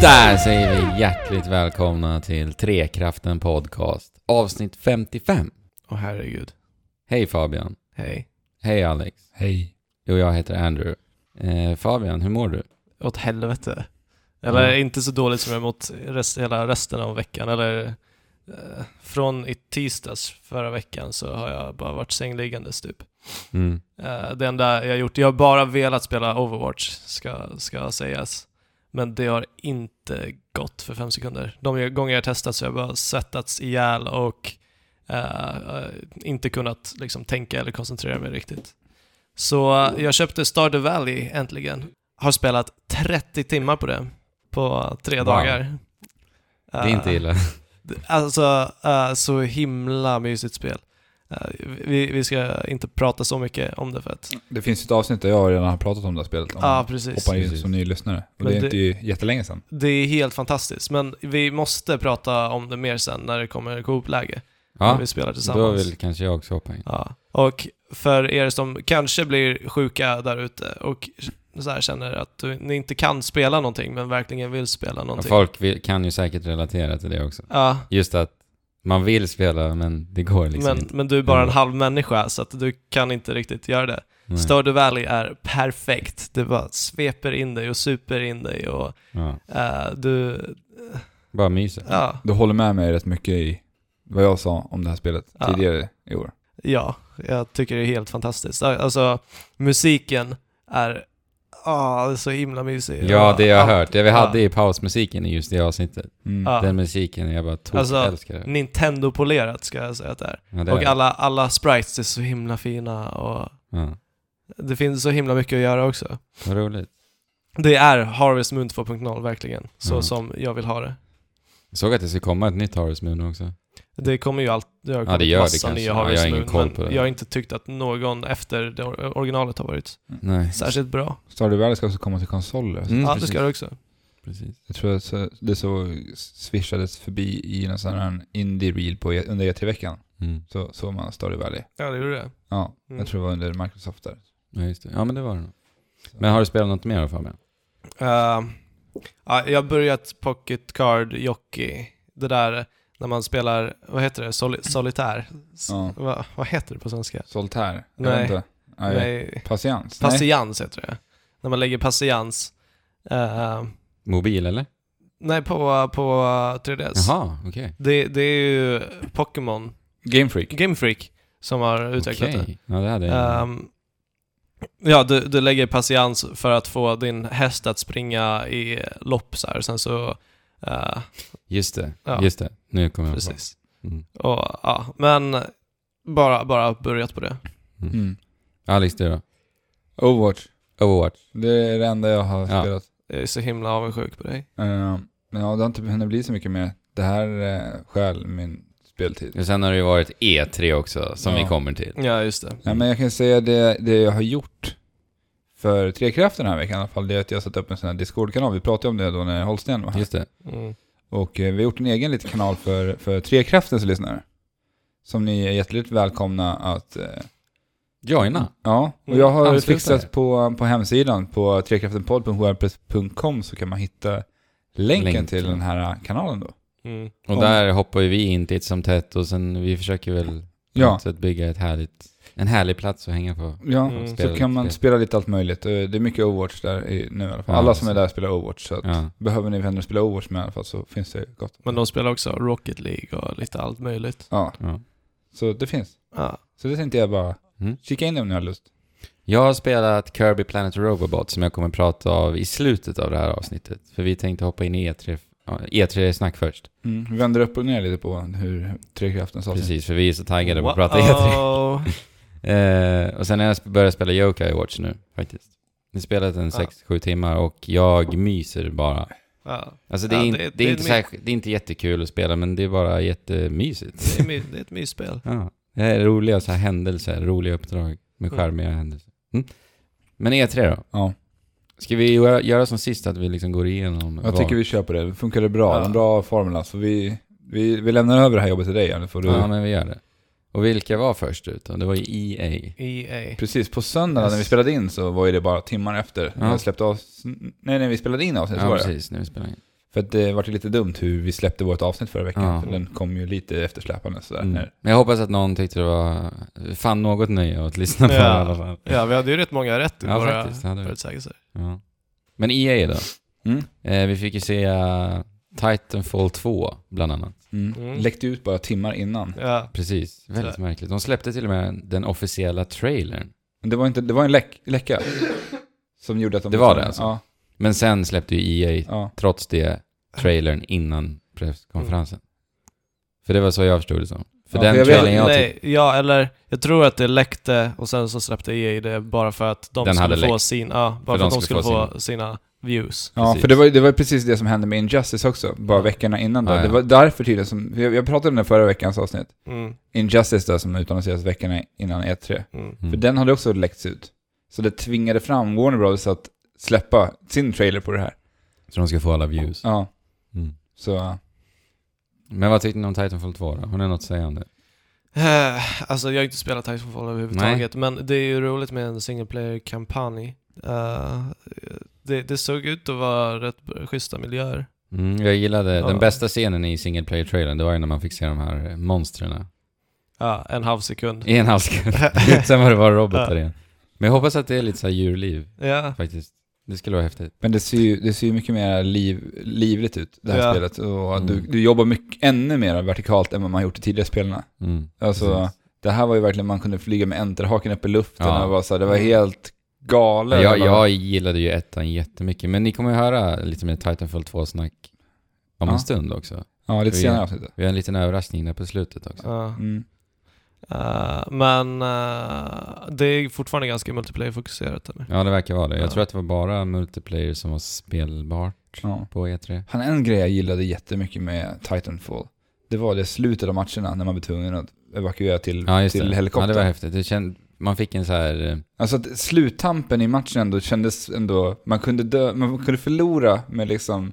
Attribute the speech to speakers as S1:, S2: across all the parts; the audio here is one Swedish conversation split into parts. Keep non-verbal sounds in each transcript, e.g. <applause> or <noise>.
S1: Där säger vi hjärtligt välkomna till Trekraften Podcast, avsnitt 55.
S2: Åh herregud.
S1: Hej Fabian.
S2: Hej.
S1: Hej Alex.
S3: Hej.
S1: Och jag heter Andrew. Eh, Fabian, hur mår du?
S2: Åt helvete. Eller
S1: Ja.
S2: inte så dåligt som jag mot rest, hela resten av veckan. Eller eh, från i tisdags förra veckan så har jag bara varit sängliggandes typ.
S1: Mm.
S2: Eh, det enda jag gjort, jag har bara velat spela Overwatch ska, ska sägas. Men det har inte gått för fem sekunder. De gånger jag testat så har jag bara svettats ihjäl och eh, eh, inte kunnat liksom, tänka eller koncentrera mig riktigt. Så eh, jag köpte Stardew Valley äntligen. Har spelat 30 timmar på det på tre
S1: Wow.
S2: dagar.
S1: Det är inte
S2: Eh, <laughs>
S1: illa.
S2: det- Alltså, eh, så himla mysigt spel. Eh, vi, vi ska inte prata så mycket om det för att...
S3: Det finns ett avsnitt där jag redan har pratat om det här spelet. Om
S2: Ja, precis.
S3: hoppar in
S1: Precis.
S3: som ny lyssnare. Och
S2: Men
S3: det är
S2: det-
S3: inte ju jättelänge sedan.
S2: Det är helt fantastiskt, men vi måste prata om det mer sen när det kommer Coop-läge. När
S1: Ja,
S2: vi spelar
S1: då
S2: tillsammans.
S1: vill kanske jag också hoppa in.
S2: Ja. Och för er som kanske blir sjuka där ute och så här känner att du, ni inte kan spela någonting men verkligen vill spela
S1: Och
S2: någonting.
S1: folk vill, kan ju säkert relatera till det också.
S2: Ja,
S1: Just att man vill spela men det går liksom
S2: men,
S1: inte.
S2: men du är bara en halv människa så att du kan inte riktigt göra det.
S1: Nej.
S2: Stardew Valley är perfekt. Det bara sveper in dig och super in dig och
S1: Ja.
S2: eh, du,
S1: Bara myser.
S2: ja,
S3: Du håller med mig rätt mycket i vad jag sa om det här spelet
S2: Ja.
S3: tidigare i år.
S2: ja, jag tycker det är helt fantastiskt. Alltså musiken är, ah, det är så himla mysig.
S1: Ja, det jag har
S2: Allt-
S1: hört. Det vi
S2: ja.
S1: hade i pausmusiken i just det avsnittet.
S3: Mm.
S2: Ja.
S1: Den musiken, jag bara tog,
S2: Alltså,
S1: älskar det.
S2: Nintendo-polerat ska jag säga att det är.
S1: Ja, det
S2: Och
S1: är det.
S2: alla, alla sprites är så himla fina och
S1: Ja.
S2: det finns så himla mycket att göra också.
S1: Vad roligt.
S2: Det är Harvest Moon 2.0 verkligen, så
S1: Ja.
S2: som jag vill ha det.
S1: Jag såg att det ska komma ett nytt Harvest Moon också.
S2: Det kommer ju allt, det har
S1: det
S2: kommit
S1: gör det
S2: massa
S1: kanske.
S2: nya
S1: Ja,
S2: Harvest
S1: jag har ingen
S2: Moon,
S1: koll
S2: men
S1: på det.
S2: jag har inte tyckt att någon efter det or- originalet har
S1: <laughs>
S2: varit
S1: Nej.
S2: särskilt bra.
S3: Stardew Valley ska också komma till konsoler.
S1: Mm,
S2: ja, det
S1: precis.
S2: ska det också.
S1: Precis.
S3: Jag tror att så- det så swishades förbi i någon sån här indie-reel på, E- under E3-veckan.
S1: Mm.
S3: Så såg man Stardew Valley.
S2: Ja, det gjorde det.
S3: Ja,
S2: Mm.
S3: jag tror det var under Microsoft där.
S1: Ja, just det. Ja, men det var det nog. Men har du spelat något mer Fabian?
S2: Ehm, ja, jag har börjat Pocket Card Jockey. Det där när man spelar, vad heter det, Soli- solitär? S-
S3: Ja.
S2: Va, vad heter det på svenska?
S3: Solitaire? Jag
S2: Nej.
S3: vet inte. Nej.
S2: Nej,
S3: Patiens? Nej.
S2: patiens heter det. När man lägger patiens. Ehm,
S1: Mobil eller?
S2: nej, på, på 3DS.
S1: Jaha, okej.
S2: Det, det är ju Pokémon,
S3: Game Freak?
S2: Game Freak, som har utvecklat det.
S1: Okej. Ja, det hade jag.
S2: Ehm, ja, du, du lägger patiens för att få din häst att springa i lopp så här. Sen så... eh,
S1: just det.
S2: ja.
S1: Just det. Nu kommer jag på.
S2: precis.
S1: Mm.
S2: Och, ja, men bara, bara börjat på det.
S3: Mm.
S1: Alex, du då?
S3: Overwatch?
S1: Overwatch?
S3: Det är det enda jag har
S1: Ja.
S3: spelat.
S2: Jag är så himla avundsjuk på dig.
S3: Eh, Men ja, det har inte hunnit bli så mycket mer. Det här uh, skäl min speltid.
S1: Och sen har det ju varit E3 också, som
S3: Ja.
S1: vi kommer till.
S2: Ja, just det.
S3: Ja, men jag kan säga det, det jag har gjort för Trekraft den här veckan i alla fall, det är att jag har satt upp en sån här Discord-kanal. Vi pratade om det då när Holsten var här.
S1: Just det.
S2: Mm.
S3: Och eh, vi har gjort en egen liten kanal för, för Trekraftens lyssnare. Som ni är hjärtligt välkomna att... eh,
S1: Joina.
S3: Ja, och
S2: Mm,
S3: jag har
S1: ansluta er.
S3: fixat på, på hemsidan på trekraftenpodd.wordpress.com så kan man hitta länken
S1: Länken.
S3: till den här kanalen då.
S2: Mm.
S1: Och
S3: Om-
S1: där hoppar ju vi in titt som tätt och sen vi försöker väl på
S3: Ja.
S1: något sätt bygga ett härligt, en härlig plats att hänga på.
S3: Ja,
S2: Mm.
S3: så
S1: Spela lite
S3: kan man
S1: spel.
S3: spela lite allt möjligt. Eh, Det är mycket Overwatch där i, nu i alla
S1: Ja,
S3: fall. alla som är
S1: så.
S3: där spelar Overwatch. Så att
S1: Ja.
S3: behöver ni vänner att spela Overwatch med i alla fall så finns det gott.
S2: Men de spelar också Rocket League och lite allt möjligt.
S3: Ja,
S1: ja.
S3: så det finns.
S2: Ja.
S3: Så det tänkte jag bara,
S1: Mm.
S3: kika in det om ni har lust.
S1: Jag har spelat Kirby Planet Robobot som jag kommer prata av i slutet av det här avsnittet. För vi tänkte hoppa in i E3, ja, E3-snack först.
S3: Mm, Vi vänder upp och ner lite på hur Trekraften sa.
S1: Precis, för vi är så taggade på att prata E3.
S2: Wow.
S1: Eh, och sen har jag sp- börjat spela Yokai Watch nu, faktiskt. Jag har spelat en
S2: Ja.
S1: 6-7 timmar och jag myser bara.
S2: ja.
S1: Alltså det är,
S2: Ja,
S1: inte,
S2: det-
S1: det,
S2: det är
S1: är inte
S2: mitt-
S1: särskilt, det är inte jättekul att spela, men det är bara jättemysigt.
S2: Det är, my, det är ett mysspel.
S1: <laughs> Ja. Det här är roliga så här händelser, roliga uppdrag med
S2: Mm.
S1: charmiga händelser. Mm. Men E3 då?
S3: Ja,
S1: Ska vi göra, göra som sist, att vi liksom går igenom?
S3: jag
S1: vad-
S3: tycker vi kör på det. Funkar det bra?
S2: Ja.
S3: En bra formula. Så vi, vi, vi lämnar över det här jobbet till dig, Janne, får du...
S1: Ja, men vi gör det. Och vilka var först ut då? Det var ju E EA.
S2: EA.
S3: Precis, på söndagen när vi
S2: Yes.
S3: spelade in så var ju det bara timmar efter.
S1: Ja.
S3: Jag släppte av... Nej, när vi spelade in avsnittet så
S1: Ja,
S3: var det.
S1: precis. När vi spelade in.
S3: För att det vart ju lite dumt hur vi släppte vårt avsnitt förra veckan.
S1: Ja.
S3: För den kom ju lite eftersläpande sådär.
S1: Mm.
S3: När,
S1: Men jag hoppas att någon tyckte det var... Fann något nöje att lyssna på
S2: Ja.
S1: i alla fall.
S2: Ja, vi hade ju rätt många rätt i
S1: Ja,
S2: våra
S1: faktiskt. Det hade vi.
S2: förutsägelser.
S1: Ja. Men EA då?
S3: mm.
S1: Eh, vi fick ju se eh, Titanfall 2 bland annat.
S3: Mm.
S2: Mm.
S3: Läckte ut bara timmar innan.
S2: Ja,
S1: Precis, väldigt
S2: Sådär.
S1: märkligt. De släppte till och med den officiella trailern.
S3: Men det var, inte, det var en läck, läcka. Som gjorde att de... liksom-
S1: Det var det alltså?
S3: Ja.
S1: Men sen släppte ju EA
S3: ja.
S1: trots det trailern innan presskonferensen. För det var så jag förstod det som. För
S3: Ja,
S1: den
S3: för jag vet-
S1: trailern jag tyckte...
S2: nej, ja, eller jag tror att det läckte och sen så släppte EA det bara för att de
S1: Den hade
S2: skulle få
S1: läckt.
S2: sin, ja, bara för, att de skulle få sina, views.
S3: Ja,
S1: Precis.
S3: för det var, ju- det var ju precis det som hände med Injustice också, bara veckorna innan då.
S1: Ja, ja.
S3: Det var därför tydligen som, jag, jag pratade om det förra veckans avsnitt,
S2: Mm,
S3: Injustice då som utannonserades veckorna innan E3.
S2: mm.
S1: Mm.
S3: För den hade också läckts ut. Så det tvingade fram Warner Bros att släppa sin trailer på det här.
S1: Så de ska få alla views.
S3: Ja,
S1: Mm.
S3: så...
S1: Men vad tyckte ni om Titanfall 2 då? Har ni något att säga om det?
S2: Eh, alltså jag har inte spelat Titanfall överhuvudtaget, men det är ju roligt med en single player-kampanj. Eh, det, det såg ut att vara rätt schyssta miljöer.
S1: Mm, jag gillade den
S2: Ja.
S1: bästa scenen i single player trailern det var ju när man fick se de här eh, monstren.
S2: Ja, en halv sekund.
S1: I en halskund. Sen var det bara robotar igen. Men jag hoppas att det är lite så här djurliv
S2: Ja,
S1: faktiskt. Det skulle vara häftigt.
S3: Men det ser ju, det ser ju mycket mer liv, livligt ut, det här
S2: Ja.
S3: spelet. Och
S1: Mm.
S3: du, du jobbar mycket, ännu mer vertikalt än vad man gjort i tidigare spelarna.
S1: Mm.
S3: Alltså,
S1: Precis.
S3: det här var ju verkligen, man kunde flyga med enterhaken upp i luften.
S1: Ja.
S3: Och det, var så här, det var helt galet.
S1: Jag, jag gillade ju ettan jättemycket, men ni kommer ju höra lite mer Titanfall 2-snack om
S3: Ja.
S1: en stund också.
S3: ja, lite
S1: vi-
S3: senare i avsnittet.
S1: Vi har en liten överraskning där på slutet också.
S2: ja.
S3: Mm.
S2: Eh, men eh, det är fortfarande ganska multiplayer-fokuserat. eller?
S1: Ja, det verkar vara det. Jag
S2: Ja.
S1: tror att det var bara multiplayer som var spelbart
S3: Ja.
S1: på E E3.
S3: Han, en grej jag gillade jättemycket med Titanfall, det var det slutet av matcherna när man var tvungen att evakuera till,
S1: Ja, just
S3: till
S1: det. Ja, det
S3: helikoptern.
S1: var häftigt. Det känd, man fick en så här... eh,
S3: Alltså att sluttampen i matchen ändå kändes ändå, man kunde dö, man kunde förlora med liksom,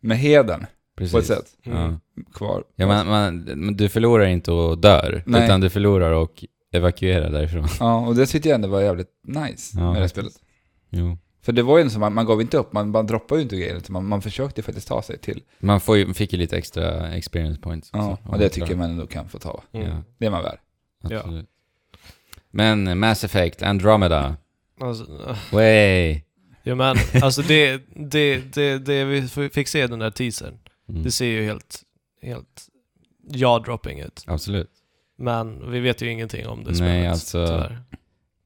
S3: med heden
S1: Precis.
S3: på ett sätt
S1: Ja.
S2: Mm.
S3: kvar.
S1: Ja, man, man, men du förlorar inte och dör,
S3: Nej.
S1: utan du förlorar och evakuerar
S3: <laughs>
S1: därifrån.
S3: Ja, och det tyckte jag ändå var jävligt nice
S1: Ja,
S3: med det här
S1: faktiskt.
S3: spelet.
S1: Jo.
S3: För det var ju så, man, man gav inte upp, man bara droppade ju inte grejer, utan man, man försökte faktiskt ta sig till.
S1: Man får ju, fick ju lite extra experience points.
S3: Ja,
S1: också, om
S3: och det
S1: man
S3: tycker jag
S1: klarar.
S3: man ändå kan få ta.
S2: Mm.
S1: Ja.
S3: Det är man värd.
S2: Ja.
S1: Absolut. Men eh, Mass Effect, Andromeda,
S2: Alltså, eh,
S1: way!
S2: ja, men, alltså det, det, det, det vi f- fick se i den där teasern,
S1: Mm.
S2: det ser ju helt, helt jaw-dropping ut.
S1: Absolut.
S2: Men vi vet ju ingenting om det
S1: Nej,
S2: spelet,
S1: alltså,
S2: tyvärr.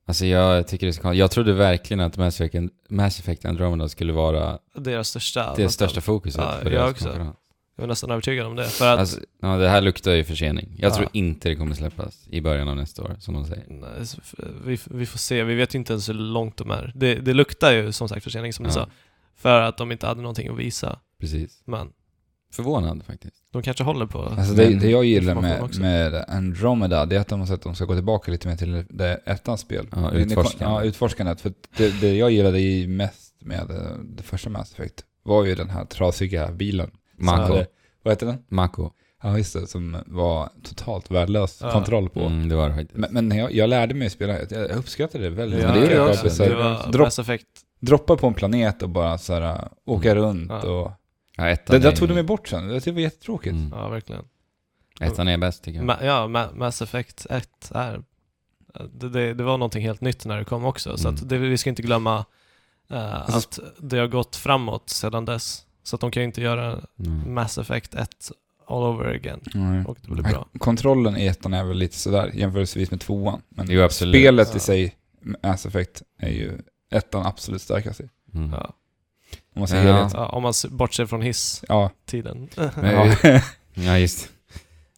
S1: Alltså jag tycker det är så konstigt. Jag trodde verkligen att Mass Effect, Mass Effect Andromeda skulle vara
S2: Deras största...
S1: det största fokuset
S2: Ja,
S1: på
S2: jag
S1: deras
S2: också.
S1: konferens.
S2: Jag är nästan övertygad om det, för att
S1: Alltså, ja, det här luktar ju försening. Jag
S2: Ja.
S1: tror inte det kommer släppas i början av nästa år, som de säger.
S2: Nej, så f- eh, vi, vi får se, vi vet ju inte ens hur långt de är. Det, det luktar ju som sagt försening som du
S1: Ja.
S2: sa, för att de inte hade någonting att visa.
S1: Precis.
S2: Men
S1: Förvånad faktiskt.
S2: de kanske håller på...
S3: Alltså det,
S1: Men-
S3: det jag gillar
S2: Information
S3: med,
S2: också.
S3: med Andromeda, det är att de har sagt att de ska gå tillbaka lite mer till det ettans spel.
S1: Ja,
S3: Det- det-
S1: utforskandet.
S3: Ja, utforskandet. För det, det jag gillade i mest med eh, det första Mass Effect var ju den här trasiga bilen. Som
S1: Mako.
S3: hade- Vad heter den?
S1: Mako.
S3: Ja, just det. Som var totalt värdelös
S2: Ja.
S3: kontroll på.
S1: Mm, det var det faktiskt.
S3: Men, men jag, jag lärde mig att spela, jag jag uppskattade det väldigt.
S1: Ja,
S3: det gjorde
S1: jag
S3: jag
S1: också.
S3: också. Så
S2: det
S3: här,
S2: var
S3: dropp-
S2: Mass Effect.
S3: Droppa på en planet och bara så här, äh, åka runt
S2: Ja.
S3: och...
S1: Ja, ettan
S3: Det där
S1: är-
S3: tog de ju bort sen, det var jättetråkigt.
S1: Mm.
S2: Ja, verkligen.
S1: Ettan är bäst tycker jag.
S2: Ma- ja, Ma- Mass Effect 1 är... Det, det, det var någonting helt nytt när det kom också, så
S1: Mm.
S2: att det, vi ska inte glömma eh,
S3: Alltså-
S2: att det har gått framåt sedan dess. Så att de kan ju inte göra
S1: Mm.
S2: Mass Effect 1 all over again.
S3: Mm.
S2: Och det blir
S3: Nej,
S2: bra.
S3: Kontrollen i ettan är väl lite sådär jämförelsevis med tvåan. Men
S1: Jo, absolut.
S3: spelet
S2: Ja.
S3: i sig, Mass Effect, är ju ettan absolut starkast i.
S1: Mm.
S2: Ja.
S3: Om man ser
S1: Ja.
S3: helheten.
S2: Ja, om man s- bortser från hiss
S3: Ja.
S2: tiden.
S1: Men-
S3: ja. <laughs>
S1: Ja, just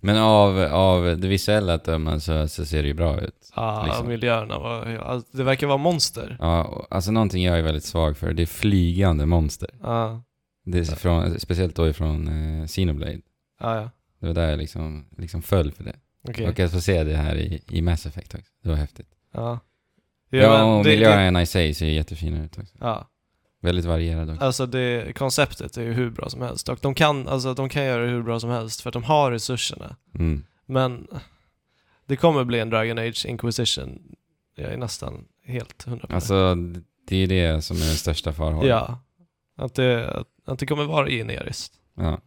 S1: Men av, av det visuella att döma så, så ser det ju bra ut.
S2: <laughs> Ja,
S1: liksom.
S2: miljöerna var... ja, Det verkar vara monster.
S1: Ja, och- alltså någonting jag är väldigt svag för, det är flygande monster.
S2: Ja,
S1: Det är från, speciellt då ifrån eh, Xenoblade.
S2: ja, ja.
S1: Det var där jag liksom, liksom föll för det.
S2: okej.
S1: Och att få se det här i, i Mass Effect också, det var häftigt.
S2: Ja.
S1: Ja,
S2: Ja, men
S1: och
S2: det, det,
S1: miljöerna i sig ser ju jättefina ut också.
S2: ja,
S1: Väldigt varierade också.
S2: alltså det konceptet är ju hur bra som helst. Och de kan, alltså, de kan göra det hur bra som helst för att de har resurserna.
S1: Mm.
S2: Men det kommer bli en Dragon Age Inquisition. Jag är nästan helt hundra på det.
S1: Alltså, det är ju det som är den största farhågan.
S2: Ja. Att det, att, att det kommer vara generiskt.
S1: Ja.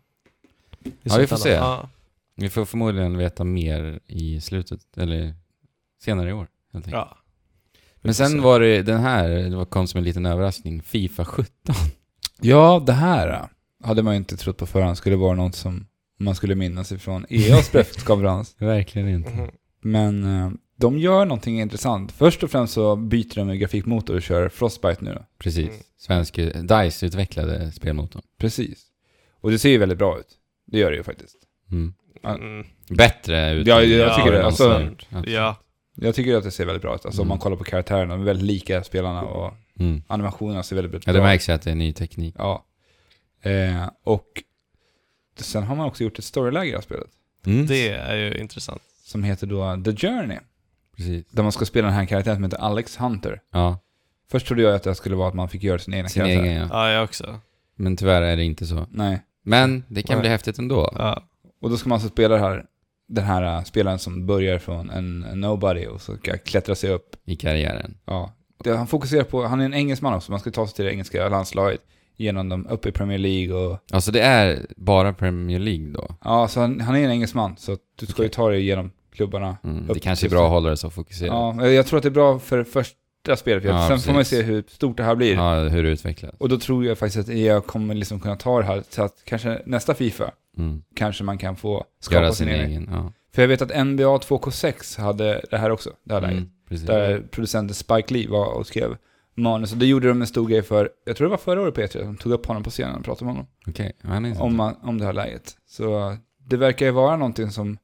S2: I
S1: Ja, vi får
S2: slutändan.
S1: se.
S2: Ja.
S1: Vi får förmodligen veta mer i slutet, eller senare i år. Helt enkelt.
S2: Ja.
S1: Men sen var det den här, det var- kom som en liten överraskning, Fifa 17.
S3: Ja, det här äh, hade man ju inte trott på förhand skulle vara något som man skulle minnas ifrån E EAs <laughs> presskonferens.
S1: Verkligen inte.
S2: Mhm.
S3: Men eh, de gör någonting intressant. Först och främst så byter de ju grafikmotor och kör Frostbite nu. då.
S1: Precis.
S2: Mm.
S1: Svensk, eh, DICE-utvecklade spelmotorn.
S3: Precis. Och det ser ju väldigt bra ut. Det gör det ju faktiskt.
S1: Mm.
S2: Mm.
S1: Bättre ut.
S3: Ja, jag
S2: tycker det. Alltså- Ja.
S3: Jag tycker att det ser väldigt bra ut. Alltså om
S1: Mm.
S3: man kollar på karaktärerna, de är väldigt lika spelarna och
S1: Mm.
S3: animationerna ser väldigt bra ut.
S1: Ja, det märks ju att det är ny teknik.
S3: Ja. Eh, och sen har man också gjort ett storyläge i det här spelet.
S1: Mm.
S2: Det är ju intressant.
S3: Som heter då The Journey.
S1: Precis.
S3: Där man ska spela den här karaktären som heter Alex Hunter.
S1: Ja,
S3: Först trodde jag att det skulle vara att man fick göra sin egna
S1: sin
S3: karaktär.
S1: egen ja.
S2: Ja, jag också.
S1: Men tyvärr är det inte så.
S3: Nej.
S1: Men det kan
S3: Nej.
S1: bli häftigt ändå.
S2: Ja.
S3: Och då ska man alltså spela det här, den här eh, spelaren som börjar från en en nobody och så ska klättra sig upp.
S1: I karriären.
S3: Ja. Det, han fokuserar på, han är en engelsman också, man ska ta sig till det engelska landslaget genom dem upp i Premier League och
S1: Alltså det är bara Premier League då.
S3: Ja, så han, han är en engelsman, så att du ska ju ta dig igenom klubbarna.
S1: Mm.
S3: Upp
S1: Det kanske är
S3: till-
S1: bra att hålla det så fokuserat. Ja,
S3: Ja, men jag tror att det är bra för första spelet,
S1: Ja,
S3: sen får man ju
S1: precis.
S3: se hur stort det här blir.
S1: hur det utvecklas.
S3: Och då tror jag faktiskt att jag kommer liksom kunna ta det här, så att kanske nästa Fifa
S1: Mm.
S3: kanske man kan få skapa
S1: Göra sin egen. Ja.
S3: För jag vet att NBA 2K6 hade det här också, det här läget.
S1: Mm. Precis.
S3: Där producenten Spike Lee var och skrev manus. Och det gjorde de en stor grej för, jag tror det var förra året på E3, de tog upp honom på scenen och pratade med honom.
S1: Okej, ja, jag minns
S3: om,
S1: inte.
S3: man, om det här läget. Så det verkar ju vara någonting som,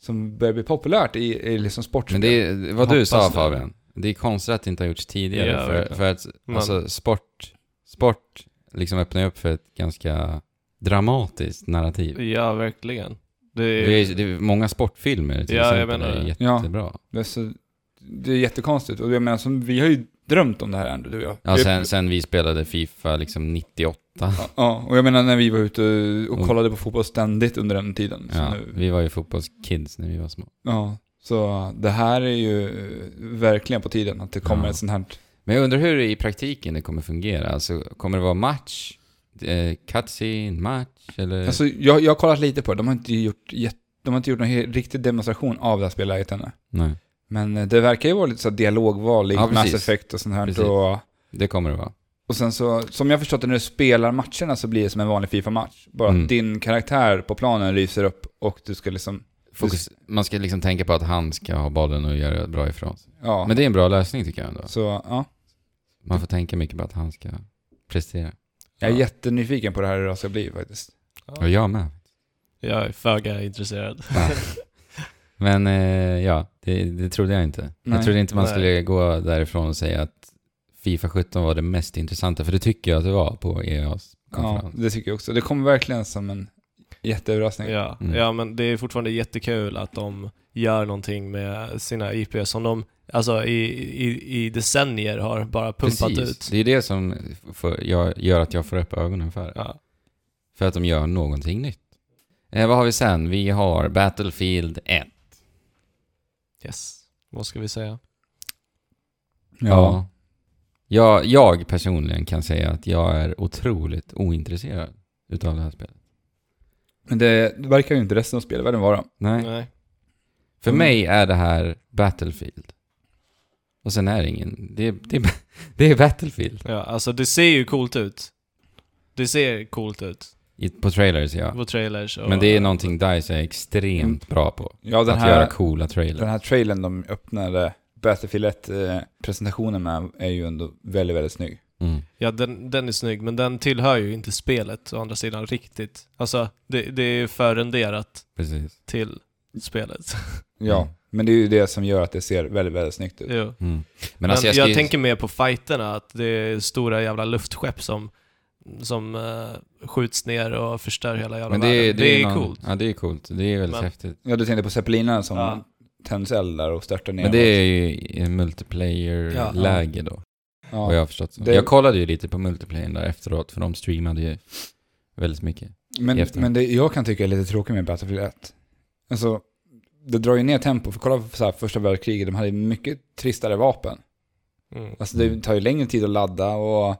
S3: som börjar bli populärt i, i liksom sportspel.
S1: Men det är vad du
S2: Hoppas
S1: sa
S2: det.
S1: Fabian. Det är konstigt att det inte har gjorts tidigare.
S2: Ja,
S1: för,
S2: verkligen.
S1: för att
S2: Men-
S1: alltså, sport, sport liksom öppnar ju upp för ett ganska dramatiskt narrativ.
S2: ja, verkligen. Det
S1: Det
S2: är,
S1: är, det är många sportfilmer till
S2: Ja, jag
S1: exempel.
S2: menar
S1: är
S2: det.
S3: Ja.
S1: jättebra.
S3: det, är så, det är jättekonstigt. Och jag menar, som, vi har ju drömt om det här ändå, du och jag.
S1: Ja,
S3: Vi-
S1: sen, sen vi spelade Fifa liksom 98.
S3: ja, och jag menar när vi var ute och
S1: Och-
S3: kollade på fotboll ständigt under den tiden. Så
S1: Ja,
S3: nu,
S1: vi var ju fotbollskids när vi var små.
S3: ja, så det här är ju verkligen på tiden att det kommer
S1: Ja.
S3: ett sånt här...
S1: Men jag undrar hur det i praktiken det kommer fungera. Alltså, kommer det vara match, eh, cutscene, match eller?
S3: Alltså, jag, jag har kollat lite på det, de har inte gjort, jätte- de har inte gjort någon he- riktig demonstration av det här spelläget ännu.
S1: Nej,
S3: Men eh, det verkar ju vara lite så här dialogval, likt
S1: Ja,
S3: Mass
S1: precis.
S3: Effect och sånt här.
S1: Precis.
S3: Och,
S1: det kommer det vara.
S3: Och sen så, som jag förstått det, när du spelar matcherna så blir det som en vanlig Fifa-match. Bara
S1: Mm.
S3: att din karaktär på planen lyser upp och du ska liksom,
S1: Fokus, man ska liksom tänka på att han ska ha bollen och göra bra ifrån sig.
S3: ja.
S1: Men det är en bra lösning tycker jag ändå.
S3: Så, ja.
S1: Man får tänka mycket på att han ska prestera.
S3: Jag är
S2: Ja.
S3: jättenyfiken på det här hur det ska bli faktiskt.
S1: Och jag med.
S2: jag är föga intresserad.
S1: Men eh, ja, det, det trodde jag inte.
S3: Nej.
S1: Jag trodde inte man
S2: Nej.
S1: skulle gå därifrån och säga att Fifa 17 var det mest intressanta, för det tycker jag att det var på E EAs
S3: Ja,
S1: konferens.
S3: det tycker jag också. Det kommer verkligen som en jätteöverraskning.
S2: Ja.
S1: Mm.
S2: ja, men det är fortfarande jättekul att de gör någonting med sina IP som de alltså, i, i, i decennier har bara pumpat
S1: Precis.
S2: ut.
S1: Det är det som får, jag, gör att jag får upp ögonen för det.
S2: Ja.
S1: För att de gör någonting nytt. Eh, vad har vi sen? Vi har Battlefield 1.
S2: Yes. Vad ska vi säga?
S3: Ja.
S1: Jag, jag personligen kan säga att jag är otroligt ointresserad utav det här spelet.
S3: Men det, det verkar ju inte resten av spelvärlden vara.
S1: Nej.
S2: Nej.
S1: För
S3: Mm.
S1: mig är det här Battlefield. Och sen är det ingen... Det, det, det är <laughs> Battlefield.
S2: Ja, alltså det ser ju coolt ut. Det ser coolt ut
S1: I, på trailers, ja.
S2: på trailers. Och,
S1: Men det är någonting DICE är extremt bra på.
S3: Ja, den
S1: att göra
S3: här,
S1: coola trailers.
S3: den här trailern de öppnade Battlefield 1-presentationen med är ju ändå väldigt, väldigt snygg.
S1: Mm.
S2: Ja, den, den är snygg, men den tillhör ju inte spelet å andra sidan riktigt. Alltså, det, det är ju förrenderat
S1: Precis.
S2: till
S1: <laughs>
S2: spelet.
S3: Ja,
S1: Mm.
S3: men det är ju det som gör att det ser väldigt, väldigt snyggt ut.
S2: jo. Men,
S1: Mm. Men, alltså jag,
S2: jag,
S1: ska ju-
S2: tänker mer på fighterna, att det är stora jävla luftskepp som, som eh, skjuts ner och förstör hela jävla
S1: Men det, är-
S2: världen. Det, är
S1: någon-
S2: coolt.
S1: Ja, det är coolt. Det är väldigt
S2: Men-
S1: häftigt.
S3: Ja, du tänkte på zeppelinarna som
S2: Ja.
S3: tänds eld där och störtar ner.
S1: Men det är ju multiplayer-läge då,
S3: Ja.
S1: vad jag har förstått.
S3: Det-
S1: Det... Jag kollade ju lite på multiplayern där efteråt, för de streamade ju väldigt mycket. i
S3: Men,
S1: efterhand.
S3: men det jag kan tycka är lite tråkigt med Battlefield 1, alltså det drar ju ner tempo. För kolla på så här, första världskriget, de hade ju mycket tristare vapen.
S2: Mm.
S3: Alltså det
S1: Mm.
S3: tar ju längre tid att ladda och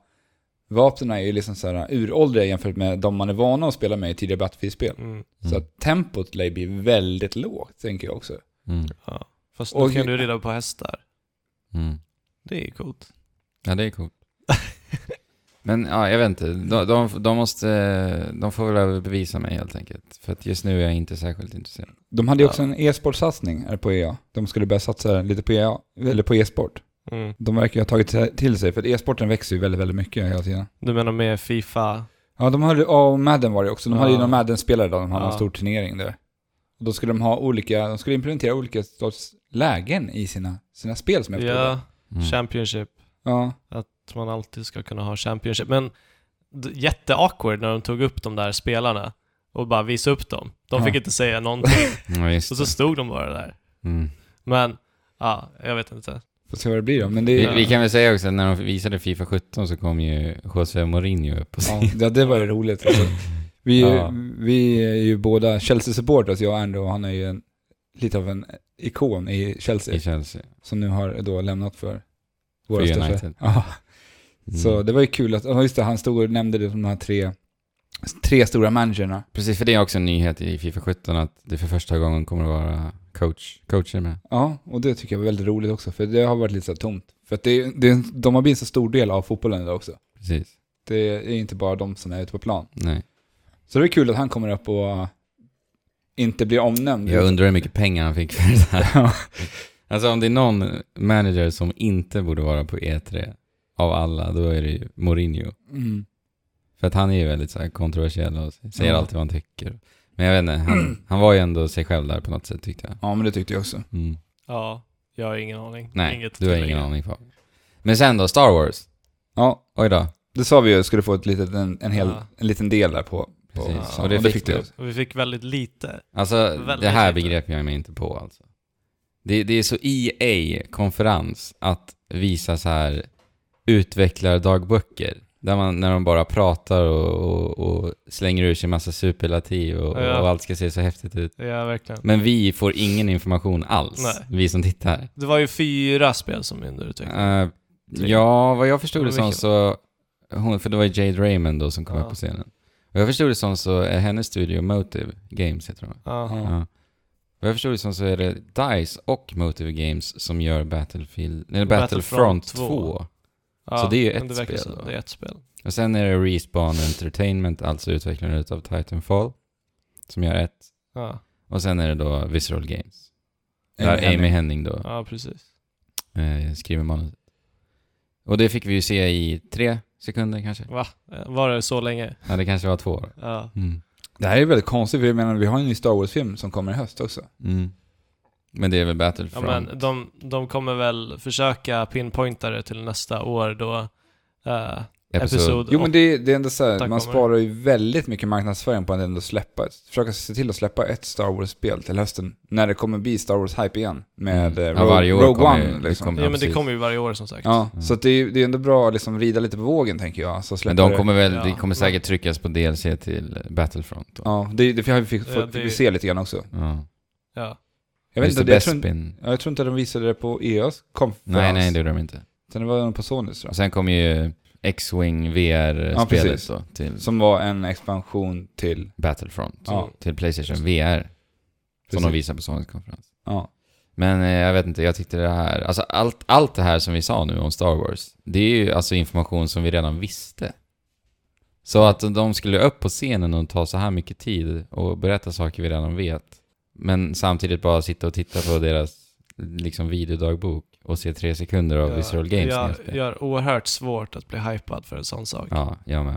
S3: vapnen är ju liksom så här uråldriga jämfört med de man är vana att spela med i tidigare Battlefield-spel.
S2: Mm.
S1: Mm.
S3: Så att tempot lär ju bli väldigt lågt, tänker jag också.
S1: Mm.
S2: Ja. Fast då
S3: Och-
S2: kan du rida på hästar.
S1: Mm.
S2: Det är ju coolt.
S1: Ja, det är coolt. <laughs> Men ja, jag vet inte. De, de, de, måste, de får väl överbevisa mig helt enkelt. För att just nu är jag inte särskilt intresserad.
S3: De hade ju också
S2: Ja.
S3: en e-sportsatsning här på EA. De skulle börja satsa lite på EA, eller på e-sport.
S2: Mm.
S3: De verkar ju ha tagit sig- till sig, för att e-sporten växer ju väldigt, väldigt mycket hela tiden.
S2: Du menar med Fifa?
S3: Ja, de hade, ja, och Madden var det också. De hade ju
S2: Ja.
S3: någon Madden-spelare där, de hade
S2: Ja.
S3: en stor turnering där. Och då skulle de ha olika, de skulle implementera olika sorts lägen i sina, sina spel som jag förstår det.
S2: Ja,
S1: Mm.
S2: Championship.
S3: Ja.
S2: Att man alltid ska kunna ha Championship. Men d- jätteawkward när de tog upp de där spelarna och bara visade upp dem. De fick
S3: Ja.
S2: inte säga någonting
S1: Ja, just
S2: och så
S1: det.
S2: stod de bara där.
S1: Mm.
S2: Men, ja, jag vet inte.
S3: Får se vad det blir då. Men det,
S1: Vi,
S2: Ja.
S1: vi kan väl säga också att när de visade Fifa 17 så kom ju José Mourinho upp <laughs> på
S3: ja,
S1: scen.
S3: <laughs> ja, det var ju roligt. Alltså. Vi,
S1: Ja.
S3: vi är ju båda Chelsea-supporters, jag och Andrew, och han är ju en, lite av en ikon i Chelsea.
S1: i Chelsea.
S3: som nu har då lämnat för våra
S1: För
S3: största.
S1: United.
S3: Ja,
S1: Mm.
S3: så det var ju kul att, ja just det, han stod och nämnde det som de här tre, tre stora managerna.
S1: Precis, för det är också en nyhet i Fifa 17 att det för första gången kommer att vara coach, coacher med.
S3: Ja, och det tycker jag var väldigt roligt också, för det har varit lite så här tomt. För att det, det, de har blivit en så stor del av fotbollen idag också.
S1: Precis.
S3: Det är inte bara de som är ute på plan.
S1: Nej.
S3: Så det är kul att han kommer upp och inte blir omnämnd.
S1: Jag undrar hur mycket pengar han fick för det <laughs> här.
S3: Ja.
S1: Alltså om det är någon manager som inte borde vara på E3 av alla, då är det ju Mourinho.
S3: Mm.
S1: För att han är ju väldigt så här kontroversiell och säger
S3: Ja.
S1: alltid vad han tycker. Men jag vet inte, <clears throat> han, han var ju ändå sig själv där på något sätt tyckte jag.
S3: Ja, men det tyckte jag också.
S1: Mm.
S2: Ja, jag har ingen aning.
S1: Nej,
S2: Inget
S1: du har
S2: tillägg.
S1: ingen aning Fabian. Men sen då, Star Wars.
S3: Ja,
S1: Oj då.
S3: det sa vi ju, skulle få ett litet, en, en, hel,
S2: Ja.
S3: en liten del där på. på
S1: Precis.
S3: ja,
S1: och det
S3: och
S1: fick, du.
S3: du.
S2: Och vi fick väldigt lite.
S1: Alltså,
S2: Väldigt
S1: det här
S2: lite.
S1: begrep jag mig inte på alltså. Det, det är så EA-konferens att visa så här utvecklardagböcker. Där man, när de bara pratar och, och, och slänger ur sig massa superlativ och,
S2: Ja.
S1: och allt ska se så häftigt ut.
S2: Ja, verkligen.
S1: Men vi får ingen information alls,
S2: Nej.
S1: vi som tittar.
S2: Det var ju fyra spel som är under utveckling.
S1: Eh, ja, vad jag förstod
S2: Typ. Ja,
S1: det som
S2: vilken?
S1: så, hon, för det var ju Jade Raymond då som kom
S2: Ja.
S1: upp på scenen. Vad jag förstod det som så är hennes studio Motive Games, heter de.
S2: Ja.
S1: Ja. Vad jag förstod det som så är det DICE och Motive Games som gör Battlefield, nej,
S2: Battlefront
S1: Battlefront 2.
S2: 2. Ja,
S1: Så det är ju
S2: men
S1: ett
S2: det verkar
S1: spel
S2: som
S1: då.
S2: Det är ett spel.
S1: Och sen är det Respawn Entertainment, alltså utvecklarna utav Titanfall, som gör ett.
S2: Ja,
S1: Och sen är det då Visceral Games, där
S3: Amy
S1: Amy Henning,
S3: Hennig.
S1: då
S2: ja precis.
S1: eh, skriver manuset. Och det fick vi ju se i tre sekunder kanske.
S2: Va? Eh, Var det så länge?
S1: Ja, det kanske var två år.
S2: Ja.
S1: Mm.
S3: Det här är väldigt konstigt, för jag menar, vi har en ny Star Wars-film som kommer i höst också.
S1: Mm. Men det är väl
S2: Ja,
S1: Battlefront?
S2: men de, de kommer väl försöka pinpointa det till nästa år då eh, episod
S3: Jo men det, det är ändå så här,
S2: Tack,
S3: man
S2: kommer.
S3: sparar ju väldigt mycket marknadsföring på att ändå släppa, ett- försöka se till att släppa ett Star Wars-spel till hösten, när det kommer bli Star Wars-hype igen, med
S1: Mm.
S3: eh,
S1: Ja, varje år
S3: Rogue, Rogue
S1: kommer
S3: One
S1: ju- det
S3: liksom.
S1: kommer-
S2: Ja, men det
S1: precis.
S2: kommer ju varje år som sagt.
S3: Ja,
S1: Mm.
S3: så att det, är, det är ändå bra att liksom rida lite på vågen tänker jag. Så
S1: Men
S3: släppa
S1: de
S3: det.
S1: kommer väl,
S2: Ja,
S1: det kommer
S2: men-
S1: säkert tryckas på DLC till Battlefront då.
S3: Ja, det, det fick, fick,
S2: Ja, det-
S3: fick vi se lite grann också.
S1: Ja.
S2: Ja.
S3: Jag vet
S1: Just
S3: inte,
S1: the
S3: det, jag,
S1: best
S3: tror, inte-
S1: spin.
S3: ja, jag tror inte de visade det på EAs konferens.
S1: Nej, nej, det gjorde de inte.
S3: Utan det var nog på Sonys tror
S1: Och sen kom ju X-Wing VR-spelet
S3: precis.
S1: då till
S3: jag. Som var en expansion till,
S1: Battlefront.
S3: Ja.
S1: Till Playstation VR. Som de
S3: Precis.
S1: visade på Sonys konferens.
S3: ja.
S1: Men eh, jag vet inte, jag tyckte det här, alltså allt, allt det här som vi sa nu om Star Wars, det är ju alltså information som vi redan visste. Så att de skulle upp på scenen och ta så här mycket tid och berätta saker vi redan vet, men samtidigt bara sitta och titta på deras liksom videodagbok och se tre sekunder av
S2: Ja,
S1: Visceral Games
S2: jag,
S1: nästa.
S2: jag har oerhört svårt att bli hypad för en sån sak.
S1: Ja, jag med.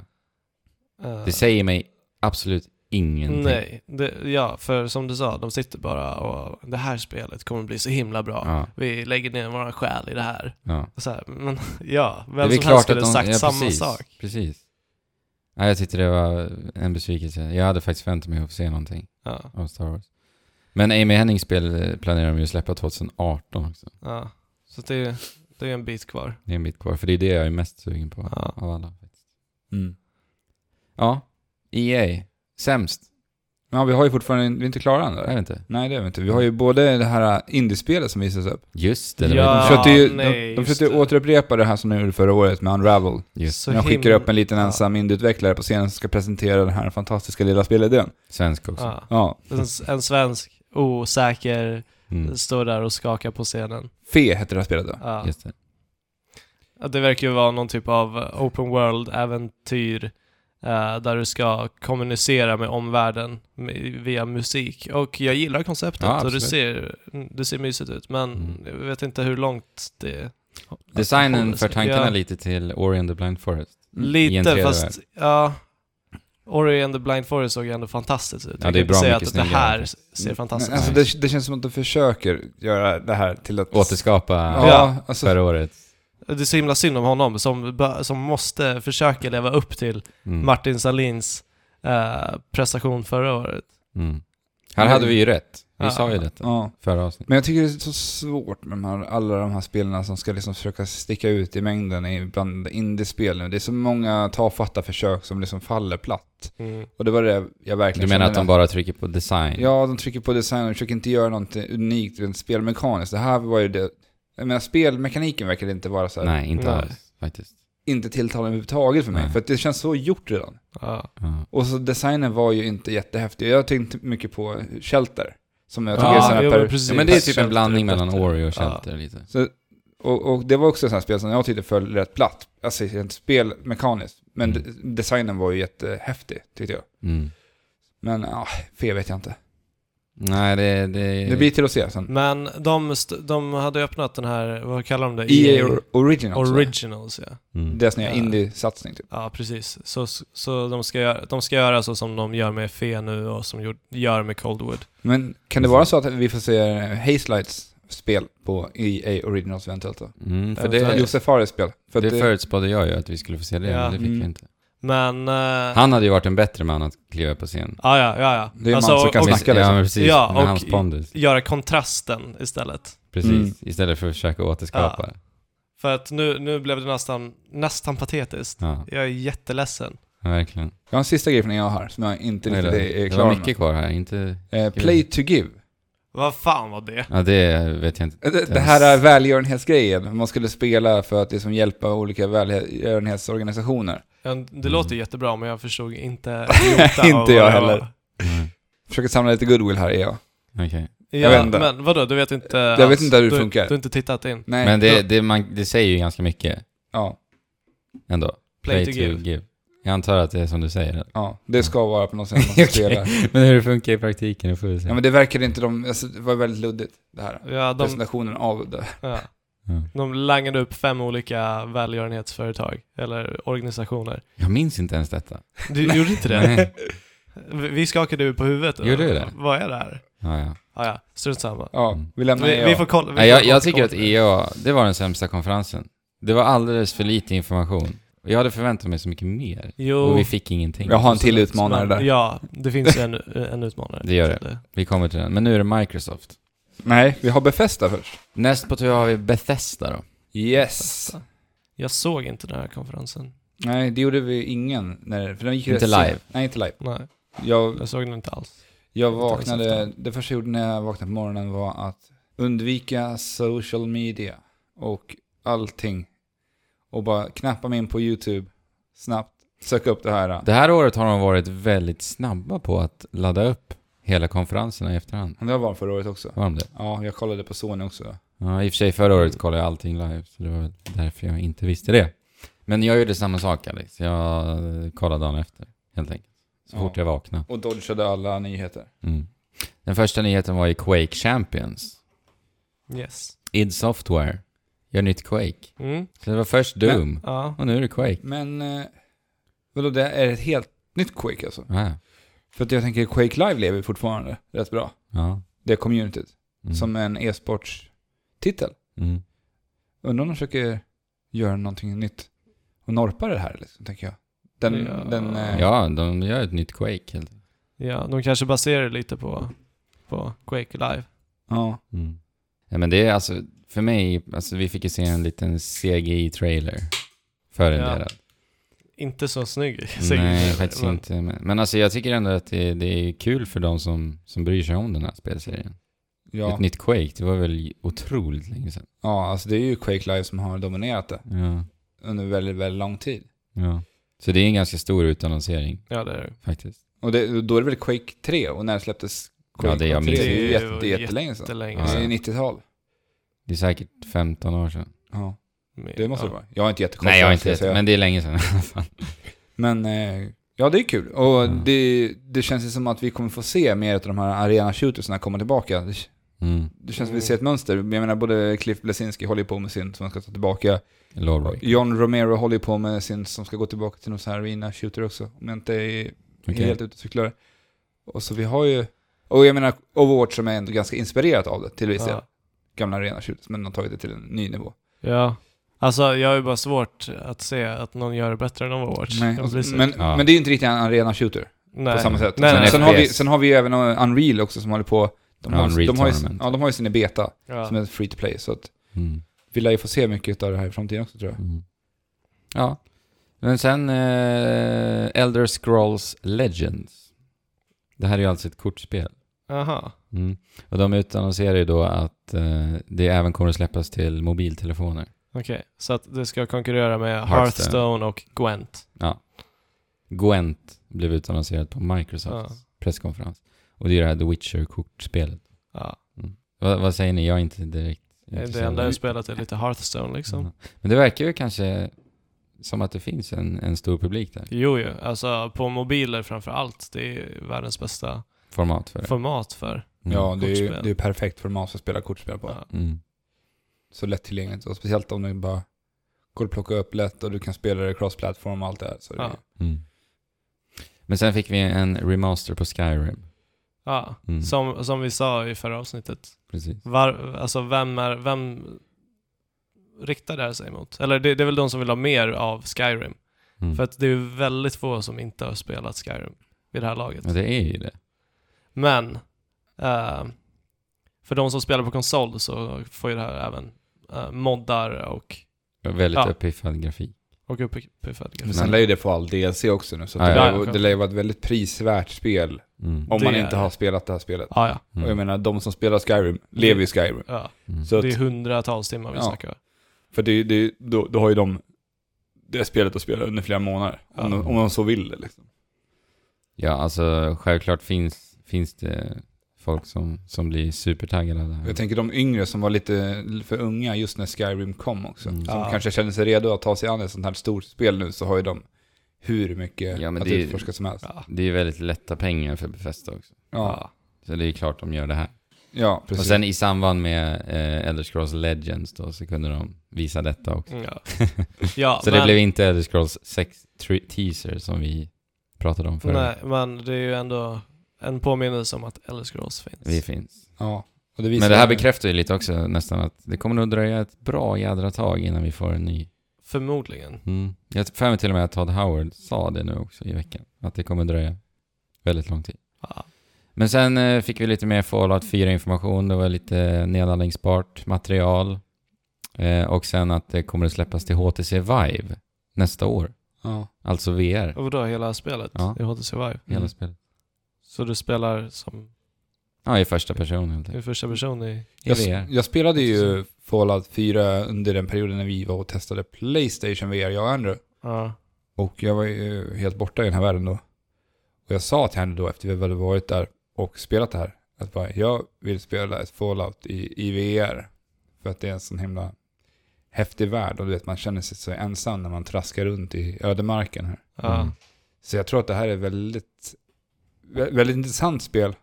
S2: Eh,
S1: Det säger mig absolut ingenting.
S2: Nej, det, ja, för som du sa, de sitter bara och det här spelet kommer bli så himla bra.
S1: Ja,
S2: Vi lägger ner våra själ i det här.
S1: ja.
S2: Och Så här, men <laughs> ja,
S1: Det är
S2: vem
S1: väl
S2: som helst
S1: klart
S2: skulle
S1: att de-
S2: sagt
S1: ja,
S2: samma
S1: precis,
S2: sak.
S1: Precis. Ja, jag tyckte det var en besvikelse. Jag hade faktiskt väntat mig att få se någonting.
S2: Ja,
S1: av Star Wars. Men Amy Hennings spel eh, planerar de ju att släppa 2018 också.
S2: ja. Så det, är- det är en bit kvar.
S1: Det är en bit kvar, för det är det jag är mest sugen på
S2: Ja.
S1: av alla.
S3: Mm.
S1: Ja, EA. E Sämst.
S3: Men ja, vi har ju fortfarande, vi är inte klara än
S1: Är det
S3: där.
S1: inte?
S3: Nej det är vi inte. Vi har ju både det här äh, indiespelet som visas upp.
S1: Just det, det
S2: Ja.
S1: var
S3: De försökte ju, de,
S2: nej,
S3: de
S2: just
S3: försökte
S2: det.
S3: återupprepa det här som de gjorde förra året med Unravel.
S1: Just.
S2: Så
S3: När de skickar
S2: himla-
S3: upp en liten
S2: ja.
S3: ensam indieutvecklare på scenen som ska presentera den här fantastiska lilla spelidén.
S1: svensk också.
S2: Ja.
S3: Ja.
S2: En, en svensk osäker
S1: Mm.
S2: står där och skakar på scenen.
S3: Fe heter det här spelet då.
S2: Ja.
S1: Just det.
S2: Ja, Det verkar ju vara någon typ av eh, open world-äventyr eh, där du ska kommunicera med omvärlden med, via musik. Och jag gillar konceptet
S1: Ja,
S2: och det
S1: absolut.
S2: ser, det ser mysigt ut men
S1: Mm.
S2: jag vet inte hur långt det...
S1: Designen för tankarna
S2: Ja.
S1: lite till Ori and the Blind Forest. i en
S2: Lite
S1: tredje
S2: fast, ja... Ori and the Blind Forest såg ändå fantastiskt ut.
S1: Ja,
S2: jag
S1: det är
S2: kan inte
S1: bra
S2: säga
S1: mycket
S2: att det
S1: snyggare
S2: här
S1: faktiskt. Mm.
S2: ser fantastiskt
S3: Men, alltså,
S2: ut.
S3: det, det känns som att de försöker göra det här till att...
S1: Återskapa
S3: Ja,
S2: Ja.
S3: alltså,
S1: förra året.
S2: Det är så himla synd om honom som, bö- som måste försöka leva upp till
S1: Mm.
S2: Martin Salins eh, prestation förra året.
S1: Mm. Här hade vi ju rätt. Vi
S2: Ja.
S1: sa ju detta
S3: ja.
S1: förra avsnittet.
S3: Men jag tycker det är så svårt med de här, alla de här spelarna som ska liksom försöka sticka ut i mängden i- bland indiespel nu. Det är så många tafatta försök som liksom faller platt. Och det var det jag verkligen
S1: Du menar att
S3: kände
S1: de bara trycker på design?
S3: Ja, de trycker på design och försöker inte göra något unikt rent spelmekaniskt. Det här var ju det... Jag menar, spelmekaniken verkar inte vara så här,
S1: Nej, inte
S2: Nej.
S1: alls faktiskt.
S3: inte tilltalande överhuvudtaget för mig.
S1: Nej.
S3: För att det känns så gjort redan.
S2: Ja.
S1: Ja.
S3: Och så designen var ju inte jättehäftig. Jag tänkte mycket på Shelter. Som jag tycker
S1: Ja,
S3: är sån här
S2: jo,
S3: per...
S2: men precis.
S1: Ja, men det är typ
S2: Shelter
S1: en blandning
S2: är
S1: mellan
S2: bättre.
S1: Ori och
S2: Ja.
S1: Shelter lite.
S3: Så, och, och det var också ett sånt här spel som jag tyckte föll rätt platt. Alltså rent spelmekaniskt. Men
S1: Mm.
S3: de- designen var ju jättehäftig tyckte jag.
S1: Mm.
S3: Men ja, fel vet jag inte.
S1: Nej, det... Det,
S3: Det blir till att se
S1: E
S3: sen.
S2: Men de, st- de hade ju öppnat den här, vad kallar de det? E
S3: EA E Or- Originals. va?
S2: Originals ja.
S1: Mm.
S3: Deras nya
S2: Ja.
S3: indie-satsning typ.
S2: Ja, precis. Så, så de, ska göra, de ska göra så som de gör med Fe nu och som gjord- gör med Coldwood.
S3: Men kan det vara så att vi får se Hazelights spel på EA Originals eventuellt då?
S1: Mm, för
S2: Ja,
S1: det,
S3: Josef Fares spel. För att
S1: det
S3: det-
S1: förutspådde jag ju att vi skulle få se det,
S2: Ja.
S1: men det fick
S3: Mm.
S1: vi inte.
S2: Men... eh,
S1: Han hade ju varit en bättre man att kliva på scen.
S2: Ja, ja, ja. ja.
S3: Det är en man som
S2: och,
S3: kan
S2: och
S3: snacka.
S1: Ja,
S3: liksom.
S1: men precis.
S2: Ja,
S1: med
S2: och-
S1: hans pondus.
S2: göra kontrasten istället.
S1: Precis.
S3: Mm.
S1: Istället för att försöka återskapa.
S2: För att nu, nu blev det nästan, nästan patetiskt.
S1: Ja,
S2: Jag är jätteledsen.
S1: ja verkligen.
S3: Jag har en sista grej från jag har som jag inte
S1: Oj då.
S3: riktigt är, är
S1: det var
S3: klar
S1: mycket kvar här, inte...
S3: med. Eh, play to give.
S2: Vad fan var det?
S1: Ja, det vet jag inte.
S3: Eh, Det, det här är välgörenhetsgrejen. Man skulle spela för att liksom hjälpa olika välgörenhetsorganisationer.
S2: Ja, Det
S1: Mm.
S2: låter jättebra men jag förstod
S3: <laughs>
S2: inte jota
S3: Inte
S2: av vad
S3: jag
S2: det
S3: heller.
S2: var.
S1: Mm.
S3: Försöker samla lite goodwill här E är jag.
S1: Okej.
S2: Ja,
S3: Jag vet inte.
S2: Men vadå, du vet inte Jag
S3: vet inte hur det
S2: du,
S3: funkar.
S2: Du har inte tittat in?
S3: Nej.
S1: Men det, det, man, det säger ju ganska mycket
S3: Ja,
S1: ändå.
S2: Play, to give.
S1: Jag antar att det är som du säger.
S3: ja, det ska vara på något <laughs> sätt
S1: <laughs>
S3: man ska spela.
S1: Men hur det funkar i praktiken, det får vi se.
S3: Ja, men det verkade inte de... Alltså, det var väldigt luddigt det här.
S2: Ja, de,
S3: Presentationen av det.
S2: ja,
S1: Ja.
S2: de langade upp fem olika välgörenhetsföretag eller organisationer.
S1: Jag minns inte ens detta.
S2: Du gjorde inte det?
S1: Nej.
S2: Vi- Vi skakade ju på huvudet. och-
S1: Gjorde vi det?
S2: Vad är det här?
S1: Ja, ja.
S2: Ja, ja, strunt samma.
S3: Ja,
S1: Mm.
S3: vi lämnar E
S2: Vi,
S3: EA.
S2: vi får kolla. vi
S1: Nej, jag,
S2: får
S1: jag tycker att E-
S2: återkomma till
S1: EA, det var den sämsta konferensen. Det var alldeles för lite information. Jag hade förväntat mig så mycket mer.
S2: det. Jo,
S1: Och vi fick ingenting.
S3: Jag har en till utmanare
S2: men-
S3: där.
S2: Ja, det finns ju en, en utmanare.
S1: Det gör det.
S2: till
S1: Vi kommer till den. Men nu är det Microsoft.
S3: Nej, vi har Befesta först.
S1: Näst på tur har vi Bethesda då.
S3: Yes.
S2: Jag såg inte den här konferensen.
S3: Nej, det gjorde vi ingen. När, för de gick ju
S1: Inte
S3: rätt sent.
S1: live.
S3: Nej, inte live.
S2: Nej,
S3: Jag,
S2: jag såg den inte alls.
S3: jag
S2: Inte ens
S3: vaknade,
S2: efter.
S3: det första jag gjorde när jag vaknade på morgonen var att undvika social media och allting. Och bara knappa mig in på YouTube snabbt, söka upp det här.
S1: Det här året har de varit väldigt snabba på att ladda upp hela konferenserna i efterhand.
S3: Det var förra året också.
S1: Var de det?
S3: Ja, jag kollade på Sony också.
S1: Ja, i och för sig förra året kollade jag allting live, så det var väl därför jag inte visste det. Men jag gjorde samma sak Alex. Jag eh, kollade dagen efter, helt enkelt. Så
S3: Ja.
S1: fort jag vaknade.
S3: Och dodgade alla nyheter.
S1: Mm. Den första nyheten var ju Quake Champions.
S2: Yes.
S1: id Software gör nytt Quake.
S2: Mm.
S1: Så det var först Doom,
S2: Ja.
S1: och nu är det Quake.
S3: Men, eh, vadå, det är ett helt nytt Quake alltså?
S1: Ah,
S3: För att jag tänker, Quake Live lever fortfarande rätt bra.
S1: ja.
S3: Det communityt.
S1: Mm.
S3: Som en e-sportstitel.
S1: Mm.
S3: Undrar om de försöker göra någonting nytt och norpa det här, liksom, tänker jag. Den,
S2: Ja.
S3: den, eh,
S1: Ja, de gör ett nytt Quake. helt enkelt.
S2: ja, de kanske baserar det lite på, på Quake Live.
S3: ja.
S1: Mm. Ja, men det är alltså, för mig, alltså vi fick ju se en liten CGI-trailer. För en
S2: Ja.
S1: del.
S2: inte så snygg. säger
S1: Nej,
S3: eh,
S2: jag,
S1: faktiskt
S2: men-
S1: inte. Men, men alltså jag tycker ändå att det, det är kul för de som, som bryr sig om den här spelserien.
S3: Ja,
S1: Ett nytt Quake, det var väl otroligt länge sedan.
S3: ja alltså det är ju Quake Live som har dominerat det
S1: Ja,
S3: under väldigt, väldigt lång tid.
S1: ja. Så det är en ganska stor utannonsering
S2: Ja, det är det.
S1: faktiskt.
S3: Och det, då är det väl Quake 3 och när släpptes Quake
S1: Ja, det jag
S3: 3?
S1: minns.
S3: Det är ju
S2: Det var
S3: jätte, jättelänge sedan.
S2: Jättelänge
S1: Ja,
S3: Det är
S2: sedan.
S3: 90-tal.
S1: Det är säkert 15 år sedan.
S3: Ja,
S2: Men-
S3: det måste
S2: ja.
S3: det vara. Jag har inte jättekoll
S1: Nej, jag
S3: på
S1: har
S3: det,
S1: inte
S3: ska
S1: rätt,
S3: säga.
S1: men det är länge
S3: <laughs>
S1: sedan.
S3: Men eh, ja, det är kul. Och
S1: Mm.
S3: det, det känns ju som att vi kommer få se mer av de här arena shootersna komma tillbaka. Det,
S1: Mm.
S3: det känns som
S2: Mm.
S3: att vi ser ett mönster. Jag menar, både Cliff Blesinski håller ju på med sin som han ska ta tillbaka.
S1: Lorroy.
S3: John Romero håller ju på med sin som ska gå tillbaka till någon sån här arena shooter också. Om jag inte är
S1: Okej.
S3: helt ute och cyklar. Och så vi har ju... Och jag menar, Overwatch som är ändå ganska inspirerat av det till viss del.
S2: Ja.
S3: Gamla arena shooters, men har tagit det till en ny nivå.
S2: ja. Alltså, jag har ju bara svårt att se att någon gör det bättre än Overwatch.
S3: Nej,
S2: Jag
S3: och-
S2: blir så-
S3: men,
S1: Ja.
S3: men det är ju inte riktigt en arena shooter.
S2: Nej.
S3: på samma sätt.
S2: Nej,
S3: sen,
S2: nej,
S3: sen,
S2: nej.
S3: har vi,
S1: FPS.
S3: sen har vi ju även Unreal också som håller på. De
S1: Ja,
S3: har,
S1: Unreal
S3: de har, ju,
S1: Tournament.
S3: ja, de har ju sin i beta
S2: Ja.
S3: som är free to play. Så att
S1: Mm.
S3: vi lär ju få se mycket av det här i framtiden också tror jag.
S1: Mm. Ja. Men sen eh, Elder Scrolls Legends. Det här är ju alltså ett kortspel.
S2: Aha.
S1: Mm. Och de utannonserar ju då att eh, det även kommer att släppas till mobiltelefoner.
S2: Okej, så att det ska konkurrera med
S1: Hearthstone.
S2: Hearthstone och Gwent.
S1: Gwent blev utannonserat på Microsofts presskonferens. Och det är det här The Witcher-kortspelet.
S2: Ja.
S1: Va, vad säger ni? Jag är inte direkt
S2: Det
S1: intresserad.
S2: enda jag spelat är lite Hearthstone liksom.
S3: Mm.
S1: Ja. Men det verkar ju kanske som att det finns en, en stor publik där.
S2: Jo, jo. Alltså på mobiler framför allt. Det är världens bästa
S1: Format för det.
S2: format för.
S1: Mm.
S3: Ja, det är ju
S2: Kortspel.
S3: det är ju perfekt format för att spela kortspel på.
S2: Ja.
S1: Mm.
S3: Så lättillgängligt. Och speciellt om du bara går och plockar upp lätt och du kan spela det cross-platform och allt det här. Så
S2: Ja.
S3: det,
S1: Mm. Men sen fick vi en remaster på Skyrim.
S2: Ja.
S1: Mm.
S2: Som, som vi sa i förra avsnittet.
S1: Precis.
S2: Var, alltså vem, är, vem riktar det här sig mot? Eller det, det är väl de som vill ha mer av Skyrim.
S1: Mm.
S2: För att det är ju väldigt få som inte har spelat Skyrim vid det här laget.
S1: Ja, det är ju det.
S2: Men eh, för de som spelar på konsol så får ju det här även eh, moddar och,
S1: Väldigt
S2: Ja.
S1: uppiffad grafik.
S2: och uppiffad
S3: Men
S2: grafik.
S3: sen lär ju det få all DLC också nu. Så
S1: Ja,
S3: det,
S1: ja.
S3: lär,
S2: Ja,
S3: ju-
S2: ja.
S3: det lär ju vara ett väldigt prisvärt spel
S1: Mm.
S3: om
S2: Det
S3: man
S2: är det.
S3: inte har spelat det här spelet.
S2: Ja, ja.
S1: Mm.
S3: Och jag menar, de som spelar Skyrim lever i Skyrim.
S2: ja.
S1: Mm.
S3: Så att,
S2: Det är hundratals timmar vi
S3: Ja.
S2: snackar. om.
S3: För det, det, då, då har ju de det spelet att spela under flera månader. Om,
S2: Ja.
S3: de, om de så vill det liksom.
S1: Ja, alltså självklart finns, finns det folk som, som blir supertaggade av det här.
S3: Jag tänker de yngre som var lite för unga just när Skyrim kom också.
S1: Mm.
S3: Som
S2: Ja.
S3: kanske känner sig redo att ta sig an ett sånt här stort spel nu så har ju de hur mycket
S1: Ja, men
S3: att
S1: det är-
S3: utforska som helst.
S2: Ja.
S1: Det är ju väldigt lätta pengar för Bethesda också.
S3: Ja,
S1: Så det är klart de gör det här.
S3: ja precis.
S1: Och sen i samband med eh, Elder Scrolls Legends då så kunde de visa detta också.
S2: Mm, Ja. ja
S1: Så
S2: men,
S1: det blev inte Elder Scrolls 6 tre- teaser som vi pratade om förra.
S2: nej, men det är ju ändå en påminnelse om att Elder Scrolls
S1: Vi
S2: finns.
S1: finns.
S3: ja. och det
S1: Men det här bekräftar ju lite också nästan att det kommer nog dröja ett bra jädra tag innan vi får en ny.
S2: Förmodligen.
S1: Mm. Jag tror för mig till och med att Todd Howard sa det nu också i veckan. Att det kommer dröja väldigt lång tid.
S2: Ja.
S1: Men sen eh, fick vi lite mer Fallout 4-information. Det var lite nedladdningsbart material. Eh, och sen att det kommer att släppas till HTC Vive nästa år.
S3: Ja.
S1: Alltså VR,
S2: Och då hela spelet
S1: Ja.
S2: i HTC Vive?
S1: hela
S3: Mm.
S1: spelet.
S2: Så du spelar som
S1: Ja, i första person helt
S2: i
S1: enkelt.
S2: första person i...
S1: I
S3: Jag,
S1: VR.
S3: jag spelade ju Fallout 4 under den perioden när vi var och testade Playstation VR, jag och Andrew.
S2: Ja.
S3: Och jag var ju helt borta i den här världen då. Och jag sa till henne då efter vi hade varit där och spelat det här. Att bara, jag vill spela ett Fallout i, i VR. För att det är en sån himla häftig värld. Och du vet, man känner sig så ensam när man traskar runt i ödemarken här.
S2: ja.
S1: Mm.
S3: Så jag tror att det här är väldigt, vä- väldigt intressant spel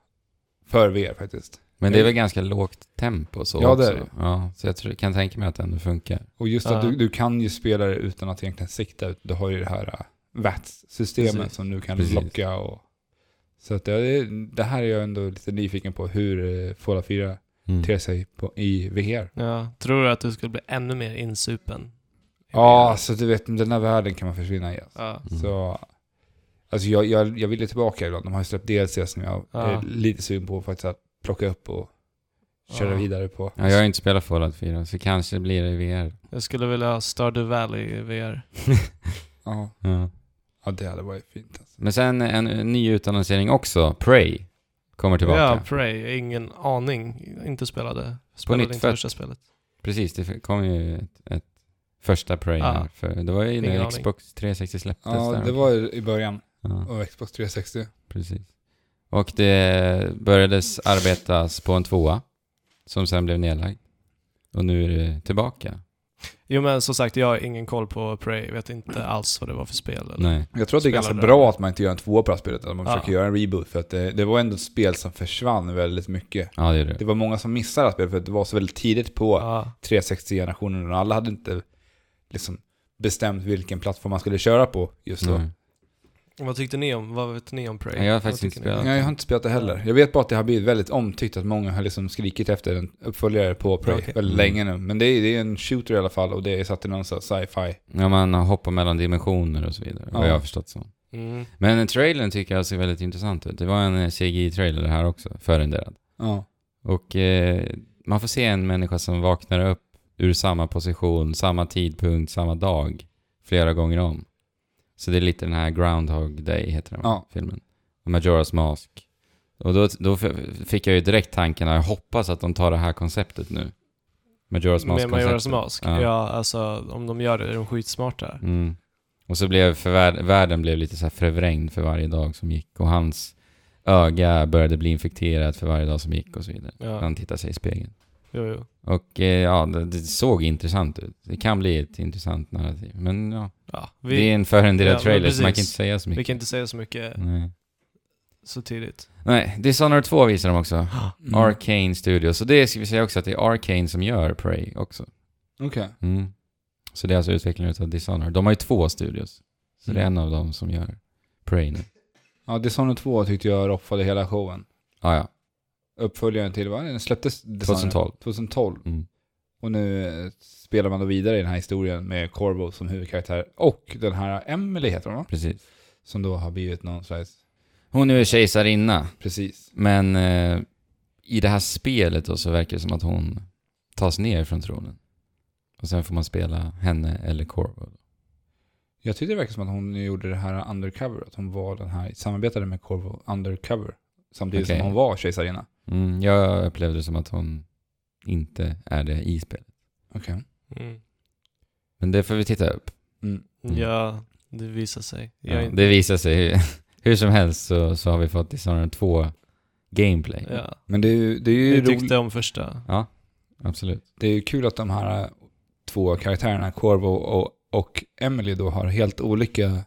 S3: för VR faktiskt.
S1: Men det är väl ganska lågt tempo så
S3: Ja, det
S1: också.
S3: är det.
S1: Ja, så jag tror, kan tänka mig att det ändå funkar.
S3: Och just att
S2: Ja.
S3: du, du kan ju spela det utan att egentligen sikta ut. Du har ju det här uh, VATS-systemet
S2: Precis.
S3: som du kan
S1: Precis.
S3: locka och... Så att det, det här är jag ändå lite nyfiken på hur uh, Fallout 4
S1: Mm.
S3: ter sig på, i VR.
S2: Ja, tror du att du skulle bli ännu mer insupen?
S3: Ja, så du vet, den här världen kan man försvinna i. Alltså.
S2: Ja.
S1: Mm.
S3: Så, alltså jag, jag, jag vill ju tillbaka ibland. De har ju släppt DLC som jag
S2: Ja.
S3: är lite sugen på faktiskt att plocka upp och köra
S2: Ja.
S3: vidare på.
S1: Ja, jag har ju inte spelat Fallout 4, så kanske blir det i VR.
S2: Jag skulle vilja ha Stardew Valley i VR.
S3: Ja.
S1: Ja.
S3: Ja, det hade varit fint alltså.
S1: Men sen en ny utannonsering också, Prey, kommer tillbaka.
S2: Ja, Prey. Ingen aning. Inte spelade. Spelade
S1: nytt
S2: inte
S1: fält.
S2: första spelet.
S1: Precis, det kom ju ett, ett första Prey
S2: Ja.
S1: här. För, det var ju
S2: Ingen
S1: när
S2: aning.
S1: Xbox 360 släpptes.
S3: Ja,
S1: där.
S3: det var ju i början
S1: Ja.
S3: av Xbox 360.
S1: Precis. Och det börjades arbetas på en tvåa som sen blev nedlagd. Och nu är det tillbaka.
S2: Jo men som sagt, jag har ingen koll på Prey. Vet inte alls vad det var för spel. Eller?
S1: Nej.
S3: Jag tror att det är ganska
S2: Spelade.
S3: bra att man inte gör en tvåa på det här spelet, att man
S2: Ja.
S3: försöker göra en reboot. För att det, det var ändå ett spel som försvann väldigt mycket.
S1: Ja, det är det.
S3: Det var många som missade det här spelet för att det var så väldigt tidigt på
S2: Ja.
S3: 360-generationen och alla hade inte liksom bestämt vilken plattform man skulle köra på just då.
S1: Nej.
S2: Vad tyckte ni om, vad vet ni om Prey?
S1: Nej, jag har
S2: Vad
S1: faktiskt
S2: tycker
S1: inte
S2: ni?
S1: spelat.
S3: Nej, jag har inte spelat det heller. Jag vet bara att det har blivit väldigt omtyckt, att många har liksom skrikit efter en uppföljare på Prey
S2: Okej.
S3: väldigt
S1: Mm.
S3: länge nu. Men det är, det är en shooter i alla fall och det är satt i någon sån här sci-fi.
S1: Ja, man hoppar mellan dimensioner och så vidare. Vad
S3: Ja.
S1: jag har förstått så.
S2: Mm.
S1: Men trailern tycker jag ser väldigt intressant ut. Det var en eh, CGI-trailer här också, förrenderad.
S3: Ja.
S1: Och eh, man får se en människa som vaknar upp ur samma position, samma tidpunkt, samma dag flera gånger om. Så det är lite den här Groundhog Day heter den va?
S3: Ja.
S1: filmen. Och Majora's Mask. Och då, då f- fick jag ju direkt tanken att jag hoppas att de tar det här konceptet nu. Majora's
S2: Med Majora's
S1: Mask-konceptet.
S2: Mask?
S1: Ja.
S2: Ja. alltså om de gör det är de skitsmarta.
S1: Mm. Och så blev förvär- världen blev lite så här förvrängd för varje dag som gick och hans öga började bli infekterat för varje dag som gick och så vidare.
S2: Ja.
S1: Han tittar sig i spegeln.
S2: Jo, jo.
S1: Och eh, ja, det, det såg intressant ut. Det kan bli ett intressant narrativ. Men ja,
S2: Ja.
S1: det
S2: Vi,
S1: är en förrenderad
S2: ja, men
S1: trailer så man
S2: precis.
S1: kan inte säga så
S2: vi
S1: mycket. Mm.
S2: kan inte säga så mycket
S1: Nej. <gasps>
S2: så tidigt.
S1: Nej, Dishonored 2 visar de också.
S3: Mm.
S1: Arcane Studios. Och det ska vi säga också att det är Arcane som gör Prey också.
S3: Okej.
S1: Mm. Så det är alltså utvecklingen av Dishonored. De har ju två studios. Så det är en
S3: Mm.
S1: av dem som gör Prey nu.
S3: Ja, Dishonored 2 tyckte jag roffade hela showen.
S1: Ah, ja,
S3: Uppföljaren till, vad? Den släpptes Dishonored?
S1: 2012.
S3: 2012.
S1: Mm.
S3: Och nu eh, spelar man då vidare i den här historien med Corvo som huvudkaraktär. Och den här Emily heter hon va?
S1: Precis.
S3: Som då har blivit någon slags,
S1: Hon är ju kejsarinna,
S3: precis.
S1: men eh, i det här spelet då så verkar det som att hon tas ner från tronen. Och sen får man spela henne eller Corvo.
S3: Jag tyckte det verkar som att hon gjorde det här undercover, att hon var den här, samarbetade med Corvo undercover. Samtidigt
S1: Okej.
S3: som hon var kejsarinna.
S1: Mm, jag upplevde det som att hon inte är det i spelet.
S3: Okej.
S2: Mm.
S1: Men det får vi titta upp.
S3: Mm.
S1: Mm.
S2: Ja, det visar sig. Jag är
S1: Ja,
S2: inte-
S1: det visar sig. Hur, <laughs> hur som helst så, så har vi fått Dishonored 2 gameplay.
S2: ja.
S3: Men det är ju, det är ju
S2: Jag
S3: roligt.
S2: tyckte om första.
S1: Absolut.
S3: Det är ju kul att de här eh, två karaktärerna, Corvo och, och Emily då har helt olika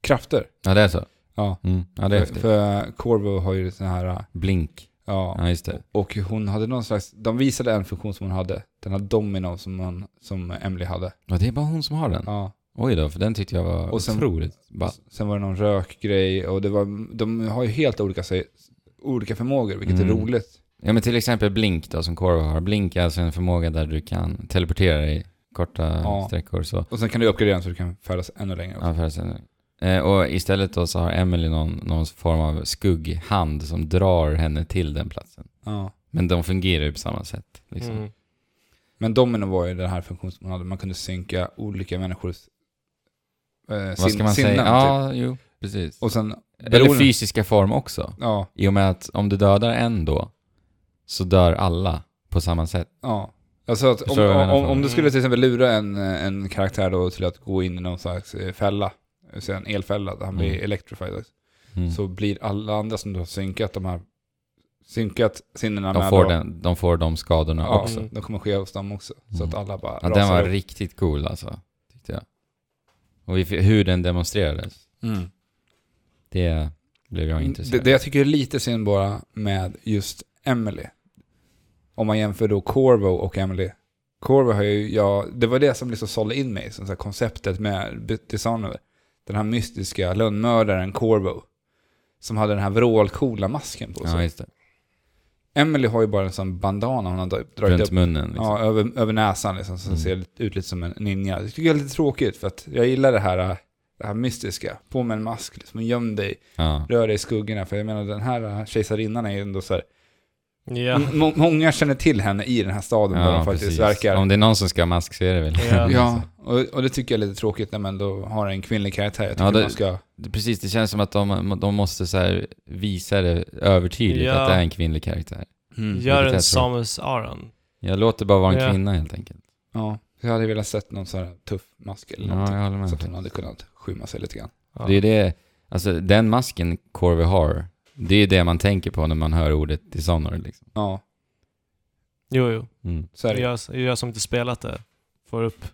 S3: krafter.
S1: Ja, det är så.
S3: Ja.
S1: Mm. Ja, det är
S3: för,
S1: häftigt.
S3: för Corvo har ju sån här, eh,
S1: Blink.
S3: ja,
S1: Ja, just det.
S3: Eh, och hon hade någon slags, de visade en funktion som hon hade, den här domino som, hon, som Emily hade.
S1: Ja, det är bara hon som har den.
S3: Ja.
S1: Oj då, för den tyckte jag var
S3: Och sen-
S1: otroligt ball.
S3: Sen var det någon rökgrej och det var, de har ju helt olika, sig- olika förmågor, vilket är
S1: Mm.
S3: roligt.
S1: Ja men till exempel Blink då som Corvo har. Blink är alltså en förmåga där du kan teleportera dig korta
S3: Ja.
S1: sträckor så.
S3: Och sen kan du uppgradera den så du kan färdas ännu längre. också.
S1: Ja, förresten. Eh, och istället då så har Emily någon, någon form av skugghand som drar henne till den platsen.
S3: Ja.
S1: Men de fungerar ju på samma sätt. Liksom.
S2: Mm.
S3: Men domino var ju den här funktionen som man hade, man kunde synka olika människors eh,
S1: Vad
S3: sin-
S1: ska man
S3: sinnen.
S1: säga?
S3: Typ.
S1: Ja, jo, precis.
S3: Och sen,
S1: Eller
S3: beroende-
S1: fysiska form också.
S3: ja,
S1: I och med att om du dödar en då, så dör alla på samma sätt.
S3: ja. Alltså att om,
S1: Förstår du vad jag
S3: om,
S1: menar
S3: om,
S1: för?
S3: du skulle till exempel lura en, eh, en karaktär då till att gå in i någon slags eh, fälla, så en elfälla, där han blir
S1: Mm.
S3: electrified, då,
S1: Mm.
S3: så blir alla andra som du har synkat de här, synkat sinnena
S1: de,
S3: med
S1: får
S3: då,
S1: den, de får de skadorna
S3: ja,
S1: också.
S2: Mm.
S3: de kommer ske hos dem också. Så
S1: Mm.
S3: att alla bara
S1: Ja, den
S3: rasar
S1: var
S3: upp.
S1: riktigt cool alltså, tyckte jag. Och vi, hur den demonstrerades,
S3: Mm.
S1: det blev jag
S3: Det,
S1: intresserad
S3: Mm, det jag tycker är lite synd bara med just Emily. Om man jämför då Corvo och Emily. Corvo har ju, ja, det var det som liksom sålde in mig, som så här konceptet med Dishonored. Den här mystiska lönnmördaren Corvo. Som hade den här vrålcoola masken på sig.
S1: Ja, just det.
S3: Emily har ju bara en sån bandana hon har dragit
S1: Runt
S3: upp.
S1: munnen liksom.
S3: Ja, över, över näsan liksom, så
S1: Mm.
S3: ser det ut lite som en ninja. Det tycker jag är lite tråkigt för att jag gillar det här, äh, det här mystiska. På med en mask, liksom, göm dig
S1: Ja.
S3: rör dig i skuggorna. För jag menar den här äh, kejsarinnan är ju ändå så här.
S2: Ja.
S3: M- må- många känner till henne i den här staden där
S1: Ja,
S3: de faktiskt
S1: precis. <laughs>
S3: verkar.
S1: Om det är någon som ska ha mask så är det väl. alltså.
S2: Ja.
S3: Ja, Och, och det tycker jag är lite tråkigt när man då har en kvinnlig karaktär. Jag tycker
S1: Ja, det-
S3: man ska...
S1: Det, precis, det känns som att de, de måste så här visa det övertydligt
S2: Ja.
S1: att det är en kvinnlig karaktär.
S2: Gör
S3: mm.
S1: vilket
S2: en
S1: jag tror.
S2: Samus Aran.
S1: Jag låter bara vara en
S2: Ja.
S1: kvinna helt enkelt.
S3: Ja, jag hade velat sett någon sån här tuff mask eller
S1: Ja,
S3: någonting.
S1: jag håller
S3: så att hon
S1: med.
S3: hade kunnat skymma sig lite grann.
S2: Ja.
S1: Det är det, alltså den masken Corvey har, det är det man tänker på när man hör ordet Dishonored liksom.
S3: Ja,
S2: Jo, jo.
S1: Mm,
S3: så är det.
S2: Jag, jag som inte spelat det får upp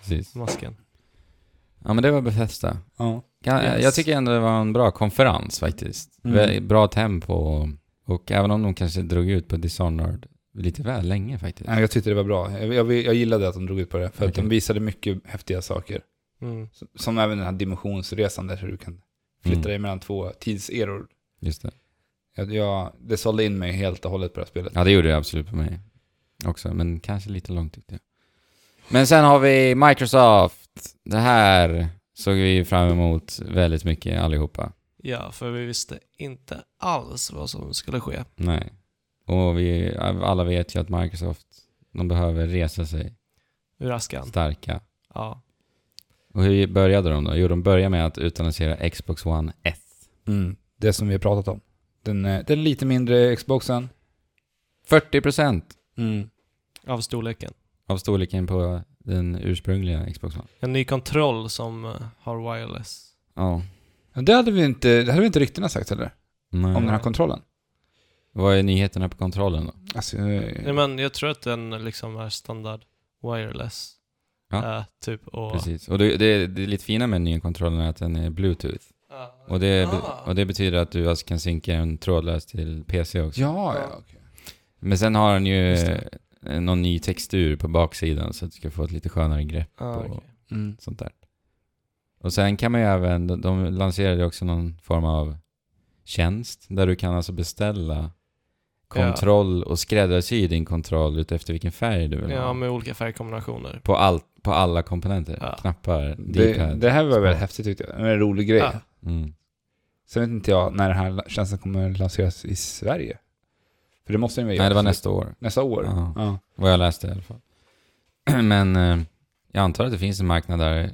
S1: precis.
S2: masken.
S1: Ja men det var Bethesda.
S3: Ja.
S1: Kan,
S2: Yes.
S1: Jag tycker ändå det var en bra konferens faktiskt.
S3: Mm.
S1: Vä- Bra tempo och, och även om de kanske drog ut på Dishonored lite väl länge faktiskt.
S3: Ja, Jag tyckte det var bra. Jag, jag, jag gillade att de drog ut på det, för att
S1: Okej.
S3: de visade mycket häftiga saker.
S2: Mm.
S3: Som, som även den här dimensionsresan där du kan flytta
S1: Mm.
S3: dig mellan två tidseror.
S1: Just det.
S3: Jag, jag, det sålde in mig helt och hållet på det här spelet.
S1: Ja det gjorde det absolut på mig också, men kanske lite långt tyckte jag. Men sen har vi Microsoft. Det här såg vi fram emot väldigt mycket allihopa.
S2: Ja, för vi visste inte alls vad som skulle ske.
S1: Nej. Och vi, alla vet ju att Microsoft, de behöver resa sig
S2: Ur askan.
S1: starka.
S2: Ja.
S1: Och hur började de då? Jo, de började med att utannonsera Xbox One S.
S3: Mm. Det som vi har pratat om. Den, eh, den lite mindre Xboxen.
S1: 40%
S3: Mm.
S2: Av storleken.
S1: av storleken på den ursprungliga Xbox One.
S2: En ny kontroll som eh, har wireless.
S1: Ja.
S3: Ja, Det hade vi inte, det hade vi inte ryktena sagt heller, om den
S1: Nej.
S3: här kontrollen.
S1: Vad är nyheterna på kontrollen då?
S3: Alltså, eh,
S2: Nej, men jag tror att den liksom är standard wireless.
S1: Ja.
S2: Eh, typ och...
S1: Precis. Och det, det, det är lite fina med den nya kontrollen är att den är bluetooth.
S2: Ja.
S1: Och det, be-
S2: Ah.
S1: och det betyder att du alltså kan synka den trådlöst till PC också.
S3: ja, ja. okej.
S1: Men sen har den ju
S2: Just
S1: eh, någon ny textur på baksidan så att du ska få ett lite skönare grepp
S2: Ah,
S1: på
S2: okej.
S3: Mm.
S1: sånt där. Och sen kan man ju även, de- de lanserade ju också någon form av tjänst där du kan alltså beställa kontroll och skräddarsy din kontroll utefter vilken färg du vill
S2: Ja,
S1: ha.
S2: med olika färgkombinationer.
S1: På, all, på alla komponenter.
S2: Ja.
S1: Knappar,
S3: Det,
S1: D-pad.
S3: det här var väldigt häftigt tyckte jag. En rolig grej.
S2: Ja.
S1: Mm.
S3: Sen vet inte jag när den här tjänsten kommer lanseras i Sverige. För det måste den väl
S1: Nej, det var
S3: göra.
S1: nästa år.
S3: nästa år.
S1: Ja.
S3: Ja.
S1: Vad jag läste i alla fall. <clears throat> Men eh, jag antar att det finns en marknad där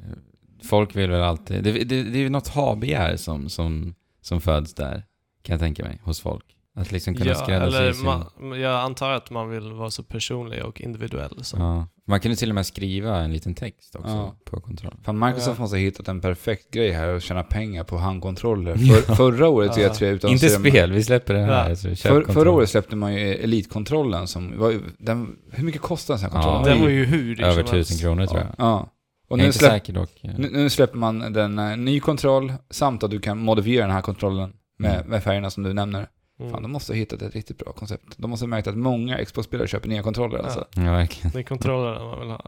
S1: folk vill väl alltid... Det, det, det är ju något ha-begär som, som, som föds där, kan jag tänka mig, hos folk. Att liksom kunna
S2: Ja,
S1: skräddarsy
S2: eller
S1: sin...
S2: man, jag antar att man vill vara så personlig och individuell som
S1: Ja. Man kunde till och med skriva en liten text också
S3: Ja.
S1: på kontrollen.
S3: Fan, Microsoft
S2: Ja.
S3: måste ha hittat en perfekt grej här och tjäna pengar på
S1: <laughs>
S3: handkontroller. För, förra året
S2: Ja.
S3: ja. E3 utan
S1: Inte spel, vi släpper det här.
S2: Ja.
S1: Så köp
S3: För,
S1: kontroll.
S3: förra året släppte man ju Elitkontrollen som var, ju- den, Hur mycket kostade en sån här
S1: Ja.
S3: kontroll?
S2: Den var ju hur liksom dyr
S1: Över
S2: som helst.
S1: tusen kronor tror jag.
S3: Ja. Och
S1: jag är
S3: nu,
S1: inte
S3: släpp,
S1: säker dock.
S3: nu, nu släpper man den eh, ny kontroll samt att du kan modifiera den här kontrollen med,
S1: Mm.
S3: med färgerna som du nämner.
S2: Mm.
S3: Fan, de måste ha hittat ett riktigt bra koncept. De måste ha märkt att många Xbox-spelare köper nya kontroller
S2: Ja.
S3: alltså.
S1: Ja, verkligen.
S2: Det är kontrollen man vill
S1: <laughs>
S2: ha.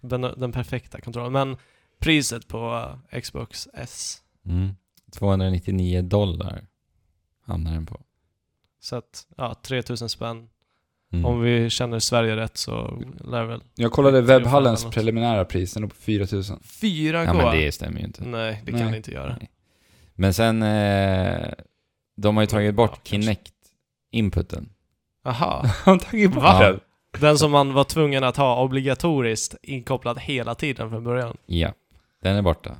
S2: Den, den perfekta kontrollen. Men priset på eh, Xbox S.
S1: Mm. 299 dollar hamnar den på.
S2: Så att, ja, 3000 spänn.
S1: Mm.
S2: Om vi känner Sverige rätt så lär det väl...
S3: Jag kollade
S2: Tre och
S3: webbhallens
S2: fem eller något.
S3: preliminära pris, den låg på 4 000.
S2: Fyra
S1: Ja,
S2: gåa?
S1: men det stämmer ju inte.
S2: Nej, det
S3: Nej.
S2: kan det inte göra.
S1: Nej. Men sen, eh, de har ju tagit
S2: Ja,
S1: bort
S2: kanske.
S1: Kinect-inputen.
S2: Aha.
S3: <laughs> Han tagit
S2: bort
S1: Va?
S3: den?
S2: Den som man var tvungen att ha obligatoriskt inkopplad hela tiden från början.
S1: Ja, den är borta.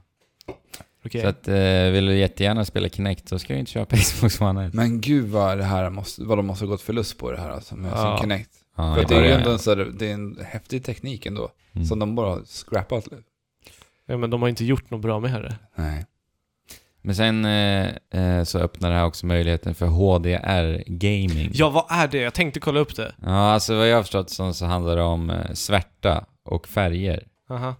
S2: Okej.
S1: Så att, eh, vill du jättegärna spela Kinect så ska du inte köpa <laughs> Xbox One S.
S3: Men gud vad, det här måste, vad de måste ha gått förlust på det här alltså med
S2: Ja.
S3: sin Kinect.
S1: Ja,
S3: För
S1: i
S3: att det är ju
S1: början.
S3: ändå en, så här, det är en häftig teknik ändå,
S1: Mm.
S3: som de bara har scrappat.
S2: Ja, men de har inte gjort något bra med det.
S3: Nej.
S1: Men sen eh, eh, så öppnar det här också möjligheten för HDR-gaming.
S2: Ja, vad är det? Jag tänkte kolla upp det.
S1: Ja, alltså vad jag har förstått som så handlar det om eh, svärta och färger.
S2: Aha.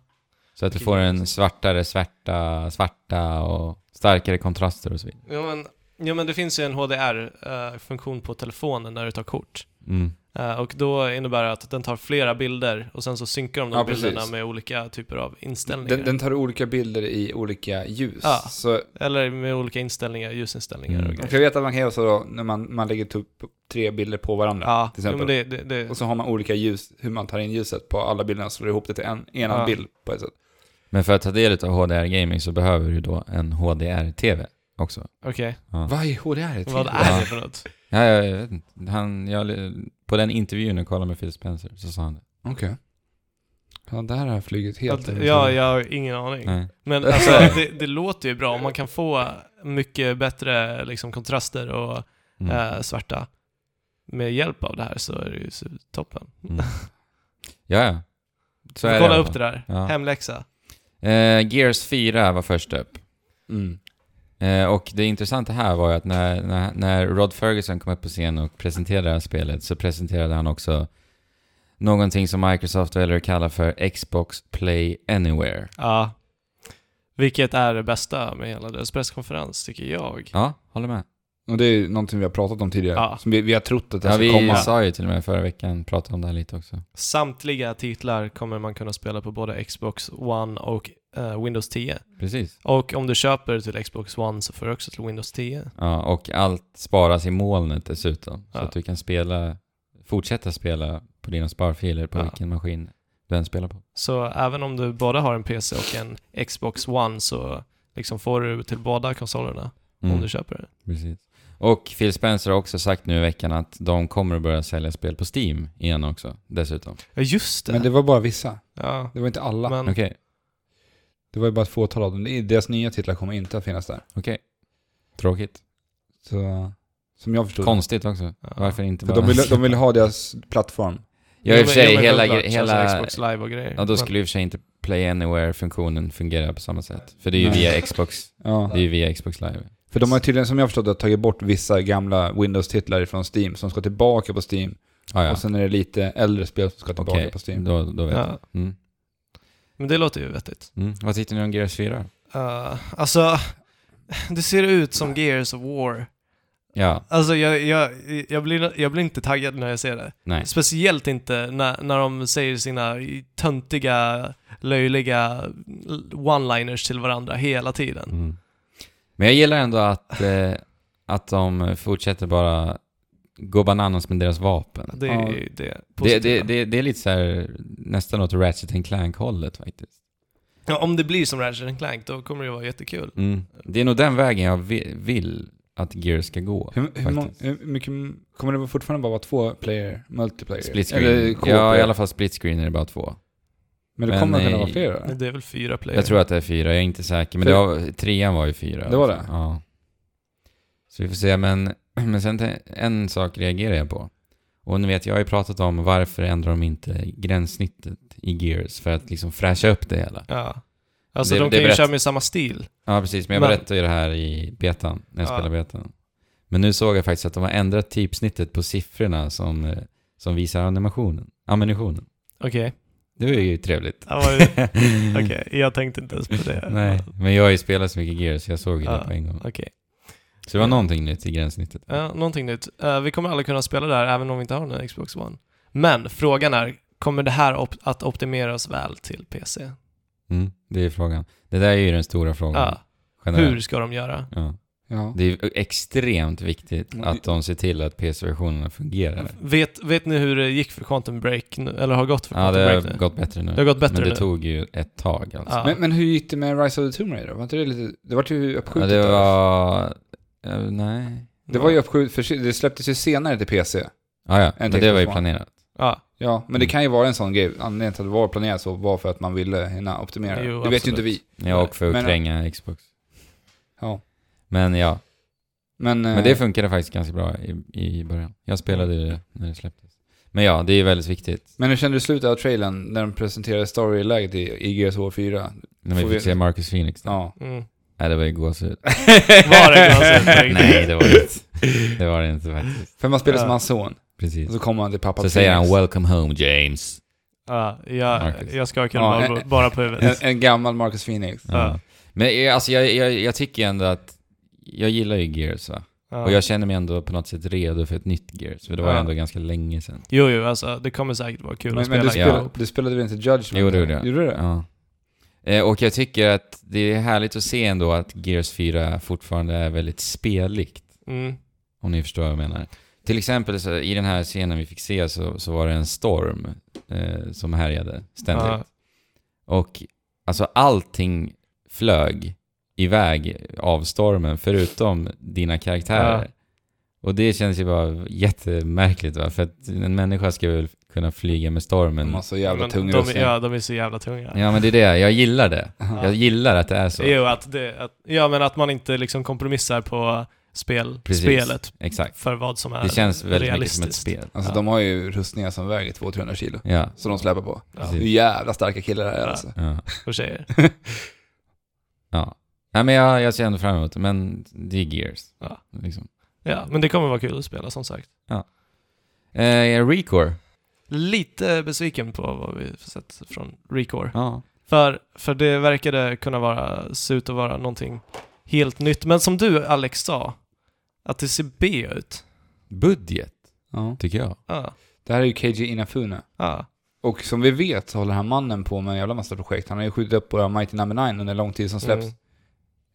S1: Så att du
S2: Okej.
S1: får en svartare svärta, svarta och starkare kontraster och så vidare.
S2: Ja, men, ja, men det finns ju en HDR-funktion eh, på telefonen när du tar kort.
S1: Mm.
S2: Eh, Och då innebär det att den tar flera bilder och sen så synkar de de
S3: Ja, precis.
S2: bilderna med olika typer av inställningar.
S3: Den, den tar olika bilder i olika ljus.
S2: Ja.
S3: Så
S2: Eller med olika inställningar, ljusinställningar
S1: Mm.
S2: och
S3: man
S2: grejer.
S3: kan veta att man kan göra så då, när man, man lägger upp tre bilder på varandra.
S2: Ja,
S3: till
S2: jo,
S3: exempel.
S2: men det, det, det,
S3: Och så har man olika ljus, hur man tar in ljuset på alla bilderna och slår ihop det till en enad
S2: Ja.
S3: bild på ett sätt.
S1: Men för att ta del av HDR-gaming så behöver du då en HDR-TV också.
S2: okej.
S3: Vad är HDR?
S2: Vad är det för något?
S1: Ja, jag, jag vet inte. Han, jag, på den intervjun jag kollade med Phil Spencer så sa han det.
S3: Okej. Ja, där har jag flugit helt.
S2: Att, ja, jag har ingen aning.
S1: Nej.
S2: Men alltså, det, det låter ju bra. Man kan få mycket bättre liksom, kontraster och
S1: Mm.
S2: eh, svarta med hjälp av det här så är det ju så toppen.
S1: Mm. Ja, ja. Så är
S2: Kolla
S1: det.
S2: upp det där.
S1: Ja.
S2: Hemläxa.
S1: Eh, Gears 4 var först upp.
S3: Mm.
S1: Eh, och det intressanta här var ju att när, när, när Rod Ferguson kom upp på scen och presenterade det här spelet så presenterade han också någonting som Microsoft väljer att kalla för Xbox Play Anywhere.
S2: Ja. Vilket är det bästa med hela deras presskonferens, tycker jag.
S1: Ja, håller med.
S3: Och det är någonting vi har pratat om tidigare.
S2: Ja.
S3: Som vi, vi har trott att det
S1: Ja,
S3: ska
S1: vi
S3: komma.
S1: sa ju till och med förra veckan, pratade om det här lite också.
S2: Samtliga titlar kommer man kunna spela på både Xbox One och eh, Windows 10.
S1: Precis.
S2: Och om du köper till Xbox One så får du också till Windows 10.
S1: Ja, och allt sparas i molnet dessutom. Så
S2: Ja.
S1: att du kan spela, fortsätta spela på dina sparfiler på
S2: Ja.
S1: vilken maskin du än spelar på.
S2: Så även om du både har en PC och en Xbox One så liksom får du till båda konsolerna
S1: Mm.
S2: om du köper det.
S1: Precis. Och Phil Spencer har också sagt nu i veckan att de kommer att börja sälja spel på Steam igen också, dessutom.
S2: Ja, just det.
S3: Men det var bara vissa.
S2: ja.
S3: Det var inte alla.
S2: Men,
S1: Okej,
S3: Det var ju bara ett fåtal av dem. Det är- Deras nya titlar kommer inte att finnas där.
S1: okej. Tråkigt.
S3: Så, som jag förstod det.
S1: Konstigt också.
S2: ja.
S1: Varför inte
S3: För
S1: bara...
S3: Mm. de ville, de ville ha deras plattform.
S1: Ja, i och för sig,
S2: Jo, men- jo, men
S1: hela...
S2: självklart, alltså
S1: hela
S2: Xbox live och grejer.
S1: ja, då skulle i och för sig inte Play Anywhere-funktionen fungera på samma sätt. För det är ju
S3: Nej.
S1: via Xbox.
S3: Ja.
S1: Det är ju via Xbox Live.
S3: För de har tydligen, som jag förstått det, tagit bort vissa gamla Windows-titlar från Steam som ska tillbaka på Steam.
S1: Ah, ja,
S3: Och sen är det lite äldre spel som ska tillbaka
S1: okej.
S3: på Steam.
S1: Då, då vet
S2: men,
S1: jag.
S2: ja.
S1: Mm.
S2: men det låter ju vettigt.
S1: Mm. Vad tyckte ni om Gears 4?
S2: Uh, alltså, <laughs> det ser ut som Gears of War.
S1: Ja,
S2: Alltså jag, jag, jag, blir, jag blir inte taggad när jag ser det.
S1: nej.
S2: Speciellt inte när, när de säger sina töntiga, löjliga one-liners till varandra hela tiden.
S1: Mm. Men jag gillar ändå att, eh, att de fortsätter bara gå bananas med deras vapen.
S2: Det är ju det
S1: Det,
S2: positiva.
S1: det, det, det är lite så här, nästan åt Ratchet and Clank-hållet faktiskt.
S2: Ja, om det blir som Ratchet Clank då kommer det vara jättekul.
S3: Mm.
S1: Det är nog den vägen jag vi- vill att Gears ska gå.
S3: Hur, hur, mång-
S1: Faktiskt.
S3: hur mycket, kommer det fortfarande bara vara två player, multiplayer?
S1: Split
S3: Eller
S1: screen.
S3: co-op?
S1: Ja, i alla fall split screen är det bara två.
S3: Men det
S1: Men,
S3: kommer kunna
S1: eh,
S3: vara flera?
S2: Det är väl fyra player.
S1: Jag tror att det är fyra, jag är inte säker. Men
S3: För-
S1: det var, trean var ju fyra.
S3: Det var det?
S1: Ja. Så vi får se, men, <clears throat> men sen te- en sak reagerar jag på. Och nu vet jag, jag har ju pratat om varför ändrar de inte gränssnittet i Gears för att liksom fräscha upp det hela.
S2: Ja. Alltså
S1: Det-
S2: de
S1: det
S2: kan ju
S1: berätt-
S2: köra med samma stil.
S1: Ja, precis. Men jag
S2: Men-
S1: berättade ju det här i betan, när jag
S2: Ja.
S1: spelade betan. Men nu såg jag faktiskt att de har ändrat typsnittet på siffrorna som, eh, som visar animationen, ammunitionen.
S2: Okej.
S1: Det var ju trevligt. <laughs>
S2: <laughs> Okej, jag tänkte inte ens på det.
S1: Nej, men jag har ju spelat så mycket Gears, så jag såg ju
S2: Ja,
S1: det på en gång.
S2: okej.
S1: Så det var någonting nytt i gränssnittet.
S2: Ja, någonting nytt. Eh, vi kommer alla kunna spela där även om vi inte har någon Xbox One. Men frågan är, kommer det här op- att optimeras väl till PC?
S1: Mm, det är frågan. Det där är ju den stora frågan.
S2: Ja. Hur ska de göra?
S1: Ja.
S3: Ja.
S1: Det är ju extremt viktigt
S2: Mm.
S1: att de ser till att PC-versionerna fungerar.
S2: Vet, vet ni hur det gick för Quantum Break nu, eller har gått för
S1: Ja,
S2: Quantum
S1: det
S2: Break nu?
S1: har gått bättre nu.
S2: Det har gått bättre
S1: Men det
S2: nu.
S1: tog ju ett tag alltså.
S2: Ja.
S3: Men, men hur gick det med Rise of the Tomb Raider? Var inte det lite... Det var ju
S1: Ja,
S3: uppskjutet.
S1: det
S3: där.
S1: var... eh, Nej.
S3: det var ju uppskjutet, för det släpptes ju senare till PC.
S1: Ja, ja. Men
S3: En
S1: det var ju
S3: teknisk
S1: planerat.
S2: Ja,
S3: Ja, men
S1: Mm.
S3: det kan ju vara en sån grej. Anledningen till att det var planerat så var för att man ville hinna optimera.
S2: Jo,
S3: det
S2: absolut.
S3: vet ju inte vi.
S1: Ja, och för att
S3: Men-
S1: kränga Xbox.
S3: Ja.
S1: Men ja,
S3: Men, eh,
S1: men det funkade faktiskt ganska bra i, i början. Jag spelade det när det släpptes. Men ja, det är väldigt viktigt.
S3: men hur kände du i slutet av trailern när de presenterade storyläget i, i GSH 4?
S1: När vi
S3: Får
S1: fick
S3: vi-
S1: se Marcus Phoenix där.
S3: Ja.
S2: mm.
S1: Nej, det var ju gåshud.
S3: <laughs>
S2: Var det
S3: Alltså,
S2: glaset på riktigt?
S1: <laughs> Nej, det var det inte. Det var det inte faktiskt.
S3: För man spelar
S2: Ja.
S3: som hans son.
S1: Precis.
S3: Och så kommer han till pappa
S1: Så säger han
S3: Phoenix.
S1: 'Welcome home James'
S2: ja jag,
S1: Marcus.
S2: jag skakar
S3: Ja,
S2: bara,
S3: eh,
S2: bara på huvudet.
S3: en, en gammal Marcus Phoenix.
S1: ja.
S2: Ja.
S1: Men eh, alltså jag, jag, jag tycker ändå att jag gillar ju Gears va?
S2: Ja.
S1: Och jag känner mig ändå på något sätt redo för ett nytt Gears, för det var
S2: Ja.
S1: ändå ganska länge sedan.
S2: Jo, jo, alltså det kommer säkert vara kul att
S3: Men, men
S2: spela
S3: du,
S1: spelar-
S3: spelade,
S2: ihop.
S3: du spelade väl inte Judgment?
S1: Jo, det gjorde jag.
S3: Gjorde du det?
S1: Ja. Eh, Och jag tycker att det är härligt att se ändå att Gears 4 fortfarande är väldigt speligt,
S2: Mm.
S1: om ni förstår vad jag menar. Till exempel så, i den här scenen vi fick se så, så var det en storm eh, som härjade ständigt.
S2: Ja.
S1: Och alltså allting flög iväg av stormen förutom dina karaktärer. Och det känns ju bara jättemärkligt va, för att en människa ska väl kunna flyga med stormen.
S3: De har så jävla
S2: Men
S3: tung
S2: de,
S3: rustning.
S2: ja, de är så jävla tunga.
S1: Ja men det är det, jag gillar det.
S3: Ja.
S1: Jag gillar att det är så.
S2: Jo, att det, att, ja, men att man inte liksom kompromissar på spel,
S1: Precis.
S2: spelet
S1: Exakt.
S2: för vad som är
S1: Det känns väldigt mycket som ett
S2: realistiskt.
S1: spel.
S3: Alltså
S2: Ja.
S3: de har ju rustningar som väger 200-300 kilo.
S1: Ja.
S3: Som de släpar på.
S2: Ja,
S1: Precis.
S3: Hur jävla starka killar det här är
S2: Ja.
S3: alltså.
S1: Ja.
S2: och tjejer.
S1: ja. Nej men jag, jag ser ändå fram emot det, men det är Gears.
S2: Ja.
S1: Liksom.
S2: Ja, men det kommer vara kul att spela som sagt.
S1: Eh, Recore.
S2: Lite besviken på vad vi sett från Recore.
S1: Ja.
S2: För, för det verkade kunna vara, se ut att vara någonting helt nytt. Men som du Alex sa, att det ser B ut. Ah,
S1: Budget,
S3: Ja.
S1: tycker jag.
S2: Ja,
S3: Det här är ju KG Inafune.
S2: ja,
S3: Och som vi vet så håller den här mannen på med en jävla massa projekt. Han har ju skjutit upp på Mighty Number 9 under lång tid som släpps.
S2: Mm.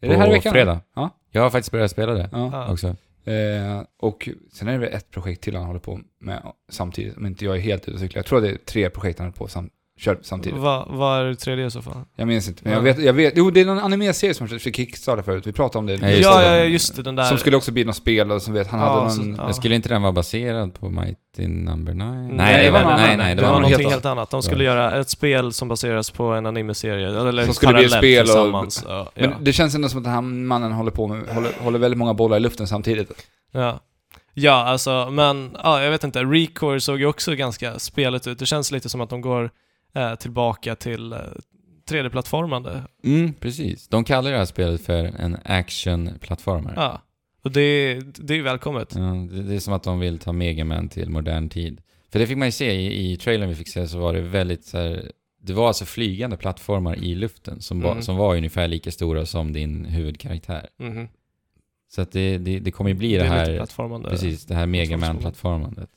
S3: Är det här i
S1: På
S3: veckan?
S1: fredag.
S3: Ja.
S1: Jag har faktiskt börjat spela det
S3: Ja.
S2: ja.
S1: också.
S3: Eh, och sen är det väl ett projekt till han håller på med samtidigt. Om inte jag är helt ute och cyklar. Jag tror att det är tre projekt han håller på sam kör samtidigt.
S2: Vad vad är det tredje i så fall?
S3: Jag minns inte. Men jag
S2: Ja.
S3: vet, jag vet. Jo, det är någon anime-serie som försökte kickstarta förut. Vi pratade om det.
S1: Ja, just
S2: ja,
S1: det.
S2: ja, just det, den där.
S3: Som skulle också bli något spel och som vet, han
S2: Ja,
S3: hade någon...
S2: så- ja.
S1: Men skulle inte den vara baserad på Mighty Number 9? Nej,
S3: det
S1: det
S3: var
S1: var,
S3: någon
S1: nej,
S3: annan.
S1: nej,
S2: det var,
S1: någon
S2: någonting
S1: helt-
S2: helt annat. De skulle göra ett spel som baseras på en anime-serie. Eller
S3: Som skulle bli ett
S2: parallellt
S3: spel och-
S2: tillsammans. Ja,
S3: Men
S2: ja.
S3: det känns ändå som att den här mannen håller på med, håller, håller väldigt många bollar i luften samtidigt.
S2: Ja. ja, alltså, men ja, jag vet inte. Recore såg ju också ganska spelet ut. Det känns lite som att de går eh, tillbaka till eh, 3D-plattformande.
S1: Mm, precis. De kallar det här spelet för en action-plattformare. Ja.
S2: Ja. Och det, det är välkommet.
S1: det, det är som att de vill ta Mega Man till modern tid. För det fick man ju se i, i trailern vi fick se så var det väldigt så här, Det var alltså flygande plattformar i luften som, var,
S2: Mm.
S1: som var ungefär lika stora som din huvudkaraktär.
S2: Mhm.
S1: Så att det, det, det kommer ju bli
S2: Det
S1: det,
S2: är lite
S1: här,
S2: plattformande.
S1: precis, det här Mega
S2: plattformsspel.
S1: Man-plattformandet.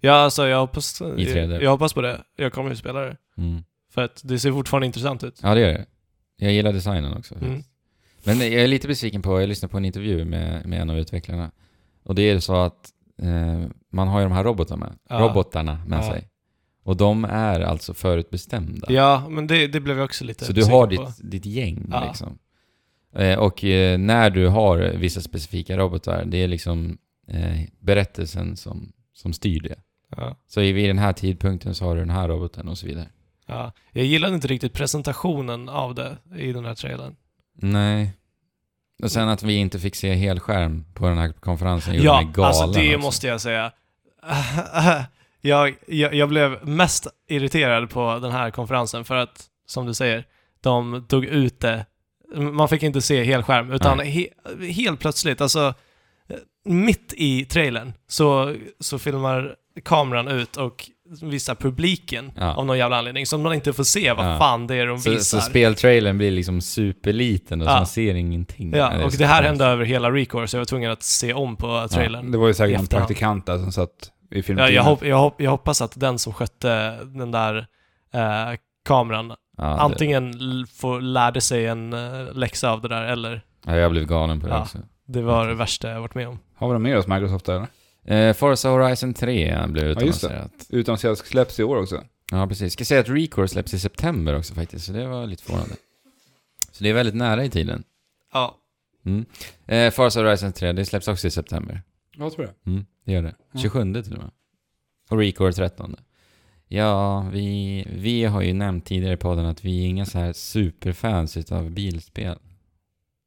S2: Ja, alltså jag hoppas, jag,
S1: 3D.
S2: jag hoppas på det. Jag kommer ju spela det.
S1: Mm.
S2: För att det ser fortfarande intressant ut.
S1: Ja, det gör det. Jag gillar designen också.
S2: Mm.
S1: faktiskt. Men jag är lite besviken på, jag lyssnade på en intervju med, med en av utvecklarna. Och det är så att eh, man har ju de här robotarna,
S2: Ja.
S1: robotarna med
S2: Ja.
S1: sig. Och de är alltså förutbestämda.
S2: Ja, men det, det blev jag också lite
S1: så du har
S2: besviken på.
S1: ditt, ditt gäng
S2: Ja.
S1: liksom. Eh, och eh, när du har vissa specifika robotar, det är liksom eh, berättelsen som, som styr det.
S2: Ja.
S1: Så i- vid den här tidpunkten så har du den här roboten och så vidare.
S2: Ja, jag gillade inte riktigt presentationen av det i den här trailern.
S1: Nej. Och sen att vi inte fick se helskärm på den här konferensen gjorde
S2: Ja,
S1: mig galen.
S2: alltså det
S1: också.
S2: måste jag säga. <laughs> jag, jag, jag blev mest irriterad på den här konferensen för att, som du säger, de tog ut det. Man fick inte se helskärm, utan he, helt plötsligt, alltså eh, mitt i trailern, så, så filmar kameran ut och visar publiken
S1: Ja.
S2: av någon jävla anledning, som man inte får se vad
S1: Ja.
S2: fan det är de
S1: Så,
S2: visar.
S1: så speltrailern blir liksom superliten och så
S2: Ja.
S1: man ser ingenting.
S2: Ja,
S1: är
S2: och
S1: så
S2: det här
S1: konstigt.
S2: hände över hela Recore, så jag var tvungen att se om på trailern.
S3: Det var ju
S2: I
S3: säkert någon
S2: efterhand.
S3: praktikant där som satt i
S2: Ja,
S3: filmteamet.
S2: jag, hop jag, hop jag hoppas att den som skötte den där eh, kameran
S1: Ja, det-
S2: antingen l- får, lärde sig en eh, läxa av det där, eller
S1: Ja, jag blev galen på det
S2: Ja.
S1: också.
S2: det var det värsta jag varit med om.
S3: Har vi dem med oss, Microsoft, där, eller?
S1: Eh, Forza Horizon 3 blev
S3: Ja, just det.
S1: utannonserat. Ja,
S3: Utan att säga att det släpps i år också.
S1: ja, precis. Ska säga att Recore släpps i september också faktiskt, så det var lite förvånande. Så det är väldigt nära i tiden.
S2: Ja.
S1: Eh, Forza Horizon 3, det släpps också i september.
S3: Jag tror det.
S1: Mm, det gör det.
S3: Ja.
S1: 27 till och med. Och Recore 13. Ja, vi, vi har ju nämnt tidigare i podden att vi är inga så här superfans utav bilspel.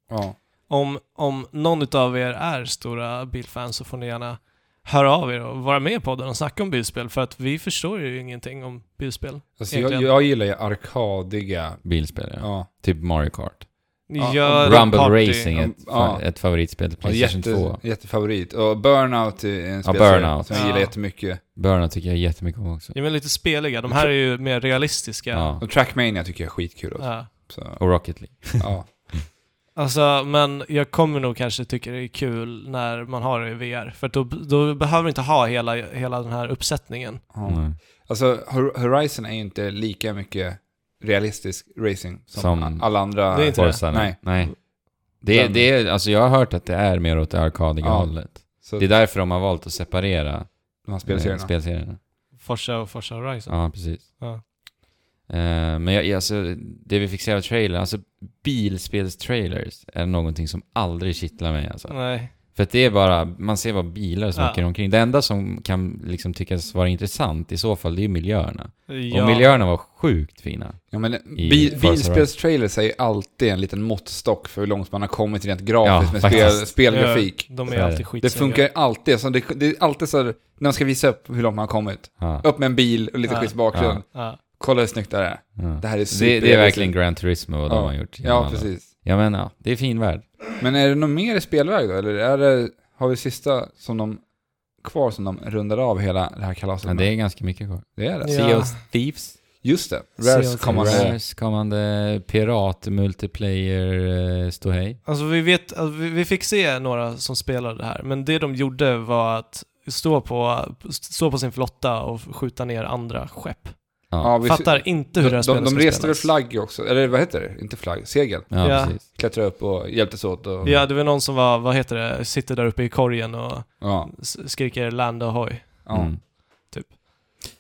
S3: Ja.
S2: Om, om någon av er är stora bilfans så får ni gärna höra av er och vara med i podden och snacka om bilspel, för att vi förstår ju ingenting om bilspel.
S3: Alltså, jag,
S2: Egentligen.
S3: jag gillar ju arkadiga...
S1: Bilspel, ja.
S3: Ja.
S1: Typ Mario Kart.
S3: Ja,
S2: Gör
S3: Rumble
S1: Rumble
S2: party.
S1: Racing, ett,
S3: Ja.
S1: fa- ett favoritspel till
S3: ja.
S1: Playstation
S3: Jätte,
S1: 2.
S3: jättefavorit. Och Burnout är en
S1: Ja,
S3: spelserie
S1: Burnout.
S3: som jag gillar
S2: Ja.
S3: jättemycket.
S1: Burnout tycker jag jättemycket om också.
S2: Ja, men lite speliga. De här är ju mer realistiska.
S1: Ja.
S3: Och Trackmania tycker jag är skitkul också.
S2: Ja.
S3: Så,
S1: Och Rocket League.
S3: ja.
S2: Alltså, men jag kommer nog kanske tycka det är kul när man har det i VR. För då, då behöver du inte ha hela, hela den här uppsättningen.
S3: ja.
S1: Mm.
S3: Alltså, Hor- Horizon är ju inte lika mycket realistisk racing som,
S1: Som-
S3: alla andra.
S2: Det är inte det.
S1: Forza, nej. nej. Det,
S3: Den-
S1: det är, alltså jag har hört att det är mer åt det arkadiga
S3: Ja.
S1: hållet.
S3: Så
S1: Det är därför de har valt att separera
S3: de här
S1: spelserierna.
S3: spelserierna.
S1: spelserierna.
S2: Forza och Forza Horizon.
S1: Ja, precis.
S2: Ja.
S1: Eh, men jag, alltså, det vi fick se av trailern, alltså bilspelstrailers är någonting som aldrig kittlar mig alltså.
S2: Nej.
S1: För att det är bara, man ser bara bilar som
S2: Ja.
S1: åker omkring. Det enda som kan liksom tyckas vara intressant i så fall, det är miljöerna.
S2: Ja,
S1: Och miljöerna var sjukt fina.
S3: Ja, men
S1: I
S3: bi-
S1: Forza
S3: bilspelstrailer säger alltid en liten måttstock för hur långt man har kommit rent
S1: Ja,
S3: grafiskt med
S1: faktiskt.
S3: spel, spelgrafik.
S2: De
S1: Så
S2: är
S1: är det.
S2: alltid
S3: Det
S2: skitsnygga.
S3: funkar alltid. Så det, det är alltid så här, när man ska visa upp hur långt man har kommit.
S1: Ja.
S3: Upp med en bil och lite
S2: Ja.
S3: schysst bakgrund.
S2: Ja.
S3: Kolla hur snyggt det här är.
S1: Ja.
S3: Det här är
S1: Det,
S3: super...
S1: det är verkligen Gran Turismo och de har gjort.
S3: Ja, precis.
S1: Ja men ja, det är fin värld.
S3: Men är det något mer i spelväg då? Eller är det, har vi sista som de kvar som de rundar av hela det här kalaset
S1: Men det
S3: med?
S1: är ganska mycket kvar.
S3: Det är det.
S2: Ja.
S1: Sea of Thieves.
S3: Just
S2: Sea
S3: det.
S2: of
S3: Rares
S2: Thieves.
S3: kommande...
S1: Rares kommande pirat multiplayer eh, ståhej.
S2: Alltså vi vet, alltså, vi vi fick se några som spelade det här, men det de gjorde var att stå på, stå på sin flotta och skjuta ner andra skepp.
S1: Ja.
S3: vi-
S2: Fattar inte hur det här
S3: de,
S2: spelet
S3: de, de
S2: ska
S3: reste väl
S2: spelas.
S3: flagg också? Eller vad heter det? Inte flagg, segel.
S1: Ja,
S2: Ja.
S1: precis.
S3: Klättrade upp och hjälptes åt. Och,
S2: Ja, det var någon som var, vad heter det, sitter där uppe i korgen och
S3: ja,
S2: s- skriker land ahoy.
S3: ja.
S1: Mm.
S2: Typ.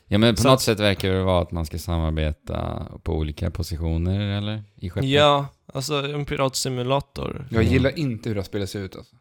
S1: Ja men på
S2: Så
S1: något
S2: att-
S1: sätt verkar det vara att man ska samarbeta på olika positioner eller? I skeppet.
S2: Ja, alltså en piratsimulator.
S3: Jag gillar inte hur det här spelet ser ut. Alltså.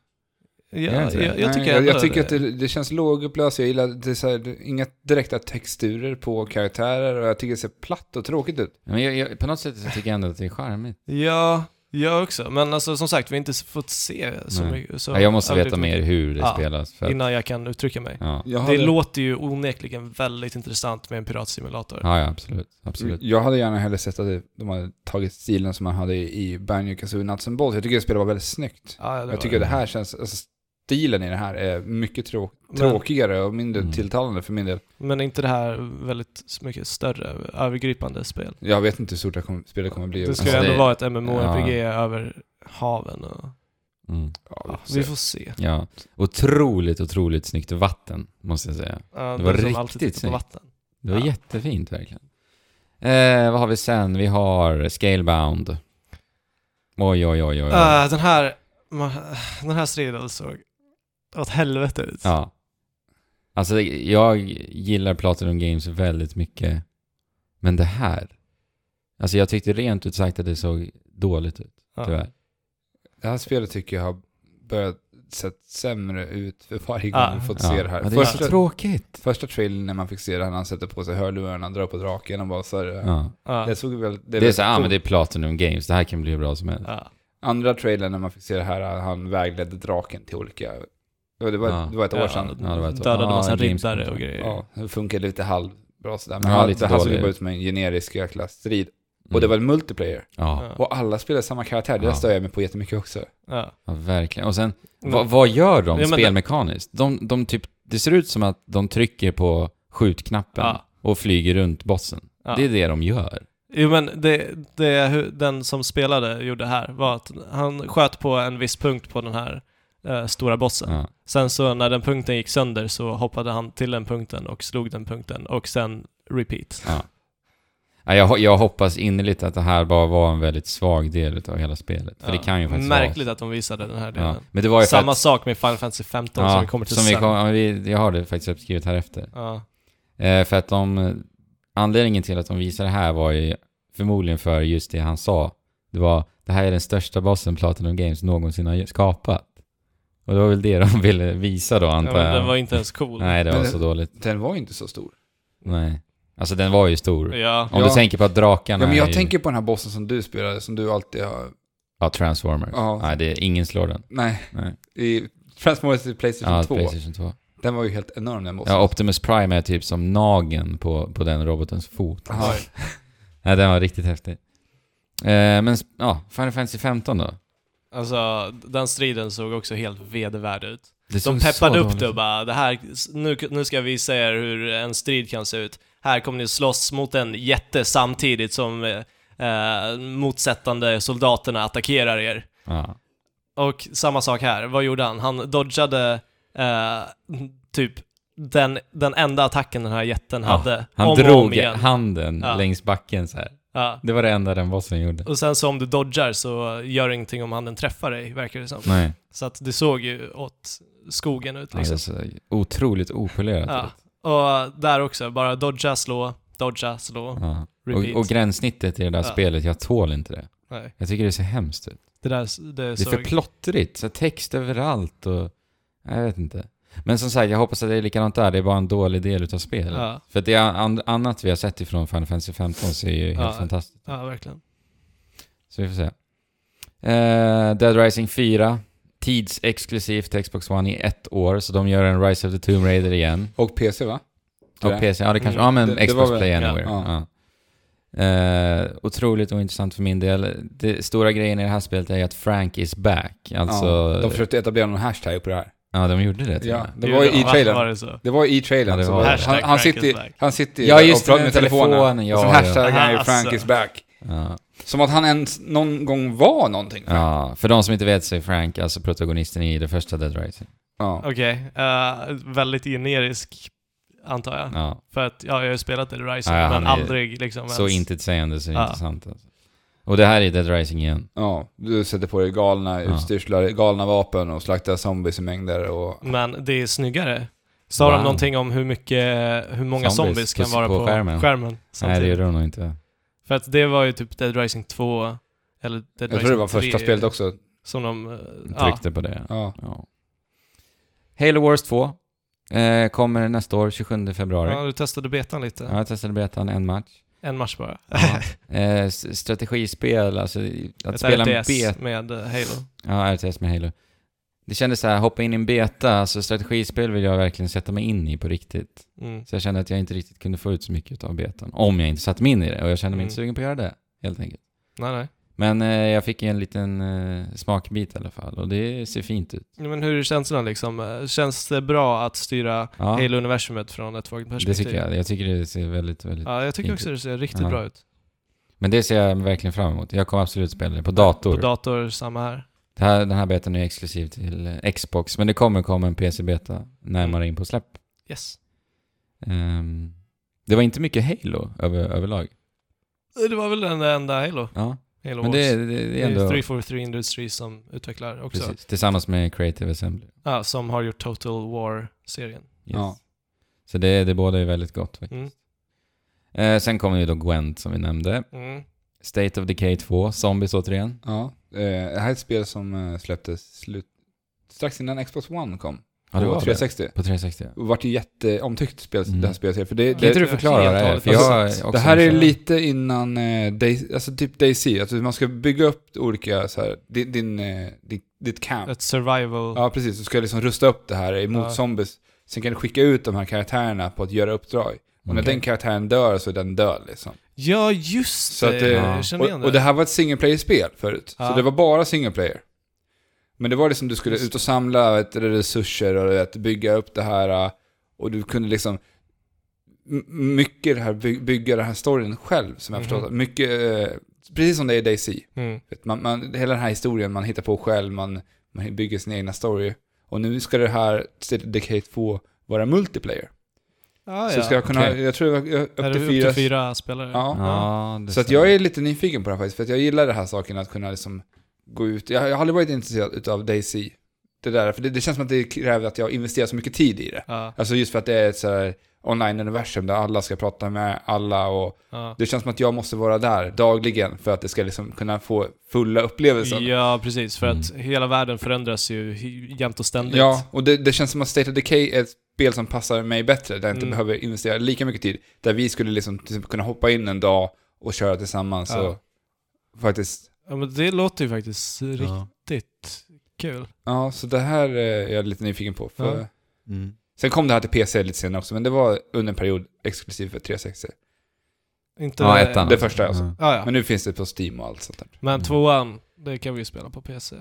S2: Ja,
S1: Gör
S2: jag,
S1: inte det?
S2: jag,
S3: Nej,
S2: tycker
S3: jag,
S2: ändå
S3: jag tycker att det, det känns lågupplöst. Jag gillar det är så här, det, är inga direkta texturer på karaktärer och jag tycker det ser platt och tråkigt ut.
S1: Ja, Men jag, jag, på något sätt så tycker jag ändå att det är charmigt.
S2: Ja, jag också. Men alltså som sagt, vi har inte s- fått se så
S1: Nej.
S2: mycket. Så
S1: Ja, jag måste
S2: aldrig
S1: veta
S2: mycket
S1: mer hur det
S2: Ja,
S1: spelas. För att,
S2: Innan jag kan uttrycka mig.
S1: ja.
S3: Jag
S2: Det låter ju onekligen väldigt intressant med en piratsimulator.
S1: ja, ja absolut. absolut.
S3: jag hade gärna hellre sett att det- de hade tagit stilen som man hade i i Banjo Kazooie Nuts and Bolts. Jag tycker det spelet var väldigt snyggt.
S2: Ja, det var
S3: jag tycker
S1: det.
S3: det här känns... Alltså, stilen i det här är mycket trå,
S2: Men-
S3: tråkigare och mindre
S1: Mm.
S3: tilltalande för min del.
S2: Men är inte det här väldigt mycket större, övergripande spel?
S3: Jag vet inte hur stort det här kommer, spelet kommer bli.
S2: Det ska
S1: Alltså,
S2: ju ändå
S1: det-
S2: vara ett MMORPG över haven och...
S1: Mm.
S3: ja,
S2: Ja, vi får se.
S1: Ja. Otroligt, otroligt snyggt vatten, måste jag säga.
S2: Ja,
S1: Det var
S2: de som
S1: riktigt
S2: alltid tittar
S1: snyggt.
S2: på vatten.
S1: Det var
S2: Ja.
S1: jättefint verkligen. Eh, vad har vi sen? Vi har Scalebound. Oj, oj, oj, oj. oj.
S2: Ah, den här... ma- <sighs> Den här striden såg åt helvete ut.
S1: Ja. Alltså, det- jag gillar Platinum Games väldigt mycket. Men det här. Alltså jag tyckte rent ut sagt att det såg dåligt ut,
S2: Ja.
S1: tyvärr.
S3: Det här spelet tycker jag har börjat sett sämre ut för varje gång
S2: Ah.
S3: vi fått
S1: Ja.
S3: se det här.
S1: Ja, det är så
S3: första,
S1: tråkigt.
S3: första trailern när man fick se det här när han sätter på sig hörlurarna, drar på draken och bara så här,
S1: Ja.
S2: Ja.
S3: Det såg väl...
S1: Det är,
S3: väl
S1: så, ah,
S3: coolt.
S1: men det är Platinum Games, det här kan bli hur bra som helst.
S2: Ja.
S3: Andra trailern när man fick se det här, äh, han vägledde draken till olika... Ja, Det var,
S1: Ja.
S3: det var ett år sedan.
S1: Ja, det var ett år.
S2: Dödade
S1: Ja,
S2: massa
S1: en
S2: riddare
S1: Gamescom.
S2: och grejer.
S3: Ja, det funkade lite halvbra sådär. Men
S1: Ja,
S3: han,
S1: lite
S3: det här såg ju
S1: dålig.
S3: bara ut som en generisk jäkla strid.
S1: Mm.
S3: Och det var en multiplayer.
S1: Ja,
S2: Ja.
S3: Och alla spelade samma karaktär, det
S1: Ja.
S3: stör jag mig på jättemycket också.
S2: Ja.
S1: ja, verkligen. Och sen,
S2: Men-
S1: vad, vad gör de
S2: Ja, men det-
S1: spelmekaniskt? De, de typ, det ser ut som att de trycker på skjutknappen
S2: Ja.
S1: och flyger runt bossen.
S2: Ja.
S1: Det är det de gör.
S2: Jo men det, det hu- den som spelade gjorde här var att han sköt på en viss punkt på den här eh, stora bossen.
S1: Ja.
S2: Sen så när den punkten gick sönder så hoppade han till den punkten och slog den punkten och sen repeat.
S1: Ja, Jag, ho- jag hoppas innerligt att det här bara var en väldigt svag del av hela spelet. För
S2: Ja.
S1: det kan ju faktiskt
S2: Märkligt att de visade den här
S1: vara. Ja.
S2: delen.
S1: Men det var ju för
S2: Samma
S1: att,
S2: sak med Final Fantasy 15 som vi kommer till
S1: som vi
S2: sen.
S1: kom, ja, vi, Jag har det faktiskt uppskrivet här efter.
S2: Ja.
S1: Eh, för att de, anledningen till att de visade det här var ju förmodligen för just det han sa. Det var, det här är den största bossen Platinum Games någonsin har skapat. Och det var väl det de <laughs> ville visa då
S2: Ja,
S1: antar
S2: men
S1: jag.
S2: den var inte ens cool.
S1: Nej, det var
S3: Men-
S1: så dåligt.
S3: Den var ju inte så stor.
S1: Nej. Alltså den var ju stor.
S2: Ja.
S1: Om
S3: Ja.
S1: du tänker på att drakarna
S3: Ja, men
S1: är
S3: jag
S1: ju,
S3: tänker på den här bossen som du spelade, som du alltid har...
S1: Ja, Transformers.
S3: Ja.
S1: Nej, det är, ingen slår den.
S3: Nej,
S1: Nej.
S3: i Transformers i Playstation
S1: Ja,
S3: 2.
S1: Playstation 2.
S3: Den var ju helt enorm den bossen.
S1: Ja, Optimus Prime är typ som nagen på, på den robotens fot.
S3: Ja.
S1: Nej, den var riktigt häftig. Eh, men s- ja, Final Fantasy 15 då?
S2: Alltså den striden såg också helt vedervärd ut.
S1: Det
S2: De
S1: såg så
S2: peppade upp
S1: dåligt
S2: det
S1: ut.
S2: och bara det här, nu, nu ska jag visa er hur en strid kan se ut. Här kommer ni slåss mot en jätte samtidigt som eh, eh, motsättande soldaterna attackerar er.
S1: Ja.
S2: Och samma sak här, vad gjorde han? Han dodgade eh, typ den, den enda attacken den här jätten
S1: Ja,
S2: hade.
S1: Han
S2: om och om
S1: drog
S2: igen.
S1: handen
S2: Ja.
S1: längs backen så här.
S2: Ja.
S1: Det var det enda den bossen gjorde.
S2: Och sen så om du dodgar så gör det ingenting om handen träffar dig, verkar det som.
S1: Nej,
S2: Så att det såg ju åt skogen ut liksom.
S1: alltså, så otroligt opolerat.
S2: Ja.
S1: ut.
S2: Och där också, bara dodga, slå, dodga, slå,
S1: Ja.
S2: repeat.
S1: Och, och gränssnittet i det där
S2: Ja.
S1: spelet, jag tål inte det.
S2: Nej,
S1: Jag tycker det ser hemskt ut.
S2: det där det
S1: Det är
S2: såg...
S1: för plottrigt, så här text överallt och Jag vet inte. Men som sagt, jag hoppas att det är likadant där. Det är bara en dålig del utav spelet.
S2: Ja,
S1: För det an- annat vi har sett ifrån Final Fantasy 15 ser ju helt
S2: Ja.
S1: fantastiskt
S2: ja verkligen.
S1: Så vi får se. Eh, Dead Rising 4. Tidsexklusivt till Xbox One i ett år, så de gör en Rise of the Tomb Raider igen.
S3: Och PC va?
S1: Och
S3: Tyvärr.
S1: PC, ja det kanske,
S2: Mm.
S1: ja men
S3: Det- det
S1: Xbox
S3: var väl-
S1: Play
S2: ja,
S1: Anywhere. Ja,
S3: ja.
S1: Eh, otroligt ointressant för min del. Det stora grejen i det här spelet är ju att Frank is back. Alltså,
S3: ja,
S1: ja,
S3: de försökte etablera någon hashtag på det här.
S1: gjorde det till och
S3: Ja,
S1: med.
S3: det var ju i
S2: Ja, Var
S3: trailern.
S2: det så?
S3: Det var i trailern.
S1: Ja, det
S3: som
S1: var
S3: var
S1: det.
S3: han,
S2: Hashtag
S3: han,
S2: Frank is
S3: sitter,
S2: back.
S3: han sitter
S1: Ja, just
S3: och pratar
S1: det,
S3: med
S1: telefonen.
S3: telefonen.
S1: Ja,
S3: och sen
S1: ja.
S3: hashtaggar han ju
S2: Aha,
S3: Frank
S2: alltså.
S3: is back.
S1: Ja.
S3: Som att han ens någon gång var någonting.
S1: ja, för de som inte vet så är Frank alltså protagonisten i det första Dead Rising.
S3: Ja.
S2: Okej, eh, väldigt generisk antar jag.
S1: Ja.
S2: För att ja, jag har ju spelat Dead Rising
S1: Ja, ja,
S2: men
S1: han är
S2: aldrig liksom
S1: Så
S2: ens-
S1: intetsägande så
S2: Ja.
S1: intressant alltså. Och det här är Dead Rising igen.
S3: ja, du sätter på dig galna
S1: Ja.
S3: utstyrslar, galna vapen och slaktar zombies i mängder och...
S2: Men det är snyggare. Sa
S1: Wow.
S2: de någonting om hur, mycket, hur många
S1: Zombies
S2: zombies, kan
S1: på-
S2: vara
S1: på
S2: på,
S1: skärmen?
S2: skärmen,
S1: Nej, det
S2: samtidigt?
S1: gör de nog inte.
S2: För att det var ju typ Dead Rising 2, eller Dead Rising
S3: Jag tror det var
S2: 3,
S3: första spelet också.
S2: Som de... eh, Ja,
S1: Tryckte på det.
S3: Ja.
S1: Ja. Halo Wars 2 eh, kommer nästa år, 27 februari.
S2: ja, du testade betan lite.
S1: Ja, jag testade betan en
S2: <laughs>
S1: match.
S2: En match bara.
S1: Eh, s- strategispel, alltså i- att
S2: Ett
S1: spela en
S2: RTS
S1: beta.
S2: med eh, Halo.
S1: Ja, RTS med Halo. Det kändes så här, hoppa in i en beta, alltså strategispel vill jag verkligen sätta mig in i på riktigt.
S2: Mm.
S1: Så jag kände att jag inte riktigt kunde få ut så mycket av betan, om jag inte satte mig in i det. Och jag kände mig
S2: Mm.
S1: inte sugen på att göra det, helt enkelt.
S2: Nej, nej.
S1: Men eh, jag fick ju en liten eh, smakbit i alla fall, och det ser fint ut.
S2: Ja, Men hur är känslan liksom? Eh, Känns det bra att styra
S1: Ja,
S2: Halo-universumet från ett vagt
S1: det
S2: perspektiv?
S1: tycker jag. Jag tycker det ser väldigt, väldigt
S2: Ja, jag tycker
S1: Fint
S2: också det ser riktigt
S1: Ja.
S2: bra ut.
S1: Men det ser jag verkligen fram emot. Jag kommer absolut spela det på dator.
S2: På dator, samma här.
S1: det här, den här betan är exklusiv till eh, Xbox, men det kommer komma en PC-beta närmare in på släpp.
S2: Yes.
S1: Ehm, det var inte mycket Halo över, överlag.
S2: Eh, Det var väl den enda Halo.
S1: Ja,
S2: Halo
S1: men
S2: Wars.
S1: det, det, det
S2: Det
S1: är
S2: är
S1: ändå...
S2: 343 Industries som utvecklar också.
S1: Precis, tillsammans med Creative Assembly. Yes.
S2: Ja, som har gjort Total War-serien.
S3: Ja.
S1: Så det, det båda är väldigt gott faktiskt.
S2: Mm.
S1: Eh, sen kommer ju då Gwent som vi nämnde.
S2: Mm.
S1: State of Decay 2, Zombies återigen.
S3: Ja. Eh, Det här är ett spel som eh, släpptes slut... strax innan Xbox One kom.
S1: Ja, det var det.
S3: 360.
S1: På 360. ja.
S3: Och vart ju jätteomtyckt spel,
S1: Mm.
S3: det här spelet. För det,
S2: Kan
S1: Kan
S3: det,
S1: inte du
S2: jag-
S1: förklara
S2: helt
S1: det
S2: och
S1: här?
S2: hållet
S1: För jag har
S2: försökt.
S1: också
S3: det här är
S1: försökt.
S3: lite innan eh, Day, alltså typ DayZ. Alltså man ska bygga upp olika så här, di- din, eh, di- ditt camp.
S2: Ett survival...
S3: Ja, precis. Du ska liksom rusta upp det här emot
S2: Ja.
S3: zombies. Sen kan du skicka ut de här karaktärerna på att göra uppdrag. Och när
S1: Okej.
S3: den karaktären dör så är den död liksom.
S2: Ja, just
S3: Så
S2: det!
S3: att, eh,
S2: Jag känner igen
S3: Och, och det här var ett single player-spel förut.
S2: Ja.
S3: Så det var bara single player. Men det var liksom du skulle
S2: Just.
S3: ut och samla vet, du, resurser och vet, bygga upp det här. eh, Och du kunde liksom m- mycket i det här, by- bygga den här storyn själv som jag
S2: Mhm.
S3: förstått det. Mycket, eh, precis som det är i DayZ.
S2: Mm.
S3: Vet, Man, man, hela den här historien man hittar på själv, man, man bygger sin egna story. Och nu ska det här State of Decay 2 vara multiplayer.
S2: Ah,
S3: så ska jag kunna,
S1: Okej.
S3: jag tror det var eh, upp,
S2: är det
S3: till fyra.
S2: upp till fyra spelare?
S3: Ja.
S1: Ja, det
S3: Så att
S1: stämmer.
S3: jag är lite nyfiken på det här faktiskt, för att jag gillar den här saken att kunna liksom gå ut. Jag, jag har aldrig varit intresserad utav DayZ. Det där, för det, det känns som att det kräver att jag investerar så mycket tid i det.
S2: Ja,
S3: Alltså just för att det är ett så här online-universum där alla ska prata med alla och
S2: ja.
S3: det känns som att jag måste vara där dagligen för att det ska liksom kunna få fulla upplevelsen.
S2: ja, precis. För att
S1: Mm.
S2: hela världen förändras ju hy- jämt och ständigt.
S3: Ja, och det, det känns som att State of Decay är ett spel som passar mig bättre, där jag inte
S2: Mm.
S3: behöver investera lika mycket tid. Där vi skulle liksom till exempel kunna hoppa in en dag och köra tillsammans
S1: Alltså.
S2: Ja.
S3: och faktiskt...
S2: Ja, men det låter ju faktiskt
S1: Ja.
S2: riktigt kul.
S3: Ja, så det här eh, är jag lite nyfiken på. För
S2: Ja.
S1: Mm.
S3: Sen kom det här till PC lite senare också, men det var under en period exklusiv för 360.
S2: Inte...
S1: Ja, ettan.
S3: det första alltså.
S1: Ja.
S2: Ja, ja.
S3: Men nu finns det på Steam och allt sånt där.
S2: Men
S1: Mm.
S2: tvåan, det kan vi ju spela på PC.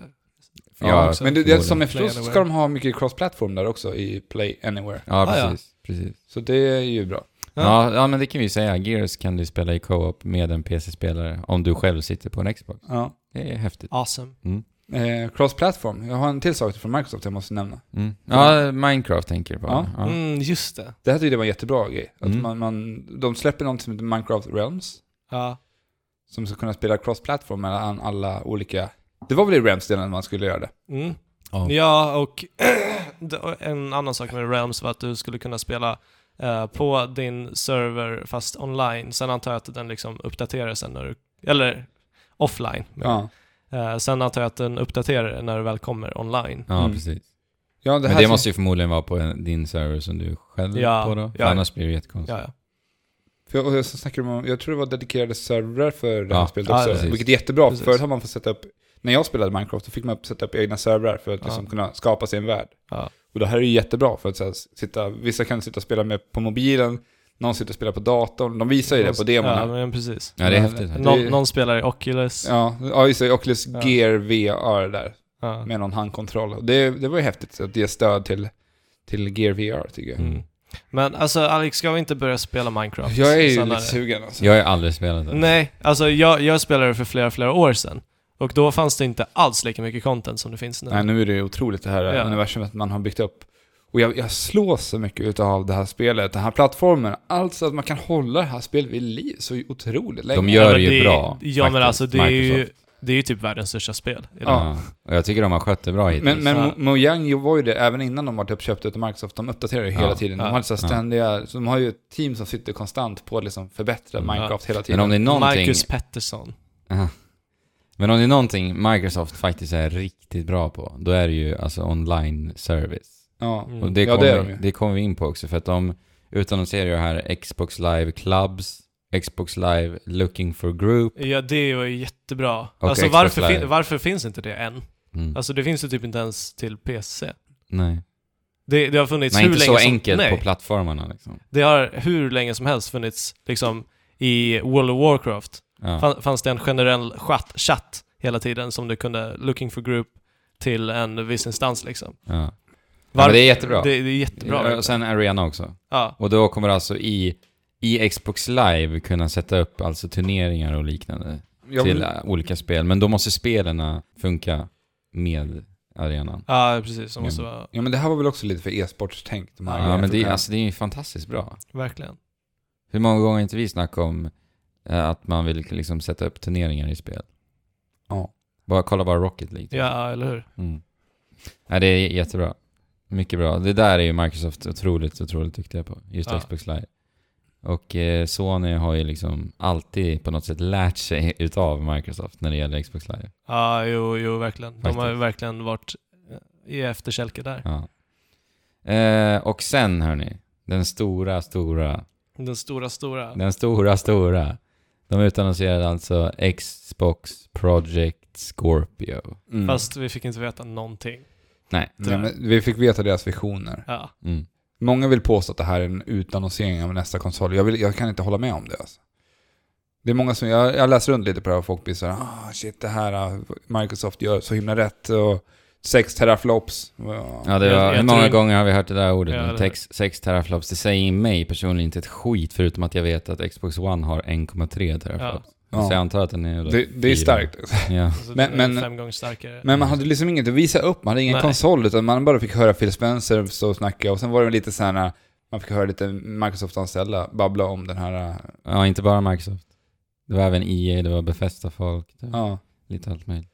S1: Ja,
S3: Ja,
S2: också.
S3: men det, det, som jag förstår
S2: Play
S3: så ska
S2: Anywhere.
S3: de ha mycket cross-platform där också i Play Anywhere.
S1: Ja,
S2: Ah, ja.
S1: precis. precis.
S3: Så det är ju bra.
S1: Ja.
S2: Ja.
S1: Ja, men det kan vi ju säga. Gears kan du spela i co-op med en PC-spelare om du själv sitter på en Xbox.
S3: Ja.
S1: Det är häftigt.
S2: Awesome.
S3: Eh, cross-platform, jag har en till sak från Microsoft jag måste nämna.
S1: Mm. Ja, Minecraft tänker jag på.
S3: Ja.
S1: Ja.
S2: Mm, just det.
S3: Det här tyckte jag var en jättebra grej. Att
S1: Mm.
S3: man, man, de släpper något som heter Minecraft Realms,
S2: Ja.
S3: som ska kunna spela cross-platform mellan alla olika... Det var väl i Realms-delen man skulle göra det?
S2: Mm.
S1: Ja.
S2: Ja, och <clears throat> det- en annan sak med Realms var att du skulle kunna spela eh, på din server fast online. Sen antar jag att den liksom uppdaterar sen när du... Eller offline.
S3: Ja.
S2: Eh, sen antar jag att den uppdaterar när du väl kommer online.
S1: Ja,
S3: Mm.
S1: precis.
S3: Ja, det
S1: Men
S3: här
S1: det
S3: ser-
S1: måste ju förmodligen vara på en, din server som du själv
S2: Ja,
S1: på då. För
S2: ja.
S1: annars blir det jättekonstigt.
S2: Ja, ja.
S3: För jag, och så snackar de om, jag tror det var dedikerade servrar för det här
S1: Ja,
S3: spelet
S2: ja,
S3: också.
S1: precis.
S3: vilket är jättebra,
S2: Precis.
S3: för förut har man fått sätta upp, när jag spelade Minecraft, då fick man sätta upp egna servrar för att
S2: Ja.
S3: liksom kunna skapa sin värld.
S2: Ja.
S3: Och det här är ju jättebra för att så här, sitta, vissa kan sitta och spela med på mobilen, någon sitter och spelar på datorn, de visar ju det på demon.
S2: Ja,
S3: Ja,
S2: men precis.
S1: Ja, det är
S3: Men-
S1: häftigt.
S3: Det-
S2: Nå- någon spelar i Oculus.
S3: ja, ja just det, Oculus
S2: Ja.
S3: Gear VR där,
S2: Ja.
S3: med någon handkontroll. Och Det, det var ju häftigt så att ge stöd till, till Gear VR tycker jag.
S2: Mm. Men alltså Alex, ska vi inte börja spela Minecraft?
S3: Jag är ju
S2: Senare?
S3: lite sugen alltså.
S1: Jag har ju aldrig spelat det.
S2: Nej, alltså jag, jag spelade det för flera, flera år sedan. Och då fanns det inte alls lika mycket content som det finns nu.
S3: Nej, nu är det ju otroligt det här
S2: Ja.
S3: universumet man har byggt upp. Och jag, jag slås så mycket utav det här spelet, den här plattformen. Alltså att man kan hålla det här spelet vid liv så otroligt länge.
S1: De gör
S2: Ja,
S1: det
S2: men
S1: ju bra.
S2: Ja, men
S1: faktiskt,
S2: alltså det är, ju,
S1: Microsoft.
S2: det är ju typ världens största spel. idag.
S1: Ja. Och jag tycker de har skött det bra hittills.
S3: men men
S2: Ja.
S3: Mo- Mojang ju var ju det även innan de var uppköpta utav Microsoft. De uppdaterar ju
S1: Ja.
S3: hela tiden. De
S2: Ja.
S3: har så här
S1: Ja.
S3: ständiga, så de har ju ett team som sitter konstant på att liksom förbättra
S1: Mm.
S3: Minecraft hela tiden.
S1: Men om det är någonting...
S2: Marcus Pettersson.
S1: Men om det är någonting Microsoft faktiskt är riktigt bra på, då är det ju alltså online service.
S3: ja.
S2: Mm.
S1: Och det
S3: Ja,
S1: kommer,
S3: det är de ju.
S1: det kommer vi in på också, för att de utannonserar ju här Xbox Live Clubs, Xbox Live Looking for Group.
S2: Ja, det var ju jättebra.
S1: Och
S2: alltså
S1: Xbox
S2: varför,
S1: Live.
S2: fin- varför finns inte det än?
S1: Mm.
S2: Alltså det finns ju typ inte ens till PC.
S1: nej.
S2: Det, det har funnits
S1: Nej,
S2: hur
S1: inte
S2: länge
S1: så
S2: som,
S1: enkelt
S2: nej,
S1: på plattformarna liksom.
S2: Det har hur länge som helst funnits liksom i World of Warcraft.
S1: Ja.
S2: Fan- Fanns det en generell chatt, chatt hela tiden som du kunde looking for group till en viss instans liksom.
S1: Ja.
S2: Var-
S1: men det är jättebra.
S2: Det, det är jättebra.
S1: Och sen Arena också.
S2: ja.
S1: Och då kommer alltså i, i Xbox Live kunna sätta upp alltså turneringar och liknande
S3: Jag,
S1: till eh, olika spel. Men då måste spelarna funka med arenan.
S2: ja, precis. Det måste
S1: Mm.
S2: vara...
S3: ja, men det här var väl också lite för e-sportstänk. De här
S1: Ja, men det, är-
S3: grejerna.
S1: alltså, det är ju fantastiskt bra.
S2: Verkligen.
S1: Hur många gånger har inte vi snackat om eh, att man vill liksom sätta upp turneringar i spel?
S3: Ja.
S1: Bara, kolla bara Rocket League.
S2: Ja, eller hur?
S1: Mm. Ja, det är jättebra. Mycket bra. Det där är ju Microsoft otroligt, otroligt duktiga på. Just
S2: Ja.
S1: Xbox Live. Och eh, Sony har ju liksom alltid på något sätt lärt sig <laughs> utav Microsoft när det gäller Xbox Live.
S2: Ja, jo, jo, verkligen. De har ju
S1: Faktiskt.
S2: verkligen varit eh, i efterkälke där.
S1: Ja. Eh, och sen hörni, den stora, stora,
S2: Den stora, stora.
S1: den stora, stora. De utannonserade alltså Xbox Project Scorpio.
S3: Mm.
S2: Fast vi fick inte veta någonting.
S1: Nej.
S3: Nej, men vi fick veta deras visioner.
S2: Ja.
S1: Mm.
S3: Många vill påstå att det här är en utannonsering av nästa konsol. Jag, vill, jag kan inte hålla med om det. Alltså. Det är många som, jag, jag läser runt lite på det här och folk blir så här, ah shit det här, ah, Microsoft gör så himla rätt och 6 teraflops. Ja.
S1: Ja, det
S2: Jag-
S1: var,
S2: jag
S1: hur många
S2: tror-
S1: gånger har vi hört det där
S2: Ja,
S1: ordet?
S2: eller-
S1: nu? Tex, 6 teraflops. Det säger mig personligen inte ett skit, förutom att jag vet att Xbox One har 1,3 teraflops.
S3: Ja.
S1: Så jag antar att den är...
S3: Det, det är
S1: fyra.
S3: starkt.
S1: <laughs> Ja.
S2: Alltså,
S3: Men-
S2: men,
S3: men-
S2: fem gånger starkare.
S3: Men man hade liksom inget att visa upp, man hade ingen
S2: Nej.
S3: konsol utan man bara fick höra Phil Spencer stå och snacka och sen var det lite så här, man fick höra lite Microsoft-anställda babbla om den här,
S1: ja, inte bara Microsoft. Det var även EA, det var Befästa folk, det var
S3: ja.
S1: lite allt möjligt.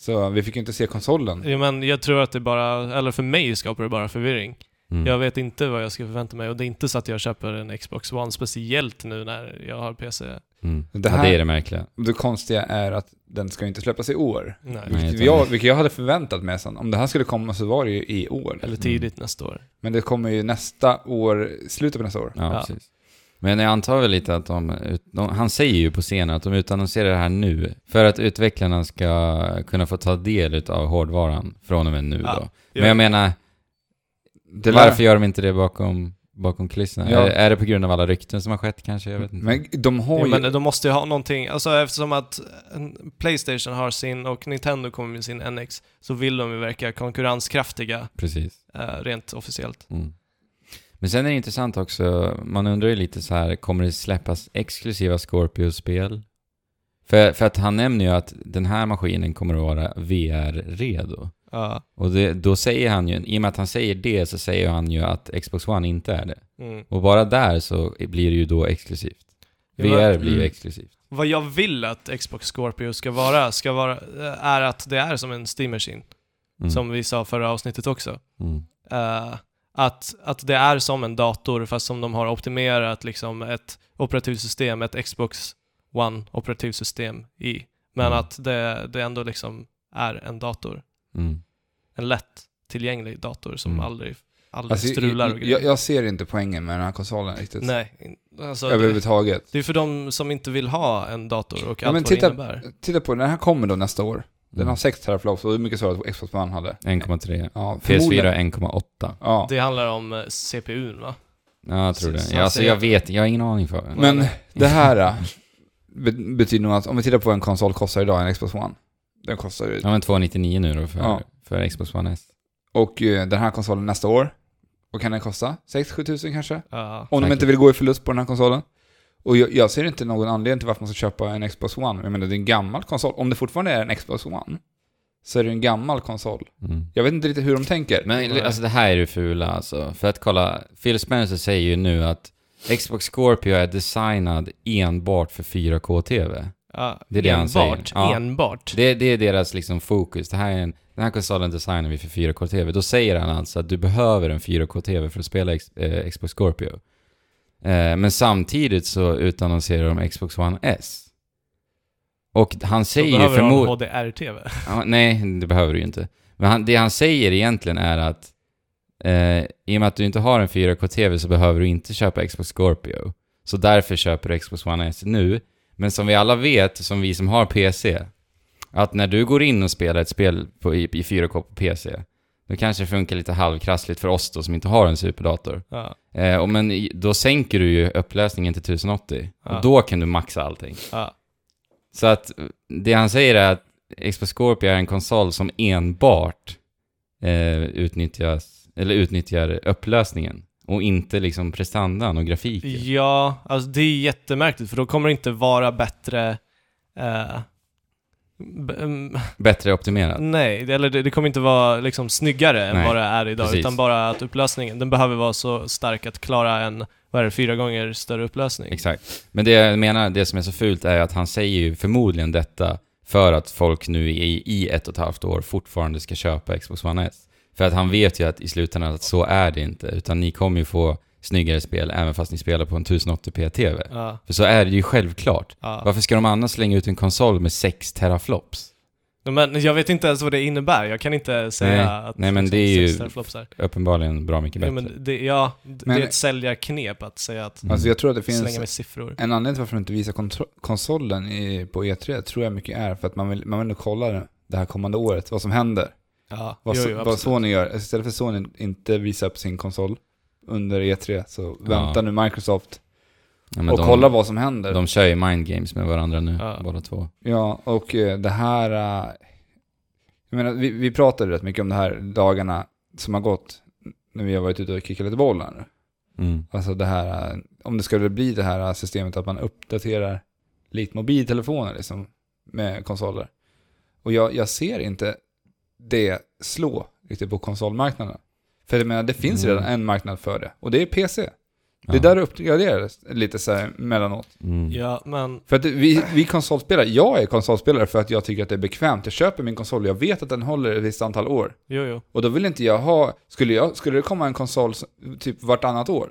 S3: Så vi fick ju inte se konsolen.
S2: Ja, men jag tror att det bara, eller för mig skapar det bara förvirring.
S1: Mm.
S2: Jag vet inte vad jag ska förvänta mig och det är inte så att jag köper en Xbox One speciellt nu när jag har PC.
S1: Mm.
S3: Det
S1: Det,
S3: här-
S1: ja, det är det märkliga.
S3: Det konstiga är att den ska ju inte släppas i år.
S2: Nej.
S1: Nej.
S3: Vilket
S1: utan-
S3: jag, vilket jag hade förväntat mig sen. Om det här skulle komma så var det ju i år.
S2: Eller
S1: Mm.
S2: tidigt nästa år.
S3: Men det kommer ju nästa år, slutet på nästa år.
S1: Ja,
S2: Ja.
S1: precis. Men jag antar väl lite att de, ut- de... Han säger ju på scenen att de utannonserar det här nu för att utvecklarna ska kunna få ta del av hårdvaran från och med nu
S2: Ja.
S1: då. Men jag menar,
S3: Det lär-
S1: Varför gör de inte det bakom, bakom kulisserna?
S3: Ja.
S1: Är, är det på grund av alla rykten som har skett kanske? Jag vet inte.
S3: Men de har
S2: Ja,
S3: ju...
S2: men de måste ju ha någonting, alltså eftersom att en- Playstation har sin och Nintendo kommer med sin NX så vill de ju verka konkurrenskraftiga
S1: Precis.
S2: eh, rent officiellt.
S1: Mm. Men sen är det intressant också, man undrar ju lite så här, kommer det släppas exklusiva Scorpio-spel? För, för att han nämner ju att den här maskinen kommer att vara VR-redo.
S2: Ja.
S1: Och det, då säger han ju, i och med att han säger det så säger han ju att Xbox One inte är det.
S2: Mm.
S1: Och bara där så blir det ju då exklusivt.
S2: Ja, men-
S1: VR blir ju
S3: Mm.
S1: exklusivt.
S2: Vad jag vill att Xbox Scorpio ska vara, ska vara eh, är att det är som en Steam Machine,
S1: Mm.
S2: som vi sa förra avsnittet också.
S1: Mm.
S2: Eh, att, att det är som en dator fast som de har optimerat liksom ett operativsystem, ett Xbox One operativsystem i. Men
S1: Mm.
S2: att det, det ändå liksom är en dator.
S1: Mm.
S2: En lätt tillgänglig dator som
S1: Mm.
S2: aldrig, aldrig
S3: Alltså,
S2: strular och
S3: jag,
S2: grejer.
S3: jag, jag ser inte poängen med den här konsolen riktigt.
S2: Nej, in- alltså det,
S3: överhuvudtaget.
S2: det är för de som inte vill ha en dator och
S3: Ja,
S2: allt
S3: men
S2: vad
S3: titta-
S2: det innebär.
S3: Titta på den, den här kommer då nästa år. Den
S1: Mm.
S3: har 6 teraflops och hur mycket sa du att Xbox One hade?
S1: 1,3.
S3: Ja, förmodligen-
S1: PS4 1,8.
S3: Ja.
S2: Det handlar om eh, CPUn va?
S1: Ja, jag tror det.
S2: Så-
S1: Ja, alltså, jag vet, jag har ingen aning för det.
S3: Men det här äh, be- betyder nog att om vi tittar på vad en konsol kostar idag, en Xbox One. Den kostar ju...
S1: <laughs> Ja, men 299 nu då för,
S3: Ja.
S1: för Xbox One S.
S3: Och eh, den här konsolen nästa år, vad kan den kosta? 6-7 tusen kanske?
S2: Ja.
S3: Om de
S1: Säkert.
S3: inte vill gå i förlust på den här konsolen. Och jag, jag ser inte någon anledning till varför man ska köpa en Xbox One. Jag menar, det är en gammal konsol. Om det fortfarande är en Xbox One, så är det en gammal konsol.
S1: Mm.
S3: Jag vet inte riktigt hur de tänker.
S1: Men li- alltså det här är det fula alltså. För att kolla, Phil Spencer säger ju nu att Xbox Scorpio är designad enbart för 4K-TV.
S2: Ja,
S1: Det är det han säger.
S2: eh, enbart,
S1: Ja.
S2: enbart.
S1: Det, det är deras liksom fokus. Det här är en, den här konsolen designar vi för 4K-TV. Då säger han alltså att du behöver en 4K-TV för att spela X, eh, Xbox Scorpio. Eh, men samtidigt så utannonserar de Xbox One S. Och han
S2: Då
S1: säger ju
S2: behöver
S1: förmodligen...
S2: de HDR-TV.
S1: Ja, nej, det behöver du ju inte. Men han, det han säger egentligen är att eh, i och med att du inte har en 4K-TV så behöver du inte köpa Xbox Scorpio. Så därför köper du Xbox One S nu. Men som vi alla vet, som vi som har PC, att när du går in och spelar ett spel på, i, i 4K på PC, då kanske det funkar lite halvkrassligt för oss då som inte har en superdator.
S2: Ja,
S1: Eh, och men i- då sänker du ju upplösningen till 1080.
S2: Ja.
S1: Och då kan du maxa allting.
S2: ja.
S1: Så att det han säger är att Xbox Scorpio är en konsol som enbart eh, utnyttjas, eller utnyttjar upplösningen och inte liksom prestandan och grafiken.
S2: ja alltså det är jättemärkligt för då kommer det inte vara bättre... eh, b- mm,
S1: Bättre optimerat.
S2: nej, det- eller det, det kommer inte vara liksom snyggare än
S1: Nej,
S2: vad det är idag,
S1: precis.
S2: utan bara att upplösningen, den behöver vara så stark att klara en, vad är det, fyra gånger större upplösning.
S1: Exakt. Men det jag menar, det som är så fult är att han säger ju förmodligen detta för att folk nu i, i ett och ett halvt år fortfarande ska köpa Xbox One S. För att han vet ju att i slutändan att så är det inte, utan ni kommer ju få snyggare spel även fast ni spelar på en 1080p-TV.
S2: Ja,
S1: För så är det ju självklart.
S2: ja.
S1: Varför ska de annars slänga ut en konsol med 6 teraflops?
S2: Men jag vet inte ens vad det innebär, jag kan inte säga
S1: Nej,
S2: att
S1: nej, men
S2: liksom,
S1: det är ju
S2: sex teraflops är.
S1: Uppenbarligen bra mycket
S2: Ja,
S1: bättre.
S2: men det, ja, det
S3: Men-
S2: är ett säljarknep att säga att
S3: Alltså jag tror att det finns
S2: slänga med siffror.
S3: En anledning till varför de inte visar kontro- konsolen i, på E3 tror jag mycket är för att man vill, man vill kolla det- det här kommande året, vad som händer.
S2: Ja,
S3: Vad,
S2: jo,
S3: so-
S2: jo,
S3: vad
S2: absolut.
S3: Sony gör. Istället för att Sony inte visar upp sin konsol under E3 så väntar nu Microsoft
S1: Ja, men
S3: och
S1: de,
S3: kollar vad som händer.
S1: De kör ju mind games med varandra nu,
S2: Ja.
S1: båda två.
S3: Ja, och eh, det här... eh, Jag menar, vi, vi pratade rätt mycket om det här dagarna som har gått när vi har varit ute och kickat lite boll här nu.
S1: Mm.
S3: Alltså det här, eh, om det skulle bli det här eh, systemet att man uppdaterar likt mobiltelefoner liksom, med konsoler. Och jag, jag ser inte det slå riktigt på konsolmarknaden. För jag menar, det finns
S1: Mm.
S3: redan en marknad för det. Och det är PC.
S1: Ja.
S3: Det är där det uppgraderas lite så här mellanåt.
S1: Mm.
S2: Ja, men
S3: För att vi, vi konsolspelare, jag är konsolspelare för att jag tycker att det är bekvämt. Jag köper min konsol och jag vet att den håller ett visst antal år.
S2: jo, jo.
S3: Och då vill inte jag ha, skulle, jag, skulle det komma en konsol som- typ vartannat år?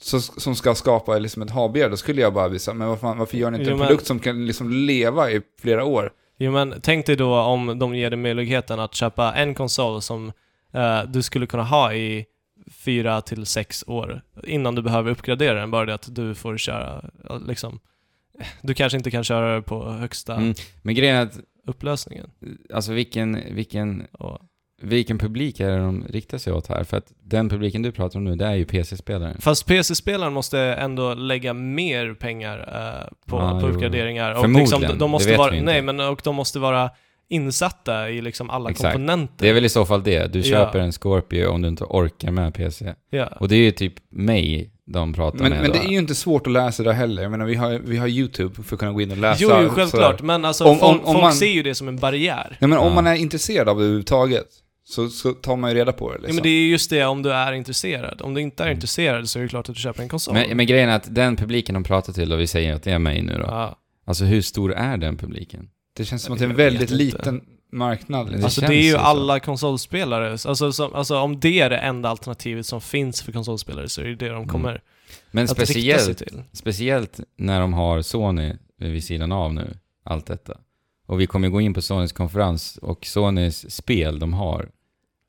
S3: Så, som ska skapa liksom ett habegär, då skulle jag bara visa, men vad fan, varför gör ni inte
S2: Jo,
S3: en
S2: men-
S3: produkt som kan liksom leva i flera år?
S2: Jo, men tänk dig då om de ger dig möjligheten att köpa en konsol som eh, du skulle kunna ha i fyra till sex år innan du behöver uppgradera den. Bara det att du får köra, ja, liksom, du kanske inte kan köra det på högsta
S1: Mm. Men grejen är att,
S2: upplösningen.
S1: alltså vilken, vilken,
S2: Och,
S1: vilken publik är det de riktar sig åt här? För att den publiken du pratar om nu, det är ju PC-spelare.
S2: fast PC-spelaren måste ändå lägga mer pengar eh, på,
S1: Ja,
S2: på
S1: Ah, jo.
S2: uppgraderingar. Och
S1: Förmodligen.
S2: liksom, de, de
S1: Det
S2: måste
S1: vet
S2: vara,
S1: vi inte.
S2: nej, men, och de måste vara insatta i liksom alla
S1: Exakt.
S2: komponenter.
S1: Det är väl i så fall det, du
S2: Ja.
S1: köper en Scorpio om du inte orkar med PC.
S2: Ja.
S1: Och det är ju typ mig de pratar
S3: Men,
S1: med
S3: men
S1: då.
S3: det är ju inte svårt att läsa det heller, jag menar vi har, vi har YouTube för att kunna gå in och läsa.
S2: Jo, jo, självklart.
S3: sådär.
S2: Men alltså,
S3: Om- om-
S2: folk,
S3: om
S2: folk
S3: man-
S2: ser ju det som en barriär.
S3: Nej men om
S1: Ja.
S3: man är intresserad av det överhuvudtaget, så, så tar man ju reda på det liksom.
S2: Ja, men det är just det om du är intresserad. Om du inte är
S1: Mm.
S2: intresserad så är det klart att du köper en konsol.
S1: men, men grejen är att den publiken de pratar till, och vi säger att det är mig nu då.
S2: ja.
S1: Alltså hur stor är den publiken?
S3: Det känns som att det är en
S2: Jag vet
S3: väldigt
S2: inte.
S3: liten marknad. Liksom.
S1: Det
S2: Alltså det
S1: känns
S2: är
S1: ju
S2: ju
S1: så.
S2: alla konsolspelare. Alltså, som, alltså om det är det enda alternativet som finns för konsolspelare så är det det de
S1: Mm.
S2: kommer
S1: Men
S2: att rikta sig
S1: speciellt
S2: till.
S1: Speciellt när de har Sony vid sidan av nu, allt detta. Och vi kommer gå in på Sonys konferens och Sonys spel de har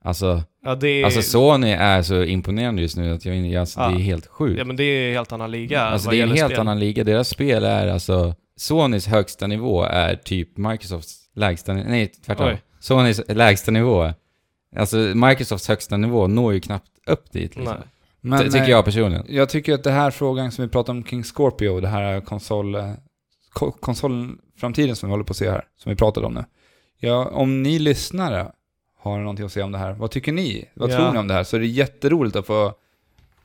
S1: Alltså,
S2: Ja, det är,
S1: alltså Sony är så imponerande just nu att jag, jag- alltså,
S2: Ja.
S1: det är helt sjukt.
S2: ja, men det är en helt annan liga
S1: alltså
S2: vad
S1: det är en
S2: gäller
S1: helt
S2: spel.
S1: annan liga. Deras spel är alltså... Sonys högsta nivå är typ Microsofts lägsta... Nej, tvärtom.
S2: Oj.
S1: Sonys lägsta nivå. Alltså Microsofts högsta nivå når ju knappt upp dit. Liksom.
S2: Nej.
S3: Men,
S1: Ty- tycker
S3: eh,
S1: jag personligen.
S3: Jag tycker att det här frågan som vi pratar om kring Scorpio, det här konsol, eh, ko- konsolframtiden som vi håller på att se här, som vi pratade om nu. Ja, om ni lyssnare har någonting att säga om det här, vad tycker ni? Vad
S2: Ja.
S3: tror ni om det här? Så det är jätteroligt att få,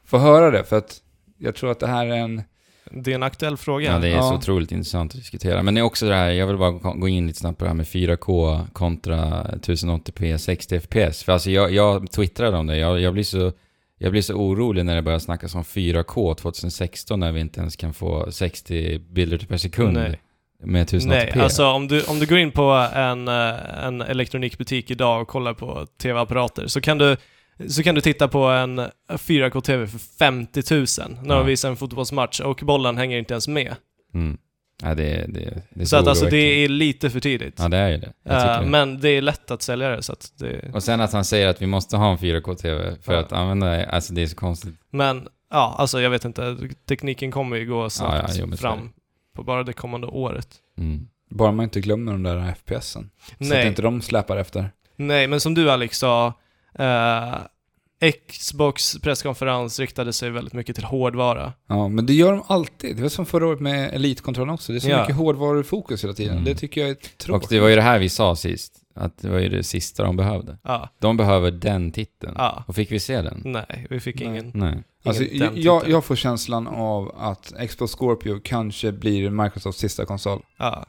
S3: få höra det, för att jag tror att det här är en...
S2: Det är en aktuell fråga.
S1: Ja, det är så
S3: Ja.
S1: otroligt intressant att diskutera. Men det är också det här, jag vill bara gå- gå in lite snabbt på det här med 4K kontra 1080p 60 FPS. För alltså jag, jag twittrade om det, jag, jag, blir så, jag blir så orolig när det börjar snackas om 4K 2016 när vi inte ens kan få 60 bilder per sekund
S2: Nej.
S1: med 1080p.
S2: Nej, alltså om du, om du går in på en, eh, en elektronikbutik idag och kollar på tv-apparater så kan du så kan du titta på en 4K-TV för 50 000 när
S1: Ja.
S2: de visar en fotbollsmatch och bollen hänger inte ens med.
S1: Mm. Ja, det, det, det är så,
S2: Så att alltså det
S1: oroväckande.
S2: är lite för tidigt.
S1: Ja, det är ju det. Jag tycker
S2: Eh,
S1: det.
S2: men det är lätt att sälja det så att det...
S1: Och sen att han säger att vi måste ha en 4K-TV för
S2: Ja.
S1: att använda alltså det är så konstigt.
S2: Men ja, alltså jag vet inte. Tekniken kommer ju gå snabbt
S1: jo, men så är
S2: fram på bara det kommande året.
S1: Mm.
S3: Bara man inte glömmer de där FPSen. Så att
S2: Nej.
S3: inte de släpar efter.
S2: Nej, men som du Alex sa, eh, Xbox presskonferens riktade sig väldigt mycket till hårdvara.
S3: Ja, men det gör de alltid. Det var som förra året med Elitkontrollen också. Det är så
S2: Ja.
S3: mycket hårdvarufokus hela tiden.
S1: Mm.
S3: Det tycker jag är
S1: Och
S3: tråkigt.
S1: det var ju det här vi sa sist, att det var ju det sista de behövde.
S2: Ja,
S1: De behöver den titeln.
S2: ja. Mm.
S1: Och fick vi se den?
S2: Nej, vi fick
S3: Nej.
S2: ingen.
S1: Nej.
S3: Alltså,
S2: Ingen den
S3: jag,
S2: titeln.
S3: jag får känslan av att Xbox Scorpio kanske blir Microsofts sista konsol.
S2: Ja.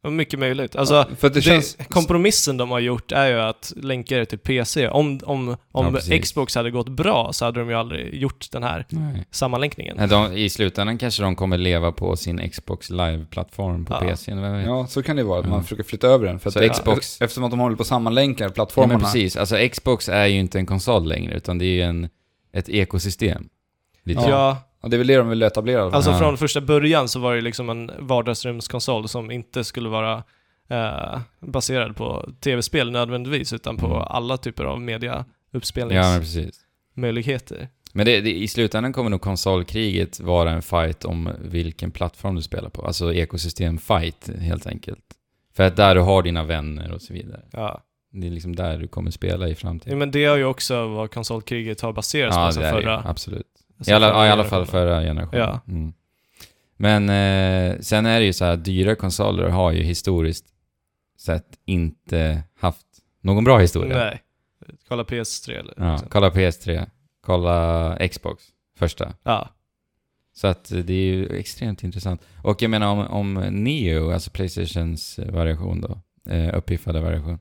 S2: Det var Mycket möjligt. Alltså,
S3: För att det,
S2: det
S3: känns...
S2: kompromissen de har gjort är ju att länka det till PC. Om, om,
S1: Ja,
S2: om
S1: precis.
S2: Xbox hade gått bra så hade de ju aldrig gjort den här
S1: Nej.
S2: sammanlänkningen.
S1: Nej, de, I slutändan kanske de kommer leva på sin Xbox Live-plattform på
S2: Ja.
S1: PC. Vem vet?
S3: Ja, så kan det vara. Att man
S1: Mm.
S3: försöker flytta över den. För
S1: Så
S3: att
S1: Xbox-
S3: Eftersom att de håller på att sammanlänka
S1: Ja,
S3: plattformarna.
S1: men precis. Alltså Xbox är ju inte en konsol längre, utan det är ju en, ett ekosystem. Lite.
S3: Ja.
S1: Ja.
S2: Ja,
S3: Och det är väl det de vill etablera.
S2: alltså
S1: Ja.
S2: från första början så var det liksom en vardagsrumskonsol som inte skulle vara eh, baserad på tv-spel nödvändigtvis, utan på
S1: Mm.
S2: alla typer av
S1: ja, men
S2: mediauppspelningsmöjligheter.
S1: precis. Men det, det, i slutändan kommer nog konsolkriget vara en fight om vilken plattform du spelar på. Alltså ekosystem-fight, helt enkelt. För att där du har dina vänner och så vidare.
S2: Ja.
S1: Det är liksom där du kommer spela i
S2: Ja,
S1: framtiden.
S2: men det är ju också vad konsolkriget har baserats på
S1: Ja,
S2: sen
S1: det är det ju.
S2: alltså förra.
S1: Absolut. I
S2: sen
S1: alla,
S2: förra
S1: ja, i alla fall
S2: generationen.
S1: förra generationen.
S2: Ja.
S1: Mm. Men eh, sen är det ju så här, dyra konsoler har ju historiskt sett inte haft någon bra historia.
S2: Nej. Kolla PS3 eller
S1: Ja,
S2: liksom.
S1: kolla PS3, kolla Xbox, första.
S2: ja.
S1: Så att eh, det är ju extremt intressant. Och jag menar om, om Neo, alltså Playstations eh, variation då, eh, uppiffade variation.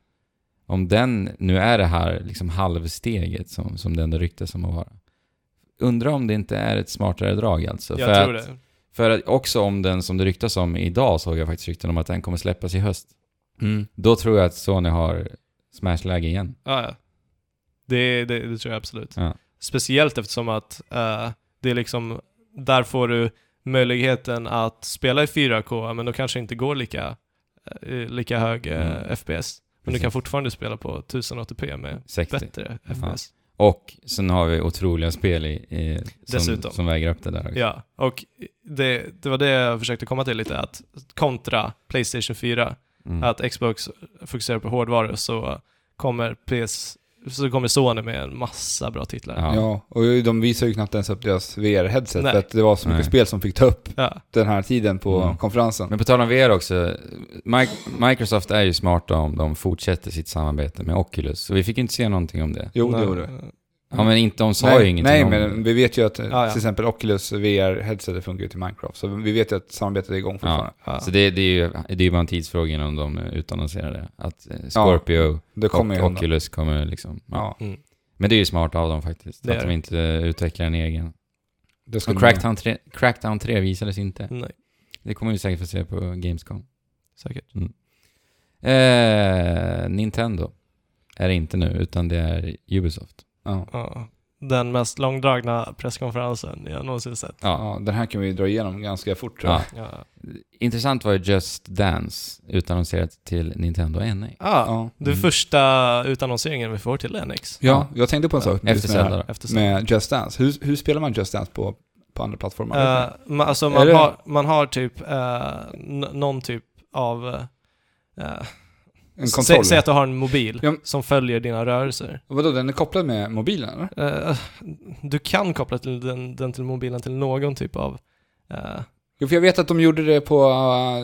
S1: Om den nu är det här liksom halvsteget som, som det ändå ryktas som att vara. Undrar om det inte är ett smartare drag alltså.
S2: Jag
S1: för
S2: tror
S1: att,
S2: det.
S1: För att också om den som det ryktas om idag såg jag faktiskt rykten om att den kommer släppas i höst.
S3: Mm.
S1: Då tror jag att Sony har smashläge igen.
S2: Ja, ja. Det, det, det tror jag absolut.
S1: Ja.
S2: Speciellt eftersom att eh, det är liksom, där får du möjligheten att spela i 4K, men då kanske inte går lika, eh, lika hög eh,
S1: Mm.
S2: FPS. Men du
S1: Precis.
S2: kan fortfarande spela på 1080p med
S1: 60.
S2: bättre FPS.
S1: Och sen har vi otroliga spel i, i, som,
S2: Dessutom.
S1: som väger upp det där också.
S2: Ja, och det, det var det jag försökte komma till lite, att kontra Playstation 4,
S1: Mm.
S2: att Xbox fokuserar på hårdvaror så kommer PS så kommer Sony med en massa bra titlar.
S1: Ja.
S3: Ja. och de visar ju knappt ens upp deras VR-headset.
S2: Nej.
S3: För att det var så mycket
S1: Nej.
S3: spel som fick ta upp
S2: Ja.
S3: den här tiden på
S1: Mm.
S3: konferensen.
S1: Men på tal om VR också, Mi- Microsoft är ju smarta om de fortsätter sitt samarbete med Oculus. Så vi fick inte se någonting om det.
S3: Jo, det
S2: Nej.
S3: gjorde det.
S1: Ja men inte, de sa ju
S3: Nej,
S1: ingenting
S3: nej
S1: om
S3: men
S1: det.
S3: vi vet ju att eh,
S2: ja.
S3: till exempel Oculus VR-headsetet funkar ju till Minecraft. Så vi vet ju att samarbetet är igång fortfarande.
S2: Ja.
S1: Så det, det är ju det är ju bara en tidsfråga innan de utannonserar det. Att eh, Scorpio
S3: Det kommer ju
S1: och
S3: hända.
S1: Oculus kommer liksom... Ja.
S3: Ja,
S2: Mm.
S1: Men det är ju smart av dem faktiskt,
S2: Det är
S1: att de
S2: det.
S1: inte eh, utvecklar en egen.
S3: det skulle
S1: Och Crackdown 3, Crackdown 3 visades inte.
S2: Mm. Nej,
S1: Det kommer vi säkert få se på Gamescom. Mm.
S2: säkert.
S1: Eh, Nintendo är det inte nu, utan det är Ubisoft.
S3: man- Ja.
S2: Ja. den mest långdragna presskonferensen jag någonsin sett.
S1: Ja.
S3: Ja, den här kan vi dra igenom ganska fort tror jag.
S1: ja.
S2: Ja.
S1: Intressant var ju Just Dance utannonserat till Nintendo NA.
S2: Ah,
S3: Ja.
S2: Det är
S1: Mm.
S2: första utannonseringen vi får till NX.
S3: Ja, jag tänkte på en sak
S1: Efter
S3: med, det här-
S1: Zelda då.
S2: Efter så.
S3: med Just Dance. Hur, hur spelar man Just Dance på, på andra plattformar?
S2: Eh, man, alltså man,
S3: Är det-
S2: har, man har typ eh, n- någon typ av... eh, eh,
S3: en
S2: sä,
S3: kontroll?
S2: säg att du har en mobil
S3: Ja, men-
S2: som följer dina rörelser.
S3: Vadå, den är kopplad med mobilen eller?
S2: Eh, du kan koppla till den, den till mobilen till någon typ av... eh,
S3: Jo, för jag vet att de gjorde det på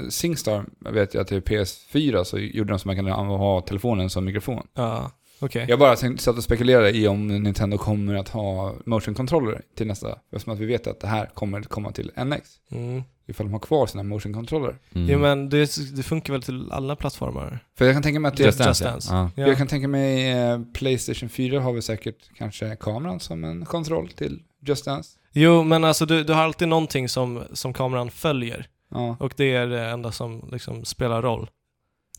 S3: uh, Singstar, jag vet jag, till PS4 så gjorde de så man kan an- ha telefonen som mikrofon.
S2: ja, okej.
S3: Jag bara tänkte, satt och spekulerade i om Nintendo kommer att ha motion controller till nästa, eftersom att vi vet att det här kommer att komma till NX,
S2: Mm.
S3: ifall de har kvar sina motion controller.
S1: Mm.
S2: Jo men det, det funkar väl till alla plattformar?
S3: För jag kan tänka mig att det,
S1: Just
S2: Just
S1: Dance, ja.
S2: Dance.
S1: Ja.
S2: Ja.
S3: jag kan tänka mig eh, Playstation 4 har vi säkert kanske kameran som en kontroll till Just Dance.
S2: Jo men alltså du, du har alltid någonting som, som kameran följer
S3: Ja.
S2: och det är det enda som liksom spelar roll.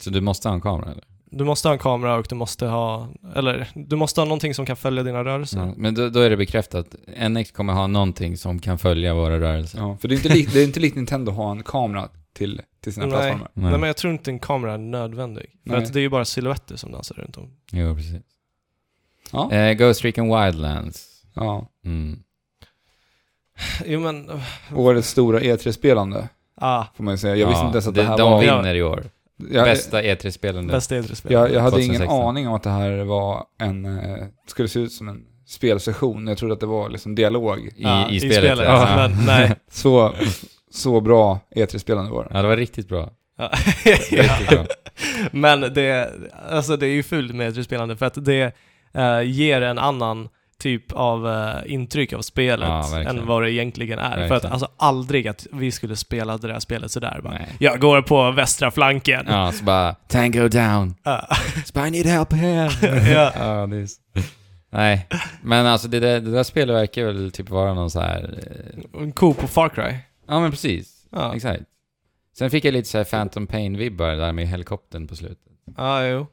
S1: Så du måste ha en kamera eller?
S2: Du måste ha en kamera och du måste ha, eller du måste ha någonting som kan följa dina rörelser.
S1: Ja. Men då, då är det bekräftat. NX kommer ha någonting som kan följa våra rörelser.
S3: ja. För det är inte likt, det är inte likt Nintendo att ha en kamera till, till sina
S2: Nej.
S3: plattformar.
S1: Nej.
S2: Nej men jag tror inte en kamera är nödvändig. För
S3: Nej.
S2: att det är ju bara silhuetter som dansar runt om. <laughs>
S1: Jo, precis.
S3: Ja.
S1: Eh, Ghost Recon Wildlands.
S3: Ja.
S1: Mm.
S2: Jo men, uh,
S3: Årets stora E3-spelande.
S2: ah,
S3: får man ju säga. Jag visste
S1: Ja,
S3: inte ens att det, här
S1: de
S3: var...
S2: vi-
S1: vinner i år.
S3: jag,
S1: Bästa E E3-spelande.
S2: bästa E3-spel.
S3: jag, jag hade
S1: 2016.
S3: ingen aning om att det här var en... eh, skulle se ut som en spelsession. Jag trodde att det var liksom dialog.
S1: I,
S2: Ja,
S1: i spelet. liksom.
S2: Ja,
S1: Ja.
S2: men
S1: <laughs>
S2: nej.
S3: Så, så bra E3-spelande var det.
S1: ja, det var riktigt bra.
S2: Ja. <laughs>
S1: Riktigt bra.
S2: Men det, alltså det är ju fult med E3-spelande för att det eh, ger en annan typ av eh, intryck av spelet
S1: Ja, verkligen.
S2: än vad det egentligen är. För att
S1: Verkligen.
S2: alltså aldrig att vi skulle spela det där spelet sådär bara.
S1: Nej.
S2: Jag går på västra flanken.
S1: Ja, så bara Tango down.
S2: Ja. <laughs>
S1: Så bara, I need help here.
S2: Ja.
S1: <laughs> ja, det är så. Nej, men alltså det där, det där spelet verkar väl typ vara någon så här... eh,
S2: En ko på Far Cry.
S1: Ja, men precis.
S2: Ja,
S1: Exakt. Sen fick jag lite så här Phantom Pain-vibbar där med helikoptern på slutet.
S2: ja jo.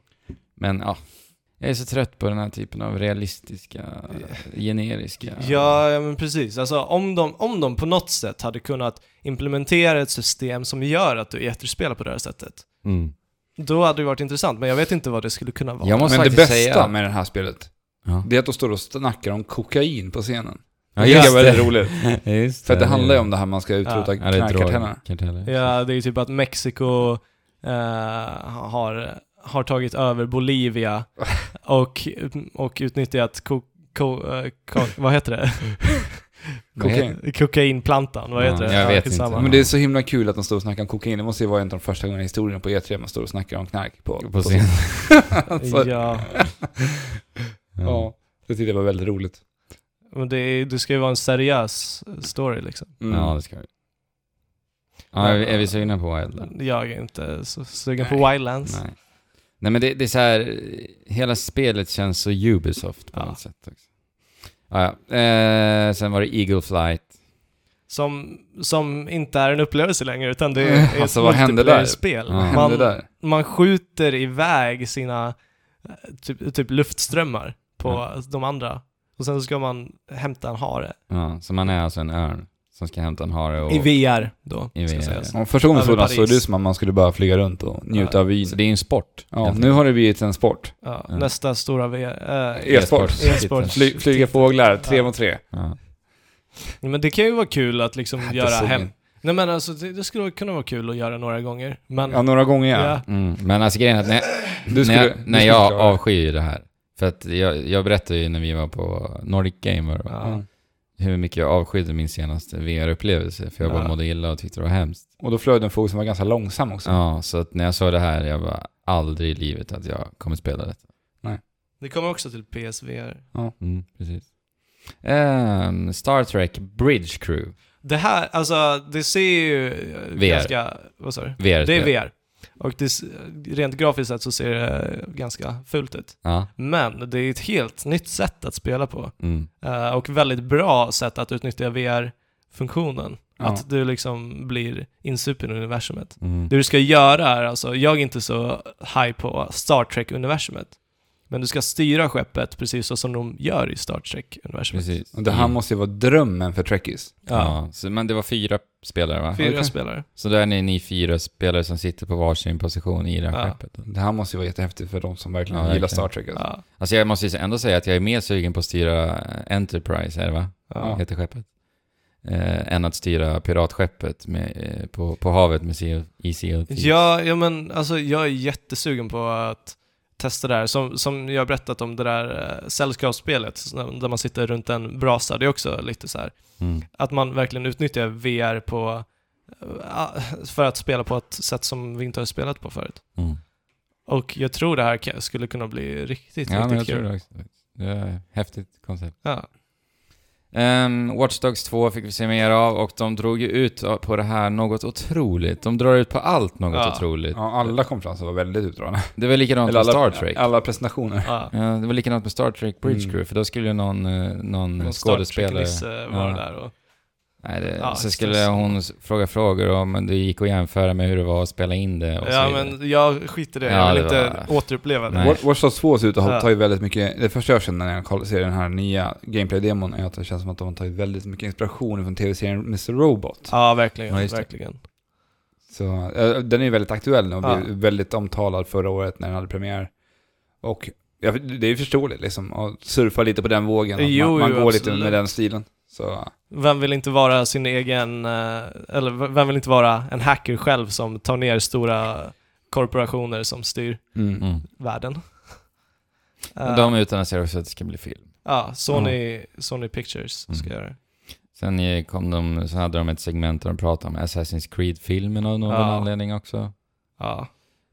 S1: Men ja, jag är så trött på den här typen av realistiska, generiska...
S2: Ja, ja men precis. Alltså, om, de, om de på något sätt hade kunnat implementera ett system som gör att du efterspelar på det här sättet,
S1: Mm.
S2: då hade det varit intressant. Men jag vet inte vad det skulle kunna vara.
S1: Jag måste
S3: Men det
S1: faktiskt
S3: bästa
S1: säga...
S3: med det här spelet,
S1: Ja.
S3: det är att de står och snackar om kokain på scenen.
S1: Ja,
S3: det
S1: just
S3: är väldigt
S1: det.
S3: roligt.
S1: Just
S3: För att det handlar ju om det här man ska utrota
S1: Ja, det är
S3: knarkkartellerna.
S1: drog- karteller.
S2: Ja, det är ju typ att Mexiko eh, har, har tagit över
S3: <laughs>
S2: Bolivia och, och utnyttjat ko, ko, eh, ko, vad heter det?
S1: Vad
S3: <laughs> Kokain.
S1: heter-
S2: Kokainplantan, vad
S1: Ja,
S2: heter det?
S1: jag vet inte.
S2: skitsamma.
S3: Men det är så himla kul att de står och snackar om kokain. Det måste ju vara en av de första gångerna i historien på E3 man står och snackar om knark på,
S1: På
S3: <laughs>
S1: scenen.
S3: alltså.
S2: Ja,
S3: <laughs> Ja, det tyckte jag var väldigt roligt.
S2: men det, är, det ska ju vara en seriös story liksom.
S3: Mm.
S1: Ja, det ska vi. Ja, är, vi- är vi sugna på Wildlands?
S2: Jag är inte så sugen på
S3: Nej.
S2: Wildlands.
S1: Nej. Nej men det, det är så här, hela spelet känns så Ubisoft på
S2: Ja.
S1: något sätt också. Ja, ja. Eh, sen var det Eagle Flight.
S2: Som, som inte är en upplevelse längre utan
S3: <laughs>
S2: det
S3: Mm.
S2: är ett
S3: Alltså, vad hände där?
S2: multiplayer-spel.
S1: Ja.
S3: Vad hände
S2: Man-
S3: där?
S2: man skjuter iväg sina eh, typ, typ luftströmmar på de andra. Och sen ska man hämta en hare.
S1: Ja, så man är alltså en örn som ska hämta en hare och...
S2: I VR då,
S1: I
S2: ska
S1: VR,
S2: sägas.
S3: Ja, första gången
S2: Över
S3: såg den såg
S2: Paris.
S3: det ut som att man skulle bara flyga runt och njuta
S2: Ja,
S3: av vyn.
S1: Så det är ju en sport.
S3: Ja,
S1: helt
S3: nu har det blivit en sport.
S2: Ja,
S1: Ja.
S2: Nästa stora VR. eh,
S3: E-sport.
S2: E-sport.
S3: Fly, flyga fåglar, tre
S2: Ja.
S3: mot tre.
S1: Ja.
S2: Men det kan ju vara kul att liksom
S3: Ja, det
S2: göra
S3: såg
S2: hem...
S3: jag.
S2: Nej men alltså det, det skulle kunna vara kul att göra några gånger. Men,
S3: Ja, några gånger ja.
S2: ja.
S1: Mm. Men alltså grejen är att när,
S3: Du
S1: när
S3: skulle,
S1: jag,
S3: du
S1: när
S3: skulle
S1: jag
S3: klara det.
S1: avskyr ju det här. För att jag, jag berättade ju när vi var på Nordic Gamer va,
S2: Ja.
S3: Mm.
S1: hur mycket jag avskydde min senaste VR-upplevelse. För jag bara
S2: Ja.
S1: mådde illa och tyckte det var hemskt.
S3: Och då flög den fågel som var ganska långsam också.
S1: Ja, så att när jag såg det här, jag var aldrig i livet att jag kommer spela detta.
S2: Det kommer också till PSVR.
S1: Mm, precis. Ehm, Star Trek Bridge Crew.
S2: Det här, alltså det ser ju eh,
S1: VR.
S2: ganska... Vad sa du?
S1: VR
S2: Det är VR. Och det, s- rent grafiskt sett så ser det eh, ganska fult ut.
S1: Ja.
S2: Men det är ett helt nytt sätt att spela på.
S1: Mm.
S2: Eh, och väldigt bra sätt att utnyttja VR-funktionen.
S3: Ja.
S2: Att du liksom blir insupen i universumet.
S1: Mm.
S2: Det du ska göra är alltså, jag är inte så high på Star Trek-universumet. Men du ska styra skeppet precis så som de gör i Star Trek-universumet.
S1: Precis.
S3: Och det här
S1: Mm.
S3: måste ju vara drömmen för Trekkies.
S2: Ja.
S1: Ja. så, men det var fyra spelare va?
S2: Fyra
S3: Okej.
S2: spelare.
S1: Så där är ni, ni fyra spelare som sitter på varsin position i det här
S2: Ja.
S1: skeppet.
S3: Det här måste ju vara jättehäftigt för de som verkligen
S1: Ja,
S3: gillar
S1: verkligen.
S3: Star Trek. Alltså.
S2: Ja.
S1: Alltså jag måste ju ändå säga att jag är mer sugen på att styra eh, Enterprise, är det va?
S2: Ja.
S1: Heter skeppet. Eh, än att styra piratskeppet med, eh, på, på havet med CO, i CLT.
S2: Ja, ja, men alltså jag är jättesugen på att testa det här. Som, som jag har berättat om det där eh, sällskapsspelet, så där- där man sitter runt en brasa. Det är också lite så här,
S1: Mm.
S2: att man verkligen utnyttjar VR på, eh, för att spela på ett sätt som vi inte har spelat på förut.
S1: Mm.
S2: Och jag tror det här ka- skulle kunna bli riktigt,
S1: Ja, men jag
S2: riktigt
S1: tror
S2: kul.
S1: det också. Det är ett häftigt koncept.
S2: Ja.
S1: Um, Watch Dogs 2 fick vi se mer av och de drog ju ut på det här något otroligt. De drar ut på allt något
S2: Ja.
S1: otroligt.
S3: Ja, alla konferenser var väldigt utdragna.
S1: Det var likadant med
S3: alla,
S1: Star Trek.
S3: alla presentationer.
S2: Ja.
S1: Ja, det var likadant med Star Trek Bridge
S3: Mm.
S1: Crew, för då skulle ju någon, eh, någon
S2: Någon
S1: skådespelare...
S2: Star Trek-nisse var
S1: Ja.
S2: där och...
S1: Nej, det,
S2: Ja,
S1: så
S2: just
S1: skulle
S2: det.
S1: hon s- fråga frågor om, men det gick att jämföra med hur det var att spela in det och
S2: Ja,
S1: så vidare.
S2: men jag skiter i det.
S1: Ja,
S2: jag vill
S1: det
S2: inte
S1: var-
S2: återuppleva det.
S1: Nej.
S3: Watch- Watch Dogs 2 ser ut att ha
S2: Ja.
S3: tagit väldigt mycket, det första jag känner när jag koll- ser den här nya gameplay-demon är att det känns som att de har tagit väldigt mycket inspiration från tv-serien Mr. Robot.
S2: Ja, verkligen.
S1: Ja, just det.
S2: verkligen.
S3: Så, eh, den är ju väldigt aktuell nu och
S2: Ja.
S3: blev väldigt omtalad förra året när den hade premiär. Och ja, det är ju förståeligt liksom, att surfa lite på den vågen. att
S2: Jo,
S3: man man
S2: jo,
S3: går lite
S2: absolut.
S3: med den stilen. Så,
S2: Vem vill inte vara sin egen, eh, eller v- vem vill inte vara en hacker själv som tar ner stora korporationer som styr
S3: mm.
S1: Mm.
S2: världen?
S1: Men
S2: Eh,
S1: De utannonserade också att det ska bli film.
S2: ja, Sony, Sony Pictures ska
S1: Mm.
S2: göra det.
S1: Sen eh, kom de, så hade de ett segment där de pratade om Assassin's Creed-filmen av någon
S2: Ja.
S1: anledning också.
S2: Ja,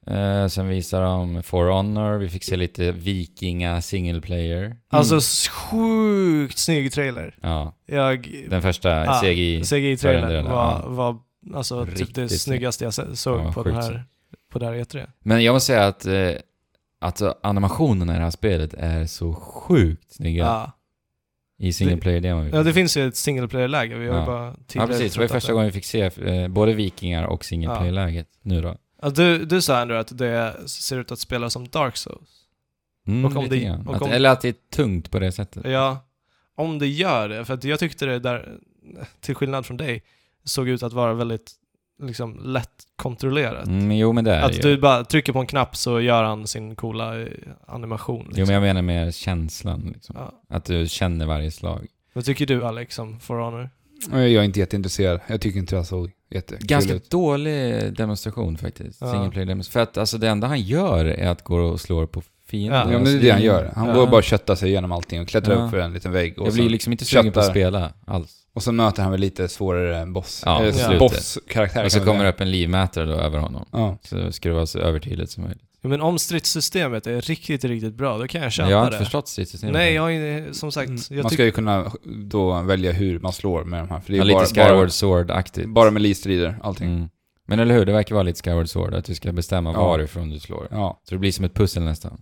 S1: Eh, sen visade de For Honor, vi fick se lite vikinga single player.
S2: Alltså s- sjukt snygg trailer.
S1: Ja,
S2: Jag,
S1: den första
S2: Ja,
S1: CGI.
S2: CGI-trailern
S1: förändringen,
S2: var, var alltså typ
S1: Riktigt
S2: det
S1: snygg.
S2: snyggaste jag se- såg
S1: Ja,
S2: på, den
S1: sjukt
S2: här, på det här E3.
S1: Men jag måste säga att, eh, att animationerna i det här spelet är så sjukt snygga
S2: Ja.
S1: i single player-demon.
S2: ja, Ah. det finns ju ett single player-läge. Vi har ju
S1: Ja.
S2: bara
S1: Ja
S2: tidigare
S1: precis, det var ju
S2: pratat
S1: första
S2: om.
S1: gången vi fick se eh, både vikingar och single
S2: Ja.
S1: player-läget nu då.
S2: Ja, du, du sa ändå att det ser ut att spela som Dark Souls.
S1: Mm,
S2: Och om
S1: lite
S2: det-
S1: grann.
S2: och
S1: att,
S2: om-
S1: Eller att det är tungt på det sättet.
S2: Ja, om det gör det. För att jag tyckte det där, till skillnad från dig, såg ut att vara väldigt liksom, lätt kontrollerat.
S1: Mm, jo men det är det
S2: Att
S1: ju.
S2: du bara trycker på en knapp så gör han sin coola eh, animation. Liksom.
S1: Jo men jag menar mer känslan liksom.
S2: ja.
S1: Att du känner varje slag.
S2: Vad tycker du Alex om For Honor?
S3: Och Eh, Jag är inte jätteintresserad. Jag tycker inte det här såg jättekul
S1: Ganska
S3: ut.
S1: dålig demonstration faktiskt.
S2: Ja.
S1: Single player demonstration. För att alltså det enda han gör är att gå och slå på fiender.
S2: Ja. alltså,
S3: Ja, men det är det han gör. Han
S2: Ja.
S3: går och bara köttar sig igenom allting och klättrar
S1: Ja.
S3: upp för en liten vägg. Och
S1: Jag blir ju
S3: sen,
S1: liksom inte sugen på att
S3: köttar.
S1: spela alls.
S3: och sen möter han väl lite svårare än boss.
S1: Ja,
S3: Eller
S2: på
S3: ja.
S2: slutet.
S3: bosskaraktär.
S1: Och så
S3: kan man
S1: kommer det
S3: säga.
S1: upp en livmätare då över honom.
S3: Ja.
S1: Så det ska det vara så övertydligt som möjligt.
S2: Jo, men om stridssystemet är riktigt, riktigt bra, då kan jag
S1: Men
S2: köpa
S1: jag har inte
S2: det.
S1: förstått stridssystemet.
S2: Nej, jag har ju- eh, som sagt,
S1: Mm.
S2: jag
S3: Man
S2: tycker...
S3: ska ju kunna då välja hur man slår med de här. För det
S1: Ja,
S3: är
S1: lite
S3: bara,
S1: Skyward
S3: bara,
S1: Sword-aktigt.
S3: bara med strider allting.
S1: Mm. Men eller hur, det verkar vara lite Skyward Sword, att du ska bestämma
S3: Ja.
S1: varifrån du slår.
S3: Ja.
S1: Så det blir som ett pussel nästan.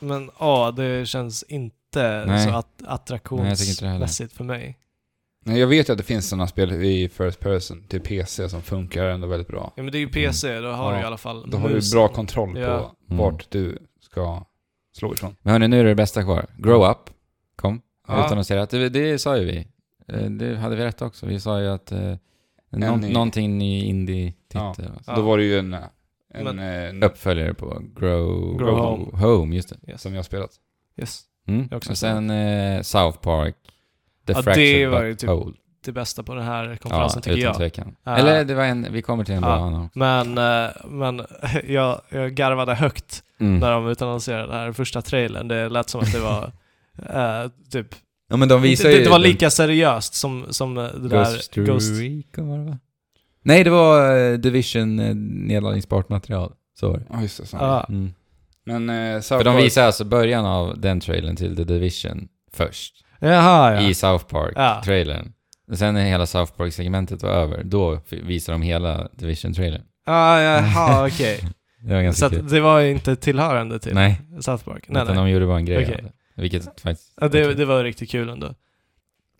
S2: Men ja, det känns inte
S1: Nej. inte det
S2: så att
S1: heller.
S2: attraktionsmässigt för mig.
S3: Nej, Jag vet ju att det finns sådana spel i First Person till PC som funkar ändå väldigt bra.
S2: Ja, men det är ju PC, då har
S3: Ja,
S2: du i alla fall
S3: Då har du
S2: musen.
S3: bra kontroll
S2: Mm. Ja.
S1: Mm.
S3: på vart du ska slå ifrån.
S1: Men hörni, nu är det bästa kvar. Grow up. Kom.
S2: Ja.
S1: Utan att säga att det, det sa ju vi. Eh, Det hade vi rätt också. Vi sa ju att eh, någon,
S3: ny-
S1: någonting ny indie-titel. alltså.
S2: Ja.
S3: Då var det ju en, en,
S2: Men-
S3: eh,
S1: Uppföljare på Grow,
S2: Grow
S1: home.
S2: Home.
S1: just det.
S2: Yes.
S3: som jag spelat.
S2: Yes.
S1: Mm.
S2: Jag också
S1: Och sen eh, South Park. The
S2: Ja, det
S1: Fractured
S2: var
S1: But
S2: ju typ
S1: Whole.
S2: Det bästa på den här
S1: Ja,
S2: konferensen
S1: utan
S2: tycker jag.
S1: tvekan.
S2: Ah.
S1: Eller det var en, vi kommer till en bra
S2: Ja.
S1: annan också.
S2: Men, eh, men <laughs> jag, jag garvade högt
S1: Mm.
S2: när de utannonserade den här första trailern. Det lät som att det var
S1: <laughs>
S2: eh, typ...
S1: Ja men de visar
S2: det,
S1: ju...
S2: det var
S1: den-
S2: lika seriöst som, som det
S1: Ghost
S2: där Ghost...
S1: Recon var det va? Nej, det var eh, Division eh, nedladdningsbart material. Så var det.
S3: Ja, just det. så.
S2: Ja,
S1: Mm.
S3: Men eh,
S1: För
S3: South
S1: de
S3: Park-
S1: visar alltså början av den trailern till The Division först.
S2: Jaha, ja.
S1: I South
S2: Ja.
S1: Park-trailern. Och Sen när hela South Park-segmentet var över, då f- visar de hela Division-trailern. <laughs>
S2: Ja, jaha, okej.
S1: Det var
S2: Så
S1: ganska kul.
S2: att det var ju inte tillhörande till
S1: Nej,
S2: South Park? typ. Nej,
S1: utan
S2: nej.
S1: de gjorde bara en grej
S2: Okej.
S1: av det. Vilket faktiskt...
S2: Ja, det, det var riktigt kul ändå.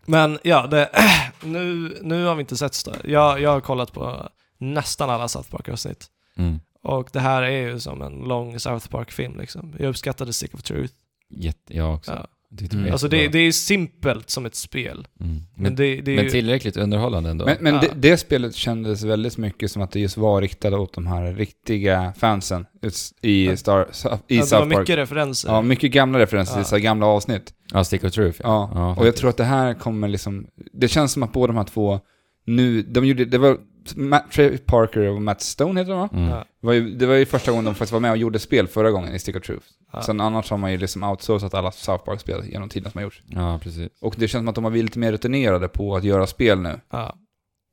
S2: Men ja, det, <clears throat> nu, nu har vi inte sett Star. Jag, jag har kollat på nästan alla South Park-avsnitt.
S1: Mm.
S2: Och det här är ju som en lång South Park-film liksom. Jag uppskattade Stick of Truth.
S1: Jätte, jag också.
S2: Ja.
S1: Jag tyckte
S3: Mm.
S1: var
S2: Alltså det,
S1: jättebra.
S2: det är ju simpelt som ett spel.
S1: Mm. Men,
S2: Men
S1: men,
S2: det, det är ju...
S1: tillräckligt underhållande ändå.
S3: Men, men
S2: Ja.
S3: det, det spelet kändes väldigt mycket som att det just var riktat åt de här riktiga fansen ut- i,
S2: Ja.
S3: Star, Sa- i
S2: ja, det var
S3: South Park.
S2: mycket referenser.
S3: ja, mycket gamla referenser
S2: Ja.
S3: till så här gamla avsnitt.
S1: ja, Stick of Truth.
S3: Ja. och jag
S1: faktiskt.
S3: tror att det här kommer liksom... Det känns som att båda de här två nu... De gjorde... Det var Matt Trey Parker och Matt Stone heter de va?
S1: Mm.
S2: Ja.
S3: Det var, ju, det var ju första gången de faktiskt var med och gjorde spel förra gången i Stick of Truth.
S2: Ja.
S3: Sen annars har man ju liksom outsourcat alla South Park-spel genom tiden som har gjorts.
S1: ja, precis.
S3: Och det känns som att de har blivit lite mer rutinerade på att göra spel nu
S2: Ja.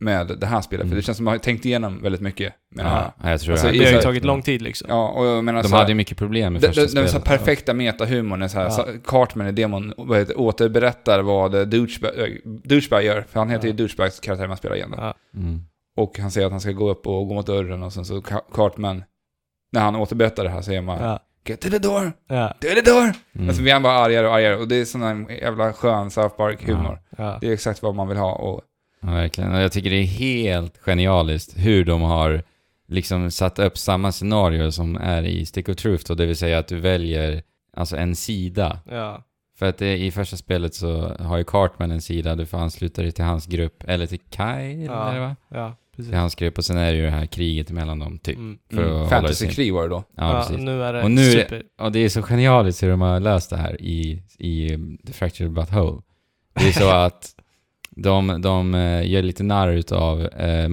S3: med det här spelet.
S1: Mm.
S3: För det känns som att de har tänkt igenom väldigt mycket med det här.
S1: Ja, jag tror
S3: Alltså,
S1: det.
S2: Det har ju
S3: Exakt.
S2: tagit lång tid liksom.
S3: Ja, och jag menar
S1: De
S3: så här-
S1: hade ju mycket problem med
S3: den,
S1: första
S3: den, den så här
S1: spelet. alltså.
S3: perfekta metahumorn är så här,
S2: Ja.
S3: så- Cartman i demon vad heter, det, återberättar vad eh, Douchebag eh, Douchebag gör, för han heter
S2: Ja.
S3: ju Douchebags karaktär man spelar igen. då.
S2: Ja.
S1: Mm.
S3: Och han säger att han ska gå upp och gå mot dörren och sen så Ca- Cartman, när han återberättar det här säger man
S2: Ja.
S3: Get to the door,
S2: Ja.
S3: to the door!
S1: Mm.
S3: Och så blir han bara argare och argare och det är sån här jävla skön South Park-humor.
S2: Ja.
S3: Det är exakt vad man vill ha och
S1: Ja, verkligen. Och Jag tycker det är helt genialiskt hur de har liksom satt upp samma scenario som är i Stick of Truth då, det vill säga att du väljer alltså en sida.
S2: Ja.
S1: För att det, i första spelet så har ju Cartman en sida, du får ansluta dig till hans grupp, eller till Kyle,
S2: Ja.
S1: eller va?
S2: Ja. Precis.
S1: Till hans grupp, och sen är det ju det här kriget mellan dem, typ.
S2: Mm.
S1: För att
S3: mm,
S1: hålla
S3: fantasykrig var det då.
S1: Ja,
S2: Ja,
S1: precis.
S2: nu är det
S1: Och nu är det-
S2: super...
S1: Och det är så genialiskt hur de har löst det här i, i um, The Fractured But Whole. Det är så att de, de eh, gör lite narr av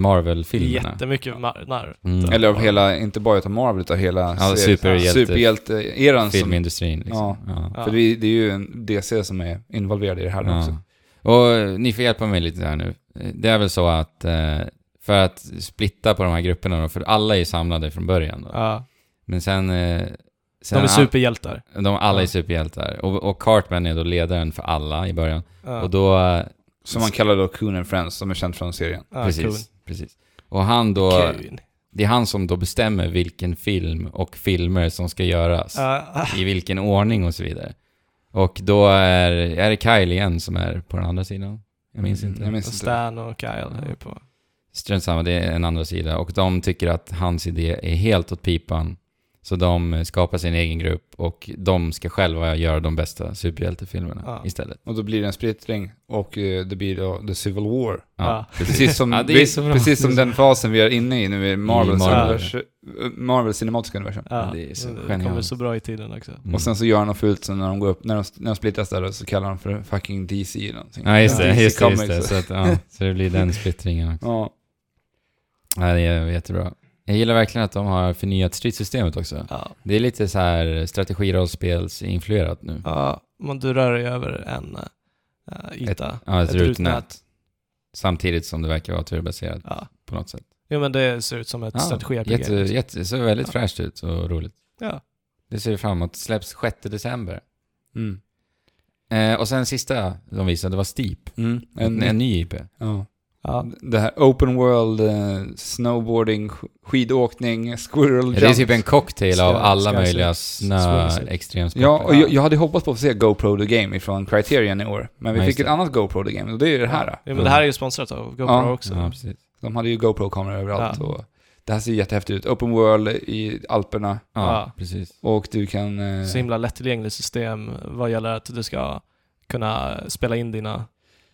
S1: Marvel-filmerna.
S2: Jättemycket mar- narr.
S1: Mm.
S3: Eller av hela, inte bara utav Marvel, utan hela
S1: Ja,
S3: serien-
S1: superhjälte-
S3: superhjälte-eran som
S1: filmindustrin. Liksom. Ja.
S2: Ja.
S3: För det, är- det är ju en DC som är involverad i det här nu
S1: Ja.
S3: också.
S1: Och eh, ni får hjälpa mig lite där nu. Eh, Det är väl så att eh, för att splitta på de här grupperna då, för alla är samlade från början då.
S2: Ja.
S1: Men sen... eh,
S2: De
S1: sen
S2: är superhjältar.
S1: de alla är
S2: Ja.
S1: superhjältar. Och, och Cartman är då ledaren för alla i början.
S2: Ja.
S1: Och då... eh,
S3: Som man kallar då Coon and Friends, som är känd från serien.
S2: ja,
S1: precis,
S2: Coon.
S1: precis. Och han då...
S2: Coon.
S1: Det är han som då bestämmer vilken film och filmer som ska göras. <laughs>
S2: Ja.
S1: I vilken ordning och så vidare. Och då är, är det Kyle igen som är på den andra sidan. Jag minns
S3: Mm,
S1: inte.
S3: jag minns
S2: Och
S3: inte.
S2: Stan och Kyle är ju på.
S1: Strunt samma, det är en andra sida. Och de tycker att hans idé är helt åt pipan. Så de skapar sin egen grupp och de ska själva göra de bästa superhjältefilmerna
S2: Ja.
S1: istället.
S3: Och då blir det en splittring och eh, det blir då The Civil War.
S1: Ja,
S2: Ja.
S1: precis.
S3: Precis som,
S1: Ja, det är
S3: vi,
S1: så bra.
S3: precis som den fasen vi är inne i nu i Marvels,
S1: Marvel. Mm.
S3: univers, eh, Marvel cinematiska universum.
S2: Ja.
S1: Det är så
S2: kommer
S1: genialt.
S2: så bra i tiden också.
S1: Mm.
S3: Och sen så gör han något fult sen när de går upp, när de, när de splittas där då, så kallar de för fucking DC eller någonting.
S1: Ja, just
S2: Ja.
S1: det. Just det, just det.
S3: Comics.
S1: Så, att, ja, så det blir den splittringen också.
S3: Ja,
S1: Ja, det är jättebra. Jag gillar verkligen att de har förnyat stridssystemet också.
S2: Ja.
S1: Det är lite så här strategirollspelsinfluerat nu.
S2: Ja, men du rör dig över en uh, yta.
S1: Ja, ett,
S2: Ett
S1: rutnät.
S2: rutnät.
S1: Samtidigt som det verkar vara turbaserat
S2: Ja.
S1: på något sätt.
S2: Jo, men det ser ut som ett
S1: Ja,
S2: strategi-RPG.
S1: Ah, jätte, jätte, Det ser väldigt
S2: Ja.
S1: fräscht ut och roligt.
S2: Ja.
S1: Det ser vi fram emot. Släpps 6 december.
S3: mm.
S1: Eh, och sen sista de visade var Steep.
S3: Mm.
S1: En, en ny IP.
S3: ja.
S2: Ja.
S3: Det här open world, eh, snowboarding, sk- skidåkning, squirrel jump.
S1: Det är typ en cocktail av
S2: Ska-
S1: alla
S2: ska-
S1: möjliga
S2: swingsuit.
S1: snö-extremsporter.
S3: Ja, och jag, jag hade hoppats på att få se GoPro The Game ifrån Criterion i år. Men vi
S1: Ja, just
S3: fick ett
S1: det.
S3: annat GoPro The Game och det är ju det här.
S2: Ja, men det här är ju sponsrat av GoPro
S3: Ja.
S2: också.
S1: Ja, precis.
S3: De hade ju GoPro-kameror överallt
S1: Ja.
S3: och det här ser ju jättehäftigt ut. Open world i Alperna
S1: Ja,
S2: Ja.
S1: precis.
S3: och du kan... eh,
S2: Så himla lättillgängligt system vad gäller att du ska kunna spela in dina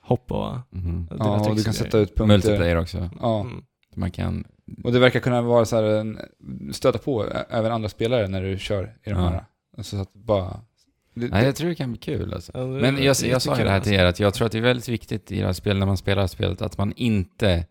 S2: hopp och
S1: Mhm.
S2: dina
S3: ja, och du
S2: tricks
S3: kan
S2: och
S3: sätta
S2: grejer.
S3: ut punkter.
S1: Multiplayer också.
S3: Ja,
S2: Mm.
S1: Man kan...
S3: och det verkar kunna vara så här en, stöta på ä- även andra spelare när du kör i de
S1: Ja.
S3: här. Alltså Så att bara... Det,
S1: Nej,
S3: det,
S1: jag tror det kan bli kul alltså.
S2: Ja, det- alltså.
S1: Men jag, jag sa ju
S2: tycker
S1: det här till er, att jag tror att det är väldigt viktigt i det här spelet, när man spelar spelet, att man inte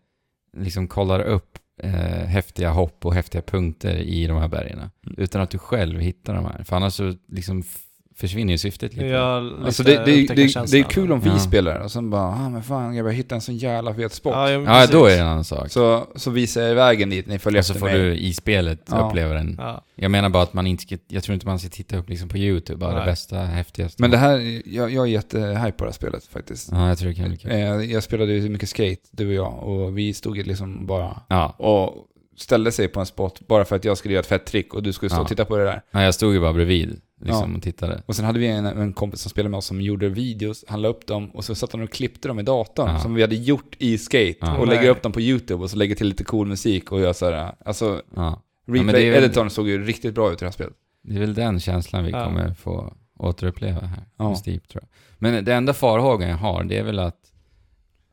S1: liksom kollar upp eh, häftiga hopp och häftiga punkter i de här
S2: Mm.
S1: bergen. Utan att du själv hittar de här. För annars så liksom f- försvinner ju syftet lite.
S2: Jag lite
S3: alltså det, det, det, det,
S2: upptäckarkänslan.
S3: är kul om vi
S1: Ja.
S3: spelar och sen bara, ah, men fan grabbar, jag hittade en sån jävla fet spot.
S2: Ja, men
S1: ja
S2: precis.
S1: då är det en annan sak.
S3: Så, så visar jag vägen dit, ni följer
S1: Och så
S3: efter
S1: får
S3: mig.
S1: du i spelet
S3: Ja.
S1: uppleva den.
S2: Ja.
S1: Jag menar bara att man inte ska, jag tror inte man ska titta upp liksom på YouTube, bara det
S2: Nej.
S1: bästa, häftigaste.
S3: Men det här, jag, jag är jättehype på det här spelet faktiskt.
S1: Ja, jag tror det kan bli kul.
S3: Eh, Jag spelade ju mycket skate, du och jag, och vi stod ju liksom bara
S1: Ja.
S3: och ställde sig på en spot bara för att jag skulle göra ett fett trick och du skulle stå
S1: Ja.
S3: och titta på det där.
S1: ja, jag stod ju bara bredvid liksom
S3: Ja.
S1: och tittade.
S3: Och sen hade vi en, en kompis som spelade med oss som gjorde videos, han la upp dem och så satt han och klippte dem i datorn
S1: Ja.
S3: som vi hade gjort i skate
S1: Ja.
S3: och
S2: Nej.
S3: lägger upp dem på YouTube och så lägger till lite cool musik och gör så här, alltså
S1: Ja. men det är väl-
S3: Replay-editorn såg ju riktigt bra ut i det här spelet.
S1: Det är väl den känslan vi
S2: Ja.
S1: kommer få återuppleva här
S3: Ja.
S1: med Steep tror jag. Men det enda farhågan jag har det är väl att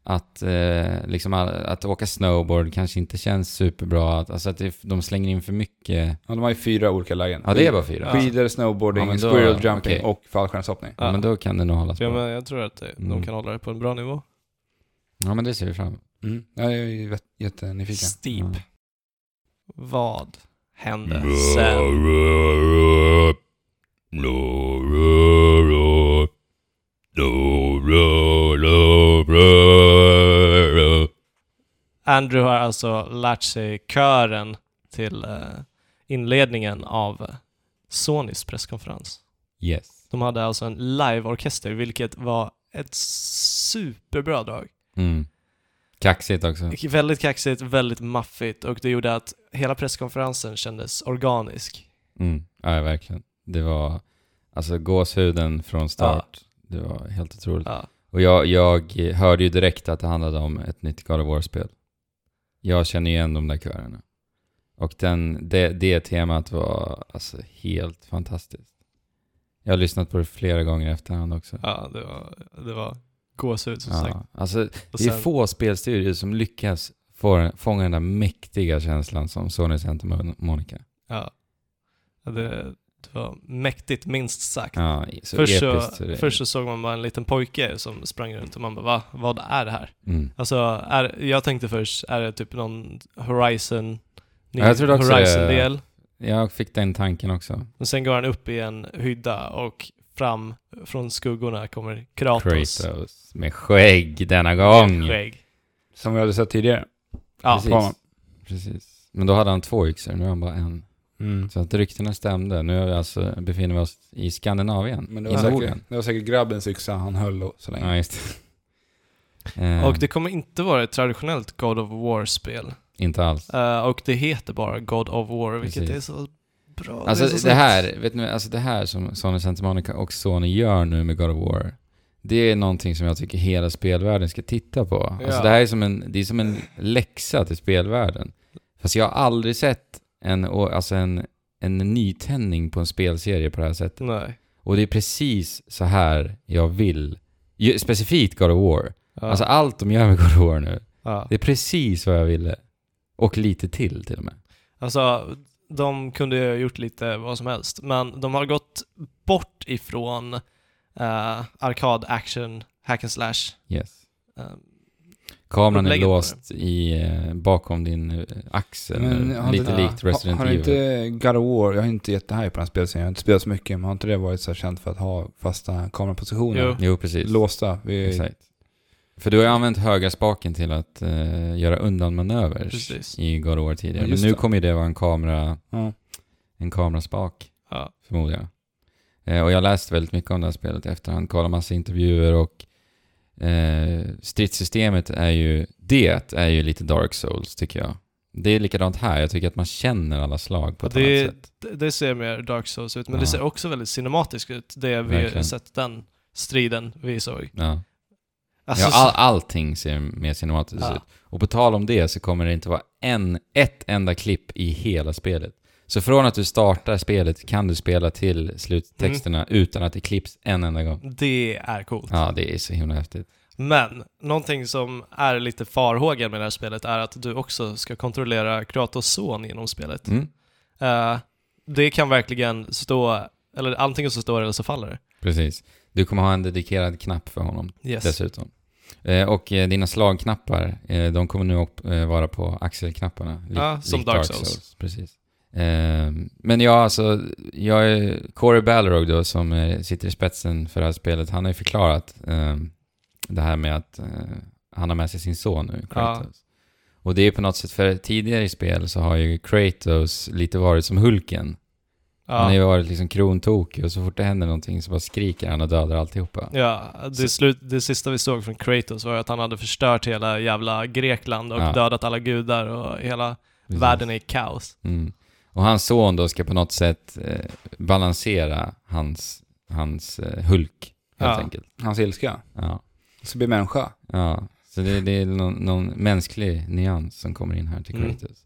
S1: att, eh, liksom, all- att åka snowboard kanske inte känns superbra. Att, alltså att det, de slänger in för mycket.
S3: Ja, de har ju fyra olika lägen.
S1: Ja, det är bara fyra.
S2: Ja.
S3: Skidor, snowboarding,
S1: Ja, men då-
S3: squirrel jumping
S1: okej.
S3: och fallskärmshoppning.
S1: Ja, men då kan det nog hållas
S2: Ja,
S1: på.
S2: men jag tror att det,
S1: Mm.
S2: de kan hålla det på en bra nivå.
S1: Ja, men det ser vi fram emot.
S3: Mm. Ja, jag är ju jätte- jättenyfiken.
S2: Steep.
S1: Ja.
S2: Vad hände sen? Andrew har alltså lärt sig kören till eh, inledningen av eh, Sonys presskonferens.
S1: Yes.
S2: De hade alltså en liveorkester, vilket var ett superbra drag.
S1: Mm. Kaxigt också.
S2: Väldigt kaxigt, väldigt maffigt och det gjorde att hela presskonferensen kändes organisk.
S1: Mm. Ja, verkligen. Det var alltså gåshuden från start. Det var helt otroligt.
S2: Ja.
S1: Och jag, jag hörde ju direkt att det handlade om ett nytt God of War-spel. Jag känner igen de där körerna. Och den, det, det temat var alltså helt fantastiskt. Jag har lyssnat på det flera gånger i efterhand också.
S2: Ja, det var, det var gåshud som sagt.
S1: Ja, alltså,
S2: Och
S1: det är
S2: sen-
S1: få spelstudier som lyckas få, fånga den där mäktiga känslan som Sony Santa Mon- Monica.
S2: ja. Ja, det, det var mäktigt minst sagt.
S1: Ja, så
S2: först, så,
S1: episkt. så det-
S2: först så såg man bara en liten pojke som sprang runt och man bara va? Vad är det här?
S1: mm.
S2: Alltså, är, jag tänkte först, är det typ någon Horizon, ny
S1: Ja, jag trodde också det.
S2: Horizon-del?
S1: Jag fick den tanken också.
S2: Men sen går han upp i en hydda och fram från skuggorna kommer Kratos.
S1: Kratos med skägg denna gång.
S2: Skägg.
S3: Som vi hade sett tidigare.
S2: Ja,
S1: Precis.
S3: Ja.
S1: Precis. Men då hade han två yxor, nu har han bara en.
S3: Mm.
S1: Så att ryktena stämde. Nu är vi alltså, befinner vi oss i Skandinavien,
S3: Men det
S1: i
S3: var, säkert,
S1: Norden.
S3: det var säkert grabbens yxa han höll och så länge.
S1: Ja, just det. Eh,
S2: <laughs> och det kommer inte vara ett traditionellt God of War-spel.
S1: Inte alls.
S2: Eh, och det heter bara God of War, vilket
S1: Precis.
S2: är så bra.
S1: Alltså
S2: är så
S1: det,
S2: snyggt.
S1: här, vet ni, alltså det här som Sony Santa Monica och Sony gör nu med God of War, det är någonting som jag tycker hela spelvärlden ska titta på. Alltså
S2: Ja.
S1: det här är som en, det är som en läxa till spelvärlden. Fast jag har aldrig sett en, och- alltså en, en nytändning på en spelserie på det här sättet.
S2: Nej.
S1: Och det är precis så här jag vill, ju- specifikt God of War.
S2: Ja.
S1: Alltså allt de gör med God of War nu,
S2: ja.
S1: det är precis vad jag ville. Och lite till till och med.
S2: alltså, de kunde ju ha gjort lite vad som helst, men de har gått bort ifrån eh, arkad, action, hack and slash.
S1: Yes.
S2: Eh,
S1: Kameran är
S2: Upplägget på
S1: låst i, eh, bakom din eh, axel,
S3: Men
S1: eh,
S3: har
S1: lite
S3: inte-
S1: likt Resident
S3: har, har
S1: Evil.
S3: inte God of War, jag är inte jättehype på den här spelserien, jag har inte spelat så mycket, men har inte det varit så här känt för att ha fasta kamerapositioner?
S2: Jo.
S1: Jo, precis.
S3: Låsta vid
S1: Exakt. För du har ju använt högra spaken till att eh, göra undanmanöver
S2: Precis.
S1: i God of War tidigare.
S3: Ja,
S1: Men
S3: just
S1: nu
S3: det.
S1: kommer ju det vara en, kamera,
S3: Ja.
S1: en kameraspak,
S2: ja.
S1: förmodar jag. Eh, och jag läste väldigt mycket om det här spelet i efterhand, kollade massa intervjuer och eh, stridssystemet är ju, det är ju lite Dark Souls tycker jag. Det är likadant här, jag tycker att man känner alla slag på ett
S2: Det-
S1: annat sätt.
S2: Det, det ser mer Dark Souls ut, men
S1: Ja.
S2: det ser också väldigt cinematiskt ut, det vi
S1: Verkligen.
S2: sett den striden vi såg.
S1: Ja.
S2: Alltså,
S1: ja, all, allting ser mer cinematiskt
S2: Ja.
S1: ut. Och på tal om det så kommer det inte vara en, ett enda klipp i hela spelet. Så från att du startar spelet kan du spela till sluttexterna
S2: Mm.
S1: utan att det klipps en enda gång.
S2: det är coolt.
S1: Ja, det är så himla häftigt.
S2: Men någonting som är lite farhågan med det här spelet är att du också ska kontrollera Kratos son genom spelet.
S1: Mm,
S2: Eh, det kan verkligen stå, eller antingen så står det eller så faller det.
S1: precis. Du kommer ha en dedikerad knapp för honom
S2: Yes.
S1: dessutom. Eh, och eh, dina slagknappar, eh, de kommer nu upp, eh, vara på axelknapparna. lik-
S2: Ja, som
S1: likt
S2: Dark Souls.
S1: Precis. Eh, men ja, alltså, jag är Corey Balrog då, som eh, sitter i spetsen för det här spelet, han har ju förklarat eh, det här med att eh, han har med sig sin son nu, Kratos. Och det är på något sätt, för tidigare i spel så har ju Kratos lite varit som Hulken. Han har ju
S2: Ja,
S1: varit liksom krontokig och så fort det händer någonting så bara skriker han och dödar alltihopa.
S2: ja det, slut, det sista vi såg från Kratos var ju att han hade förstört hela jävla Grekland och
S1: Ja.
S2: dödat alla gudar och hela
S1: Precis.
S2: världen är i kaos.
S1: Liksom. Mm. Och hans son då ska på något sätt eh, balansera hans, hans eh, Hulk, helt
S2: Ja.
S1: enkelt.
S3: hans ilska.
S1: Ja.
S3: Så blir människa.
S1: ja. Så det, det är någon, någon mänsklig nyans som kommer in här till
S2: Mm.
S1: Kratos.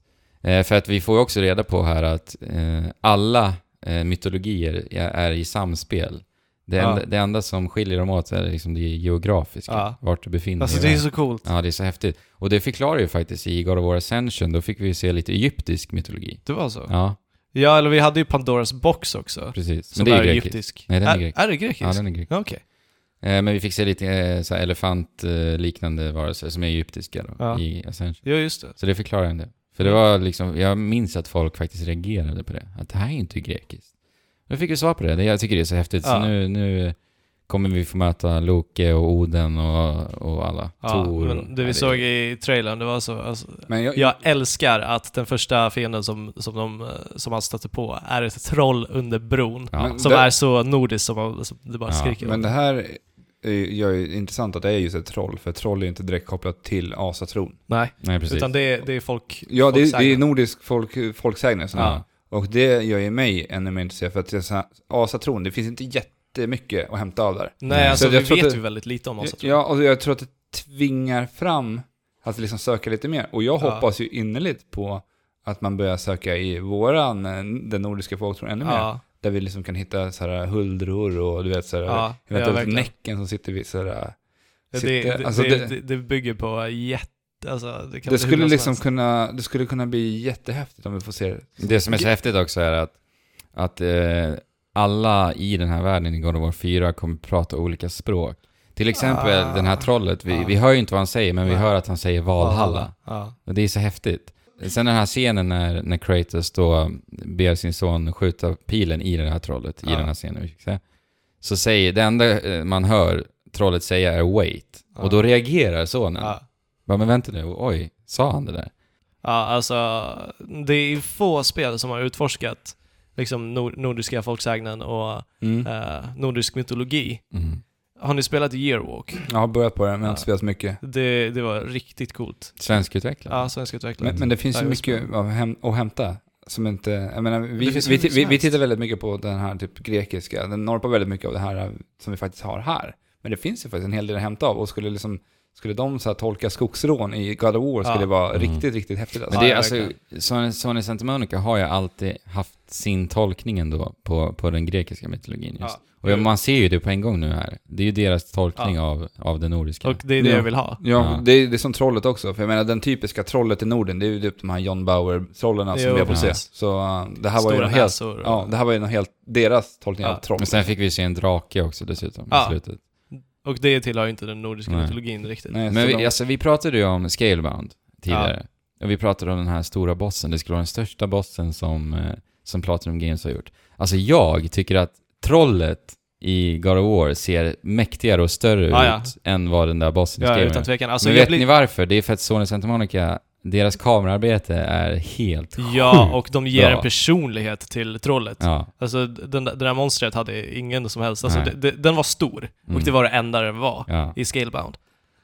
S1: Eh, för att vi får ju också reda på här att eh, alla eh, mytologier är, är i samspel. Det,
S2: Ja.
S1: enda, det enda som skiljer dem åt är liksom det geografiska,
S2: Ja.
S1: vart du befinner
S2: Alltså
S1: dig.
S2: det är så coolt.
S1: Ja, det är så häftigt. Och det förklarar ju faktiskt i God of War Ascension, då fick vi ju se lite egyptisk mytologi.
S2: Det var så.
S1: Ja,
S2: Ja, eller vi hade ju Pandoras box också.
S1: precis.
S2: Som
S1: Men det är ju grekiskt.
S2: egyptisk.
S1: Nej, den är
S2: är,
S1: grekisk.
S2: är det grekisk?
S1: Ja, den är grekisk.
S2: Ja, Okej.
S1: Eh, men vi fick se lite eh, så här elefantliknande varelser som är egyptiska då,
S2: Ja.
S1: i Ascension.
S2: Ja, just det.
S1: Så det förklarar en del. För det var liksom, jag minns att folk faktiskt reagerade på det. Att det här är ju inte grekiskt. Nu fick vi svar på det. det. Jag tycker det är så häftigt. Så
S2: Ja.
S1: nu, nu kommer vi få möta Loke och Oden och, och alla.
S2: Ja,
S1: Tor. och-
S2: men det
S1: Ja,
S2: vi såg i trailern, det var så... Alltså,
S3: Men jag,
S2: jag älskar att den första fienden som, som, de, eh, som han stöter på är ett troll under bron.
S1: Ja.
S3: Men-
S2: Som
S3: Det-
S2: är så nordiskt som, man, som det bara
S1: Ja,
S2: skriker
S3: Men
S2: om.
S3: det här är- gör ju intressant att det är just ett troll, för troll är inte direkt kopplat till asatron.
S2: Nej,
S1: Nej, precis.
S2: utan det är, det är folk...
S3: Ja, det, är- det är
S2: folksägner.
S3: nordisk folk, folksägner. sådana här.
S1: ja.
S3: Och det gör ju mig ännu mer intresserad, för att det är så här- asatron, det finns inte jättemycket att hämta av där.
S2: Nej, alltså
S3: Så jag
S2: vi
S3: tror att
S2: vet
S3: det-
S2: ju väldigt lite om Asatron.
S3: Ja, och jag tror att det tvingar fram att liksom söka lite mer. Och jag
S2: Ja.
S3: hoppas ju innerligt på att man börjar söka i våran, eh, den nordiska folktron ännu mer.
S2: ja,
S3: Där vi liksom kan hitta så här huldror och du vet så här,
S2: ja, ja,
S3: eventuellt
S2: verkligen.
S3: näcken som sitter vid så här
S2: Det,
S3: sitter-
S2: det,
S3: alltså
S2: det,
S3: det-
S2: det, det bygger på jätte... Alltså, det kan
S3: Det
S2: bli hur bra
S3: skulle
S2: som
S3: liksom
S2: helst.
S3: kunna, det skulle kunna bli jättehäftigt om vi får se det.
S1: Det som är så häftigt också är att, att eh, alla i den här världen i God of War 4 kommer prata olika språk. Till exempel
S2: Ah.
S1: den här trollet, vi,
S2: Ah.
S1: vi hör ju inte vad han säger, men vi
S2: Nej.
S1: hör att han säger Valhalla.
S2: Ja.
S1: Och det är så häftigt. Sen den här scenen när, när Kratos då ber sin son skjuta pilen i det här trollet, i
S2: Ja.
S1: den här scenen vi fick se. Så säger, det enda eh, man hör trollet säga är wait. Och
S2: Ah.
S1: då reagerar sonen.
S2: ja.
S1: Bara, men vänta nu, oj, sa han det där?
S2: Ja, alltså det är få spel som har utforskat liksom nor- nordiska folksägnen och
S3: Mm.
S2: eh, nordisk mytologi.
S1: Mm.
S2: Har ni spelat Yearwalk?
S3: Jag har börjat på det, men jag har inte
S2: Ja.
S3: spelat så mycket.
S2: Det, det var riktigt coolt.
S1: Svenskutvecklat.
S2: Ja, svenska utvecklare.
S3: Men, men det finns ju
S2: Ja,
S3: mycket av häm- att hämta. Som inte, jag menar, vi,
S2: Det finns
S3: vi,
S2: hur mycket
S3: vi,
S2: som
S3: vi
S2: helst.
S3: tittar väldigt mycket på den här typ grekiska, den norpar väldigt mycket av det här eh, som vi faktiskt har här. Men det finns ju faktiskt en hel del att hämta av och skulle, liksom, skulle de så här tolka skogsrån i God of War skulle
S2: Ja.
S3: det vara
S1: Mm.
S3: riktigt, riktigt häftigt. Alltså.
S1: Men det är
S2: Ja,
S1: alltså,
S2: verkligen.
S1: Sony, Sony Santa Monica har ju alltid haft sin tolkning ändå på, på den grekiska mytologin just.
S2: Ja.
S1: Och ja, man ser ju det på en gång nu här. Det är ju deras tolkning av, av den nordiska.
S2: Och det är det
S3: Ja.
S2: jag vill ha.
S3: Ja,
S1: Ja.
S3: Det, är, det är som trollet också. För jag menar den typiska trollet i Norden, det är ju typ de här John Bauer-trollen som
S2: Jo,
S3: vi har fått se.
S2: precis.
S3: Så eh, det här var ju
S2: Stora
S3: något helt
S2: näsor. och-
S3: Ja, det här var ju någon helt, deras tolkning av
S2: Ja.
S3: troll.
S1: Men sen fick vi se en drake också dessutom i
S2: Ja.
S1: slutet.
S2: Och det tillhör ju inte den nordiska
S1: Nej.
S2: mytologin riktigt.
S3: Nej,
S1: Men
S3: så
S1: vi,
S3: de,
S1: alltså, vi pratade ju om Scalebound tidigare. Och vi pratade om den här stora bossen. Det skulle vara den största bossen som, eh, som Platinum Games har gjort. Alltså jag tycker att trollet i God of War ser mäktigare och större
S2: Ja, ja.
S1: ut än vad den där bossen i
S2: Ja,
S1: Scalebound
S2: utan tvekan. Alltså,
S1: men
S2: jag
S1: vet
S2: blir...
S1: ni varför? Det är för att Sony Santa Monica, deras kamerarbete är helt...
S2: Ja, och de ger
S1: Bra.
S2: en personlighet till trollet.
S1: Ja,
S2: Alltså den, där- det där monstret hade ingen som helst, alltså,
S1: Nej.
S2: det, det, den var stor
S1: Mm.
S2: och det var det enda den var
S1: ja.
S2: i Scalebound.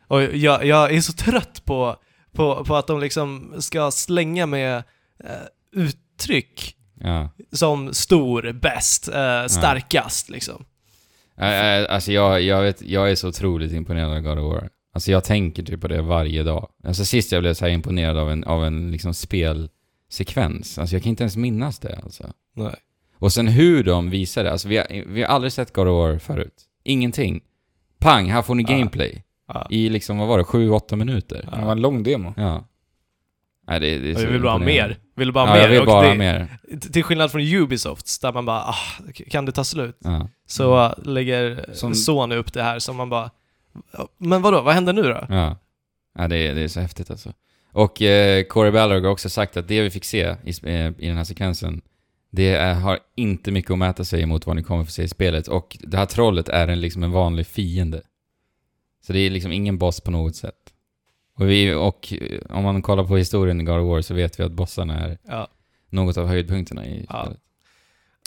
S2: Och jag, jag är så trött på, på, på att de liksom ska slänga med eh, uttryck
S1: ja.
S2: som stor, bäst, eh, starkast liksom.
S1: Äh, äh, Alltså jag, jag, vet, jag är så otroligt imponerad av God of War. Alltså jag tänker typ på det varje dag. Alltså sist jag blev så här imponerad av en, av en liksom spelsekvens. Alltså jag kan inte ens minnas det alltså.
S2: Nej.
S1: Och sen hur de visar det. Alltså vi har, vi har aldrig sett God of War förut. Ingenting. Pang, här får ni
S2: Ja.
S1: gameplay.
S2: Ja.
S1: I liksom, vad var det, 7-8 minuter.
S3: det var en lång demo.
S1: Ja. Nej, det, det är
S2: Jag
S1: så
S2: vill bara ha
S1: imponerande.
S2: mer. Vill bara ha
S1: Ja, jag
S2: mer.
S1: vill
S2: Och
S1: bara
S2: det,
S1: ha mer.
S2: t- Till skillnad från Ubisoft, där man bara ah, kan det ta slut?
S1: Ja.
S2: Så
S1: Mm.
S2: eh, lägger
S3: Som-
S2: Sony upp det här som man bara, men vadå, vad händer nu då?
S1: Ja, ja det, är, det är så häftigt alltså. Och eh, Corey Ballard har också sagt att det vi fick se i, sp- eh, i den här sekvensen, det är, har inte mycket att mäta sig mot vad ni kommer få se i spelet. Och det här trollet är en, liksom en vanlig fiende. Så det är liksom ingen boss på något sätt. Och, vi, och eh, om man kollar på historien i God of War så vet vi att bossarna är
S2: Ja.
S1: något av höjdpunkterna i
S2: Ja.
S1: spelet.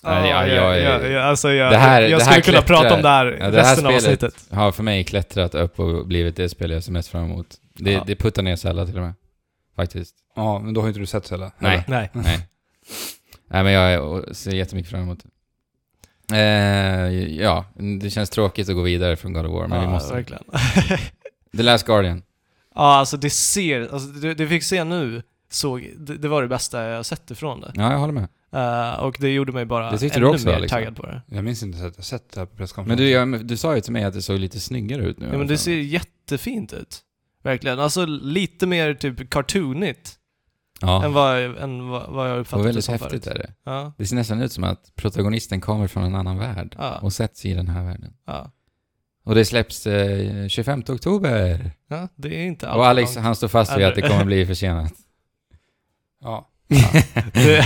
S2: Ja,
S1: Nej, jag- jag är-
S2: jag, jag, alltså jag,
S1: Det här-
S2: jag
S1: det
S2: skulle
S1: här
S2: kunna
S1: klättrar-
S2: prata om det här
S1: Ja, det här
S2: resten av
S1: spelet-
S2: avsnittet.
S1: Har för mig klättrat upp och blivit det spel jag ser mest fram emot. Det,
S2: Ja.
S1: det puttar ner Zelda till och med. Faktiskt.
S3: Ja, men då har ju inte du sett Sella.
S1: Nej.
S3: eller?
S2: Nej.
S1: Nej. Nej, men jag är- ser jättemycket fram emot det. Eh, ja, det känns tråkigt att gå vidare från God of War, men vi
S2: ja,
S1: måste.
S2: verkligen. <laughs>
S1: The Last Guardian.
S2: ja, alltså det ser, alltså, det, det fick se nu såg, det, det var det bästa jag sett ifrån det.
S1: Ja, jag håller med.
S2: Eh, och det gjorde mig bara
S1: Det tyckte
S2: ännu
S1: du också,
S2: mer
S1: liksom.
S2: taggad på det.
S3: Jag minns inte så att jag sett det här på presskonferensen.
S1: Men du, jag, du sa ju till mig att det såg lite snyggare ut nu. i
S2: Ja, men
S1: alla
S2: det
S1: fall.
S2: ser jättefint ut. Verkligen. Alltså lite mer typ cartoonigt
S1: ja.
S2: än, vad, jag- än vad, vad jag
S1: Det var
S2: uppfattade det
S1: väldigt
S2: som
S1: häftigt
S2: förut.
S1: är det.
S2: Ja,
S1: Det ser nästan ut som att protagonisten kommer från en annan värld
S2: ja,
S1: och sätts i den här världen.
S2: ja.
S1: Och det släpps eh, 25 oktober.
S2: ja, det är inte allt
S1: Och
S2: för
S1: Alex,
S2: långt.
S1: han står fast vid att det
S2: Eller-
S1: kommer bli försenat.
S3: Ja.
S2: du,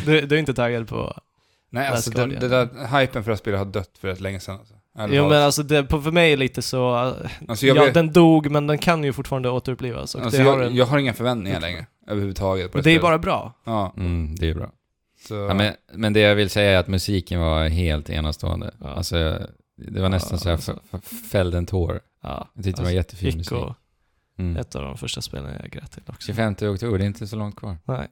S2: <laughs> du, du är inte taggad på...
S3: Nej,
S2: Där
S3: alltså
S2: ska
S3: den,
S2: det.
S3: den där hypen för det här spelet har dött för rätt länge sedan. Alltså. Ärligt
S2: Jo
S3: talat.
S2: men alltså det, på, för mig är lite så... eh,
S3: alltså, jag,
S2: Ja,
S3: vet,
S2: den dog men den kan ju fortfarande återupplivas. Och
S3: alltså,
S2: det har
S3: jag,
S2: den,
S3: jag har inga förväntningar längre överhuvudtaget. På
S2: men det är
S3: spelet.
S2: bara bra.
S3: Ja,
S1: Mm, det är bra.
S3: så,
S1: Ja, men, men det jag vill säga är att musiken var helt enastående.
S2: Ja.
S1: Alltså, jag- det var nästan
S2: Ja,
S1: så jag
S2: alltså.
S1: f- f- fällde en tår.
S2: Ja.
S1: Jag tyckte det var jättefin musik.
S2: Ico,
S1: Mm.
S2: ett av de första spelen jag grät till också.
S1: 25 oktober, det är inte så långt kvar.
S2: Nej.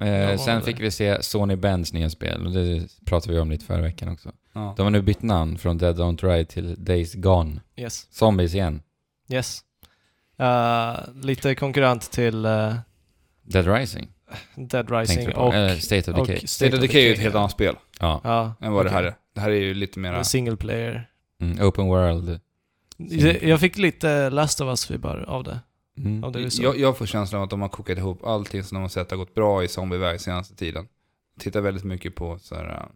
S1: Eh,
S2: Ja,
S1: sen
S2: det.
S1: fick vi se Sony Bens nya spel, och det pratade vi om lite förra veckan också.
S3: ja.
S1: De har nu bytt namn från Dead Don't Ride till Days Gone.
S2: Yes.
S1: Zombies igen.
S2: Yes. Eh, lite konkurrent till eh,
S1: Dead Rising.
S2: Dead
S1: tänkte
S2: Rising
S1: jag på.
S2: och...
S1: Eller State of
S2: och
S1: Decay.
S3: eh, State of Decay är ju ett helt
S2: ja.
S3: annat spel
S1: Ja.
S2: Ja,
S3: än vad det
S2: okej.
S3: här är. Det här är ju lite
S2: Det är
S3: mera...
S2: Single player.
S1: Mm, open World.
S2: Jag- Jag fick lite Last of Us-vibbar av det.
S1: Mm.
S2: Av det vi såg.
S3: Jag, jag får känslan av att de har kokat ihop allting som de har sett har gått bra i zombieväg senaste tiden. Tittar väldigt mycket på så här,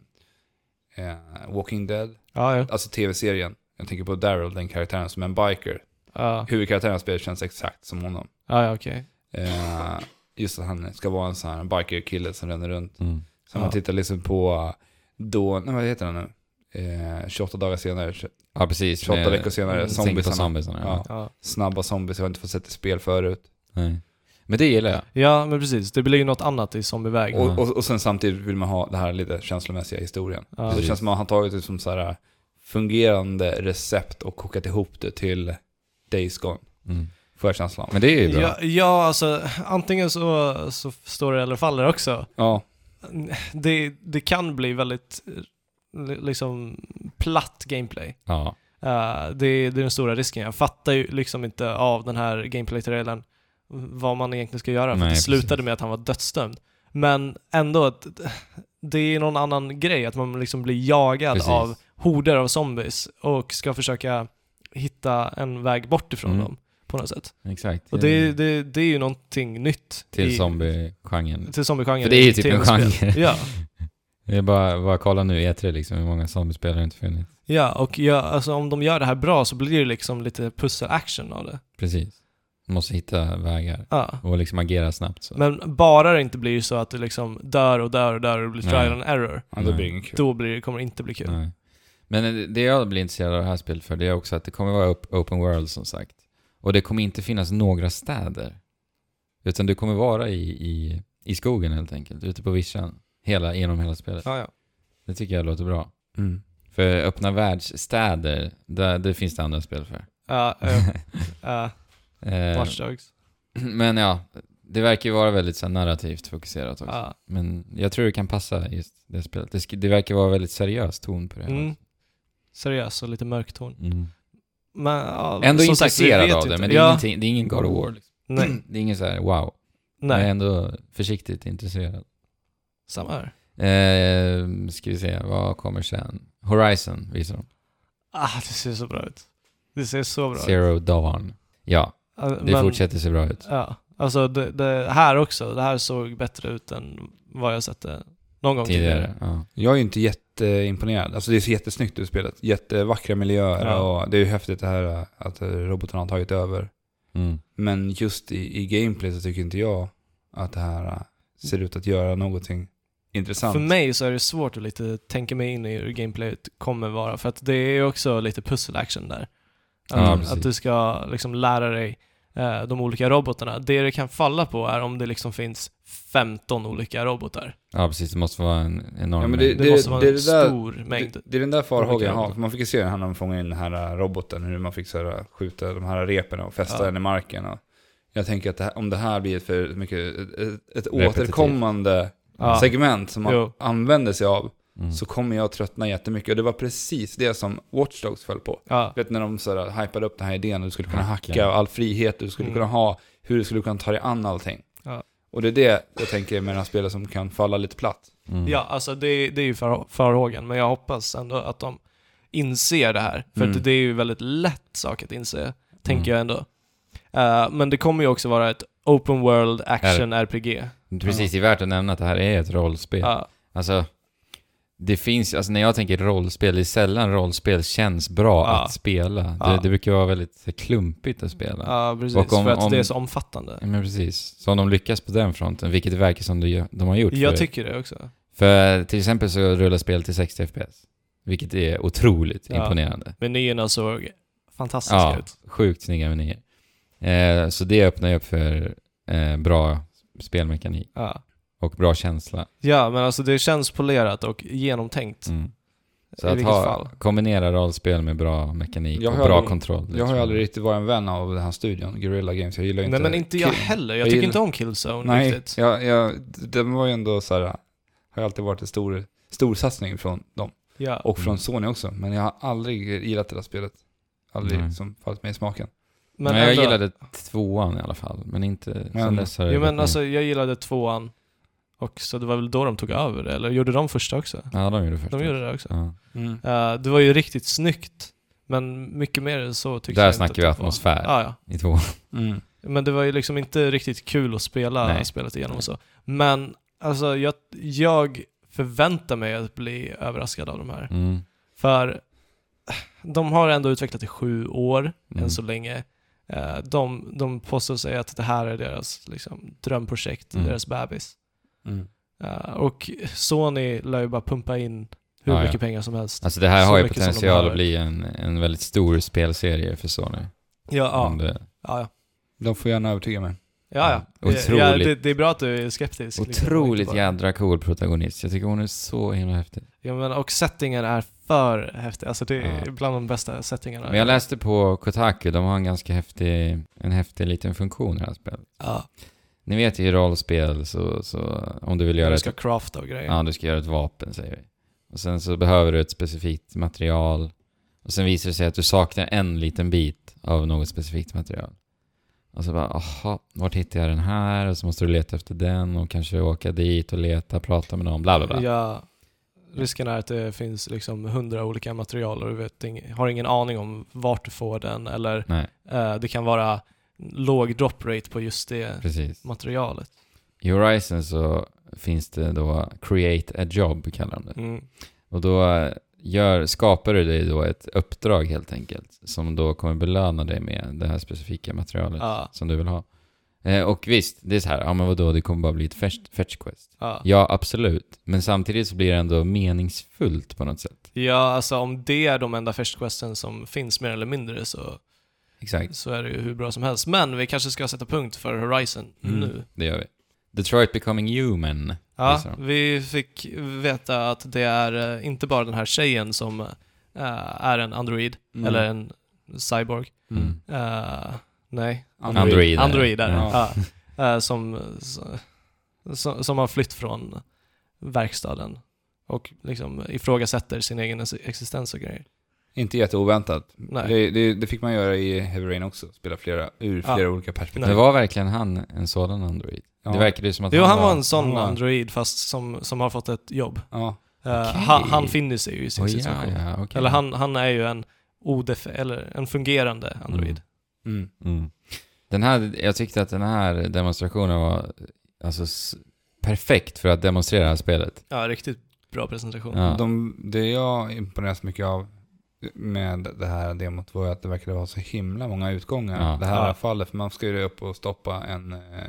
S3: eh, Walking Dead,
S2: Ja, ja.
S3: alltså tv-serien. Jag tänker på Daryl, den karaktären som är en biker.
S2: Ja,
S3: Huvudkaraktären i spelet känns exakt som honom.
S2: ja, ja, okej.
S3: Eh, just att han ska vara en sån här biker-kille som ränner runt.
S1: Mm.
S3: Så man
S2: Ja.
S3: tittar liksom på eh, då, nej vad heter den nu? Eh, 28 dagar senare, 28
S1: Ja, precis. Med-
S3: veckor senare,
S1: Jag
S2: tänker
S1: tänker på
S3: zombiesarna.
S1: zombiesarna. Ja.
S3: Ja.
S2: Ja.
S3: Snabba zombies, jag har inte fått sett i spel förut.
S1: Nej. Men det gillar jag.
S2: ja, men precis. Det blir ju något annat i zombieväg.
S1: Ja.
S3: Och, och, och sen samtidigt vill man ha det här lite känslomässiga historien.
S2: Ja.
S3: Så det känns som att han tagit det som så här äh, fungerande recept och kokat ihop det till Days Gone.
S1: Mm.
S3: Får jag känslan av.
S1: Men det är ju bra.
S2: Ja, ja, alltså antingen så, så står det eller faller också.
S3: Ja,
S2: Det, det kan bli väldigt eh, li- liksom platt gameplay.
S1: Ja.
S2: Eh, det, det är den stora risken. Jag fattar ju liksom inte av den här gameplay-trailern vad man egentligen ska göra. För
S1: Nej,
S2: det
S1: precis.
S2: slutade med att han var dödsdömd. Men ändå, att det är någon annan grej att man liksom blir jagad
S1: Precis.
S2: av horder av zombies och ska försöka hitta en väg bort ifrån
S1: Mm.
S2: dem på något sätt.
S1: Exakt.
S2: Och det, det, det är ju någonting nytt.
S1: till
S2: i-
S1: zombie-genren.
S2: till zombie-genren.
S1: För det är ju
S2: i
S1: typ en
S2: tv-spel.
S1: genre.
S2: Ja.
S1: Det är bara, bara kolla nu i E3 liksom, hur många zombiespelare har inte funnits.
S2: ja, och ja, alltså, om de gör det här bra så blir det liksom lite pussel-action av det.
S1: Precis. Man måste hitta vägar
S2: Ja.
S1: och liksom agera snabbt. Så.
S2: Men bara det inte blir så att du liksom dör och dör och dör och det blir
S1: Nej.
S2: trial and error,
S3: ja då
S1: Nej.
S3: blir det ingen kul.
S2: då blir, det- kommer det inte bli kul.
S1: Nej. Men det jag blir intresserad av det här spelet för, det är också att det kommer vara op- open world som sagt. Och det kommer inte finnas några städer. Utan du kommer vara i, i, i skogen helt enkelt, ute på vischan. Hela, genom hela spelet.
S2: Ja, ja.
S1: Det tycker jag låter bra.
S3: Mm.
S1: För öppna världsstäder, där, det finns det andra spel för. <laughs>
S2: Ja, ja, ja.
S1: Eh,
S2: Watch Dogs.
S1: <clears throat> men ja, det verkar ju vara väldigt så här, narrativt fokuserat också.
S2: Ja.
S1: Men jag tror det kan passa just det spelet. Det, sk- det verkar vara väldigt seriös ton på det. här.
S2: Mm. Seriös och lite mörk ton.
S1: Mm.
S2: Men, ja,
S1: Ändå
S2: som sagt, vi
S1: intresserad
S2: vet
S1: av det,
S2: inte.
S1: men det är,
S2: ja,
S1: ingenting, det är ingen God of War. Liksom.
S2: Nej,
S1: <clears throat> Det är ingen så här wow. Men Jag är
S2: nej.
S1: ändå försiktigt intresserad.
S2: Samma här.
S1: Eh, ska vi se, vad kommer sen? Horizon visar de.
S2: Ah, det ser så bra ut. Det ser så bra ut.
S1: Zero Dawn. Ja,
S2: Ja,
S1: det fortsätter se bra ut.
S2: Ja, alltså det, det här också. Det här såg bättre ut än vad jag sett det någon gång tidigare.
S1: Tidigare. Ja.
S3: Jag är ju inte jätteimponerad. Alltså det ser jättesnyggt ut i spelet. Jättevackra miljöer
S2: Ja.
S3: och det är ju häftigt det här eh, att eh, robotarna har tagit över.
S1: Mm.
S3: Men just i, i gameplay så tycker inte jag att det här eh, ser ut att göra någonting intressant.
S2: För mig så är det svårt att lite tänka mig in i hur gameplayet kommer vara, för att det är ju också lite pussel action där.
S1: Ja,
S2: Att,
S1: precis.
S2: att du ska liksom lära dig eh, de olika robotarna. Det det kan falla på är om det liksom finns 15 olika robotar.
S1: ja, precis. Det måste vara en enorm
S3: Ja, men
S1: mängd.
S2: Det,
S3: Det-
S2: måste vara
S3: det
S2: en
S3: är det där-
S2: stor mängd.
S3: Det, det är den där farhågan jag har.
S2: robotar.
S3: För man fick ju se när han fångade in den här äh, roboten, hur man fick så här, äh, skjuta de här repen och fästa
S2: Ja.
S3: den i marken. Och jag tänker att det här, om det här blir ett för mycket, ett, ett
S1: Repetitivt.
S3: återkommande
S2: Ja.
S3: segment som man
S2: Jo.
S3: använder sig av,
S1: Mm.
S3: så kommer jag tröttna jättemycket. Och det var precis det som Watch Dogs föll på.
S2: Ja,
S3: Vet när de så här, eh, hypade upp den här idén, och du skulle kunna
S1: Hacka.
S3: hacka och all frihet du skulle
S2: Mm.
S3: kunna ha, hur du skulle kunna ta dig an allting.
S2: Ja.
S3: Och det är det jag tänker med den här spelen som kan falla lite platt.
S1: Mm.
S2: Ja, alltså det, det är ju för, förhågen, men jag hoppas ändå att de inser det här. För
S3: Mm.
S2: att det är ju väldigt lätt sak att inse, tänker
S1: Mm.
S2: jag ändå. Eh, men det kommer ju också vara ett open world action RPG.
S1: Precis, det är värt att nämna att det här är ett rollspel.
S2: Ja,
S1: Alltså, det finns, alltså när jag tänker rollspel, det är sällan rollspel känns bra
S2: Ja.
S1: att spela.
S2: Ja.
S1: Det, det brukar vara väldigt klumpigt att spela.
S2: ja, precis.
S1: Och om-
S2: för att
S1: om-
S2: det är så omfattande.
S1: Ja, Men precis. Så om de lyckas på den fronten, vilket det verkar som de, de har gjort.
S2: Jag
S1: för,
S2: tycker det också.
S1: för till exempel så rullar spelet till 60 FPS, vilket är otroligt
S2: Ja.
S1: imponerande.
S2: Menyerna såg fantastiska
S1: Ja.
S2: ut.
S1: Sjukt snygga menyer. Eh, så det öppnar ju upp för eh, bra spelmekanik
S2: Ja.
S1: och bra känsla.
S2: ja, men alltså det känns polerat och genomtänkt.
S1: Mm. Så
S2: I
S1: att
S2: vilket
S1: ha,
S2: fall.
S1: kombinera rollspel med bra mekanik
S3: Jag
S1: och
S3: har
S1: bra
S3: aldrig-
S1: kontroll. det
S3: Jag har
S1: tror
S3: ju aldrig riktigt varit en vän av den här studion, Guerrilla Games. Jag gillar ju inte...
S2: Nej, men inte jag
S3: Kill-
S2: heller. Jag,
S3: Jag
S2: tycker
S3: gillar-
S2: inte om Killzone
S3: Nej,
S2: riktigt.
S3: jag, jag, den var ju ändå så här... Har ju alltid varit en stor, stor satsning från dem.
S2: Ja.
S3: Och från
S1: Mm.
S3: Sony också. Men jag har aldrig gillat det där spelet. Aldrig
S1: Nej.
S3: som fallit mig i smaken.
S1: Men
S2: Men
S1: Nej, jag
S2: ändå-
S1: gillade tvåan i alla fall, men inte
S3: Men-
S1: sen dess har det Mm.
S2: Jo
S1: gått
S2: men
S1: ner.
S2: alltså jag gillade tvåan också, det var väl då de tog över det, eller gjorde de första också?
S1: Ja, de gjorde först.
S2: De gjorde det också.
S1: Ja.
S2: Eh, det var ju riktigt snyggt, men mycket mer än så tyckte
S1: Där
S2: jag
S1: snackar
S2: inte
S1: vi
S2: att det var.
S1: atmosfär.
S2: Ja, ja.
S1: I tvåan.
S3: Mm.
S2: Men det var ju liksom inte riktigt kul att spela
S1: Nej.
S2: spelet igenom och så. Men alltså jag, jag förväntar mig att bli överraskad av de här.
S1: Mm.
S2: För de har ändå utvecklat i sju år,
S1: Mm.
S2: än så länge. Eh, De, de påstår sig att det här är deras liksom, drömprojekt,
S1: Mm.
S2: deras bebis.
S3: Mm.
S2: Ja, och Sony lär ju bara pumpa in hur
S1: Ah, Ja, ja.
S2: mycket pengar som helst.
S1: Alltså det här
S2: Så
S1: har ju
S2: mycket som de
S1: potential att
S2: behöver.
S1: bli en, en väldigt stor spelserie för Sony.
S2: Ja, ja.
S1: Om det,
S2: ja, ja.
S3: De får gärna övertyga mig.
S2: ja, ja.
S1: Otroligt.
S2: Ja, det, det är bra att du är skeptisk. liksom.
S1: otroligt
S2: Inte bara-
S1: jädra cool protagonist. Jag tycker hon är så himla häftig.
S2: Ja, men, och settingen är för häftig. Alltså det är
S1: Ja.
S2: bland de bästa settingarna.
S1: Men jag läste på Kotaku, de har en ganska häftig, en häftig liten funktion i det här spelet.
S2: ja.
S1: Ni vet ju i rollspel så, så om du vill göra
S2: Du
S1: ett
S2: ska crafta och grejer.
S1: typ. Ja, du ska göra ett vapen säger vi. Och sen så behöver du ett specifikt material. Och sen visar det sig att du saknar en liten bit av något specifikt material. Och så bara, aha, vart hittar jag den här? Och så måste du leta efter den och kanske åka dit och leta, prata med någon, bla bla bla.
S2: Ja, risken är att det finns liksom hundra olika material och du vet, ing- har ingen aning om vart du får den eller
S1: Nej,
S2: eh, det kan vara låg drop rate på just det
S1: precis.
S2: materialet.
S1: I Horizon så finns det då Create a Job kallar de det.
S2: Mm.
S1: Och då eh, gör, skapar du dig då ett uppdrag helt enkelt. Som då kommer belöna dig med det här specifika materialet.
S2: Ja,
S1: som du vill ha. Eh, och visst, det är så här, ja men vadå, det kommer bara bli ett fetch, fetch quest.
S2: ja.
S1: Ja, absolut. Men samtidigt så blir det ändå meningsfullt på något sätt.
S2: ja, alltså om det är de enda fetch questen som finns mer eller mindre så,
S1: Exakt.
S2: så är det ju hur bra som helst. Men vi kanske ska sätta punkt för Horizon
S3: Mm.
S2: nu.
S1: Det gör vi. Detroit Becoming Human.
S2: Ja,
S1: visar de.
S2: vi fick veta att det är eh, inte bara den här tjejen som eh, är en android
S3: Mm.
S2: eller en cyborg.
S1: Mm.
S2: Eh, nej.
S3: Android.
S1: Android.
S2: Android där.
S3: Ja.
S2: Ja. Eh, som, som, som har flytt från verkstaden och liksom ifrågasätter sin egen ex- existens och grejer.
S3: Inte jätteoväntat.
S2: Nej.
S3: Det, det, det fick man göra i Heavy Rain också. Spela flera, ur
S2: Ja.
S3: flera olika perspektiv.
S1: Det var verkligen han en sådan android.
S3: Ja.
S1: Det verkade ju som att
S2: Jo, han var en
S3: han
S2: sån
S3: var-
S2: android fast som, som har fått ett jobb.
S3: Ja.
S2: Eh,
S1: Okej.
S2: han, han finner sig ju i sin
S1: Oj, ja,
S2: situation.
S1: ja, okej.
S2: Eller han, han är ju en odef eller en fungerande android.
S3: Mm.
S1: Mm. Den här, jag tyckte att den här demonstrationen var alltså s- perfekt för att demonstrera det här spelet.
S2: Ja, riktigt bra presentation.
S1: Ja.
S3: De, det jag imponeras mycket av med det här demot var ju att det verkade vara så himla många utgångar.
S1: Ja.
S3: Det här
S2: Ja.
S3: fallet, för man ska ju upp och stoppa en, eh,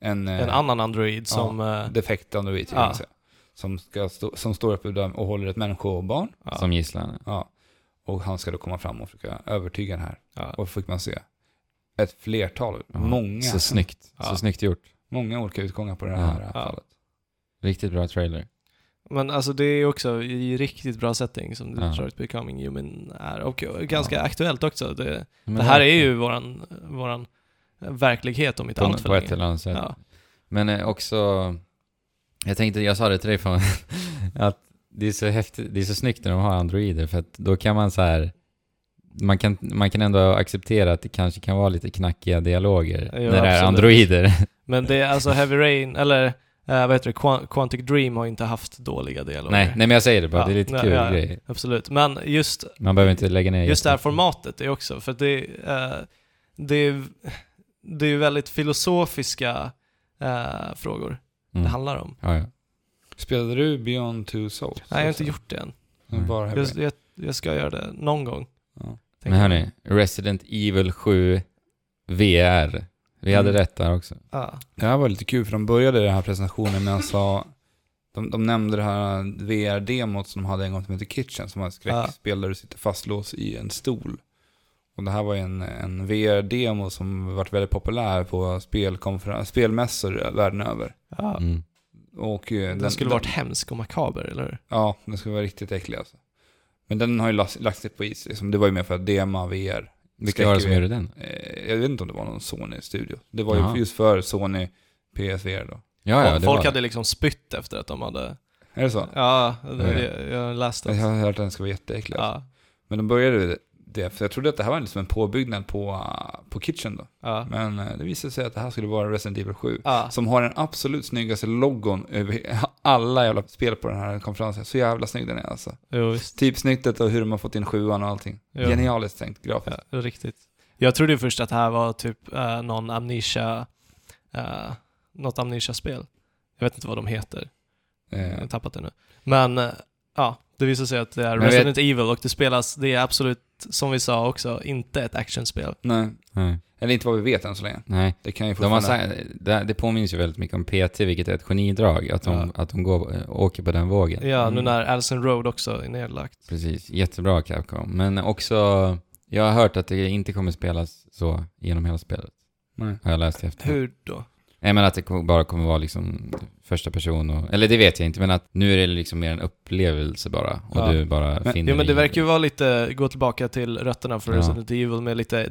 S3: en, eh,
S2: En annan android som... eh,
S3: defekt android,
S2: Ja.
S3: ja. som, ska stå, som står uppe där och håller ett människobarn.
S2: ja.
S1: Som gisslan.
S3: Ja. Och han ska då komma fram och försöka övertyga den här.
S2: Ja.
S3: Och fick man se ett flertal,
S1: Ja.
S3: många,
S1: Så snyggt.
S2: Ja.
S1: Så snyggt gjort.
S3: många olika utgångar på det
S1: Ja.
S3: här
S2: Ja.
S3: fallet.
S1: Riktigt bra trailer.
S2: Men alltså det är också i riktigt bra setting som
S1: Ja.
S2: Detroit Becoming Human är. Och ganska aktuellt också. Det,
S1: Men
S2: det här är ju våran, våran verklighet om inte
S1: på,
S2: allt för
S1: på ett
S2: länge.
S1: eller annat sätt.
S2: Ja.
S1: Men eh, också, jag tänkte, jag sa det till dig <laughs> fan, att det är så häftigt, det är så snyggt när de har androider för att då kan man så här man kan, man kan ändå acceptera att det kanske kan vara lite knackiga dialoger
S2: Ja,
S1: när det är
S2: absolut.
S1: androider.
S2: Men det är alltså Heavy Rain, eller eh, vad heter det, Quan- Quantic Dream har inte haft dåliga
S1: <laughs>
S2: dialoger.
S1: nej, nej, men jag säger det bara,
S2: Ja,
S1: det är lite
S2: nej,
S1: kul
S2: ja, ja.
S1: grej.
S2: Absolut, men just,
S1: Man behöver inte lägga ner
S2: just det här
S1: jättemycket.
S2: formatet är också, för det, eh, det, är, det är ju väldigt filosofiska eh, frågor det
S1: Mm.
S2: handlar om.
S1: Ja, ja.
S3: Spelade du Beyond Two Souls?
S2: Nej, jag har inte gjort det än.
S3: Mm, Bara Heavy
S2: Jag,
S3: Rain.
S2: jag, jag ska göra det någon gång.
S3: Ja.
S2: tänker
S1: Men
S2: jag.
S1: hörni, Resident Evil 7 VR. Vi hade
S3: Mm.
S1: rätt där också.
S2: Ja.
S3: Det här var lite kul för de började den här presentationen med att sa, de, de nämnde det här VR-demot som de hade en gång som hette Kitchen, som var ett skräckspel där du sitter fastlåst i en stol. Och det här var ju en, en VR-demo som varit väldigt populär på spelkonferen- spelmässor världen över.
S2: Ja.
S1: Mm.
S3: Och eh,
S2: Den skulle varit hemsk och makaber, eller hur?
S3: Ja, den skulle vara riktigt äcklig alltså. Men den har ju lagt, lagt sig på is, liksom. det var ju mer för att dema VR.
S1: Vilka var det som
S3: Skräck-VR.
S1: gjorde den?
S3: Eh, Jag vet inte om det var någon Sony-studio. Det var
S1: Jaha.
S3: ju just för Sony PSVR då.
S1: Ja, ja,
S2: Och
S1: det
S2: Folk
S1: var
S2: hade liksom spytt efter att de hade...
S3: Är det så?
S2: Ja, det, jag, jag läste
S3: Jag
S1: Alltså.
S2: att...
S3: har hört att den ska vara jätteäcklig. alltså.
S2: Ja,
S3: Men de började ju det, för jag trodde att det här var liksom en påbyggnad på, ah, på Kitchen då.
S1: Mm.
S2: ja.
S3: Men eh, det visade sig att det här skulle vara Resident Evil 7.
S2: ja.
S3: Som har den absolut snyggaste logon över <laughs> alla jävla spel på den här konferensen. Så jävla snygg den är alltså.
S2: Jo, visst.
S3: Typsnittet och hur de har fått in sjuan och allting.
S2: Jo.
S3: Genialiskt tänkt grafiskt.
S2: Ja, riktigt. Jag trodde ju först att det här var typ eh, någon amnesia... Eh, något amnesia-spel. Jag vet inte vad de heter. Jag har
S3: Eh,
S2: tappat det nu. Men eh, ja, det visar sig att det är
S1: Men jag
S2: Resident Evil och det spelas, det är absolut, som vi sa också, inte ett actionspel.
S3: nej,
S1: Nej.
S3: eller inte vad vi vet än så länge.
S1: Nej.
S3: Det kan ju
S1: De har
S3: fortfarande...
S1: sagt, det, det påminns ju väldigt mycket om PT, vilket är ett genidrag, att de, att de går, eh, åker på den vågen.
S2: Ja, nu
S3: Mm.
S2: när Allison Road också är nedlagt.
S1: Precis, jättebra Capcom. Men också, jag har hört att det inte kommer spelas så genom hela spelet,
S3: Nej.
S1: har jag läst efter.
S2: Hur då?
S1: Nej men att det kommer- bara kommer vara liksom första person och, eller det vet jag inte, men att nu är det liksom mer en upplevelse bara och
S2: Ja.
S1: du bara
S3: Men-
S1: finner
S2: Jo men det
S1: dig i
S2: verkar ju vara lite, gå tillbaka till rötterna för
S1: Ja.
S2: Resident Evil med lite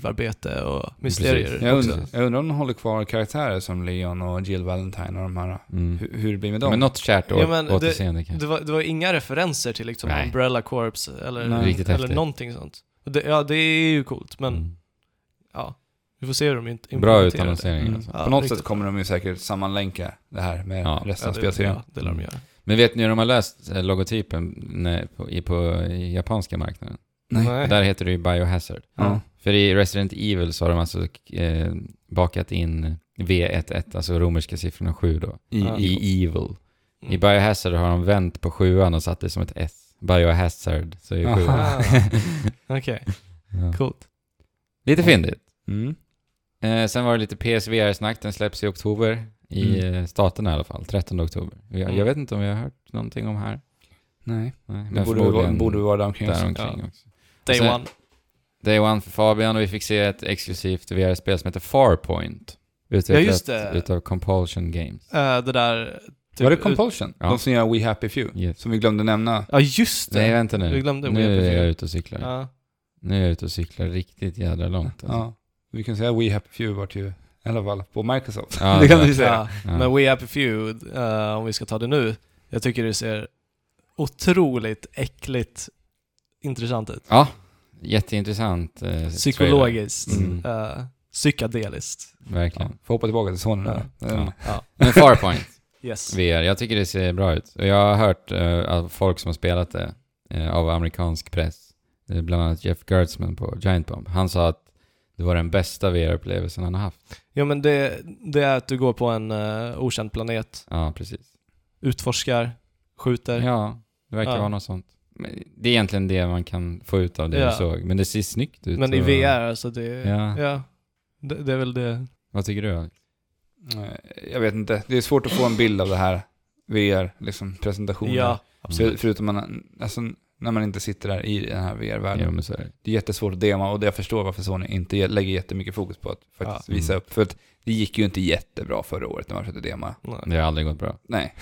S2: detektivarbete och mysterier.
S1: Precis.
S3: Jag
S2: också.
S3: undrar, jag undrar om de håller kvar karaktärer som Leon och Jill Valentine och de här. eh,
S1: Mm.
S3: Hur, hur det blir med
S1: Ja,
S3: dem.
S1: Men något kärt
S2: Ja,
S1: å-
S2: men det-
S1: återseende kanske.
S2: Det var, det var inga referenser till liksom
S1: Nej.
S2: Umbrella Corps eller,
S3: Nej.
S1: Riktigt
S2: eller
S1: häftigt.
S2: någonting sånt. Och Det, ja, det är ju coolt, men
S1: Mm.
S2: ja. Vi får se hur de int-
S1: Bra
S2: implementerar det.
S1: utannonsering
S3: Mm.
S1: alltså.
S2: Ja,
S3: På något
S2: riktigt.
S3: sätt kommer de ju säkert sammanlänka det här med
S1: Ja.
S3: resten
S2: Ja,
S3: av
S2: det-
S3: spelserien.
S2: Ja, det lär de göra.
S1: Men vet ni hur de har löst eh, logotypen när, på, i, på i japanska marknaden?
S2: Nej.
S1: Där heter det ju Biohazard.
S3: Ja.
S1: För i Resident Evil så har de alltså eh, bakat in V11, alltså romerska siffrorna 7 då,
S3: I,
S2: Ja.
S3: i,
S1: i Evil.
S2: Mm.
S1: I Biohazard har de vänt på sjuan och satt det som ett S. Biohazard, så är ju
S3: Aha.
S1: sjuan.
S2: Ah, Okej,
S1: <laughs> Ja.
S2: coolt.
S1: Lite fyndigt.
S3: mm.
S1: Eh, sen var det lite PSVR-snack, den släpps i oktober. I
S3: Mm.
S1: eh, staterna i alla fall, 13 oktober. Jag,
S2: Mm.
S1: jag vet inte om vi har hört någonting om här.
S3: Nej.
S1: Nej,
S3: Det
S1: men
S3: borde, vara-
S1: förmodligen
S3: borde vara där omkring.
S1: där
S3: också.
S1: omkring
S2: Ja.
S1: också.
S2: Day
S1: sen-
S2: one.
S1: Day One för Fabian och vi fick se ett exklusivt VR-spel som heter Farpoint.
S2: Ja,
S1: Utvecklat
S2: just det.
S1: utav Compulsion Games.
S2: Eh, det där... typ
S3: Var det
S2: ut-
S3: Compulsion?
S1: Ja.
S3: De som gör We Happy Few?
S1: Yes.
S3: Som vi glömde nämna.
S2: Ja, just det.
S1: Nej, vänta nu.
S2: Vi glömde
S1: nu
S2: Weapon
S1: är jag
S2: Few.
S1: ute och cyklar.
S2: Ja.
S1: Nu är jag ute och cyklar riktigt jädra långt. alltså.
S3: Ja. Vi kan säga We Happy Few vart ju, i alla fall på Microsoft.
S1: Ja,
S3: det kan
S1: det-
S3: vi säga.
S2: Ja.
S1: Ja.
S2: Men We Happy Few, eh, om vi ska ta det nu, jag tycker det ser otroligt äckligt intressant ut.
S1: Ja, jätteintressant. Eh,
S2: Psykologiskt,
S1: Mm.
S2: eh, psykedeliskt.
S1: trailer, verkligen.
S3: Ja. Får hoppa tillbaka till Sony nu.
S2: Ja.
S3: Mm.
S1: Ja.
S2: Ja,
S1: Men Farpoint <laughs>
S2: yes.
S1: VR, jag tycker det ser bra ut. Och Jag har hört eh, av folk som har spelat det eh, av amerikansk press, eh, bland annat Jeff Gertzman på Giant Bomb. Han sa att det var den bästa VR-upplevelsen han har haft.
S2: Ja men det, det är att du går på en eh, okänd planet,
S1: Ja, precis.
S2: utforskar, skjuter.
S1: Ja, det verkar
S2: Ja.
S1: vara något sånt. Men det är egentligen det man kan få ut av det
S2: Ja.
S1: du såg, men det ser snyggt ut.
S2: men i
S1: och-
S2: VR alltså, det,
S1: Ja.
S2: ja, det, det är väl det.
S1: Vad tycker du? Alex?
S3: Eh, Jag vet inte. Det är svårt att få en bild av det här. VR, liksom presentationen.
S2: Ja,
S3: För, förutom man, alltså, när man inte sitter där i den här VR-världen.
S1: Ja, men så är det.
S3: Det är jättesvårt att dema och jag förstår varför Sony inte ge- lägger jättemycket fokus på att faktiskt
S1: Ja.
S3: visa
S1: Mm.
S3: upp. För att det gick ju inte jättebra förra året när man försökte dema.
S2: nej.
S1: Det har aldrig gått bra.
S3: Nej.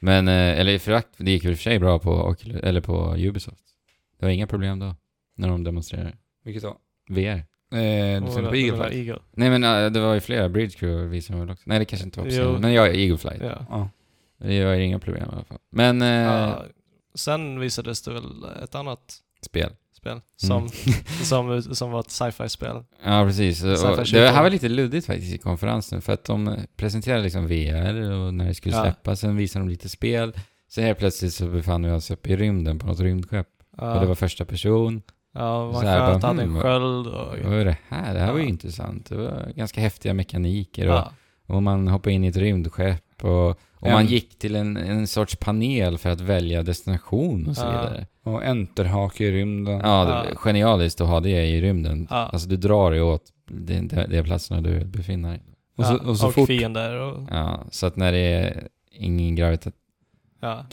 S1: Men, eh, eller förakt, det gick väl i och för sig bra på, Ocul- eller på Ubisoft. Det var inga problem då, när de demonstrerade.
S3: Vilket då?
S1: VR.
S3: Eh, du
S2: Och
S3: synd
S2: det-
S3: på
S2: det
S3: Eagle
S2: där
S3: Flight.
S2: Eagle.
S1: Nej men eh, det var ju flera, Bridge Crew visade väl också. Nej det kanske inte var på
S2: Jo.
S1: scenen, men jag Eagle Flight.
S2: Ja.
S3: Ja.
S1: Det var ju inga problem i alla fall. Men, eh,
S2: Ja, sen visades det väl ett annat
S1: spel. Mm.
S2: spel som, som, som var ett sci-fi-spel.
S1: <laughs> Ja, precis.
S2: Så här
S1: Och
S2: försöker-
S1: Det här var lite luddigt faktiskt i konferensen, för att de presenterade liksom VR och när det skulle
S2: Ja.
S1: släppas, sen visade de lite spel, sen helt plötsligt så befann vi oss uppe i rymden på något rymdskepp. Och det var första person.
S2: ja, man
S1: så här
S2: sköt,
S1: bara,
S2: hade en
S1: hmm,
S2: sköld och...
S1: Vad är det här? Det här var ju
S2: Ja.
S1: intressant. Det var ganska häftiga mekaniker och,
S2: Ja,
S1: och man hoppade in i ett rymdskepp och, och
S3: En-
S1: man gick till en, en sorts panel för att välja destination och så
S2: Ja.
S1: vidare.
S3: Och enterhake i rymden.
S1: Ja, det
S2: Ja.
S1: genialiskt att ha det i rymden.
S2: ja.
S1: Alltså du drar dig åt de, de, de platserna du befinner dig.
S3: och så,
S2: ja,
S3: och så fort...
S2: fiender och...
S1: Ja, så att när det är ingen gravita
S2: Ja.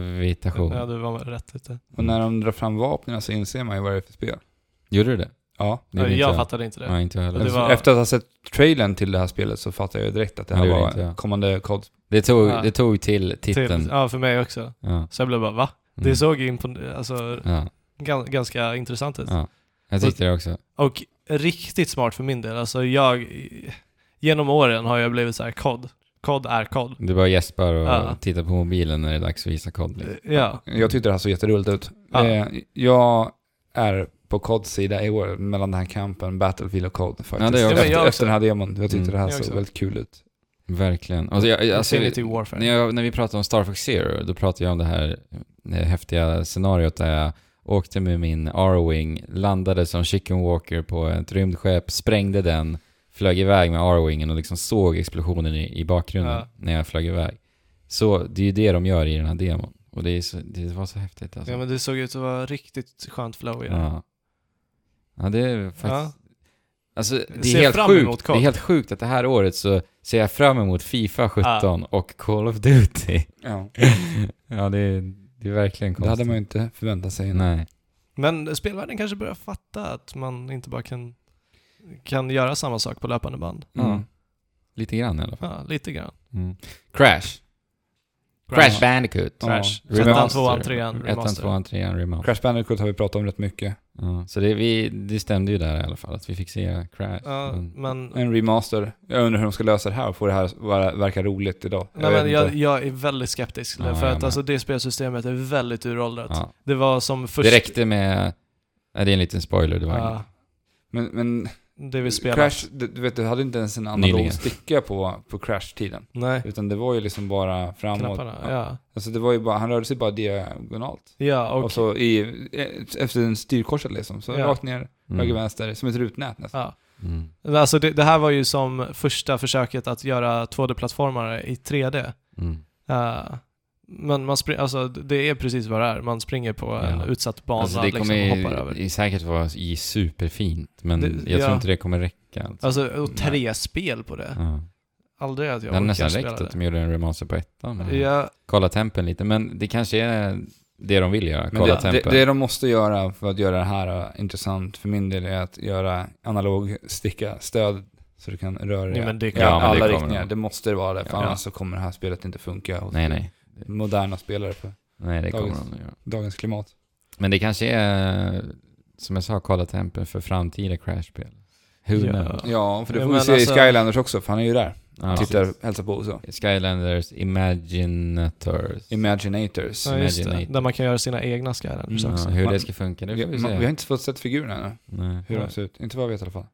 S1: gravitation.
S2: ja, du var rätt ute.
S3: Och när de drar fram vapnen så inser man ju vad det är för spel.
S1: Gjorde du det?
S3: Ja. Alltså,
S1: det
S2: jag
S1: gjorde inte
S2: fattade inte det.
S1: Nej, inte jag heller.
S2: Och det var-
S3: Efter att ha sett trailern till det här spelet så fattar jag ju direkt att det
S1: Ja,
S3: här
S1: det gjorde
S3: var
S1: inte jag.
S3: kommande kod.
S1: Det, tog,
S2: Ja.
S1: det tog till titeln.
S2: Till, ja, för mig också.
S1: Ja. Mm.
S2: Så jag blev bara, va? Det såg ju impon- alltså,
S1: Ja.
S2: gan- ganska intressant ut.
S1: Ja. Jag tyckte det också.
S2: Och riktigt smart för min del. Alltså jag, genom åren har jag blivit så här kod. Kod är kod.
S1: Du bara gäspar och
S2: Ja.
S1: tittar på mobilen när det är dags att visa kod. Liksom.
S2: Ja,
S3: Jag tyckte det här såg jätteroligt ut.
S2: Ja.
S3: Eh, jag är på CODs sida i år mellan den här kampen, Battlefield och COD faktiskt.
S1: Ja, det är jag
S3: efter,
S1: också.
S2: Ja, men jag
S3: efter den här demon. Jag tyckte
S1: Mm.
S3: det här
S2: Jag
S3: såg
S2: också.
S3: väldigt kul ut.
S1: Verkligen. Alltså, jag, alltså,
S2: Infinity Warfare.
S1: när, jag, när vi pratade om Star Fox Zero, då pratade jag om det här eh, häftiga scenariot där jag åkte med min R-Wing, landade som chicken walker på ett rymdskepp, sprängde den, flög iväg med R-Wingen och liksom såg explosionen i, i bakgrunden
S2: Ja.
S1: när jag flög iväg. Så det är ju det de gör i den här demon. Och det, är så, det var så häftigt alltså.
S2: Ja men det såg ut att vara riktigt skönt flow i det.
S1: Ja. Ja, det är faktiskt...
S2: Ja.
S1: Alltså, det
S2: Ser
S1: är, helt
S2: fram emot
S1: sjukt. det
S2: COD.
S1: är helt sjukt att det här året så ser jag fram emot Fifa 17 och Call of Duty.
S3: Ja.
S1: <laughs> ja, det är, det är verkligen konstigt.
S3: Det hade man ju inte förväntat sig. innan.
S1: Nej.
S2: Men spelvärlden kanske börjar fatta att man inte bara kan, kan göra samma sak på löpande band.
S1: Ja.
S3: Mm.
S1: Lite grann i alla fall.
S2: Ja, lite grann.
S1: Mm. Crash. Crash,
S2: Crash.
S1: Bandicoot.
S3: Ja.
S2: Trash.
S1: Remaster.
S2: Ettan, tvåan, trean,
S1: Ettan,
S2: remaster.
S1: tvåan, trean, remaster.
S3: Crash Bandicoot har vi pratat om rätt mycket.
S1: Ja. Så det, vi, det stämde ju där i alla fall, att vi fick se Crash.
S2: Ja,
S1: Men-
S2: men,
S3: En remaster. Jag undrar hur de ska lösa det här och få det här att vara- verka roligt idag.
S2: nej,
S3: vet
S2: men jag,
S3: inte.
S2: jag är väldigt skeptisk.
S1: Ja,
S2: för
S1: jag
S2: att
S1: med.
S2: alltså, det spelsystemet är väldigt uråldrat.
S1: ja.
S2: Det var som först...
S1: Det räckte med... Nej, det är en liten spoiler, det var
S2: Ja,
S3: men, men
S2: det vi spelade.
S3: Crash, du, du vet, du hade inte ens en
S1: Nyligen.
S3: analog sticka på, på Crash-tiden.
S2: Nej,
S3: Utan det var ju liksom bara framåt.
S2: knapparna. Ja.
S3: Alltså det var ju bara, han rörde sig bara diagonalt.
S2: Ja, och,
S3: Och så i, eh, efter en styrkorset liksom. Så
S2: Ja.
S3: rakt ner,
S1: inget.
S3: höger, vänster, som ett rutnät nästan.
S2: ja.
S1: Mm.
S2: Alltså det, det här var ju som första försöket att göra 2D-plattformare i 3D.
S1: Mm.
S2: Eh, men man spring, alltså, det är precis vad det är. Man springer på en
S1: Ja.
S2: utsatt bana
S1: Alltså det
S2: liksom,
S1: kommer
S2: och hoppar över.
S1: ju i- säkert vara i superfint, men
S2: Det-
S1: jag
S2: ja.
S1: tror inte det kommer räcka. Alltså.
S2: Alltså, och tre spel på det.
S1: Ja.
S2: Aldrig att
S1: Det
S2: jag
S1: hade
S2: orkar
S1: nästan
S2: spela
S1: räckt att
S2: det.
S1: de gjorde en remaster på ettan. men-
S2: Ja,
S1: Kolla tempen lite, men det kanske är det de vill göra.
S3: Men
S1: Kolla
S3: det, det,
S1: tempen.
S3: det de måste göra för att göra det här eh, intressant för min del är att göra analog sticka stöd så du kan röra dig
S2: Nej, men det
S3: i
S2: kan-
S1: Ja, men
S3: alla
S1: det kommer
S3: riktningar.
S1: de.
S3: Det måste det vara det, för
S1: Ja.
S3: annars så kommer det här spelet inte funka hos
S1: Nej, nej.
S3: moderna spelare på
S1: Nej, det kommer
S3: Dagens.
S1: de att göra.
S3: dagens klimat.
S1: Men det kanske är, som jag sa, kolla tempen för framtida Crash-spel. Who
S2: Ja.
S1: knows?
S3: Ja, för det
S2: Ja,
S3: får
S2: men
S3: vi se
S2: alltså-
S3: i Skylanders också, för han är ju där.
S1: Ja,
S3: Tittar, hälsar på och så.
S1: precis. Skylanders Imaginators.
S3: Imaginators.
S2: ja, just det.
S1: Imaginate.
S2: Där man kan göra sina egna Skylanders
S1: Mm, Ja,
S2: också.
S1: hur
S3: Man-
S1: det ska funka, det
S3: Vi,
S1: får vi
S3: man, vi har
S1: se.
S3: inte fått sett figurerna ännu,
S1: Nej.
S3: hur
S2: Nej.
S3: de ser ut. Inte vad jag vet i alla fall.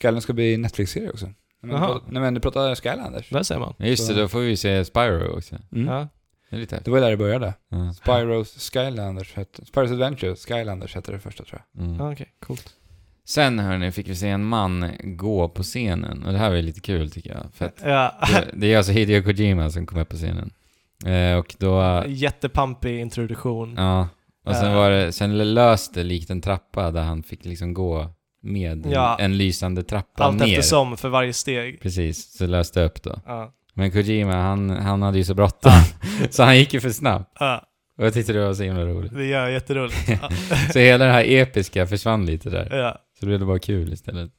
S3: Skylanders ska bli Netflix-serie också. Nej, men,
S2: Jaha.
S3: du pratar- nej men du pratar Skylanders.
S2: Där ser man.
S1: Ja, Just det, då får vi se Spyro också.
S3: Mm.
S2: Ja.
S1: Det är lite häftigt.
S3: Det var ju där det började.
S1: Ja.
S3: Spyros Skylanders hette, Spyros Adventure Skylanders hette det första tror jag.
S1: Mm.
S2: Ja, okej. Coolt.
S1: Sen hörni, fick vi se en man gå på scenen. Och det här var ju lite kul tycker jag.
S2: <laughs>
S1: För att
S2: Ja.
S1: det, det är alltså Hideo Kojima som kom upp på scenen. Eh, och då...
S2: Jättepampig introduktion.
S1: Ja. Och sen
S2: Eh.
S1: var det... Sen löste likt en trappa där han fick liksom gå med
S2: Ja.
S1: en lysande trappa
S2: Allt
S1: ner.
S2: eftersom för varje steg.
S1: Precis, så löste upp då.
S2: Ja.
S1: Men Kojima, han, han hade ju så bråttom. <laughs> så han gick ju för snabbt.
S2: Ja.
S1: Och jag tyckte det var så himla roligt.
S2: Det är
S1: <laughs>
S2: jätteroligt. Ja.
S1: Så hela det här episka försvann lite där.
S2: ja.
S1: Så det blev det bara kul istället.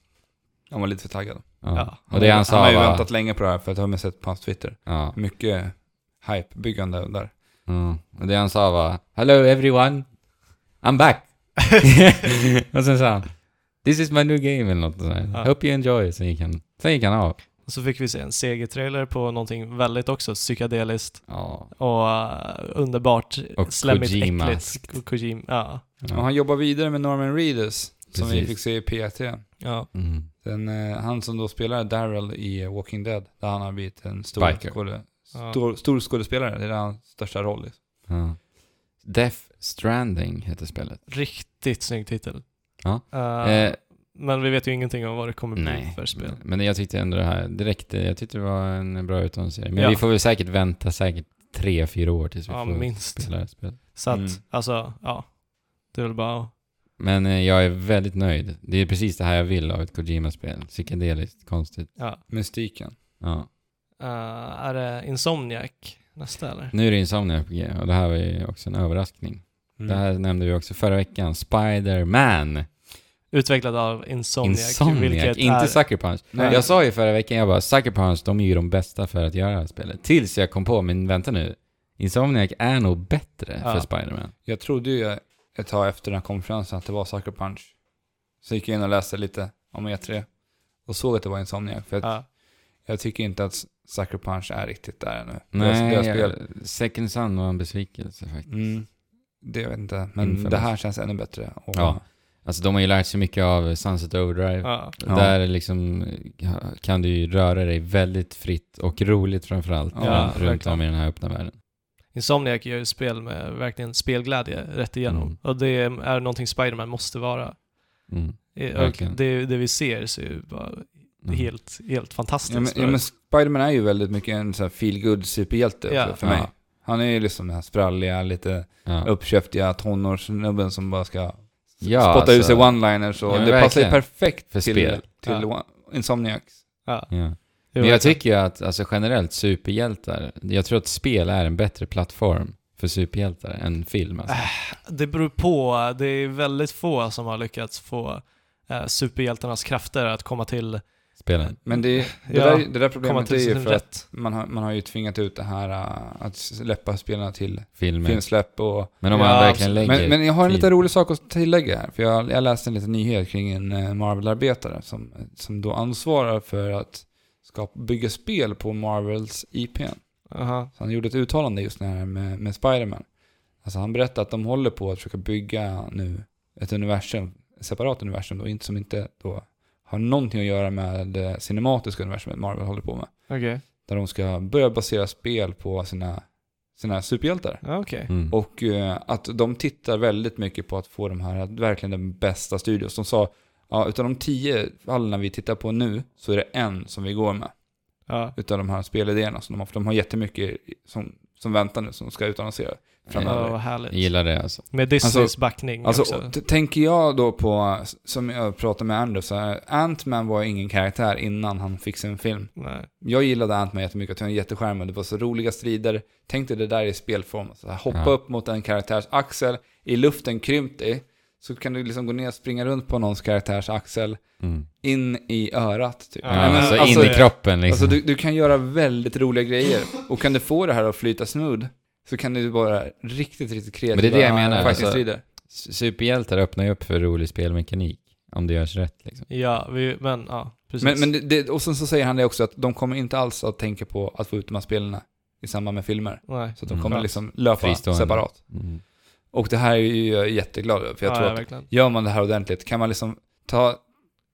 S3: Han var lite för taggad.
S1: Ja.
S2: Ja.
S1: Och det han sa
S3: han har ju
S1: var...
S3: väntat länge på det här för att jag har sett på hans Twitter.
S1: Ja.
S3: Mycket hypebyggande där.
S1: Mm. Och det han sa var Hello everyone, I'm
S2: <laughs>
S1: back. och sen sa han This is my new game eller något sådär.
S2: Ja.
S1: Hope you enjoy. Sen gick han, sen gick han av.
S2: Och så fick vi se en segertrailer på någonting väldigt också psykedeliskt
S1: Ja.
S2: och eh, underbart
S1: Och
S2: slemmigt,
S1: Kojimaskt.
S2: äckligt. Ko- Kojima. Ja.
S3: Och han jobbar vidare med Norman Reedus, som vi
S1: Precis.
S3: fick se i P3.
S2: Ja.
S1: Mm.
S3: Den, eh, han som då spelar Daryl i Walking Dead, där han har blivit en stor,
S1: Biker.
S3: skåde,
S2: Ja.
S3: stor, stor skådespelare. Det är hans största roll. Liksom.
S1: Ja. Death Stranding heter spelet.
S2: Riktigt snygg titel.
S1: Ja.
S2: Eh,
S1: Eh,
S2: men vi vet ju ingenting om vad det kommer bli
S1: nej,
S2: för spel.
S1: men jag tyckte ändå det här direkt, eh, jag tyckte det var en bra utannonsering. Men
S2: Ja.
S1: vi får väl säkert vänta säkert tre, fyra år tills vi
S2: Ja,
S1: får
S2: minst.
S1: spela det här spelet.
S2: Så att,
S3: Mm.
S2: alltså, ja. Det är väl bara
S1: Men eh, jag är väldigt nöjd. Det är precis det här jag vill av ett Kojima-spel. Psykedeliskt, konstigt.
S2: ja.
S3: Mystiken.
S1: Ja.
S2: Eh, är det Insomniac nästa eller?
S1: Nu är det Insomniac på G och det här var ju också en överraskning.
S3: Mm.
S1: Det här nämnde vi också förra veckan. Spider-Man.
S2: Utvecklad av Insomniac.
S1: Insomniac,
S2: vilket
S1: inte
S2: är,
S1: Sucker Punch.
S3: Nej.
S1: Jag sa ju förra veckan, jag bara Sucker Punch, de är ju de bästa för att göra det här spelet. Tills jag kom på, men vänta nu. Insomniac är nog bättre
S2: Ja.
S1: för Spider-Man.
S3: Jag trodde ju ett tag efter den här konferensen att det var Sucker Punch. Så gick jag in och läste lite om E3 och såg att det var Insomniac. För att
S2: ja.
S3: jag tycker inte att Sucker Punch är riktigt där ännu.
S1: Nej,
S3: deras, deras spel.
S1: Second Sun var en besvikelse faktiskt.
S3: Mm, det vet jag inte, men
S1: Infamous.
S3: det här känns ännu bättre. Och,
S1: Ja. Alltså de har ju lärt sig mycket av Sunset Overdrive.
S2: Ja.
S3: Ja.
S1: Där liksom eh, kan du ju röra dig väldigt fritt och roligt framförallt
S3: Ja,
S1: ja, runt
S2: verkligen.
S1: om i den här öppna världen.
S2: Insomniac gör ju spel med verkligen spelglädje rätt igenom.
S1: Mm.
S2: Och det är någonting Spider-Man måste vara.
S1: Mm.
S2: I- och
S1: Verkligen.
S2: Det, det vi ser ser ju bara
S1: Mm.
S2: helt, helt fantastiskt
S3: Ja, men, ja,
S2: ut.
S3: men Spiderman är ju väldigt mycket en sån här feel superhjälte
S2: Ja.
S3: för, för
S1: Ja.
S3: mig. Han är ju liksom den här spralliga, lite
S1: Ja.
S3: uppköptiga tonårssnubben som bara ska
S1: Ja,
S3: spotta ur
S1: alltså.
S3: sig one-liners och
S1: Ja, men
S3: det passar ju
S1: verkligen.
S3: perfekt
S1: För
S3: till,
S1: spel.
S3: till
S2: Ja.
S3: one, Insomniac.
S2: Ja.
S1: Ja.
S2: Det
S1: Men
S2: var-
S1: jag tycker ju att alltså, generellt superhjältar, jag tror att spel är en bättre plattform för superhjältar än film. Alltså.
S3: Äh.
S2: Det beror på. Det är väldigt få som har lyckats få eh, superhjältarnas krafter att komma till,
S1: Spelen.
S3: Men det, det,
S2: Ja,
S3: där, det
S2: komma
S3: där problemet är
S2: till
S3: ju
S2: sin
S3: för att
S2: rätt.
S3: man har, man har ju tvingat ut det här äh, att släppa spelarna till
S1: Filmer.
S3: filmsläpp och
S1: Men om
S2: Ja,
S1: man verkligen lägger...
S3: Men, men jag har en lite
S1: tid.
S3: rolig sak att tillägga här, för jag, jag läste en liten nyhet kring en eh, Marvel-arbetare som, som då ansvarar för att skapa, bygga spel på Marvels IP.
S2: Aha.
S3: Så han gjorde ett uttalande just när med, med Spider-Man. Alltså han berättade att de håller på att försöka bygga nu ett universum, ett separat universum då, inte- som inte då har någonting att göra med det cinematiska universumet Marvel håller på med.
S2: Okej.
S3: Där de ska börja basera spel på sina, sina superhjältar.
S2: Ja, Okej.
S1: Mm.
S3: Och eh, att de tittar väldigt mycket på att få de här, verkligen den bästa studios. De sa, ja, utav de tio fallen vi tittar på nu så är det en som vi går med.
S1: Mm.
S2: Ja.
S3: Utav de här spelidéerna som de har. För de har jättemycket som, som väntar nu som de ska utannonsera
S2: Ja,
S3: framöver.
S2: vad härligt.
S1: Jag gillar det alltså.
S2: Med Disneys
S3: Alltså-
S2: backning
S3: Alltså,
S2: också.
S3: t- tänker jag då på, som jag pratade med Andrew, så här, Ant-Man var ingen karaktär innan han fick sin film.
S2: Nej.
S3: Jag gillade Ant-Man jättemycket, jag var en jätteskärm och det var så roliga strider. Tänk dig det där i spelform. Så här, hoppa
S1: Ja.
S3: upp mot en karaktärs axel, i luften krympt dig, så kan du liksom gå ner och springa runt på någons karaktärs axel,
S1: Mm.
S3: in i örat typ.
S2: Ja,
S1: Ja,
S3: Nej, men
S1: alltså,
S2: alltså-
S1: in i kroppen liksom.
S3: alltså, du, du kan göra väldigt roliga grejer. Och kan du få det här att flyta smooth, så kan du vara riktigt, riktigt kreativ.
S1: Men det är det jag menar, alltså.
S3: Fighting-strider.
S1: S- Superhjältar öppnar ju upp för rolig spelmekanik. Om det görs rätt liksom.
S2: Ja, vi, men ja, precis.
S3: Men, men det, det, och sen så säger han det också, att de kommer inte alls att tänka på att få ut de här spelen i samband med filmer.
S2: Nej.
S3: Så att de
S1: Mm.
S3: kommer liksom löpa
S1: Fristående.
S3: separat.
S1: Mm.
S3: Och det här är ju jag jätteglad över, för jag
S2: ja,
S3: tror
S2: ja,
S3: att
S2: verkligen.
S3: gör man det här ordentligt kan man liksom ta,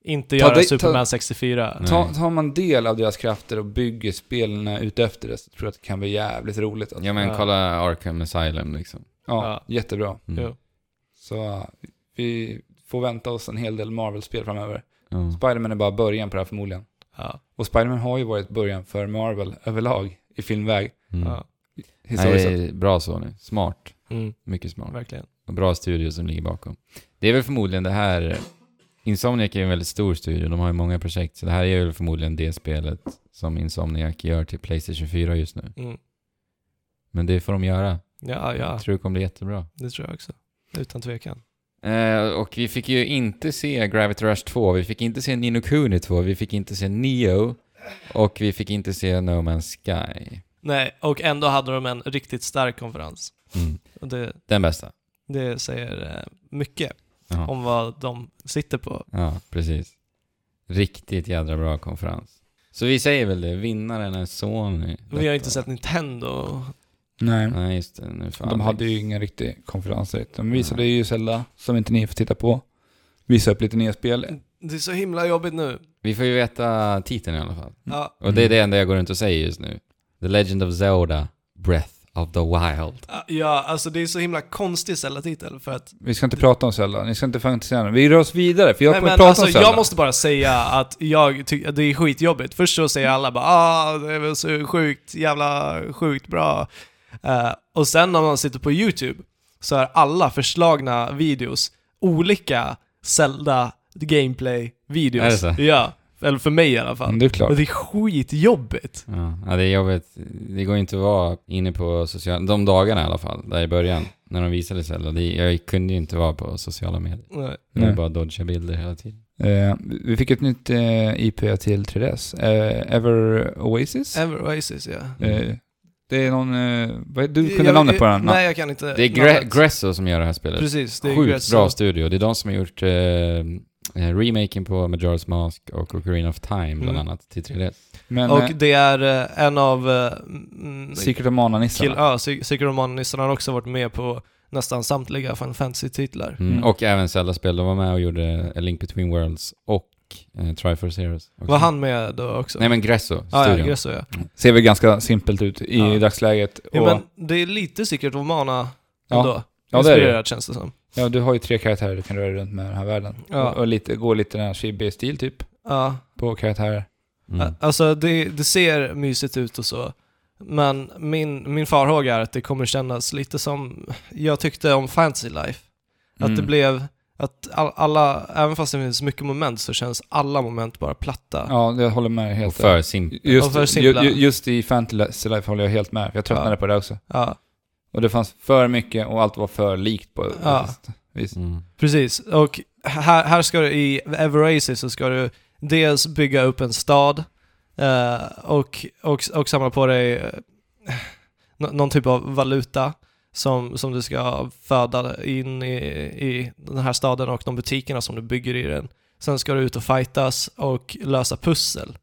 S2: Inte
S3: Ta
S2: göra
S3: dig- ta-
S2: Superman 64.
S1: Nej.
S3: ta, tar man del av deras krafter och bygger spelen ute efter det så tror jag att det kan bli jävligt roligt. Alltså.
S1: Ja men
S2: Ja.
S1: kolla Arkham Asylum liksom.
S3: Ja,
S2: Ja.
S3: jättebra.
S1: Mm.
S2: Jo.
S3: Så uh, vi får vänta oss en hel del Marvel-spel framöver.
S1: Ja. Mm.
S3: Spiderman är bara början på det här förmodligen.
S2: Ja.
S3: Och Spiderman har ju varit början för Marvel överlag i filmväg
S1: Mm.
S2: Ja.
S3: historiskt sett.
S1: Nej, bra så nu. Smart.
S2: Mm,
S1: Mycket smart.
S2: verkligen.
S1: och bra studio som ligger bakom. Det är väl förmodligen det här... Insomniac är ju en väldigt stor studio, de har ju många projekt, så det här är väl förmodligen det spelet som Insomniac gör till Playstation 4 just nu.
S2: Mm.
S1: Men det får de göra.
S2: Ja, ja,
S1: Jag tror det kommer bli jättebra.
S2: det tror jag också. Utan tvekan.
S1: Eh, och vi fick ju inte se Gravity Rush 2, vi fick inte se Nino Kuni 2, vi fick inte se Neo och vi fick inte se No Man's Sky.
S2: Nej, och ändå hade de en riktigt stark konferens.
S1: Mm.
S2: Och det,
S1: Den bästa.
S2: det säger eh, mycket
S1: Ja.
S2: om vad de sitter på.
S1: Ja, precis. Riktigt jädra bra konferens. Så vi säger väl det, vinnaren är Sony.
S2: Vi har ju inte sett Nintendo
S3: Nej.
S1: Nej, just det. Nu fan.
S3: De hade ju ingen riktig konferens direkt. De visade ju Zelda, som inte ni får titta på. Visade upp lite nya spel.
S2: Det är så himla jobbigt nu.
S1: Vi får ju veta titeln i alla fall.
S2: Ja,
S1: Och det
S3: Mm.
S1: är det enda jag går runt och säger just nu. The Legend of Zelda, Breath of the Wild.
S2: ja alltså det är så himla konstig Zelda-titel för att...
S3: Vi ska inte prata om Zelda, ni ska inte fantisera. Vi rör oss vidare, för jag
S2: Nej
S3: kommer
S2: men
S3: prata
S2: alltså
S3: om Zelda.
S2: jag måste bara säga att jag tycker det är skitjobbigt. Först så säger alla bara ah, det är väl så sjukt, jävla sjukt bra. Eh, och sen när man sitter på YouTube så är alla förslagna videos olika Zelda gameplay-videos.
S1: Är det så?
S2: Ja, eller för mig i alla fall.
S3: Mm, det är klart.
S2: Och det är skitjobbigt.
S1: Ja, ja, det är jobbigt. Det går inte att vara inne på sociala... De dagarna i alla fall, där i början, när de visade Zelda. Det, jag kunde ju inte vara på sociala medier.
S2: Nej.
S1: Jag ville
S3: Nej.
S1: bara dodga bilder hela tiden.
S3: Eh, vi fick ett nytt eh, IP till 3DS. Eh, Ever Oasis?
S2: Ever Oasis, ja.
S3: Eh, det är någon... Eh, vad, du kunde
S2: Jag-
S3: namnet på den?
S2: Nej, jag kan inte.
S1: Det är
S2: namnet.
S1: Gre- Gresso som gör det här spelet.
S2: Precis, det är alltså-
S1: Sjukt
S2: Gresso.
S1: bra studio. Det är de som har gjort eh, eh, remaken på Majora's Mask och Ocarina of Time bland
S2: Mm.
S1: annat till 3DS.
S3: Men
S2: Och
S3: eh,
S2: det är eh, en av... eh, mm,
S3: Secret of Mana-nissarna.
S2: kill- ja, Sig- Secret of Mana-nissarna har också varit med på nästan samtliga Final Fantasy-titlar.
S1: Mm.
S3: Mm.
S1: Och även Zelda-spel. De var med och gjorde A Link Between Worlds och eh, Triforce Heroes. också.
S2: Var han med då också?
S1: Nej men Gresso,
S2: ah, ja,
S1: studion.
S2: Gresso ja.
S3: Ser väl ganska simpelt ut i
S2: Ja.
S3: dagsläget. Och,
S2: ja.
S3: ja,
S2: Men det är lite Secret of Mana
S3: Ja.
S2: ändå.
S3: Ja, det är det.
S2: Inspirerat känns det som.
S3: du har ju tre karaktärer du kan röra dig runt med i den här världen.
S2: Ja.
S3: Och, och lite, gå lite den här chibi-stil typ
S2: Ja.
S3: på karaktärer.
S1: Mm.
S2: Alltså det, det ser mysigt ut och så. Men min, min farhåga är att det kommer kännas lite som jag tyckte om Fantasy Life. Att det
S3: Mm.
S2: blev, att all, alla, även fast det finns mycket moment så känns alla moment bara platta.
S3: Ja, jag håller med
S1: Och
S3: helt.
S1: för simpel.
S2: Och
S3: Just,
S2: för
S3: ju,
S2: simpla.
S3: ju, just i Fantasy Life håller jag helt med. för Jag tröttnade på det också.
S2: Ja,
S3: Och det fanns för mycket och allt var för likt på
S2: Ja.
S3: visst, vis.
S1: Mm.
S2: precis. Och här, här ska du, i Everasis så ska du dels bygga upp en stad eh, och, och, och samla på dig eh, nå- någon typ av valuta som, som du ska föda in i, i den här staden och de butikerna som du bygger i den. Sen ska du ut och fightas och lösa pussel.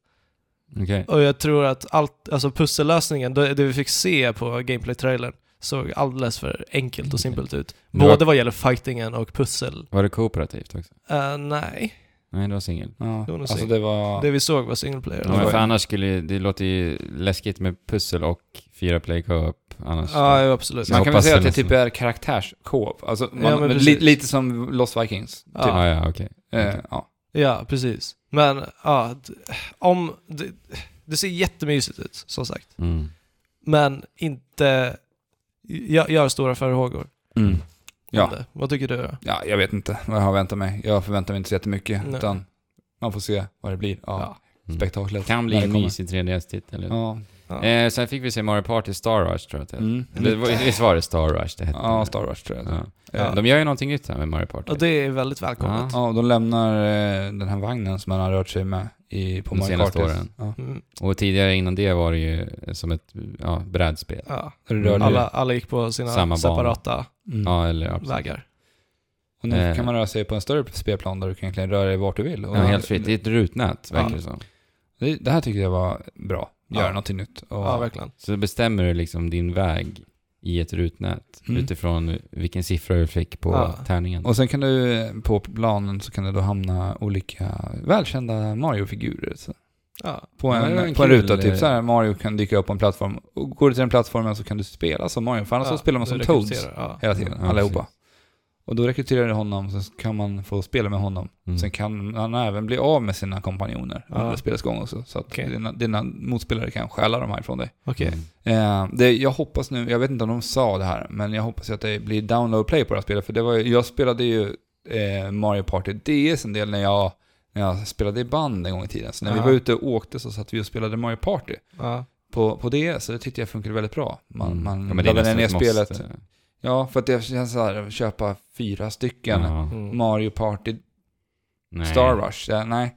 S1: Okej.
S2: Och jag tror att allt, alltså pussellösningen, det, det vi fick se på gameplay-trailern såg alldeles för enkelt och simpelt ut.
S1: Mm. Det var-
S2: Både vad gäller fightingen och pussel.
S1: Var det kooperativt också?
S2: Eh, nej,
S1: Nej, det var singel.
S3: Ja.
S2: Det var nog
S3: Alltså
S2: synd.
S3: det var...
S2: det vi såg var single player. Alltså.
S1: Ja, men för annars skulle ju- det låter ju läskigt med pussel och fyra play co-op annars.
S2: Ja, jo, absolut.
S1: Ja.
S3: man
S1: Jag
S3: kan väl
S1: hoppas
S3: säga att
S1: det
S3: det typ är karaktärs-co-op. Alltså man,
S2: men
S3: li,
S2: precis. Mm.
S3: lite som Lost Vikings. Typ.
S2: Ja.
S1: ah, ja, okej.
S3: Eh, ja.
S2: Ja, precis. Men ja, d- om... Det, det ser jättemysigt ut, som sagt.
S1: Mm.
S2: Men inte... Jag, jag har stora farhågor. om
S1: Mm.
S3: Ja.
S2: det. Vad tycker du? då?
S3: ja, jag vet inte vad jag har väntat mig. Jag förväntar mig inte så jättemycket.
S2: Nej.
S3: Utan man får se vad det blir. Ja.
S2: Ja.
S1: Mm.
S3: Spektaklet.
S1: Kan bli
S3: när det
S1: en
S3: kommer.
S1: mysig 3DS-titel.
S3: Ja.
S1: Eh, sen fick vi se Mario Party Star Rush tror jag att det hette.
S3: Mm.
S1: Det var- Visst var det Star Rush det hette?
S3: ja, Star Wars tror jag.
S1: Ja.
S2: Ja.
S1: De gör ju någonting nytt här med Mario Party.
S2: Och det är väldigt välkommet.
S3: Ja, de lämnar eh, den här vagnen som han har rört sig med i, på
S1: De
S3: Mario
S1: senaste
S3: Kartis.
S1: åren.
S3: Ja.
S2: Mm,
S1: Och tidigare innan det var det ju som ett ja, brädspel.
S2: ja.
S3: Där du rör dig.
S2: Alla, alla gick på sina
S1: Samma bana.
S2: separata
S3: Mm.
S1: Ja, eller ja, precis.
S2: vägar.
S3: Och nu
S1: Eh.
S3: kan man röra sig på en större spelplan där du kan egentligen röra dig vart du vill. Och
S1: ja, helt fritt. Det är ett rutnät, verkar
S2: Ja.
S1: det som.
S3: Det, det här tycker jag var bra. Göra
S2: Ja.
S3: någonting nytt. Och,
S2: Ja, verkligen.
S1: Så bestämmer du liksom din väg i ett rutnät
S3: Mm.
S1: utifrån vilken siffra du fick på
S2: Ja.
S1: tärningen.
S3: och sen kan du, eh, på planen så kan det då hamna olika välkända Mario-figurer. Så.
S2: Ja.
S3: På
S1: Ja,
S3: en,
S1: det var en
S3: på en
S1: kul,
S3: ruta,
S1: eh,
S3: typ så här, Mario kan dyka upp på en plattform. Och går du till den plattformen så kan du spela som Mario, för annars
S2: ja,
S3: så spelar man
S2: det
S3: som
S2: rekryterar,
S3: Toads
S2: Ja.
S3: hela tiden,
S1: Ja,
S3: allihopa.
S1: precis.
S3: Och då rekryterar du honom, så kan man få spela med honom.
S1: Mm.
S3: Sen kan han även bli av med sina kompanjoner
S2: Ja.
S3: under spelets gång också. Så att
S2: Okej.
S3: dina, dina motspelare kan stjäla dem här ifrån dig.
S2: Okej.
S1: Mm.
S3: Eh, det, jag hoppas nu, jag vet inte om de sa det här, men jag hoppas ju att det blir download play på det här spelet. För det var, ju- jag spelade ju eh, Mario Party DS en del när jag, när jag spelade i band en gång i tiden. Så när vi
S2: Ja.
S3: var ute och åkte så satt vi och spelade Mario Party
S2: Ja.
S3: på, på DS. Så det tyckte jag funkade väldigt bra. Man,
S1: Mm.
S3: man
S1: Ja, men det är
S3: laddade ner
S1: nästan ett
S3: spelet.
S1: måste.
S3: Ja, för att det känns så här, att köpa fyra stycken
S1: Ja.
S2: Mm.
S3: Mario Party
S1: Nej.
S3: Star Rush. Ja, nej,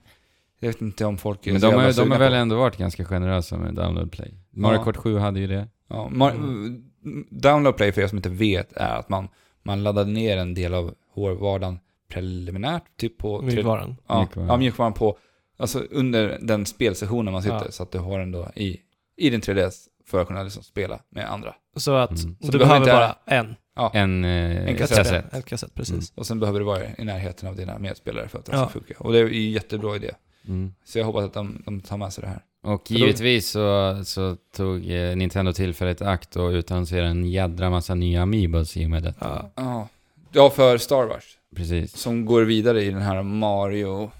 S3: jag vet inte om folk är
S1: Men
S3: så
S1: de
S3: jävla
S1: har, de
S3: sugna
S1: har väl
S3: på-
S1: ändå varit ganska generösa med download play. Mario
S3: Ja.
S1: Kart 7 hade ju det.
S3: Ja, Mar-
S2: Mm.
S3: Download play för er som inte vet är att man, man laddar ner en del av hårvardan preliminärt, typ på... tre-
S2: Mjukvaran.
S1: Mjukvaran.
S3: Ja, mjukvaran. Ja, mjukvaran på... Alltså under den spelsessionen man sitter,
S2: Ja.
S3: så att du har den då i, i din 3DS för att kunna liksom spela med andra.
S2: Så att
S1: Mm. Så
S2: du,
S3: du behöver
S2: behöver
S3: inte-
S2: bara en.
S1: En, eh,
S3: En
S1: kassett.
S3: kassett.
S2: En kassett, precis.
S3: Och sen behöver du vara i närheten av dina medspelare för att det
S2: Ja.
S3: ska funka. Och det är ju en jättebra idé.
S1: Mm.
S3: Så jag hoppas att de, de tar med sig det här.
S1: Och
S3: För då-
S1: givetvis så, så tog eh, Nintendo tillfället i akt och utannonserade en jädra massa nya Amiibos i och med det.
S2: Ja.
S3: Ja, ja för Star Wars.
S1: Precis.
S3: Som går vidare i den här Mario...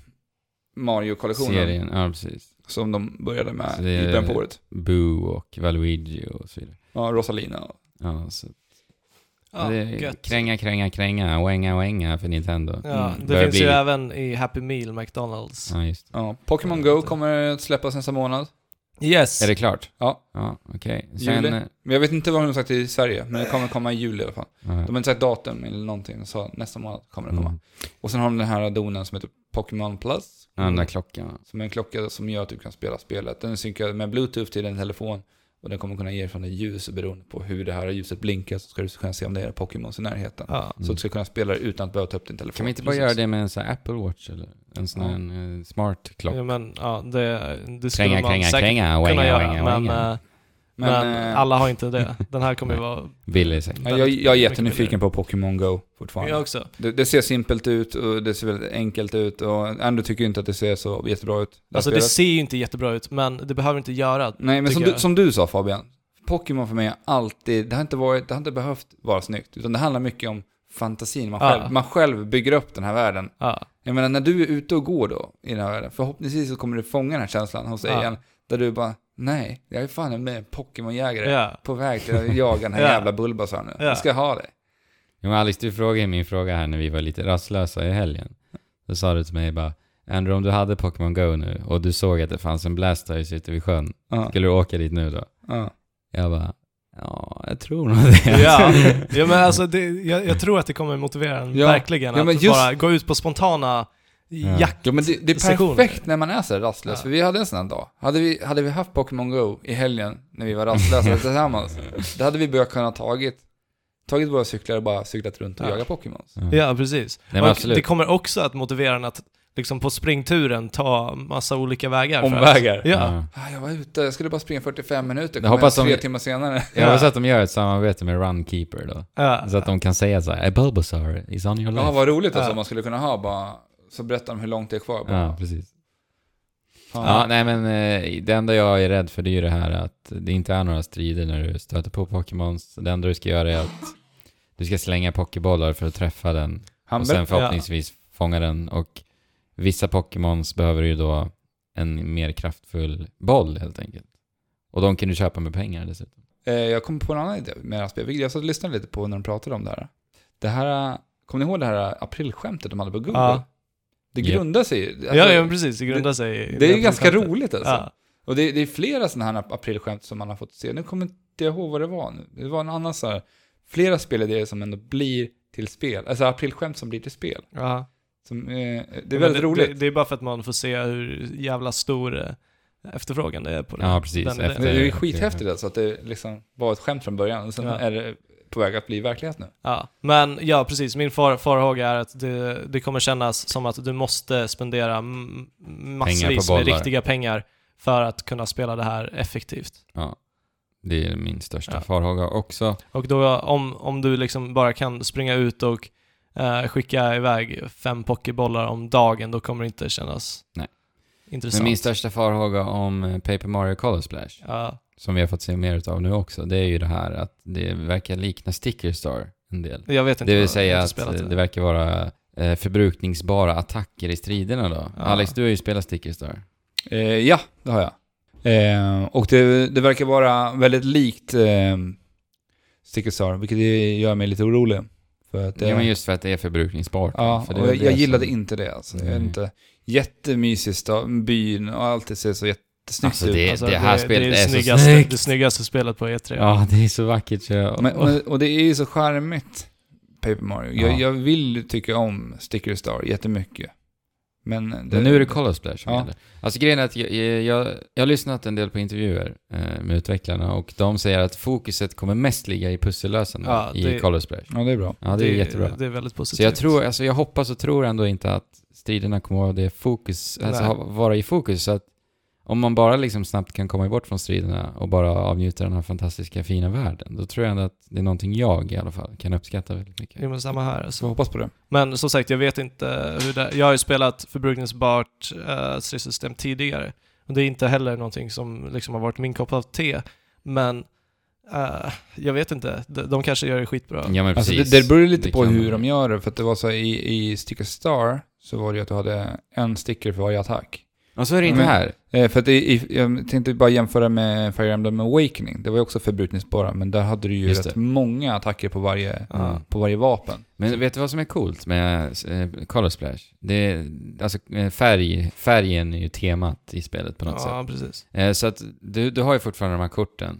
S3: Mario-kollektionen.
S1: Serien, ja precis.
S3: Som de började med
S1: Så det
S3: i
S1: är-
S3: början på året.
S1: Boo och Valuigi och så vidare.
S3: Ja, Rosalina. och-
S1: Ja, så
S2: Ja,
S1: det är
S2: gött.
S1: kränga, kränga, kränga, oänga, oänga för Nintendo.
S2: Ja,
S3: Mm.
S2: det
S1: Börjar
S2: finns ju
S1: bli-
S2: även i Happy Meal McDonalds.
S1: Ja, just
S3: Ja, Pokémon Go kommer att släppas nästa månad.
S2: Yes!
S1: det. Är det klart?
S3: Ja.
S1: Ja, okej. Sen... eh,
S3: Juli. Men jag vet inte vad de har sagt i Sverige, men det kommer komma i juli i alla fall.
S1: ja.
S3: De har inte sagt datum eller någonting, så nästa månad kommer det komma.
S1: Mm.
S3: Och sen har de den här donen som heter Pokémon Plus.
S1: Ja, Den där klockan.
S3: Som är en klocka som gör att du kan spela spelet. Den är synkad med bluetooth till din telefon. Och den kommer kunna ge från dig ljus och beroende på hur det här ljuset blinkar så ska du kunna se om det är Pokémons i närheten.
S2: Ja.
S3: Så du ska kunna spela det utan att behöva ta upp din telefon.
S1: Mm. Kan vi inte bara
S3: Precis.
S1: göra det med en sån här Apple Watch eller en sån här en, eh, smart klock?
S2: Ja, men, ja, det, det skulle
S1: Kränga,
S2: man
S1: kränga,
S2: säkert
S1: kränga,
S2: kunna
S1: oänga,
S2: göra,
S1: oänga,
S2: men,
S1: oänga.
S2: eh, men,
S3: Men, eh,
S2: alla har inte
S1: <laughs>
S2: det. Den här kommer ju vara...
S1: Billy säkert.
S3: ja, jag, jag är jättenyfiken på Pokémon Go fortfarande.
S2: Jag också.
S3: Det, det ser simpelt ut och det ser väldigt enkelt ut och Andrew tycker ju inte att det ser så jättebra ut. här
S2: Alltså det
S3: spelet.
S2: ser ju inte jättebra ut, men det behöver inte göra.
S3: Nej, men som
S2: tycker
S3: du,
S2: jag.
S3: som du sa Fabian, Pokémon för mig har alltid, det har inte varit, det har inte behövt vara snyggt, utan det handlar mycket om fantasin. Man
S2: Ja.
S3: själv, man själv bygger upp den här världen.
S2: Ja,
S3: Jag menar, när du är ute och går då i den här världen, förhoppningsvis så kommer du fånga den här känslan hos dig
S2: Ja.
S3: igen, där du bara, nej, jag är fan med en Pokémon-jägare
S2: ja,
S3: på väg till att jaga den
S2: <laughs>
S3: här
S2: Ja.
S3: jävla Bulbasaur nu.
S2: Ja.
S3: Jag ska ha det.
S1: Jo, men Alice, du frågade ju min fråga här när vi var lite rastlösa i helgen. Då sa du till mig bara, Andrew om du hade Pokémon Go nu och du såg att det fanns en Blastoise ute vid sjön,
S3: Ja,
S1: skulle du åka dit nu då?
S3: ja.
S1: Jag bara, <laughs> ja, jag tror nog
S2: <laughs>
S1: det.
S2: ja. ja men alltså det, jag, jag tror att det kommer motivera en
S3: Ja.
S2: verkligen
S3: Ja,
S2: att
S3: men just-
S2: bara gå ut på spontana
S1: Ja.
S2: jakt.
S3: Ja, men det, det är
S2: Sessioner.
S3: perfekt när man är så här rastlös,
S2: Ja.
S3: för vi hade en sån här dag. Hade vi, hade vi haft Pokémon Go i helgen när vi var rastlösa tillsammans, då hade vi börjat kunna tagit, tagit våra cyklar och bara cyklat runt och
S2: Ja.
S3: jagat Pokémons.
S2: Ja, precis.
S1: Nej, men
S2: och
S1: absolut.
S2: det kommer också att motivera en att liksom på springturen ta massa olika vägar. för att-
S3: Omvägar.
S2: Ja.
S3: Ah, jag var ute, jag skulle bara springa 45 minuter,
S1: Jag
S3: kom
S1: hoppas
S3: hem tre
S1: de-
S3: timmar senare.
S1: Jag hoppas att de gör ett samarbete med Runkeeper då.
S2: Ja.
S1: Så att de kan säga så här, "A Bulbasaur is on your
S3: Ja,
S1: left.
S3: vad roligt alltså
S2: Ja.
S3: man skulle kunna ha bara, så berättar de hur långt det är kvar. Bara,
S1: Ja, precis.
S3: fan.
S1: Ja, nej men eh, det enda jag är rädd för det är ju det här att det inte är några strider när du stöter på Pokémons. Det enda du ska göra är att du ska slänga pokébollar för att träffa den
S3: Han
S1: och
S3: ber-
S1: sen förhoppningsvis fånga den. Och vissa Pokémons behöver ju då en mer kraftfull boll helt enkelt. Och de kan du köpa med pengar dessutom.
S3: Eh, Jag kom på en annan idé med det här spelet. Jag satt och lyssnade lite på när de pratade om det här. Det här, eh, kommer ni ihåg det här eh, aprilskämtet de hade på Google?
S2: Ja.
S3: Det
S1: Japp.
S3: grundar sig ju- alltså,
S2: ja, ja, men precis. Det grundar sig i-
S3: Det är ju ganska
S2: skämtet.
S3: roligt alltså.
S2: Ja.
S3: Och det, det är flera sådana här aprilskämt som man har fått se. Nu kommer inte jag ihåg vad det var nu. Det var en annan så här, flera spelidéer som ändå blir till spel. Alltså aprilskämt som blir till spel.
S2: Ja.
S3: Som, eh, det är
S2: Men
S3: väldigt
S2: det,
S3: roligt.
S2: Det, det är bara för att man får se hur jävla stor eh, efterfrågan det är på det.
S1: Ja, precis.
S2: Den idén.
S1: Efter-
S3: det, är ju
S1: det-
S3: skithäftigt alltså att det liksom var ett skämt från början och sen
S2: Ja.
S3: är det på väg att bli verklighet nu.
S2: Ja, men ja, precis. Min far, farhåga är att det, det kommer kännas som att du måste spendera m-
S1: Pengar
S2: massvis
S1: på
S2: med
S1: bollar.
S2: riktiga pengar för att kunna spela det här effektivt.
S1: Det är min största
S2: Ja.
S1: farhåga också.
S2: Och då om, om du liksom bara kan springa ut och eh, skicka iväg fem pokébollar om dagen, då kommer det inte kännas
S1: Nej.
S2: intressant.
S1: Men min största farhåga om eh, Paper Mario Color Splash
S2: Ja,
S1: som vi har fått se mer utav nu också, det är ju det här att det verkar likna Sticker Star en del.
S2: jag vet inte.
S1: Det
S2: jag har
S1: vill säga
S2: inte
S1: att
S2: spelat
S1: eh, det verkar vara eh, förbrukningsbara attacker i striderna då.
S2: Ja.
S1: Alex, du har ju spelat Sticker Star.
S3: Eh, ja, det har jag. Eh, och det, det verkar vara väldigt likt eh, Sticker Star, vilket gör mig lite orolig. För att eh, det,
S1: Ja, men just för att det är förbrukningsbart.
S3: Ja,
S1: för det är
S3: och
S1: det
S3: jag, jag
S1: som- Mm.
S3: gillade inte det alltså. Jag är
S1: Nej.
S3: inte jättemysigt, då, byn och allt det ser så jättesnyggt
S1: Alltså,
S3: ut.
S1: det- det här spelet
S2: det
S1: är så
S2: snyggaste,
S1: snyggt.
S2: Det snyggaste spelet på E E3.
S1: Ja, det är så vackert så jag...
S3: Men, men, och det är ju så charmigt, Paper Mario. Jag,
S1: Ja.
S3: jag vill tycka om Sticker Star jättemycket. Men,
S1: Men nu är det Color Splash som
S3: Ja.
S1: gäller. Alltså grejen är att jag, jag, jag, jag har lyssnat en del på intervjuer eh, med utvecklarna och de säger att fokuset kommer mest ligga i pussellösande
S2: Ja, det-
S1: i Color Splash.
S3: Ja, det är bra.
S1: Ja, det, är jättebra.
S2: Det är väldigt positivt.
S1: Så jag tror, alltså jag hoppas och tror ändå inte att striderna kommer att vara det fokus, alltså
S2: Nej.
S1: ha- vara i fokus så att om man bara liksom snabbt kan komma bort från striderna och bara avnjuta den här fantastiska fina världen, då tror jag ändå att det är någonting jag i alla fall kan uppskatta väldigt mycket.
S2: Jo men samma här
S3: Så jag
S2: alltså.
S3: hoppas på det.
S2: Men som sagt, jag vet inte hur det... Jag har ju spelat förbrukningsbart eh, stridssystem tidigare. Och det är inte heller någonting som liksom har varit min kopp av te. Men eh, jag vet inte, de, de kanske gör det skitbra.
S1: Ja men
S3: Alltså
S1: precis.
S3: det, det beror ju lite
S1: Det
S3: på
S1: kan-
S3: hur de gör det, för att det var så här, i, i Sticker Star så var det ju att du hade en sticker för varje attack.
S1: Och så är det inte
S3: Men-
S1: här.
S3: Eh, för att i, i, jag tänkte bara jämföra med Fire Emblem Awakening, det var ju också förbrukningsbara, men där hade du ju
S1: Just
S3: rätt
S1: det.
S3: många attacker på varje,
S2: Ja.
S3: på varje vapen.
S1: Mm. Men vet du vad som är coolt med eh, Color Splash? Det, alltså eh, färg, färgen är ju temat i spelet på något sätt.
S2: Ja, precis.
S1: Eh, Så att du, du har ju fortfarande de här korten.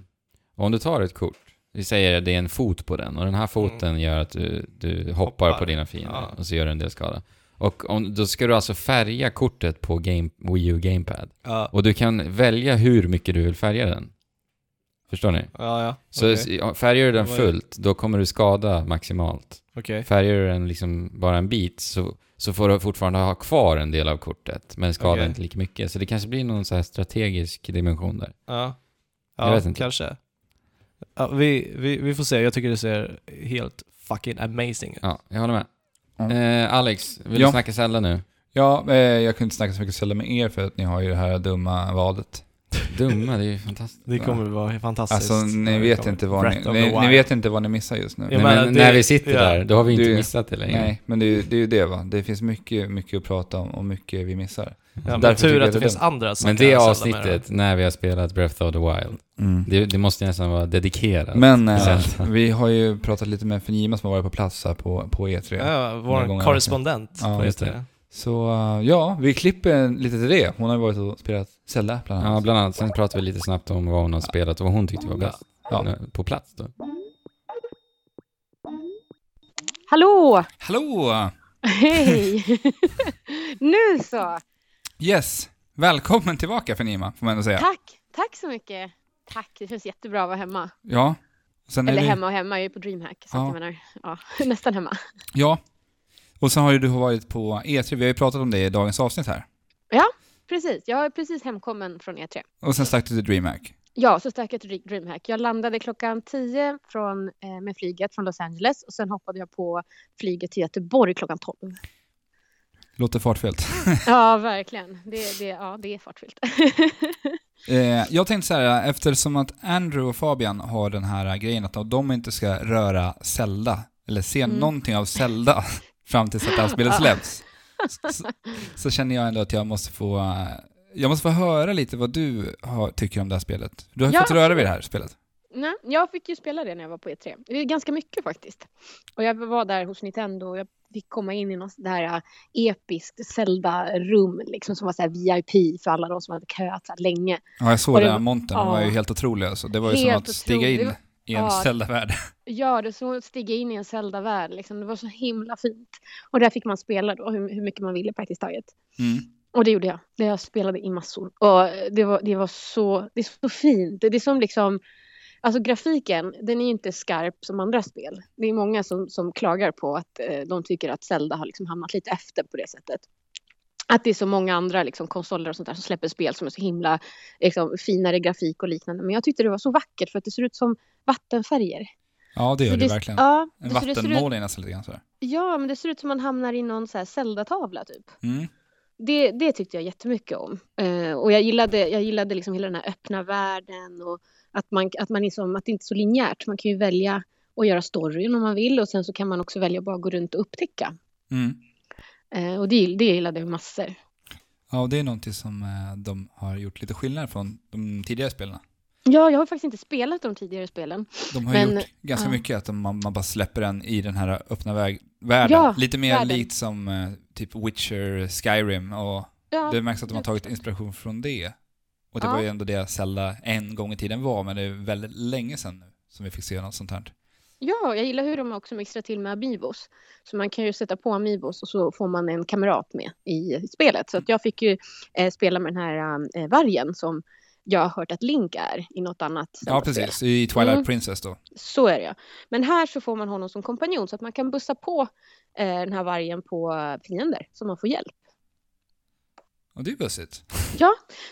S1: Och om du tar ett kort, vi säger att det är en fot på den och den här foten gör att du, du hoppar,
S2: Mm. Hoppar.
S1: på dina fiender
S2: Ja.
S1: och så gör du en del skada. Och om, då ska du alltså färga kortet på game, Wii U Gamepad.
S2: Ja,
S1: Och du kan välja hur mycket du vill färga den. Förstår ni?
S2: ja, ja.
S1: Så
S2: Okej.
S1: s- ja, färgar du den
S2: Det var ju-
S1: fullt, då kommer du skada maximalt.
S2: Okej.
S1: Färgar du den liksom bara en bit så, så får du fortfarande ha kvar en del av kortet, men skadar
S2: Okej.
S1: inte lika mycket. Så det kanske blir någon så här strategisk dimension där.
S2: Ja,
S1: Jag
S2: ja
S1: vet inte.
S2: kanske. Ja, vi, vi, vi får se, jag tycker det ser helt fucking amazing ut.
S1: Ja, jag håller med.
S3: Ja.
S1: Eh, Alex, vill
S3: Ja.
S1: du snacka Zelda nu?
S3: Ja, eh, jag kunde inte snacka så mycket sällan med er för att ni har ju det här dumma vadet.
S1: Dumma, det är ju fantastiskt.
S2: <laughs> Det kommer att vara fantastiskt.
S3: Alltså ni
S2: Det
S3: vet,
S2: kommer-
S3: inte vad
S2: Breath
S3: ni,
S2: of the
S3: ni, ni
S2: Wild.
S3: vet inte vad ni missar just nu.
S2: Ja,
S1: Nej,
S2: men
S1: men,
S2: det-
S1: när vi sitter
S2: ja.
S1: där, då har vi inte
S3: Du-
S1: missat det längre.
S3: Nej, men det, är ju- det är ju det va. Det finns mycket, mycket att prata om och mycket vi missar.
S2: Ja, men
S3: Därför tycker
S2: tur
S3: jag
S2: att det
S3: det är
S2: finns
S3: dumt.
S2: andra som
S1: Men
S2: kan
S1: det
S2: sälja med
S1: avsnittet, när vi har spelat Breath of the Wild,
S3: Mm.
S1: det, det måste nästan vara dedikerat.
S3: Men eh,
S1: Zelda.
S3: vi har ju pratat lite med Fenjima som har varit på plats här på, på E3.
S2: det. Ja,
S3: Många
S2: vår
S3: gånger.
S2: korrespondent.
S3: Ja,
S2: på
S1: just det.
S2: E3.
S3: Så eh, ja, vi klipper lite till det. Hon har ju varit och spelat Zelda bland
S1: Ja,
S3: annat.
S1: bland annat. Sen pratade vi lite snabbt om vad hon har spelat och vad hon tyckte var bäst.
S3: Ja.
S1: Nu, På plats då.
S4: Hallå!
S3: Hallå!
S4: Hej! nu så!
S3: Yes! Välkommen tillbaka Fenjima, får man ändå säga.
S4: Tack! Tack så mycket! Tack, det känns jättebra att vara hemma.
S3: Ja. Sen är
S4: Eller
S3: vi-
S4: hemma och hemma, jag är på DreamHack. Så
S3: Ja.
S4: att jag menar, ja, <laughs> nästan hemma.
S3: Ja. Och sen har ju du varit på E3, vi har ju pratat om det i dagens avsnitt här.
S4: Precis, jag är precis hemkommen från E3.
S3: Och sen stack du till DreamHack.
S4: Ja, så stack jag till DreamHack. Jag landade klockan 10 från, eh, med flyget från Los Angeles och sen hoppade jag på flyget till Göteborg klockan 12.
S3: Låter fartfyllt.
S4: Ja, verkligen. Det, det, ja, det är fartfyllt. <laughs>
S3: Eh, jag tänkte så här, eftersom att Andrew och Fabian har den här grejen att de inte ska röra Zelda, eller se
S4: Mm.
S3: någonting av Zelda <laughs> fram tills att det här spelet
S4: Ja.
S3: släpps, så, så känner jag ändå att jag måste få, eh, jag måste få höra lite vad du har, tycker om det här spelet. Du har ju
S4: Ja,
S3: fått röra vid det här spelet.
S4: Nej, jag fick ju spela det när jag var på E3. Det är ganska mycket faktiskt. Och jag var där hos Nintendo och jag fick komma in i något sånt där äh, episkt Zelda-rum liksom som var så här VIP för alla de som hade köat så här länge.
S3: Ja, jag såg
S4: Och det-
S3: den här montern, den var ju
S4: ja.
S3: helt otrolig alltså. Det var ju som
S4: Helt
S3: att stiga
S4: otrolig.
S3: in i en
S4: Ja.
S3: Zelda-värld.
S4: Ja, det såg att stiga in i en Zelda-värld liksom. Det var så himla fint. Och där fick man spela då hur, hur mycket man ville praktiskt taget.
S3: Mm.
S4: Och det gjorde jag. Det Jag spelade i massor. Och det var, det var så, det är så fint. Det är som liksom, alltså grafiken, den är ju inte skarp som andra spel. Det är många som, som klagar på att eh, de tycker att Zelda har liksom hamnat lite efter på det sättet. Att det är så många andra liksom, konsoler och sånt där som släpper spel som är så himla liksom, finare grafik och liknande. Men jag tyckte det var så vackert för att det ser ut som vattenfärger.
S3: Ja, det
S4: Så
S3: gör det verkligen.
S4: Ja,
S3: En
S4: så det ser ut,
S3: vattenmålning nästan lite grann sådär.
S4: ja, men det ser ut som man hamnar i någon så här Zelda-tavla typ.
S3: Mm.
S4: det, det tyckte jag jättemycket om. Eh, och jag gillade, jag gillade liksom hela den här öppna världen och att, man, att, man liksom, att det inte är så linjärt. Man kan ju välja att göra storyn om man vill och sen så kan man också välja att bara gå runt och upptäcka.
S3: Mm.
S4: Eh, och det, gill- det gillade jag massor.
S3: Ja, och det är någonting som eh, de har gjort lite skillnad från de tidigare spelarna.
S4: Ja, jag har faktiskt inte spelat de tidigare spelen.
S3: De har ju
S4: Men,
S3: gjort ganska
S4: ja.
S3: mycket att de, man, man bara släpper den i den här öppna väg, världen.
S4: Ja,
S3: lite mer
S4: världen.
S3: likt som eh, typ Witcher, Skyrim och
S4: Ja,
S3: det märks att de har
S4: det-
S3: tagit inspiration från det. Och det
S4: Ja.
S3: var ju ändå det Zelda en gång i tiden var, men det är väldigt länge sedan nu som vi fick se något sånt här.
S4: ja, jag gillar hur de också mixtrar till med Amiibos. Så man kan ju sätta på Amiibos och så får man en kamrat med i spelet. Så att jag fick ju eh, spela med den här eh, vargen som jag har hört att Link är i något annat
S3: Ja,
S4: Zelda-spel.
S3: precis. I Twilight
S4: Mm.
S3: Princess då.
S4: Så är det ja. Men här så får man honom som kompanjon så att man kan bussa på eh, den här vargen på fiender så man får hjälp.
S3: Och det är bussigt.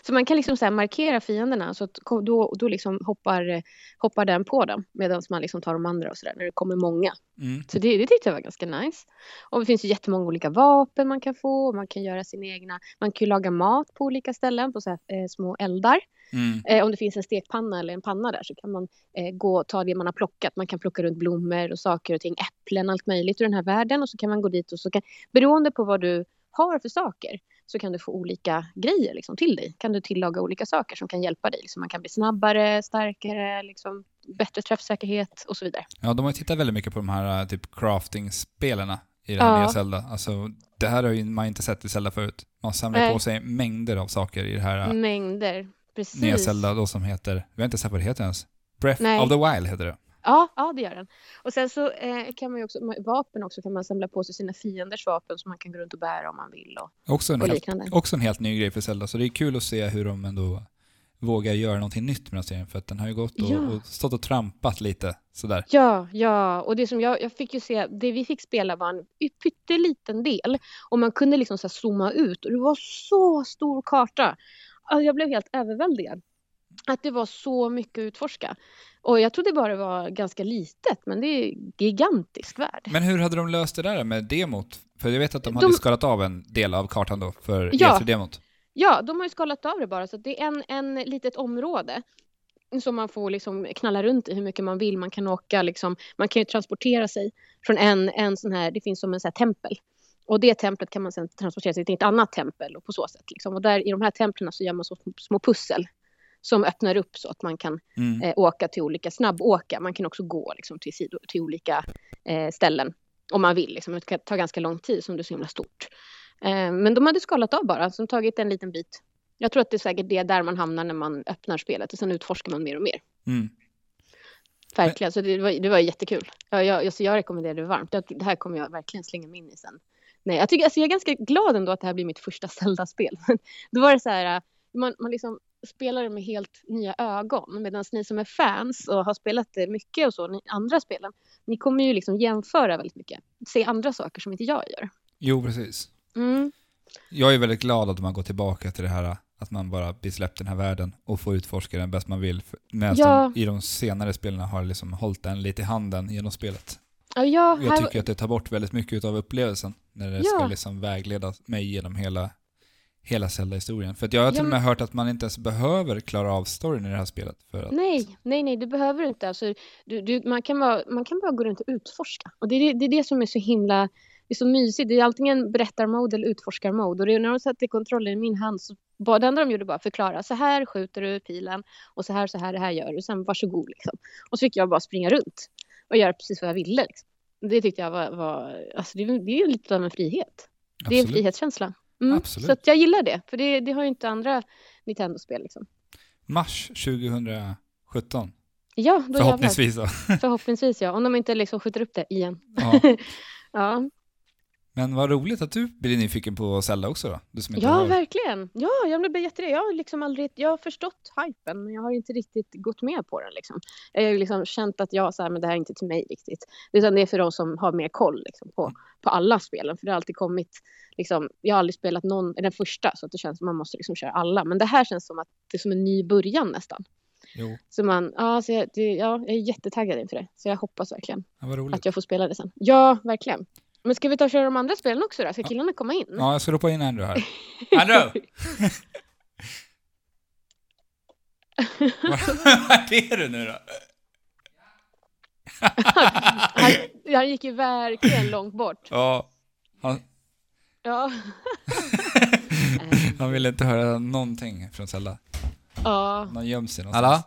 S4: Så man kan liksom så här markera fienderna så att ko- då, då liksom hoppar, eh, hoppar den på dem medan man liksom tar de andra och sådär när det kommer många.
S3: Mm.
S4: Så det, det tyckte jag var ganska nice. Och det finns ju jättemånga olika vapen man kan få och man kan göra sina egna. Man kan ju laga mat på olika ställen på så här, eh, små eldar.
S3: Mm.
S4: Eh, om det finns en stekpanna eller en panna där så kan man eh, gå och ta det man har plockat. Man kan plocka runt blommor och saker och ting, äpplen, allt möjligt ur den här världen. Och så kan man gå dit och så kan, beroende på vad du har för saker så kan du få olika grejer liksom, till dig. Kan du tillaga olika saker som kan hjälpa dig. Liksom, man kan bli snabbare, starkare, liksom, bättre träffsäkerhet och så vidare.
S3: Ja, de har ju tittat väldigt mycket på de här eh, typ crafting-spelarna i det här
S4: Ja.
S3: nya Zelda. Alltså, det här har ju man inte sett i Zelda förut. Man samlar
S4: Nej.
S3: på sig mängder av saker i det här eh,
S4: Mängder. Precis.
S3: nya Zelda då som heter, vi har inte sett vad det heter ens. Breath
S4: Nej.
S3: of the Wild heter det.
S4: Ja, ja, det gör den. Och sen så eh, kan man ju också, vapen också, kan man samla på sig sina fienders vapen som man kan gå runt och bära om man vill och,
S3: Också en,
S4: och
S3: helt,
S4: liknande.
S3: också en helt ny grej för Zelda, så det är kul att se hur de ändå vågar göra någonting nytt med den här serien, för att den har ju gått och,
S4: Ja.
S3: och stått och trampat lite sådär.
S4: Ja, ja, och det som jag, jag fick ju se, det vi fick spela var en y- pytteliten del och man kunde liksom så här zooma ut och det var så stor karta. Alltså, jag blev helt överväldigad. Att det var så mycket att utforska. Och jag trodde bara det var ganska litet, men det är gigantisk värld.
S3: Men hur hade de löst det där med demot? För jag vet att de
S4: De-
S3: hade skalat av en del av kartan då för
S4: Ja.
S3: E3-demot.
S4: Ja, de har ju skalat av det bara så att det är en, en litet område som man får liksom knalla runt i hur mycket man vill. Man kan åka liksom, man kan ju transportera sig från en, en sån här, det finns som en sån här tempel. Och det templet kan man sedan transportera sig till ett annat tempel och på så sätt liksom. Och där i de här templen så gör man så små pussel som öppnar upp så att man kan
S3: Mm.
S4: eh, åka till olika, snabbåka. Man kan också gå liksom, till, sido, till olika eh, ställen om man vill. Liksom. Det kan ta ganska lång tid som det är så himla stort. Eh, men de hade skalat av bara, som tagit en liten bit. Jag tror att det är säkert det där man hamnar när man öppnar spelet och sen utforskar man mer och mer.
S3: Mm.
S4: Verkligen, så det var, det var jättekul. Jag, jag, alltså jag rekommenderar det varmt. Jag, det här kommer jag verkligen slänga mig in i sen. Nej, jag, tycker, alltså jag är ganska glad ändå att det här blir mitt första <laughs> Zelda-spel. Då var det så här, äh, man, man liksom spelar det med helt nya ögon. Medan ni som är fans och har spelat det mycket och så, ni andra spelen, ni kommer ju liksom jämföra väldigt mycket. Se andra saker som inte jag gör.
S3: Jo, precis.
S4: Mm.
S3: Jag är väldigt glad att man går tillbaka till det här att man bara blir släppt i den här världen och får utforska den bäst man vill. För- Medan
S4: Ja.
S3: de i de senare spelen har liksom hållit den lite i handen genom spelet.
S4: Ja, jag,
S3: Jag
S4: här,
S3: tycker att det tar bort väldigt mycket av upplevelsen när det ska
S4: Ja.
S3: liksom vägleda mig genom hela, hela Zelda-historien. För att jag har till
S4: Ja,
S3: och
S4: men-
S3: med hört att man inte ens behöver klara av storyn i det här spelet. För att,
S4: Nej, nej, nej, det behöver du inte. Alltså, du, du, man, kan bara, man kan bara gå runt och utforska. Och det är det, det, är det som är så himla det är så mysigt. Det är antingen berättarmode eller utforskarmode. Och det, är när de satte kontrollen i min hand så bara, det enda de gjorde bara förklara. Så här skjuter du pilen och så här, så här, det här gör du. Sen varsågod liksom. Och så fick jag bara springa runt och göra precis vad jag ville. Liksom. Det tyckte jag var, var alltså det, det är lite av en frihet. Det är en
S3: Absolut.
S4: frihetskänsla. Mm.
S3: Absolut.
S4: Så att jag gillar det, för det, det har ju inte andra Nintendo-spel liksom.
S3: Mars 2017,
S4: Ja, då jävlar.
S3: förhoppningsvis
S4: <laughs>
S3: då.
S4: Förhoppningsvis ja, om de inte liksom skjuter upp det igen.
S3: ja.
S4: Ja,
S3: Men vad roligt att du blir nyfiken på Zelda också då? Du som inte
S4: ja
S3: har...
S4: verkligen. Ja, jag blev jätte det. Jag har liksom aldrig, jag har förstått hypen men jag har inte riktigt gått med på den liksom. Jag har ju liksom känt att jag så här, men det här är inte till mig riktigt. Utan det är för de som har mer koll liksom, på, på alla spelen. För det har alltid kommit, liksom, jag har aldrig spelat någon, den första så att det känns som man måste liksom köra alla. Men det här känns som att det är som en ny början nästan.
S3: Jo,
S4: Så man, ja, så jag, det, ja jag är jättetaggad inför det. Så jag hoppas verkligen.
S3: ja, vad roligt.
S4: att jag får spela det sen. Ja, verkligen. Men ska vi ta och köra de andra spelen också då? Ska killarna komma in?
S3: Ja, jag ska ropa in Andrew
S4: <laughs>
S3: här. Andrew! Var <laughs> är du nu då?
S4: Han, han gick ju verkligen långt bort.
S3: Ja, han,
S4: Ja,
S3: han ville inte höra någonting från Zelda.
S4: ja.
S3: Han har gömt sig någonstans.
S1: Hallå?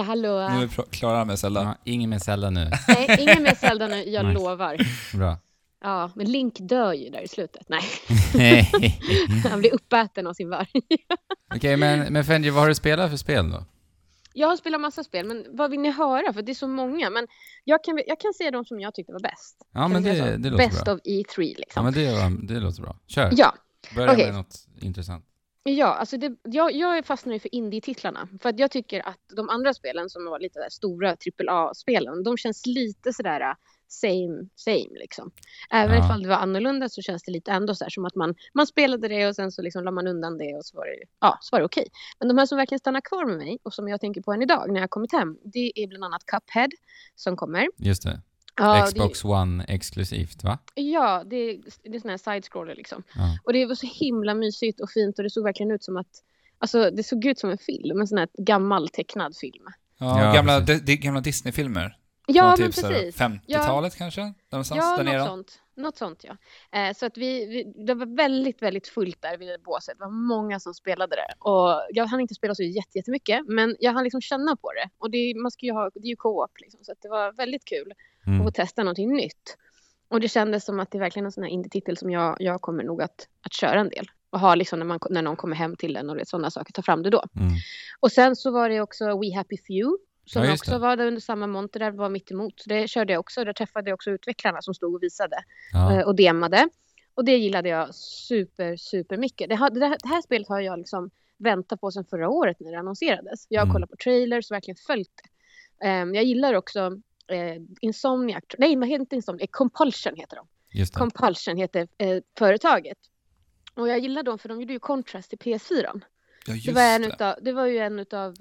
S4: ja hallå.
S3: Nu är vi pro- klara med Zelda.
S1: Ja, <laughs> ingen med Zelda nu.
S4: Nej, ingen mer Zelda nu,
S1: <laughs>
S4: jag
S1: Nice.
S4: lovar.
S1: Bra.
S4: Ja, men Link dör ju där i slutet.
S1: <laughs>
S4: Nej,
S1: Okej,
S4: han blir uppäten av sin varg. <laughs>
S1: men, men Fendi, vad har du spelat för spel då?
S4: Jag har spelat massa spel, men vad vill ni höra? För det är så många. Men jag kan, jag kan säga de som jag tyckte var bäst.
S1: Ja,
S4: Kan
S1: men
S4: vi säga
S1: det-
S4: så?
S1: det låter
S4: Best
S1: bra.
S4: of E3 liksom.
S1: Ja, men det, var, det låter bra. Kör.
S4: ja,
S1: Börja
S4: okej.
S1: med något intressant.
S4: Ja, alltså det, jag, jag fastnar ju för indie-titlarna. För att jag tycker att de andra spelen som var lite där stora AAA-spelen, de känns lite sådär, äh, same, same liksom. Även
S1: Ja.
S4: ifall det var annorlunda så känns det lite ändå så här som att man, man spelade det och sen så liksom la man undan det och så var det, ja, så var det okej. Men de här som verkligen stannar kvar med mig och som jag tänker på än idag när jag har kommit hem, det är bland annat Cuphead som kommer.
S1: Just det.
S4: Ja, det-
S1: Xbox One exklusivt, va?
S4: Ja, det är, det är sån här side-scroller liksom.
S1: Ja.
S4: Och det var så himla mysigt och fint och det såg verkligen ut som att Alltså det såg ut som en film, en sån här gammal tecknad film.
S1: Ja,
S3: Ja, gamla,
S1: precis.
S3: di- di- gamla Disney-filmer.
S4: Ja
S3: Från
S4: men
S3: typ så här
S4: precis.
S3: 50-talet kanske? Någonstans
S4: Ja,
S3: där
S4: något
S3: nere.
S4: sånt. Något sånt ja. Eh, så att vi, vi, det var väldigt, väldigt fullt där vid båset. Det var många som spelade det. Och jag hann inte spela så jätte- jättemycket, men jag hann liksom känna på det. Och det, man ska ju ha, det är ju co-op liksom, så att det var väldigt kul att
S1: Mm.
S4: få testa någonting nytt. Och det kändes som att det är verkligen en sån här indie-titel som jag, jag kommer nog att, att köra en del. Och ha liksom när, man, när någon kommer hem till den och vet, sådana saker, ta fram det då.
S1: Mm.
S4: Och sen så var det också We Happy Few. Som
S1: Ja, just
S4: också
S1: det.
S4: var där under samma monter, där var mitt emot. Så det körde jag också. Där träffade jag också utvecklarna som stod och visade eh,
S1: Ja.
S4: och demade. Och det gillade jag super, super mycket. Det, har, det, här, det här spelet har jag liksom väntat på sedan förra året när det annonserades. Jag har
S1: Mm.
S4: kollat på trailers och verkligen följt det. Ehm, jag gillar också eh, Insomniac, nej men inte Insomniac, Eh, Compulsion heter de.
S1: Just det.
S4: Compulsion heter eh, företaget. Och jag gillar dem för de gjorde ju Contrast till PS4.
S3: Ja,
S4: Det
S3: just
S4: var, en
S3: det.
S4: utav, det var ju en av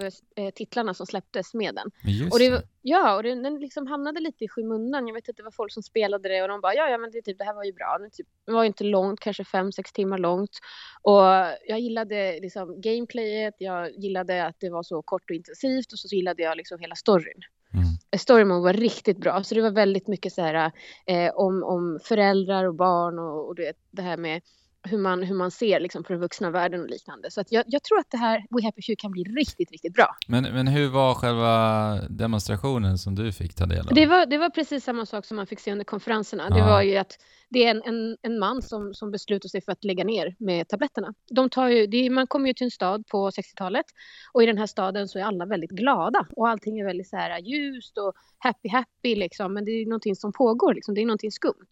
S4: titlarna som släpptes med den.
S1: Men Just
S4: Och det,
S1: det.
S4: var- ja, och den, den liksom hamnade lite i skymundan. Jag vet att det var folk som spelade det och de bara ja, ja, men det, är typ, det här var ju bra. Det, typ, det var ju inte långt, kanske fem sex timmar långt. Och jag gillade liksom gameplayet, jag gillade att det var så kort och intensivt och så gillade jag liksom hela storyn. Eh,
S1: Mm.
S4: Storymon var riktigt bra, så det var väldigt mycket så här eh, om, om föräldrar och barn och, och det, det här med hur man, hur man ser liksom, på den vuxna världen och liknande. Så att jag, jag tror att det här We Happy Few kan bli riktigt, riktigt bra.
S1: Men, men hur var själva demonstrationen som du fick ta del av?
S4: Det var, det var precis samma sak som man fick se under konferenserna. Det
S1: Ja.
S4: var ju att det är en, en, en man som, som beslutar sig för att lägga ner med tabletterna. De tar ju, det är, man kommer ju till en stad på 60-talet och i den här staden så är alla väldigt glada och allting är väldigt så här ljust och happy happy liksom. Men det är ju någonting som pågår liksom. Det är någonting skumt.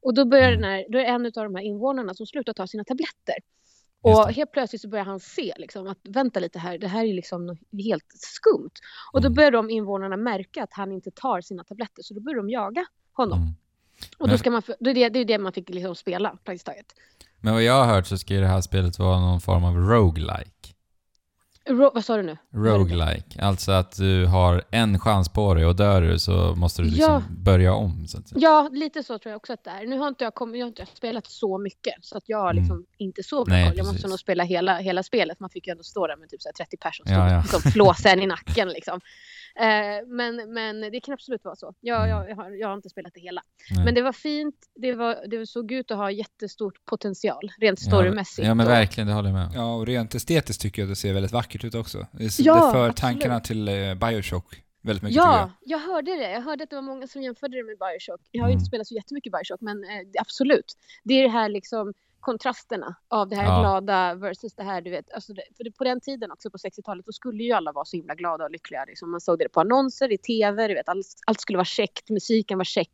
S4: Och då börjar den här, då är det en av de här invånarna som slutar ta sina tabletter.
S1: Just
S4: Och
S1: det.
S4: helt plötsligt så börjar han se liksom att vänta lite här, det här är liksom något helt skumt. Och då
S1: Mm.
S4: börjar de invånarna märka att han inte tar sina tabletter, så då börjar de jaga honom.
S1: Mm.
S4: Och då ska man, då är det, det är det man fick liksom spela praktiskt taget.
S1: Men vad jag har hört så ska ju det här spelet vara någon form av roguelike.
S4: Ro, vad sa du nu?
S1: Roguelike, alltså att du har en chans på dig och dör du så måste du liksom
S4: Ja.
S1: börja om. Så att, säga.
S4: Ja, lite så tror jag också att det är. Nu har inte jag, kommit, jag har inte spelat så mycket, så att jag har liksom inte så bra
S1: Mm. Nej,
S4: koll. Jag måste
S1: precis.
S4: nog spela hela, hela spelet. Man fick ju ändå stå där med typ så här 30 personer
S1: Ja,
S4: som
S1: ja.
S4: liksom flåsen i nacken. Liksom. Eh, men, men det kan absolut vara så. Jag,
S1: Mm.
S4: jag, jag, har, jag har inte spelat det hela.
S1: Nej.
S4: Men det var fint. Det, var, det såg ut att ha jättestort potential, rent
S1: Ja,
S4: storymässigt.
S1: Ja men
S4: och-
S1: verkligen, det håller jag med om.
S3: Ja, och rent estetiskt tycker jag det ser väldigt vackert ut också. Det, s-
S4: Ja,
S3: det för
S4: absolut.
S3: tankarna till eh, Bioshock väldigt mycket tycker jag.
S4: Ja, jag hörde det. Jag hörde att det var många som jämförde det med Bioshock. Jag har ju
S1: Mm.
S4: inte spelat så jättemycket Bioshock, men eh, det- absolut. Det är det här liksom kontrasterna av det här
S1: Ja.
S4: glada versus det här, du vet. Alltså det, för det, på den tiden också, på 60-talet, då skulle ju alla vara så himla glada och lyckliga. Liksom. Man såg det på annonser, i tv, du vet. Allt, allt skulle vara käckt, musiken var käck.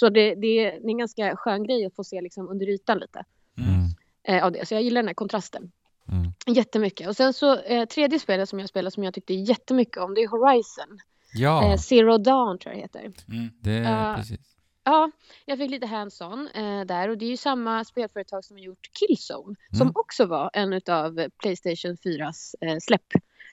S4: Så det, det, är- det är en ganska skön grej att få se liksom, under ytan lite
S1: Mm.
S4: eh, av det. Så jag gillar den här kontrasten.
S1: Mm.
S4: Jättemycket. Och sen så eh, tredje spelet som jag spelar som jag tyckte jättemycket om, det är Horizon. Eh,
S1: Ja,
S4: Zero Dawn tror jag det heter.
S3: Mm.
S1: det är
S4: eh,
S1: precis.
S4: Ja, jag fick lite hands-on eh, där och det är ju samma spelföretag som har gjort Killzone som
S1: Mm.
S4: också var en av Playstation 4s eh, släpp,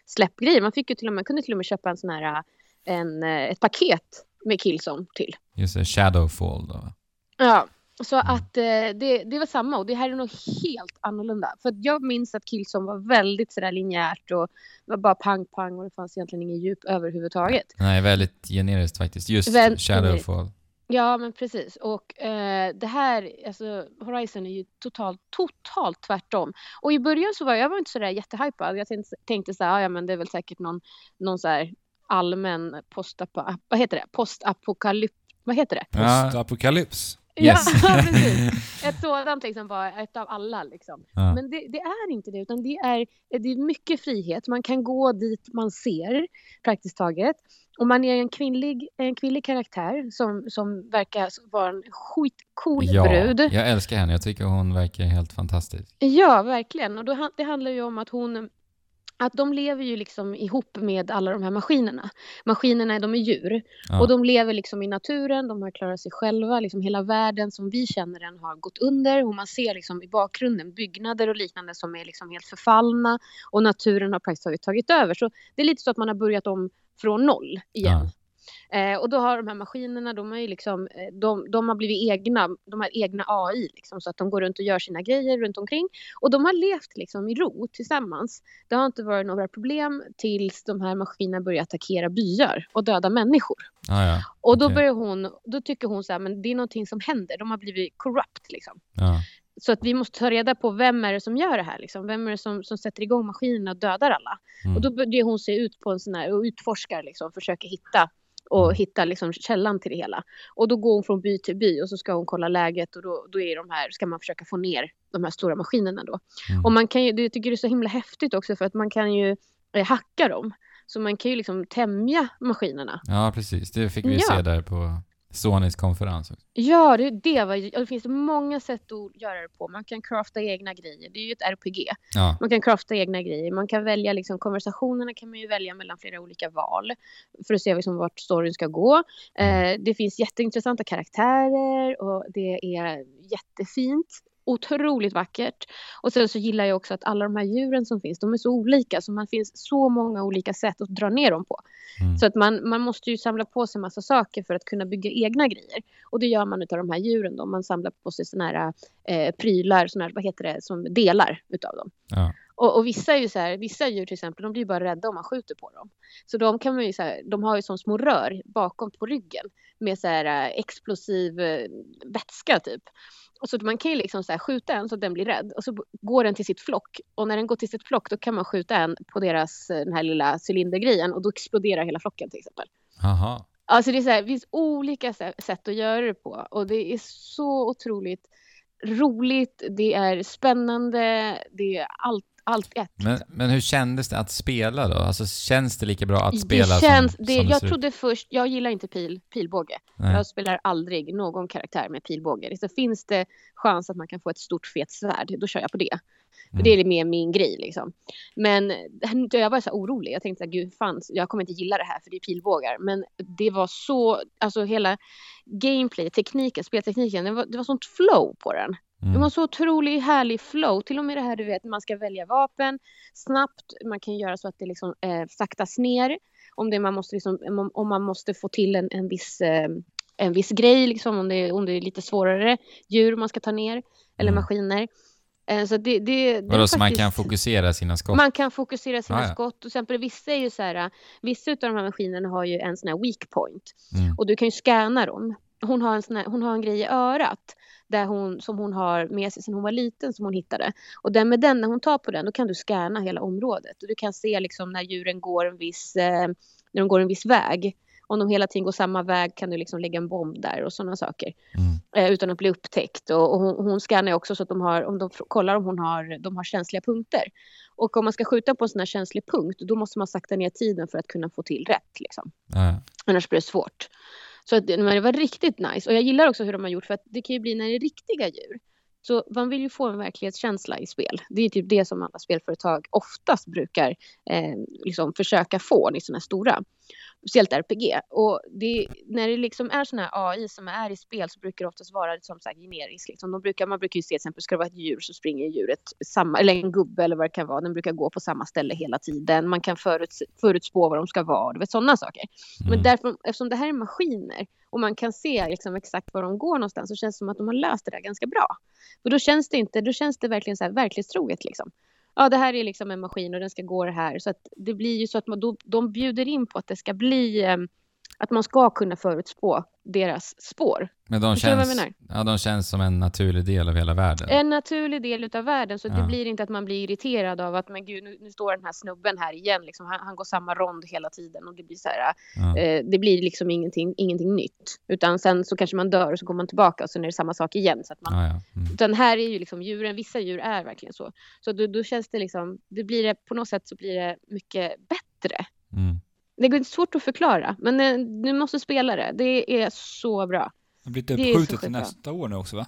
S4: släppgrejer. Man, fick ju till och med, man kunde till och med köpa en sån här, eh, en, eh, ett paket med Killzone till.
S1: Just det, Shadowfall då. va?
S4: Ja, så att eh, det, det var samma och det här är nog helt annorlunda. För att jag minns att Killzone var väldigt sådär linjärt och det var bara pang-pang och det fanns egentligen ingen djup överhuvudtaget.
S1: Nej, väldigt generiskt faktiskt. Just
S4: Väldigt
S1: Shadowfall.
S4: Ja, men precis. Och eh, det här, alltså Horizon är ju totalt, totalt tvärtom. Och i början så var jag, jag var inte sådär jättehypad. Jag tänkte, tänkte så här, "Ah, ja men det är väl säkert någon, någon så här allmän postapa, vad heter det? Postapokalyp, vad heter det?
S1: Ja.
S3: Postapokalyps.
S1: Yes.
S4: Ja, <laughs> precis. Ett sådant liksom var ett av alla liksom.
S1: Ja.
S4: Men det, det är inte det, utan det är, det är mycket frihet. Man kan gå dit man ser, praktiskt taget. Och man är en kvinnlig, en kvinnlig karaktär som, som verkar vara en skitcool brud.
S1: jag älskar henne. Jag tycker hon verkar helt fantastisk.
S4: Ja, verkligen. Och då, han- det handlar ju om att hon att de lever ju liksom ihop med alla de här maskinerna. Maskinerna de är djur
S1: Ja.
S4: och de lever liksom i naturen, de har klarat sig själva, liksom hela världen som vi känner den har gått under och man ser liksom i bakgrunden byggnader och liknande som är liksom helt förfallna och naturen har praktiskt taget tagit över. Så det är lite så att man har börjat om från noll igen.
S1: Ja.
S4: Eh, och då har de här maskinerna, de, har ju liksom, eh, de, de har blivit egna, de har egna AI, liksom, så att de går runt och gör sina grejer runt omkring. Och de har levt liksom i ro tillsammans. Det har inte varit några problem tills de här maskinerna börjar attackera byar och döda människor.
S1: Ah, ja.
S4: Och då
S1: Okej.
S4: börjar hon, då tycker hon så här, men det är någonting som händer, de har blivit corrupt liksom.
S1: Ja.
S4: Så att vi måste ta reda på vem är det som gör det här liksom? Vem är det som, som sätter igång maskinerna och dödar alla?
S1: Mm.
S4: Och då börjar hon se ut på en sån här och utforskar liksom, försöker hitta och
S1: Mm.
S4: hitta liksom källan till det hela. Och då går hon från by till by och så ska hon kolla läget och då, då är de här, ska man försöka få ner de här stora maskinerna då.
S1: Mm.
S4: Och man kan ju, det tycker det är så himla häftigt också för att man kan ju eh, hacka dem. Så man kan ju liksom tämja maskinerna.
S1: ja, precis. Det fick vi ju
S4: Ja.
S1: se där på Sonys konferens också.
S4: Ja, det, det, var, ju- det finns många sätt att göra det på. Man kan crafta egna grejer. Det är ju ett RPG.
S1: Ja.
S4: Man kan crafta egna grejer. Man kan välja liksom, konversationerna kan man ju välja mellan flera olika val för att se liksom, vart storyn ska gå.
S1: Mm.
S4: Eh, det finns jätteintressanta karaktärer och det är jättefint. Otroligt vackert. Och sen så gillar jag också att alla de här djuren som finns, de är så olika. Så man finns så många olika sätt att dra ner dem på.
S1: Mm.
S4: Så att man, man måste ju samla på sig massa saker för att kunna bygga egna grejer. Och det gör man utav de här djuren då. Man samlar på sig såna här eh, prylar, såna här, vad heter det, som delar utav dem.
S1: Ja.
S4: Och, och vissa är ju så här, vissa djur till exempel, de blir ju bara rädda om man skjuter på dem. Så de kan man ju så här, de har ju som små rör bakom på ryggen med så här eh, explosiv eh, vätska typ. Och så att man kan ju liksom så här skjuta en så att den blir rädd och så b- går den till sitt flock. Och när den går till sitt flock då kan man skjuta en på deras, eh, den här lilla cylindergrejen och då exploderar hela flocken till exempel.
S1: Aha.
S4: Alltså det är så här, det finns olika sä- sätt att göra det på och det är så otroligt roligt, det är spännande, det är allt, allt i ett.
S1: Men, men hur kändes det att spela då? Alltså känns det lika bra att spela
S4: det känns,
S1: som,
S4: det,
S1: som det
S4: jag
S1: ser ut?
S4: trodde alltså, först, jag gillar inte pil, pilbåge.
S1: Nej.
S4: Jag spelar aldrig någon karaktär med pilbåge. Så finns det chans att man kan få ett stort fet svärd, då kör jag på det. För
S1: Mm.
S4: det är mer min grej liksom. Men då jag var så här orolig. Jag tänkte så här, gud fan, jag kommer inte gilla det här för det är pilbågar. Men det var så, alltså hela gameplay, tekniken, speltekniken, det var, det var sånt flow på den.
S1: Mm.
S4: Det var så otroligt härlig flow. Till och med det här du vet, man ska välja vapen snabbt. Man kan göra så att det liksom eh, saktas ner. Om, det man måste liksom, om, om man måste få till en, en viss eh, en viss grej, liksom, om, det, om det är lite svårare djur man ska ta ner, eller
S1: Mm.
S4: maskiner. Eh, så det, det, det
S1: Vadå,
S4: är
S1: så man kan
S4: faktiskt-
S1: fokusera sina skott?
S4: man kan fokusera sina
S1: Ah, ja.
S4: skott. Och till exempel, vissa är ju så här, vissa av de här maskinerna har ju en sån här weak point.
S1: Mm.
S4: Och du kan ju scanna dem. Hon har en, sån här, hon har en grej i örat där hon, som hon har med sig sedan hon var liten som hon hittade. Och den med den, när hon tar på den, då kan du scanna hela området. Och du kan se liksom när djuren går en viss, eh, när de går en viss väg. Om de hela tiden går samma väg kan du liksom lägga en bomb där och sådana saker
S1: Mm.
S4: eh, utan att bli upptäckt. Och, och hon, hon scannar ju också så att de, har, om de fr- kollar om hon har, de har känsliga punkter. Och om man ska skjuta på en sån här känslig punkt, då måste man sakta ner tiden för att kunna få till rätt. Liksom.
S1: Ja, ja.
S4: Annars blir det svårt. Så att, det- men det var riktigt nice. Och jag gillar också hur de har gjort, för att det kan ju bli när det är riktiga djur. Så man vill ju få en verklighetskänsla i spel. Det är typ det som alla spelföretag oftast brukar eh, liksom försöka få i sådana här stora. Speciellt RPG. Och det, när det liksom är sådana här AI som är i spel så brukar det oftast vara liksom så här generiskt. Liksom. De brukar, man brukar ju se till exempel, ska det vara ett djur så springer djuret samma, eller en gubbe eller vad det kan vara. Den brukar gå på samma ställe hela tiden. Man kan föruts, förutspå vad de ska vara. Du vet sådana saker.
S1: Mm.
S4: Men därför, eftersom det här är maskiner och man kan se liksom exakt var de går någonstans så känns det som att de har löst det där ganska bra. För då känns det inte, då känns det verkligen så här verklighetstroget liksom. Ja, det här är liksom en maskin och den ska gå det här. Så att det blir ju så att man, då, de bjuder in på att det ska bli, eh, att man ska kunna förutspå deras spår.
S1: Men de
S4: Förstår du vad jag Eh,
S1: känns, ja, de känns som en naturlig del av hela världen.
S4: En naturlig del utav världen så
S1: Ja.
S4: det blir inte att man blir irriterad av att men gud nu, nu står den här snubben här igen liksom. Han, han går samma rond hela tiden och det blir så här
S1: Ja.
S4: Eh, det blir liksom ingenting, ingenting nytt. Utan sen så kanske man dör och så går man tillbaka och sen är det samma sak igen. Så att man,
S1: Ja, ja. Mm.
S4: utan här är ju liksom djuren, vissa djur är verkligen så. Så då, då känns det liksom, det blir det, på något sätt så blir det mycket bättre.
S1: Mm.
S4: Det är svårt att förklara, men eh, du måste spela det. Det är så bra.
S3: Det blir
S4: Det är
S3: lite
S4: så
S3: uppskjutet till
S4: skitbra.
S3: nästa år nu också va?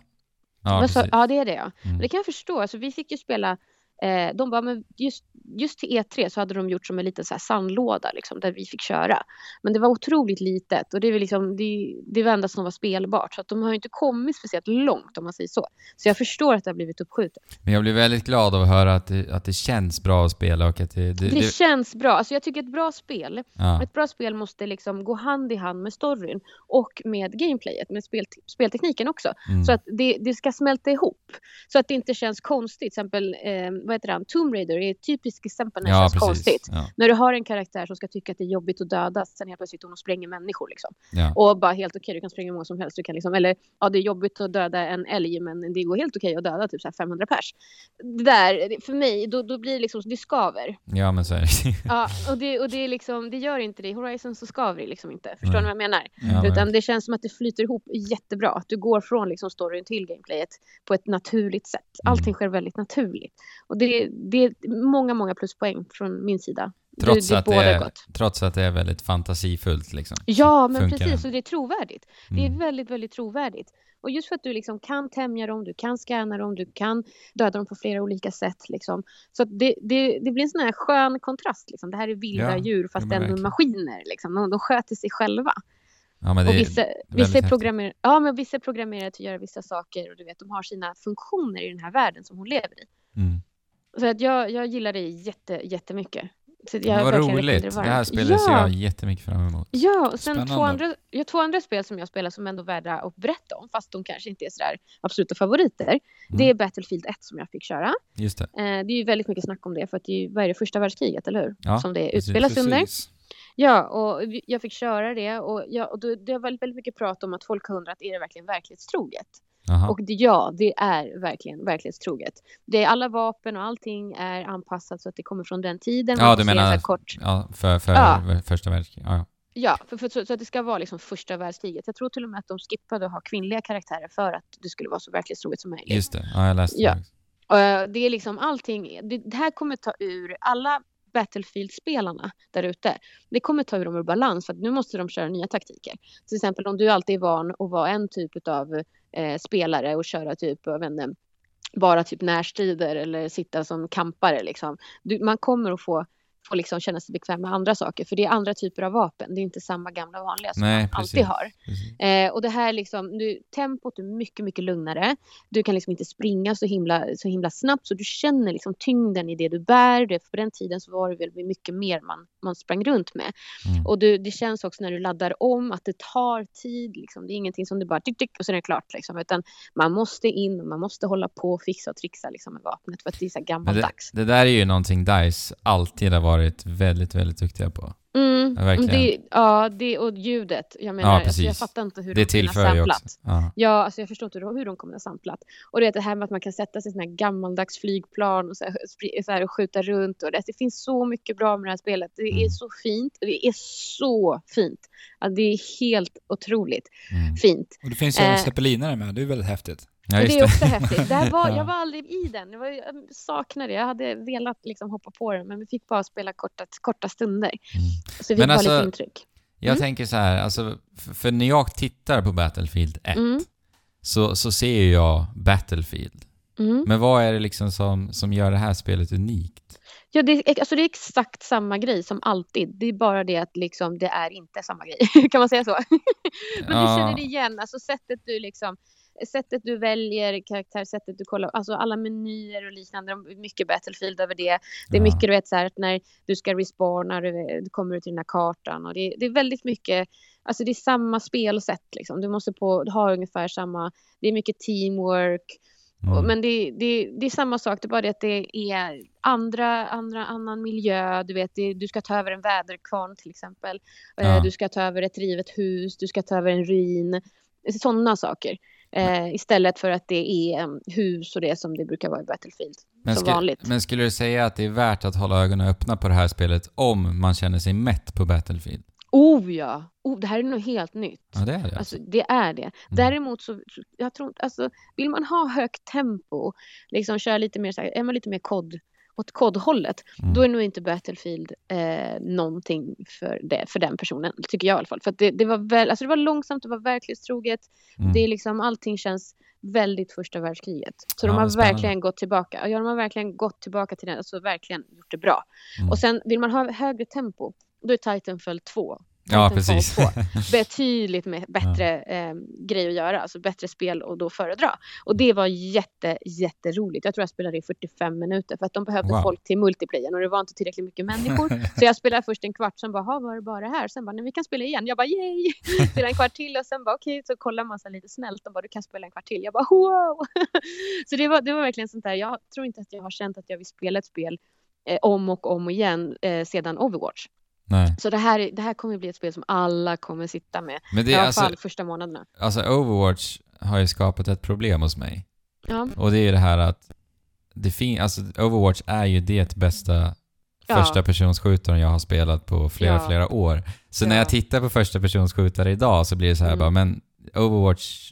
S1: Ja,
S4: Vad sa-
S1: precis.
S4: ja, det är det ja.
S1: Mm.
S4: Det kan jag förstå. Alltså, vi fick ju spela Eh, de bara, men just, just till E3 så hade de gjort som en liten så här sandlåda liksom, där vi fick köra. Men det var otroligt litet och det, är väl liksom, det, det var enda som var spelbart. Så att de har ju inte kommit speciellt långt om man säger så. Så jag förstår att det har blivit uppskjutet.
S1: Men jag blir väldigt glad av att höra att det, att det känns bra att spela och att det... det,
S4: Det
S1: det
S4: känns bra. Alltså jag tycker ett bra spel,
S1: ja.
S4: ett bra spel måste liksom gå hand i hand med storyn och med gameplayet, med spel, speltekniken också.
S1: Mm.
S4: Så att det, det ska smälta ihop. Så att det inte känns konstigt. Till exempel, eh, vad heter han, Tomb Raider är ett typiskt exempel när det
S1: ja,
S4: känns
S1: precis.
S4: konstigt.
S1: Ja,
S4: När du har en karaktär som ska tycka att det är jobbigt att dödas, sen helt plötsligt hon och spränger människor liksom.
S1: ja.
S4: Och bara helt okej, du kan spränga hur många som helst. Du kan liksom, eller ja, det är jobbigt att döda en älg, men det går helt okej att döda typ så här 500 pers. Det där, det- för mig, då, då blir det liksom,
S1: <laughs>
S4: det skaver.
S1: ja, men så är det.
S4: Ja, och det, och det, är liksom, det gör inte det. I Horizon så skaver det liksom inte. Förstår
S1: Nej.
S4: ni vad jag menar?
S1: Ja, men-
S4: Utan det känns som att det flyter ihop jättebra. Att du går från liksom storyn till gameplayet på ett naturligt sätt. Allting
S1: Mm.
S4: sker väldigt naturligt. Och det, det är många, många pluspoäng från min sida. Du-
S1: Trots,
S4: det
S1: att det
S4: bådar
S1: är,
S4: gott.
S1: trots att det är väldigt fantasifullt liksom.
S4: Ja, men
S1: funkar Mm.
S4: precis.
S1: den.
S4: Och det är trovärdigt. Det är väldigt, väldigt trovärdigt. Och just för att du liksom kan tämja dem, du kan scanna dem, du kan döda dem på flera olika sätt. Liksom. Så att det, det, det blir en sån här skön kontrast. Liksom. Det här är vilda
S3: Ja,
S4: djur
S1: ja,
S4: fast
S1: men
S4: ändå
S1: verkligen.
S4: maskiner. Liksom. De, de sköter sig själva.
S1: Ja, men det
S4: Och
S1: är
S4: vissa, vissa,
S1: häftigt.
S4: är programmer- ja, men vissa är programmerade till att göra vissa saker och du vet, de har sina funktioner i den här världen som hon lever i.
S1: Mm.
S4: Så att jag, jag gillar det jätte, jättemycket. Så jag
S1: Vad
S4: verkligen rekommenderar
S1: roligt. Det här
S4: varmt.
S1: spelet ser
S4: Ja.
S1: jag jättemycket fram emot.
S4: Ja, och sen två
S3: Spännande.
S4: andra, jag har två andra spel som jag spelar som ändå är värda att berätta om, fast de kanske inte är sådär absoluta favoriter. Det
S1: Mm.
S4: är Battlefield 1 som jag fick köra.
S1: Just det.
S4: Eh, det är ju väldigt mycket snack om det, för att det är ju, vad är det, första världskriget, eller hur?
S1: Ja,
S4: som det
S1: precis.
S4: utspelas under.
S3: Precis.
S4: Ja, och vi- jag fick köra det och, jag, och då, det har varit väldigt mycket prat om att folk har undrat, är det verkligen verklighetstroget?
S1: Jaha.
S4: Och det, ja, det är verkligen verklighetstroget. Det är alla vapen och allting är anpassat så att det kommer från den tiden.
S1: Ja,
S4: Man
S1: du
S4: får se en
S1: menar-
S4: så här Kort.
S1: ja, för, för
S4: Ja.
S1: första världskriget. Ja, ja.
S4: Ja, för, för, så, så att det ska vara liksom första världskriget. Jag tror till och med att de skippade att ha kvinnliga karaktärer för att det skulle vara så verklighetstroget som möjligt.
S1: Just det. Ja, jag läste
S4: Ja.
S1: det. också.
S4: Eh, det är liksom allting, det, det här kommer ta ur alla Battlefield-spelarna där ute. Det kommer ta ur dem ur balans för att nu måste de köra nya taktiker. Till exempel om du alltid är van att vara en typ av eh, spelare och köra typ, jag vet inte, bara typ närstrider eller sitta som kampare liksom. Du, man kommer att få få liksom känna sig bekväm med andra saker, för det är andra typer av vapen. Det är inte samma gamla vanliga som
S1: Nej,
S4: man alltid
S1: precis.
S4: har.
S1: Precis.
S4: Eh, och det här liksom, nu, tempot är mycket, mycket lugnare. Du kan liksom inte springa så himla, så himla snabbt, så du känner liksom tyngden i det du bär. Det, på den tiden så var det väl mycket mer man, man sprang runt med.
S1: Mm.
S4: Och du, det känns också när du laddar om att det tar tid. Liksom. Det är ingenting som du bara tick, tick, och sen är det klart. Liksom. Utan man måste in och man måste hålla på och fixa och trixa liksom, med vapnet för att det är så här
S1: Men det,
S4: gammaldags.
S1: det där är ju någonting DICE alltid har varit väldigt, väldigt duktiga på.
S4: Mm,
S1: Ja, verkligen.
S4: det, ja, det, och ljudet. Jag menar, alltså, jag
S1: precis.
S4: fattar inte hur
S1: Det
S4: de kunde ha
S1: tillför ju
S4: samplat.
S1: också. Ja.
S4: Ja, alltså jag förstår inte då hur de kommer att ha samplat. Och det, är det här med att man kan sätta sig i såna här gammaldags flygplan och, så här, spri- så här, och skjuta runt. Och det, det finns så mycket bra med det här spelet. Det är
S1: Mm.
S4: så fint. Det är så fint. Ja, det är helt otroligt
S1: Mm.
S4: fint.
S3: Och det finns ju en
S4: Eh.
S3: zeppelinare med, det är väldigt häftigt.
S1: ja,
S4: Men
S1: just
S4: det är
S1: det.
S4: också häftigt. Det här var,
S3: Ja.
S4: jag var aldrig i den. Det var, jag saknade det. Jag hade velat liksom hoppa på den, men vi fick bara spela korta, korta stunder. Så vi
S1: Mm. Men
S4: fick bara lite
S1: alltså-
S4: intryck.
S1: <laughs> Jag
S4: Mm.
S1: tänker så här, alltså, för, för när jag tittar på Battlefield 1
S4: Mm.
S1: så, så ser ju jag Battlefield.
S4: Mm.
S1: Men vad är det liksom som, som gör det här spelet unikt?
S4: Ja, det, är, alltså det är exakt samma grej som alltid. Det är bara det att liksom, det är inte samma grej. <laughs> Kan man säga så? Men du känner det igen, alltså sättet du liksom Sättet du väljer karaktär, sättet du kollar, alltså alla menyer och liknande, de är mycket Battlefield över det. Det är
S1: Ja.
S4: mycket du vet så här att när du ska respawna, du, du kommer ut till den här kartan och det, det är väldigt mycket, alltså det är samma spelsätt liksom. Du måste på, ha ungefär samma, det är mycket teamwork, och-
S1: Mm.
S4: men det, det, det är samma sak, det är bara det att det är andra, andra, annan miljö. Du vet, det, du ska ta över en väderkvarn till exempel. Eh,
S1: Ja.
S4: Du ska ta över ett rivet hus, du ska ta över en ruin. Sådana saker. Eh, istället för att det är em, hus och det som det brukar vara i Battlefield.
S1: Men,
S4: som
S1: sku-
S4: vanligt.
S1: men skulle du säga att det är värt att hålla ögonen öppna på det här spelet om man känner sig mätt på Battlefield?
S4: Oh ja! Oh, det här är nog helt nytt.
S1: Ja, det är det. Mm.
S4: Alltså, det är det. Däremot så, så- jag tror, inte- alltså, vill man ha högt tempo, liksom köra lite mer, så här, är man lite mer kod åt kodhållet,
S1: Mm.
S4: då är nog inte Battlefield eh, någonting för, det, för den personen, tycker jag i alla fall. För att det, det, var väl, alltså det var långsamt, det var verklighetstroget,
S1: Mm.
S4: det är liksom, allting känns väldigt första världskriget. Så
S1: Ja,
S4: de har
S1: men spännande.
S4: verkligen gått tillbaka. Ja, de har verkligen gått tillbaka till den, alltså verkligen gjort det bra.
S1: Mm.
S4: Och sen vill man ha högre tempo, då är Titanfall 2
S1: Ja,
S4: Titanfall
S1: precis.
S4: 2.
S1: <laughs>
S4: betydligt med bättre eh, grej att göra, alltså bättre spel och då föredra. Och det var jätte, jätteroligt. Jag tror jag spelade i 45 minuter för att de behövde
S1: Wow.
S4: folk till multiplayern och det var inte tillräckligt mycket
S1: <laughs>
S4: människor. Så jag spelade först en kvart, sen bara, "Ha, var det bara det här? Sen bara, nej vi kan spela igen. Jag
S1: <laughs>
S4: bara, yay! Spelade en kvart till och sen bara, okej, så kollar man sig lite snällt. De bara, du kan spela en kvart till. Jag bara, wow! <laughs> så det var, det var verkligen sånt där, jag tror inte att jag har känt att jag vill spela ett spel eh, om och om igen eh, sedan Overwatch.
S1: Nej.
S4: Så det här, är- det här kommer bli ett spel som alla kommer sitta med
S1: Men det
S4: i
S1: är
S4: alla
S1: alltså,
S4: fall första månaderna.
S1: alltså Overwatch har ju skapat ett problem hos mig.
S4: Ja.
S1: Och det är det här att det fin- alltså Overwatch är ju det bästa
S4: Ja.
S1: första personsskjutaren jag har spelat på flera,
S4: Ja.
S1: flera år. Så när
S4: Ja.
S1: jag tittar på första personsskjutare idag så blir det så här
S4: Mm.
S1: bara, men Overwatch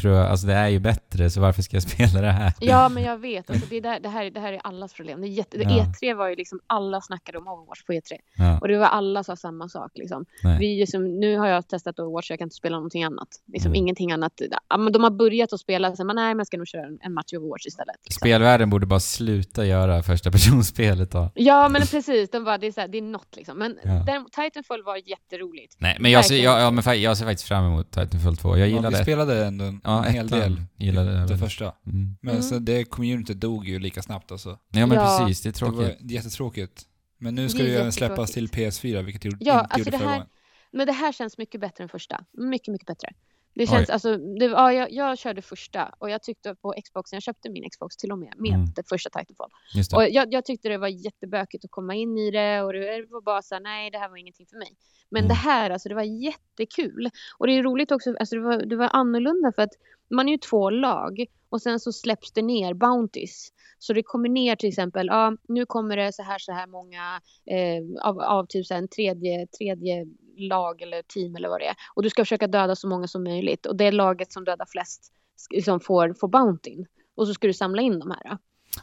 S1: tror jag, alltså det är ju bättre så varför ska jag <laughs> spela det här?
S4: ja, men jag vet. Alltså, det, är där, det, här, det här är allas problem. Det är jätte, det-
S1: Ja.
S4: E3 var ju liksom, alla snackade om Overwatch på E3.
S1: Ja.
S4: Och det var alla sa samma sak. Liksom.
S1: Nej.
S4: Vi, liksom, nu har jag testat Overwatch, jag kan inte spela någonting annat. Liksom,
S1: Mm.
S4: Ingenting annat. Ja, men de har börjat att spela, så man, nej, men jag ska nog köra en, en match i Overwatch istället. Liksom.
S1: Spelvärlden borde bara sluta göra första <laughs> personspelet då.
S4: Ja, men precis. De bara, det, är så här, det är något liksom. Men
S1: Ja.
S4: däremot, Titanfall var jätteroligt.
S1: Nej, men jag ser,
S4: Verkligen.
S1: jag, ja, men fa- jag ser faktiskt fram emot Titanfall 2. Jag
S3: Ja,
S1: gillade
S3: vi spelade ändå en,
S1: ja,
S3: en hel
S1: ettan
S3: del.
S1: Gillade det.
S3: Det
S1: väldigt.
S3: första.
S1: Mm.
S3: Men
S4: Mm.
S3: sen det community dog ju lika snabbt alltså.
S1: Ja, men
S4: Ja.
S1: precis. Det är tråkigt.
S3: Det var jättetråkigt. Men nu ska
S4: Det är
S3: det ju även släppas till
S4: jättetråkigt.
S3: PS4, vilket gjorde,
S4: Ja,
S3: inte
S4: alltså
S3: gjorde
S4: det
S3: förra
S4: här-
S3: gången.
S4: Men det här känns mycket bättre än första. Mycket, mycket bättre. Det
S1: Oj.
S4: känns, alltså, det, ja, jag, jag körde första och jag tyckte på Xboxen, jag köpte min Xbox till och med, med
S1: Mm.
S4: det första Titanfall.
S1: Just det.
S4: Och jag, jag tyckte det var jättebökigt att komma in i det och det var bara så här, nej det här var ingenting för mig. Men
S1: Mm.
S4: det här, alltså det var jättekul. Och det är roligt också, alltså det var, det var annorlunda för att man är ju två lag och sen så släpps det ner bounties. Så det kommer ner till exempel, ja nu kommer det så här så här många eh, av, av typ så här en tredje, tredje lag eller team eller vad det är. Och du ska försöka döda så många som möjligt och det laget som dödar flest liksom får, får bountyn. Och så ska du samla in de här.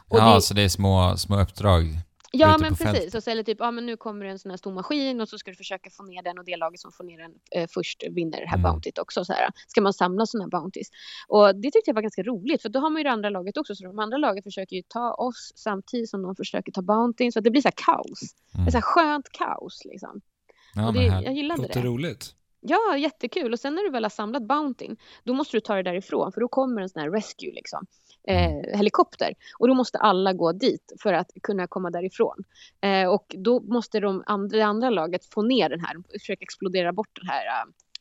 S4: Och
S1: ja,
S4: det-
S1: så det är små, små uppdrag. Mm.
S4: Ja,
S1: ute
S4: men
S1: på
S4: precis.
S1: fältet.
S4: Och så är det typ, ja men nu kommer det en sån här stor maskin och så ska du försöka få ner den och det laget som får ner den eh, först vinner det här
S1: Mm.
S4: bountyt också. Så här. Ska man samla såna här bounties? Och det tyckte jag var ganska roligt för då har man ju det andra laget också. Så de andra laget försöker ju ta oss samtidigt som de försöker ta bounty. Så att det blir så här kaos.
S1: Mm.
S4: Ett så här skönt kaos liksom.
S1: Ja,
S4: och
S1: men
S4: det,
S1: här,
S4: jag gillade
S3: Låter
S4: det.
S3: roligt.
S4: Ja, jättekul. Och sen när du väl har samlat bountyn, då måste du ta det därifrån för då kommer en sån här rescue liksom. Eh, helikopter och då måste alla gå dit för att kunna komma därifrån. Eh, och då måste de andra, det andra laget få ner den här, försöka explodera bort den här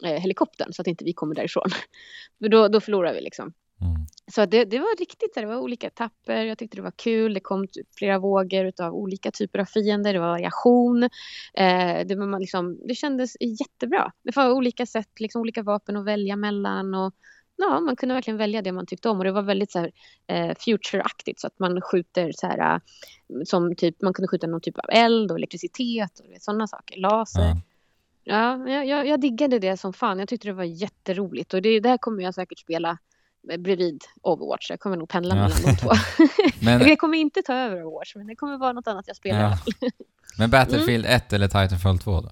S4: eh, helikoptern så att inte vi kommer därifrån. <laughs> För då, då förlorar vi liksom.
S1: mm.
S4: Så det, det var riktigt, så här, det var olika etapper, jag tyckte det var kul, det kom typ flera vågor av olika typer av fiender, det var variation. Eh, det, var man liksom, det kändes jättebra. Det var olika sätt, liksom, olika vapen att välja mellan och ja, man kunde verkligen välja det man tyckte om och det var väldigt så här, eh, future-aktigt så att man skjuter så här, eh, som typ, man kunde skjuta någon typ av eld och elektricitet och sådana saker, laser.
S1: ja.
S4: Ja, men jag, jag, jag diggade det som fan. Jag tyckte det var jätteroligt och det där kommer jag säkert spela eh, bredvid Overwatch. Jag kommer nog pendla
S1: Ja.
S4: mellan de
S1: <laughs>
S4: två.
S1: Men,
S4: <laughs> jag kommer inte ta över Overwatch, men det kommer vara något annat jag spelar.
S1: Ja.
S4: Ja,
S1: men Battlefield
S4: Mm.
S1: 1 eller Titanfall 2 då?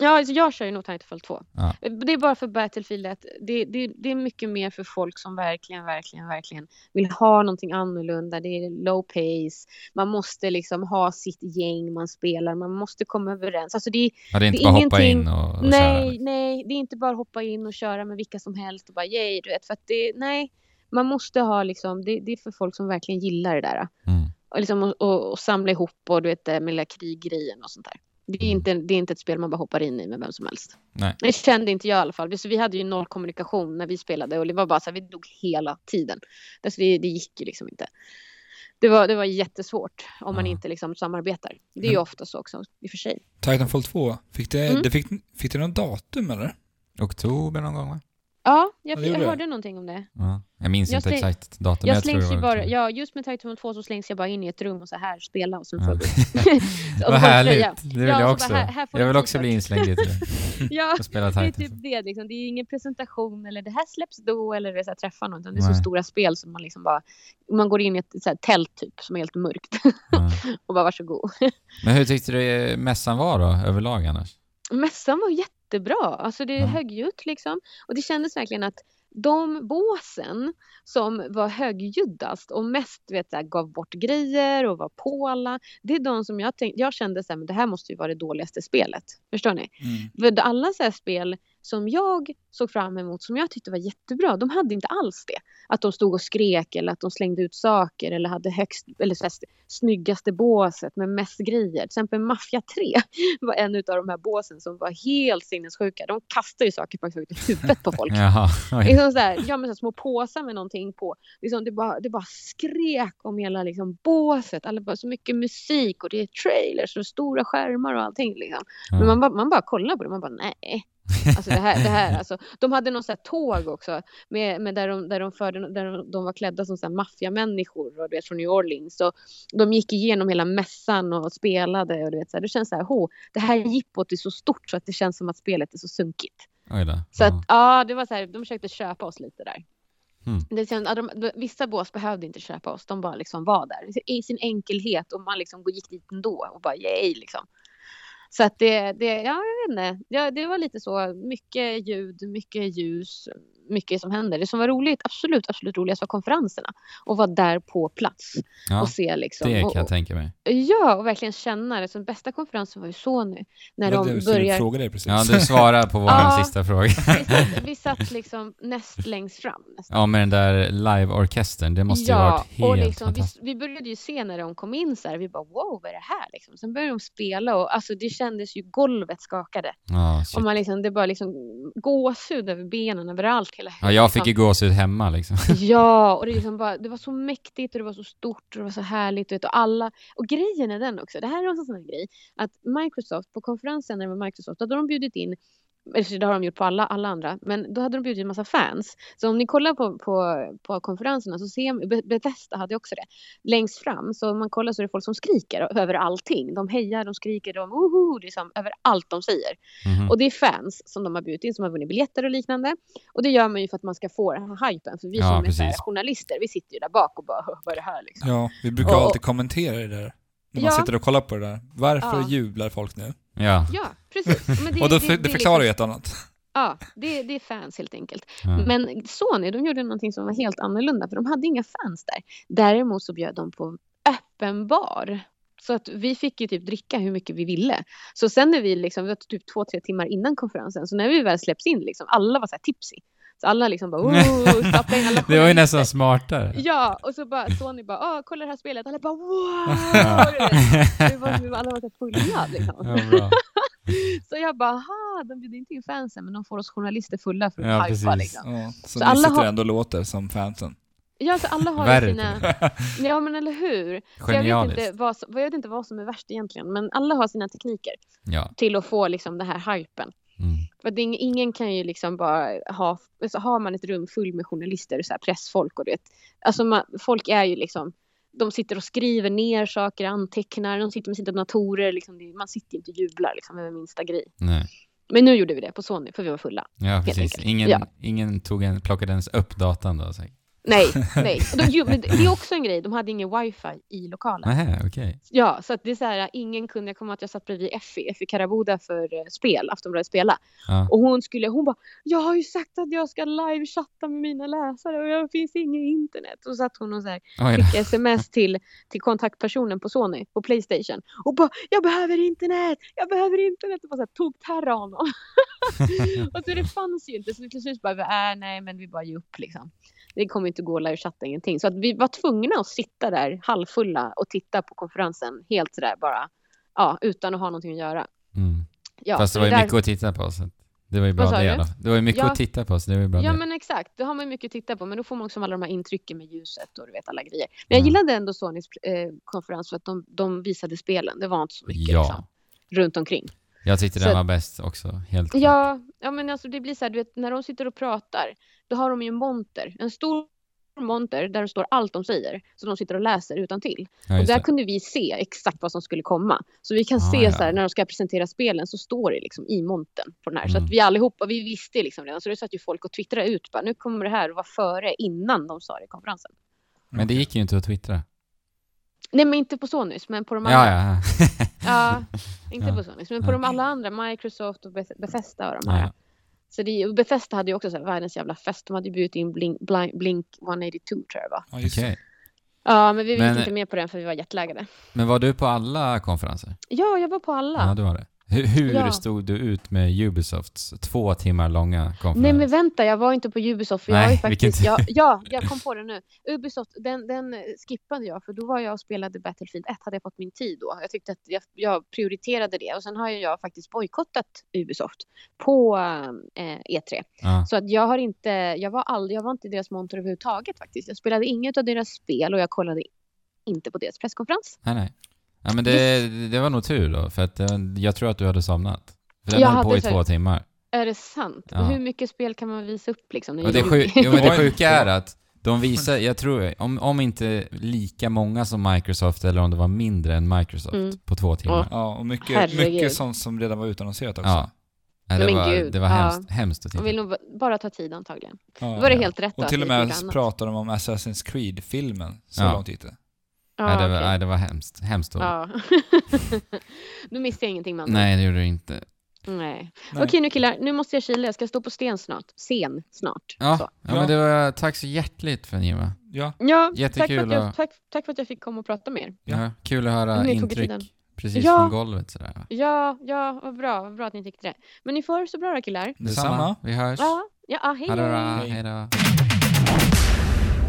S4: ja alltså, jag kör ju nog Titanfall 2.
S1: Ja.
S4: Det är bara för Battlefield att det, det, det är mycket mer för folk som verkligen, verkligen, verkligen vill ha någonting annorlunda. Det är low pace. Man måste liksom ha sitt gäng man spelar. Man måste komma överens. Alltså det är
S1: Ja, det är inte
S4: Det är
S1: bara hoppa
S4: ingenting-
S1: in och, och köra.
S4: Nej,
S1: liksom.
S4: nej, det är inte bara att hoppa in och köra med vilka som helst och bara yay, du vet. För att det, nej, man måste ha liksom, det, det är för folk som verkligen gillar det där.
S1: Mm.
S4: Och, liksom, och, och, och samla ihop och du vet, det med lilla kriggrejen och sånt där. Det är,
S1: Mm.
S4: inte, det är inte ett spel man bara hoppar in i med vem som helst.
S1: Nej.
S4: Det kände inte jag i alla fall. Så vi hade ju noll kommunikation när vi spelade och det var bara så här, vi dog hela tiden. Alltså det, det gick ju liksom inte. Det var, det var jättesvårt om man
S1: Ja.
S4: inte liksom samarbetar. Det är ju ofta så också i och för sig.
S3: Titanfall 2, fick det,
S4: Mm.
S3: det fick, fick det någon datum eller?
S1: Oktober någon gång va?
S4: Ja, jag,
S3: Ja, det gjorde
S4: jag
S3: jag.
S4: hörde någonting om det.
S1: Ja. Jag minns
S4: Jag
S1: inte
S4: släng-
S1: exakt datum.
S4: Jag,
S1: men tror
S4: slängs
S1: det
S4: ju
S1: var-
S4: bara, ja, just med Titanfall 2 så slängs jag bara in i ett rum och så här spela och sen
S1: Ja.
S4: får
S1: <laughs>
S4: du. och
S1: Vad
S4: får du
S1: härligt! <laughs>
S4: tröja.
S1: Det vill
S4: Ja,
S1: jag
S4: och så
S1: också.
S4: bara, här- här får
S1: jag
S4: du
S1: vill också
S4: t-shirt.
S1: bli inslängd
S4: <laughs>
S1: i det
S4: Ja,
S1: och spela
S4: det är typ
S1: Titanfall.
S4: det. Liksom. Det är ju ingen presentation eller det här släpps då eller det är så här, träffa någon. utan Det är så
S1: Nej.
S4: stora spel som man liksom bara, man går in i ett så här, tält typ som är helt mörkt <laughs>
S1: Ja.
S4: och bara varsågod.
S1: Men hur tyckte du eh, mässan var då, överlag annars?
S4: Mässan var jättebra. Alltså det
S1: Ja.
S4: högljutt liksom. Och det kändes verkligen att de båsen som var högljuddast och mest vet, så här, gav bort grejer och var på alla. Det är de som jag tänkte, jag kände så här, men det här måste ju vara det dåligaste spelet. Förstår ni?
S3: Mm.
S4: För alla så här spel som jag såg fram emot, som jag tyckte var jättebra, de hade inte alls det. Att de stod och skrek eller att de slängde ut saker eller hade högst, eller så här, snyggaste båset med mest grejer. Till exempel Mafia 3 <laughs> var en av de här båsen som var helt sinnessjuka. De kastar ju saker faktiskt ut i huvudet på folk.
S1: Jaha, <laughs>
S4: Det
S1: oj.
S4: är som så här, ja, men så här små påsar med någonting på. Liksom det, bara, det bara skrek om hela liksom, båset. Alla bara, så mycket musik och det är trailers och stora skärmar och allting. Liksom. <laughs> Men man, bara- man bara kollar på det, man bara nej. Alltså det här, det här alltså. De hade någon så här tåg också, med, med där, de, där, de förde, där de, de var klädda som så här maffiamänniskor och du vet från New Orleans. Så de gick igenom hela mässan och spelade och du vet så här, det känns så här, ho, det här jippot är så stort så att det känns som att spelet är så sunkigt.
S1: Oj då.
S4: Så
S1: Ja.
S4: att ja, det var så här, de försökte köpa oss lite där.
S1: Mm.
S4: Det kändes, ja, de, de, vissa bås behövde inte köpa oss, de bara liksom var där i sin enkelhet och man liksom gick dit ändå och bara yay liksom. Så att det, det ja jag vet inte, ja, det var lite så mycket ljud, mycket ljus, mycket som händer. Det som var roligt, absolut, absolut roligast var konferenserna och vara där på plats
S1: ja,
S4: och se liksom.
S1: det kan
S4: och,
S1: jag tänka mig.
S4: och, ja, och verkligen känna det. Så den bästa konferensen var ju Sony när
S3: Men
S4: de
S3: du
S4: börjar
S3: frågar dig precis.
S1: Ja, du svarar på vår
S4: <laughs> Ja.
S1: sista fråga.
S4: <laughs> vi satt, vi satt liksom näst längst fram. Nästan.
S1: Ja, med den där live-orkestern. Det måste ju ha varit helt
S4: och liksom, vi,
S1: fantastiskt.
S4: vi började ju se när de kom in så här, vi bara wow, vad är det här liksom? Sen började de spela och alltså det kändes ju, golvet skakade.
S1: Ja, shit.
S4: Och man liksom, det bara liksom gåshud över benen överallt. Hela
S1: ja, jag fick ju gåshud hemma
S4: <laughs>
S1: liksom.
S4: Ja, och det, är liksom bara, det var så mäktigt och det var så stort och det var så härligt. du Vet, och, alla, och grejen är den också, det här är en sån här grej, att Microsoft, på konferensen när det var Microsoft, då hade de bjudit in eller så det har de gjort på alla, alla andra, men då hade de bjudit en massa fans. Så om ni kollar på, på, på konferenserna så ser man, Be- Bethesda hade också det, längst fram, så om man kollar så är det folk som skriker över allting. De hejar, de skriker, de woho, liksom, över allt de säger.
S1: Mhm.
S4: Och det är fans som de har bjudit in som har vunnit biljetter och liknande. Och det gör man ju för att man ska få den här hypen. För vi
S1: Ja,
S4: som är så här
S1: precis.
S4: journalister, vi sitter ju där bak och bara "Hö, vad är det här liksom?
S3: <laughs> Ja, vi brukar
S4: Och-
S3: alltid kommentera det där. När man
S4: Ja.
S3: sitter och kollar på det där. Varför
S4: Ja.
S3: jublar folk nu?
S1: Ja.
S4: Ja, precis.
S3: <laughs>
S4: Men
S3: och då, det,
S4: är
S3: det förklarar ju
S4: liksom-
S3: ett och annat.
S4: Ja, det, det är fans helt enkelt.
S1: ja.
S4: Men Sony, de gjorde någonting som var helt annorlunda för de hade inga fans där. Däremot så bjöd de på öppen bar. Så att vi fick ju typ dricka hur mycket vi ville. Så sen när vi liksom, det var typ två, tre timmar innan konferensen, så när vi väl släpps in liksom, alla var så här tipsy. Så alla liksom
S1: <laughs>
S4: bara, oh, stoppa in
S1: Det var
S4: alla
S1: ju
S4: journalister."
S1: nästan smartare.
S4: Ja, och så bara Sony bara, ah, kolla det här spelet. Alla bara, wow!
S1: Ja.
S4: <laughs>
S1: <laughs>
S4: Det var, vi var- alla var så fulla liksom.
S1: Ja,
S4: <laughs>
S1: bra.
S4: Så jag bara, aha, de bjuder inte in fansen, men de får oss journalister fulla för
S1: Ja,
S4: att hypa
S1: precis.
S4: liksom.
S3: Ja, så,
S4: Så
S3: ni
S4: alla
S3: sitter
S4: har-
S3: ändå och låter som fansen.
S4: Ja, så alla har
S1: Värre
S4: ju sina...
S1: till och
S4: Ja, men eller hur? Så Jag vet,
S1: Genialiskt.
S4: inte vad som, jag vet inte vad som är värst egentligen, men alla har sina tekniker
S1: Ja.
S4: till att få liksom den här hypen.
S1: Mm.
S4: För att det är ing- ingen kan ju liksom bara ha, alltså har man ett rum fullt med journalister och så här pressfolk och det. Alltså man, folk är ju liksom, de sitter och skriver ner saker, antecknar, de sitter med sina datorer, liksom, det, man sitter inte och jublar liksom över minsta grej.
S1: Nej.
S4: Men nu gjorde vi det på Sony för vi var fulla.
S1: Ja, precis.
S4: enkelt.
S1: Ingen,
S4: Ja.
S1: ingen tog en, plockade ens upp datan då säkert.
S4: Nej, nej. Och de, ju- men det det är också en grej, de hade ingen wifi i lokalen.
S1: Nähä, okej.
S4: Ja, så att det är så här, ingen kunde, jag kommer ihåg att jag satt bredvid Effie, Effie Karaboda för eh, spel, Aftonbladet spela.
S1: Ja.
S4: Och hon skulle, hon bara, jag har ju sagt att jag ska live-chatta med mina läsare och jag finns inget internet. Och så satt hon och så här,
S1: Oj
S4: <laughs>
S1: då.
S4: skickade sms till, till kontaktpersonen på Sony, på Playstation. Och bara, jag behöver internet, jag behöver internet. Och bara så här, tog terra honom. <laughs> och så det fanns ju inte, så till slut bara, äh, nej men vi bara ger upp liksom. Det kommer inte gå att live-chatta ingenting. Så att vi var tvungna att sitta där halvfulla och titta på konferensen helt sådär bara, ja, utan att ha någonting att göra.
S1: Mm.
S4: Ja,
S1: Fast det
S4: så
S1: var ju
S4: där-
S1: mycket att titta på. Så att det var ju bra
S4: Vad sa
S1: det i
S4: du?
S1: alla fall. Det var ju mycket
S4: Ja.
S1: att titta på, så det var ju bra
S4: Ja
S1: det.
S4: men exakt, då har man ju mycket att titta på men då får man också alla de här intrycken med ljuset och du vet alla grejer. Men jag
S1: Ja.
S4: gillade ändå Sonys eh, konferens för att de, de visade spelen, det var inte så mycket
S1: ja.
S4: liksom, runt omkring.
S1: Jag tyckte den
S4: Så-
S1: var bäst också, helt klart.
S4: Ja, ja men alltså det blir så här, du vet när de sitter och pratar, då har de ju en monter, en stor monter där det står allt de säger, så de sitter och läser utan till.
S1: Ja,
S4: Och
S1: just
S4: där
S1: det.
S4: kunde vi se exakt vad som skulle komma. Så vi kan
S1: Ah,
S4: se
S1: ja.
S4: så här, när de ska presentera spelen så står det liksom i montern på den här. Så
S1: Mm.
S4: att vi allihopa, vi visste liksom redan. Så det satt ju folk och twittrade ut bara, nu kommer det här att vara före innan de sa det i konferensen.
S1: Men det gick ju inte att twittra.
S4: Nej men inte på Sonys, men på de andra.
S1: Ja, ja.
S4: Ja,
S1: <laughs>
S4: inte
S1: Ja.
S4: på Sonys, men på
S1: Ja.
S4: de alla andra, Microsoft och Beth- Bethesda och de här.
S1: ja.
S4: Så det, och Bethesda hade ju också så här, världens jävla fest. De hade ju bjudit in Blink, Blink, Blink 182 tror jag det var.
S3: Ja,
S1: Okej.
S3: just det.
S4: Ja, men vi
S1: Men-
S4: gick inte med på den för vi var jetlaggade.
S1: Men var du på alla konferenser?
S4: Ja, jag var på alla.
S1: Ja, du var det. Hur, hur
S4: Ja.
S1: stod du ut med Ubisofts två timmar långa konferens?
S4: Nej men vänta, jag var inte på Ubisoft. För jag
S1: Nej,
S4: har ju faktiskt,
S1: vilken
S4: jag, ja, jag kom på det nu. Ubisoft, den, den eh, skippade jag för då var jag och spelade Battlefield 1, hade jag fått min tid då. Jag tyckte att jag, jag prioriterade det och sen har ju jag faktiskt bojkottat Ubisoft på eh, E3.
S1: Ja.
S4: Så att jag har inte, jag var aldrig, jag var inte i deras monter överhuvudtaget faktiskt. Jag spelade inget av deras spel och jag kollade inte på deras presskonferens.
S1: Nej, nej. Ja, men det, det var nog tur då, för att eh, jag tror att du hade somnat. För den
S4: Jag
S1: höll på
S4: hade
S1: i
S4: så-
S1: två timmar.
S4: Är det sant?
S1: Ja.
S4: Hur mycket spel kan man visa upp liksom? när
S1: Och det,
S4: du-
S1: sju, jo, men det
S3: Oj.
S1: sjuka är att de visar, jag tror, om, om inte lika många som Microsoft eller om det var mindre än Microsoft
S4: Mm.
S1: på två timmar.
S4: Ja.
S3: Ja, och mycket,
S4: Herregud.
S3: mycket sånt som redan var utannonserat också.
S1: Ja. Nej, det,
S4: Men
S1: var,
S4: gud,
S1: det var
S4: ja.
S1: hemskt, hemskt att titta
S4: <laughs> De vill nog ba- bara ta tid antagligen.
S3: Ja.
S4: Då var det helt rätt då
S3: Och till och
S4: att
S3: med
S4: vi gjorde annat.
S3: pratar de om Assassin's Creed-filmen. Så
S1: Ja.
S3: långt gick det.
S4: Ja,
S1: nej, det var,
S4: okej.
S1: nej, det var hemskt. Hemskt dåligt.
S4: Ja. <laughs> nu missade jag ingenting man.
S1: Nej, det gjorde du inte.
S4: Nej.
S3: Nej.
S4: Okej nu killar, nu måste jag kila. Jag ska stå på sten snart. Scen snart.
S1: Ja,
S4: Så.
S1: ja, men det var, tack så hjärtligt för Nima.
S3: Ja,
S4: Ja, tack för,
S1: Jättekul
S4: att
S1: att-
S4: jag, tack, tack för att jag fick komma och prata med er.
S1: Ja.
S3: Ja.
S1: kul att höra
S4: Ni tog er tiden.
S1: intryck precis
S4: Ja.
S1: från golvet sådär.
S4: Ja, ja, vad bra. Vad bra att ni tyckte det. Men ni får ha det så bra då killar.
S3: detsamma.
S1: Vi hörs.
S4: Ja, ja hej
S1: Hallå,
S4: då.
S1: hej. då.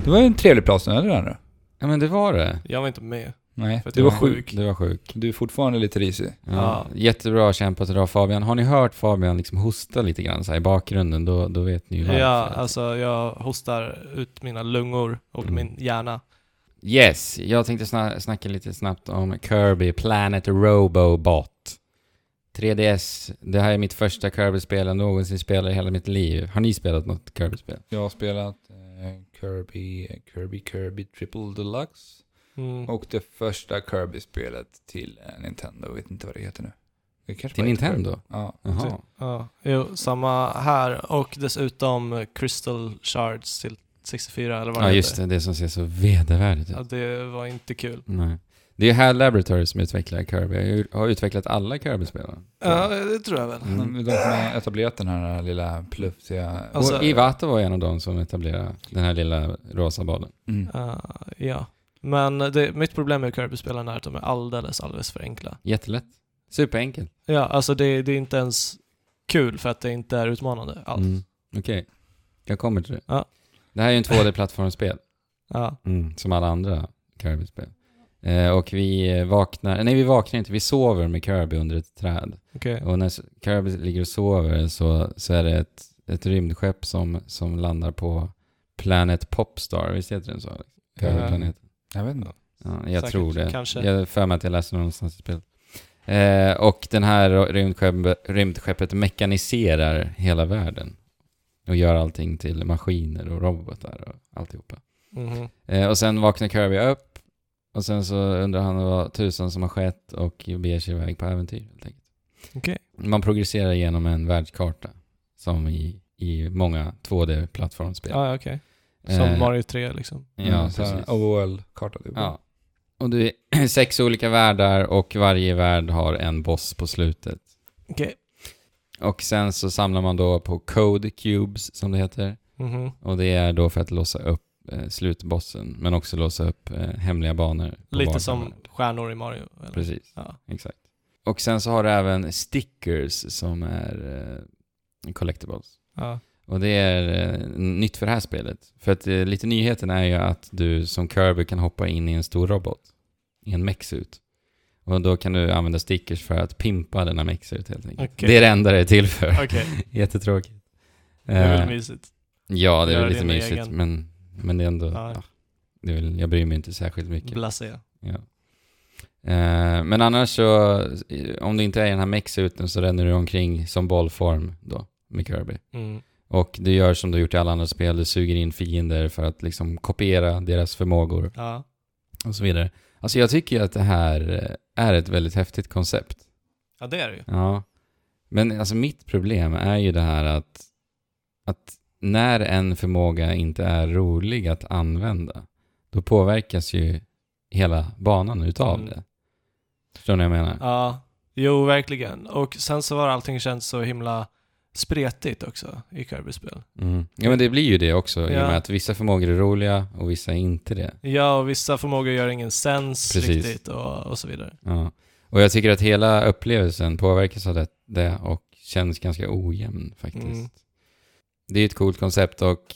S3: Det var ju en trevlig plats nu, eller hur?
S1: Ja men det var det.
S2: Jag var inte med.
S3: Nej,
S2: För att
S3: du
S2: jag
S3: var
S2: var
S3: sjuk.
S1: Du var sjuk.
S3: Du är fortfarande lite risig.
S1: Ja.
S2: Ja.
S1: Jättebra kämpat idag Fabian. Har ni hört Fabian liksom hosta lite grann så här i bakgrunden, då, då vet ni ju varför.
S2: Ja, alltså jag hostar ut mina lungor och
S1: Mm.
S2: min hjärna.
S1: Yes, jag tänkte sna snacka lite snabbt om Kirby Planet Robobot. 3DS, det här är mitt första Kirby-spel jag någonsin spelar i hela mitt liv. Har ni spelat något Kirby-spel?
S3: Jag har spelat eh, Kirby, Kirby, Kirby Triple Deluxe.
S2: Mm.
S3: Och det första Kirby-spelet till eh, Nintendo. Jag vet inte vad det heter nu. Det kanske
S1: Till
S3: bara heter Kirby.
S1: Nintendo?
S3: Ja.
S1: Jaha.
S2: Ja, jo, samma här och dessutom Crystal Shards till 64 eller vad
S1: Ja
S2: det
S1: just
S2: heter.
S1: det, det som ser så vedervärdigt ut.
S2: Ja, det var inte kul.
S1: Nej. Det är HAL Laboratory som utvecklar Kirby. Jag ju- har utvecklat alla Kirby-spel.
S2: Ja, det tror jag väl.
S1: Mm.
S3: De som har etablerat den här lilla plufsiga...
S2: Alltså-
S1: och Iwata var en av dem som etablerade den här lilla rosa bollen.
S3: Mm.
S2: Ja, ja. Men det, mitt problem med Kirby-spelen är att de är alldeles, alldeles för enkla.
S1: Jättelätt. Superenkel.
S2: Ja, alltså det, det är inte ens kul för att det inte är utmanande alls.
S1: Mm. Okej. Jag kommer till det.
S2: Ja.
S1: Det här är ju en 2D-plattformsspel.
S2: Ja.
S1: Som alla andra Kirby-spel. Eh, och vi eh, vaknar, nej vi vaknar inte, vi sover med Kirby under ett träd.
S2: Okej.
S1: Och när s- Kirby ligger och sover så, så är det ett, ett rymdskepp som, som landar på Planet Popstar, visst heter den så? Kirby-planeten.
S3: Jag vet inte.
S1: Ja, jag
S2: Säkert,
S1: tror det.
S2: kanske.
S1: Jag har för mig att jag läste det någonstans i spelet. Eh, och den här rymdskepp, rymdskeppet mekaniserar hela världen. Och gör allting till maskiner och robotar och alltihopa.
S2: Mhm.
S1: Eh, och sen vaknar Kirby upp. Och sen så undrar han vad tusan som har skett och beger sig iväg på äventyr helt enkelt.
S2: Okej.
S1: Man progresserar genom en världskarta. Som i, i många 2D-plattformsspel.
S2: Ja, ja, okej. Som
S1: Eh,
S2: Mario 3 liksom.
S1: Ja,
S3: Mm, så här
S1: precis.
S3: OOL-karta typ.
S1: Ja. Och det är <clears throat> sex olika världar och varje värld har en boss på slutet.
S2: Okej.
S1: Och sen så samlar man då på Code Cubes som det heter.
S2: Mhm.
S1: Och det är då för att låsa upp eh, slutbossen men också låsa upp eh, hemliga banor. på
S2: Lite
S1: varje
S2: som
S1: värld.
S2: stjärnor i Mario. Eller?
S1: Precis,
S2: Ja.
S1: exakt. Och sen så har du även stickers som är eh, collectibles.
S2: Ja.
S1: Och det är eh, nytt för det här spelet. För att eh, lite nyheten är ju att du som Kirby kan hoppa in i en stor robot. I en mexut. Och då kan du använda stickers för att pimpa denna mexut helt enkelt.
S2: Okej.
S1: Det är det enda det är till för.
S2: <laughs>
S1: <laughs>
S2: Okej,
S1: Jättetråkigt. <laughs>
S2: det är
S1: Eh,
S2: väl mysigt.
S1: ja, det är
S2: Gör
S1: väl lite
S2: din
S1: mysigt
S2: egen.
S1: men, men det är ändå...
S2: Ja.
S1: Ja. det är väl, jag bryr mig inte särskilt mycket.
S2: Blasé.
S1: Ja. Eh, Men annars så, eh, om du inte är i den här mexuten så ränner du omkring som bollform då, med Kirby.
S2: Mm.
S1: Och du gör som du har gjort i alla andra spel, du suger in fiender för att liksom kopiera deras förmågor
S2: Ja.
S1: och så vidare. Alltså jag tycker att det här eh, är ett väldigt häftigt koncept.
S2: ja, det är det ju.
S1: Ja. Men alltså mitt problem är ju det här att, att när en förmåga inte är rolig att använda, då påverkas ju hela banan utav
S2: Mm.
S1: det. Förstår ni vad jag menar?
S2: Ja, jo verkligen. Och sen så har allting känts så himla spretigt också i Kirby-spel.
S1: Mm. Ja men det blir ju det också i och
S2: Ja.
S1: med att vissa förmågor är roliga och vissa är inte det.
S2: Ja, och vissa förmågor gör ingen sens
S1: Precis.
S2: riktigt och, och så vidare.
S1: Ja. Och jag tycker att hela upplevelsen påverkas av det, det och känns ganska ojämn faktiskt.
S2: Mm.
S1: Det är ett coolt koncept och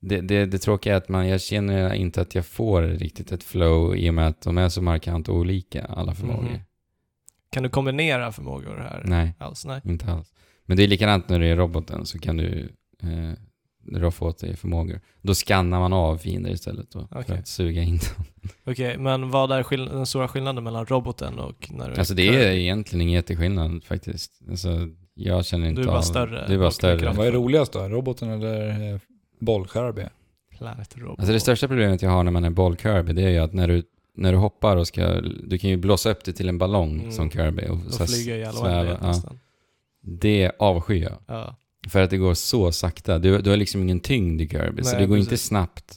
S1: det, det, det tråkiga är att man, jag känner inte att jag får riktigt ett flow i och med att de är så markant olika alla förmågor.
S2: Mhm. Kan du kombinera förmågor här?
S1: Nej,
S2: Alls, nej.
S1: inte alls. Men det är likadant när du är roboten så kan du eh, roffa åt dig förmågor. Då skannar man av fiender istället då, för
S2: Okej.
S1: att suga in dem.
S2: Okej, men vad är skill- den stora skillnaden mellan roboten och när du...
S1: Alltså det är egentligen ingen jätteskillnad faktiskt. Alltså, jag känner inte
S2: är bara
S1: av-
S2: större
S1: Du är bara
S2: och
S1: större.
S2: kraftfull.
S3: Vad är roligast då? Roboten eller eh, boll-Kirby?
S1: Mm.
S2: Planet robot.
S1: Alltså det största problemet jag har när man är boll-Kirby, det är ju att när du, när du hoppar och ska, du kan ju blåsa upp det till en ballong
S2: Mm.
S1: som Kirby. Och, så här
S2: Och flyga i all
S1: sväva.
S2: oändlighet
S1: Ja.
S2: nästan.
S1: Det avskyr jag.
S2: Ja.
S1: För att det går så sakta. Du, du har liksom ingen tyngd i Kirby, så
S2: Nej,
S1: det går inte
S2: precis.
S1: snabbt.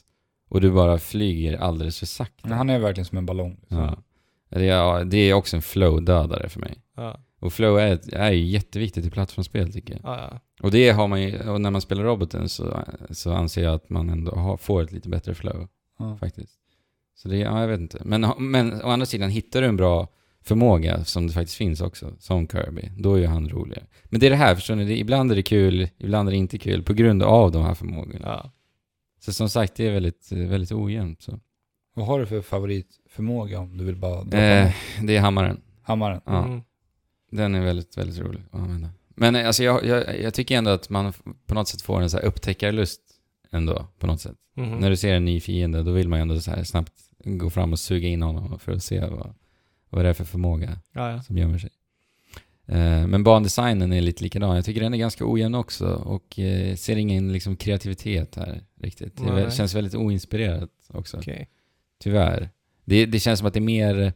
S1: Och du bara flyger alldeles för sakta.
S3: Men han är verkligen som en ballong. liksom.
S1: Ja. Det, är, det är också en flow-dödare för mig.
S2: Ja.
S1: Och flow är, ett- är ju jätteviktigt i plattformsspel tycker jag.
S2: Ja, ja.
S1: Och det har man ju, och när man spelar roboten så, så anser jag att man ändå har, får ett lite bättre flow.
S3: Ja.
S1: faktiskt. Så det, ja, jag vet inte. Men, men å andra sidan, hittar du en bra förmåga som det faktiskt finns också, som Kirby, då är ju han roligare. Men det är det här, förstår ni? Det, ibland är det kul, ibland är det inte kul på grund av de här förmågorna.
S2: ja.
S1: Så som sagt, det är väldigt, eh, väldigt ojämnt. Så.
S3: Vad har du för favoritförmåga om du vill bara droppa
S1: Eh,
S3: någon?
S1: det är hammaren.
S3: Hammaren?
S1: Ja,
S2: Mm.
S1: Den är väldigt, väldigt rolig att använda. Men eh, alltså, jag, jag, jag tycker ändå att man f- på något sätt får en så här upptäckarlust ändå, på något sätt.
S2: Mhm.
S1: När du ser en ny fiende, då vill man ju ändå så här snabbt gå fram och suga in honom för att se vad, vad det är för förmåga.
S2: Ja, ja.
S1: som gömmer sig. Eh, Men bandesignen är lite likadan. Jag tycker den är ganska ojämn också och eh, ser ingen liksom kreativitet här riktigt. Det är väl-
S2: Nej.
S1: känns väldigt oinspirerat också,
S2: Okej.
S1: tyvärr. Det, det känns som att det är mer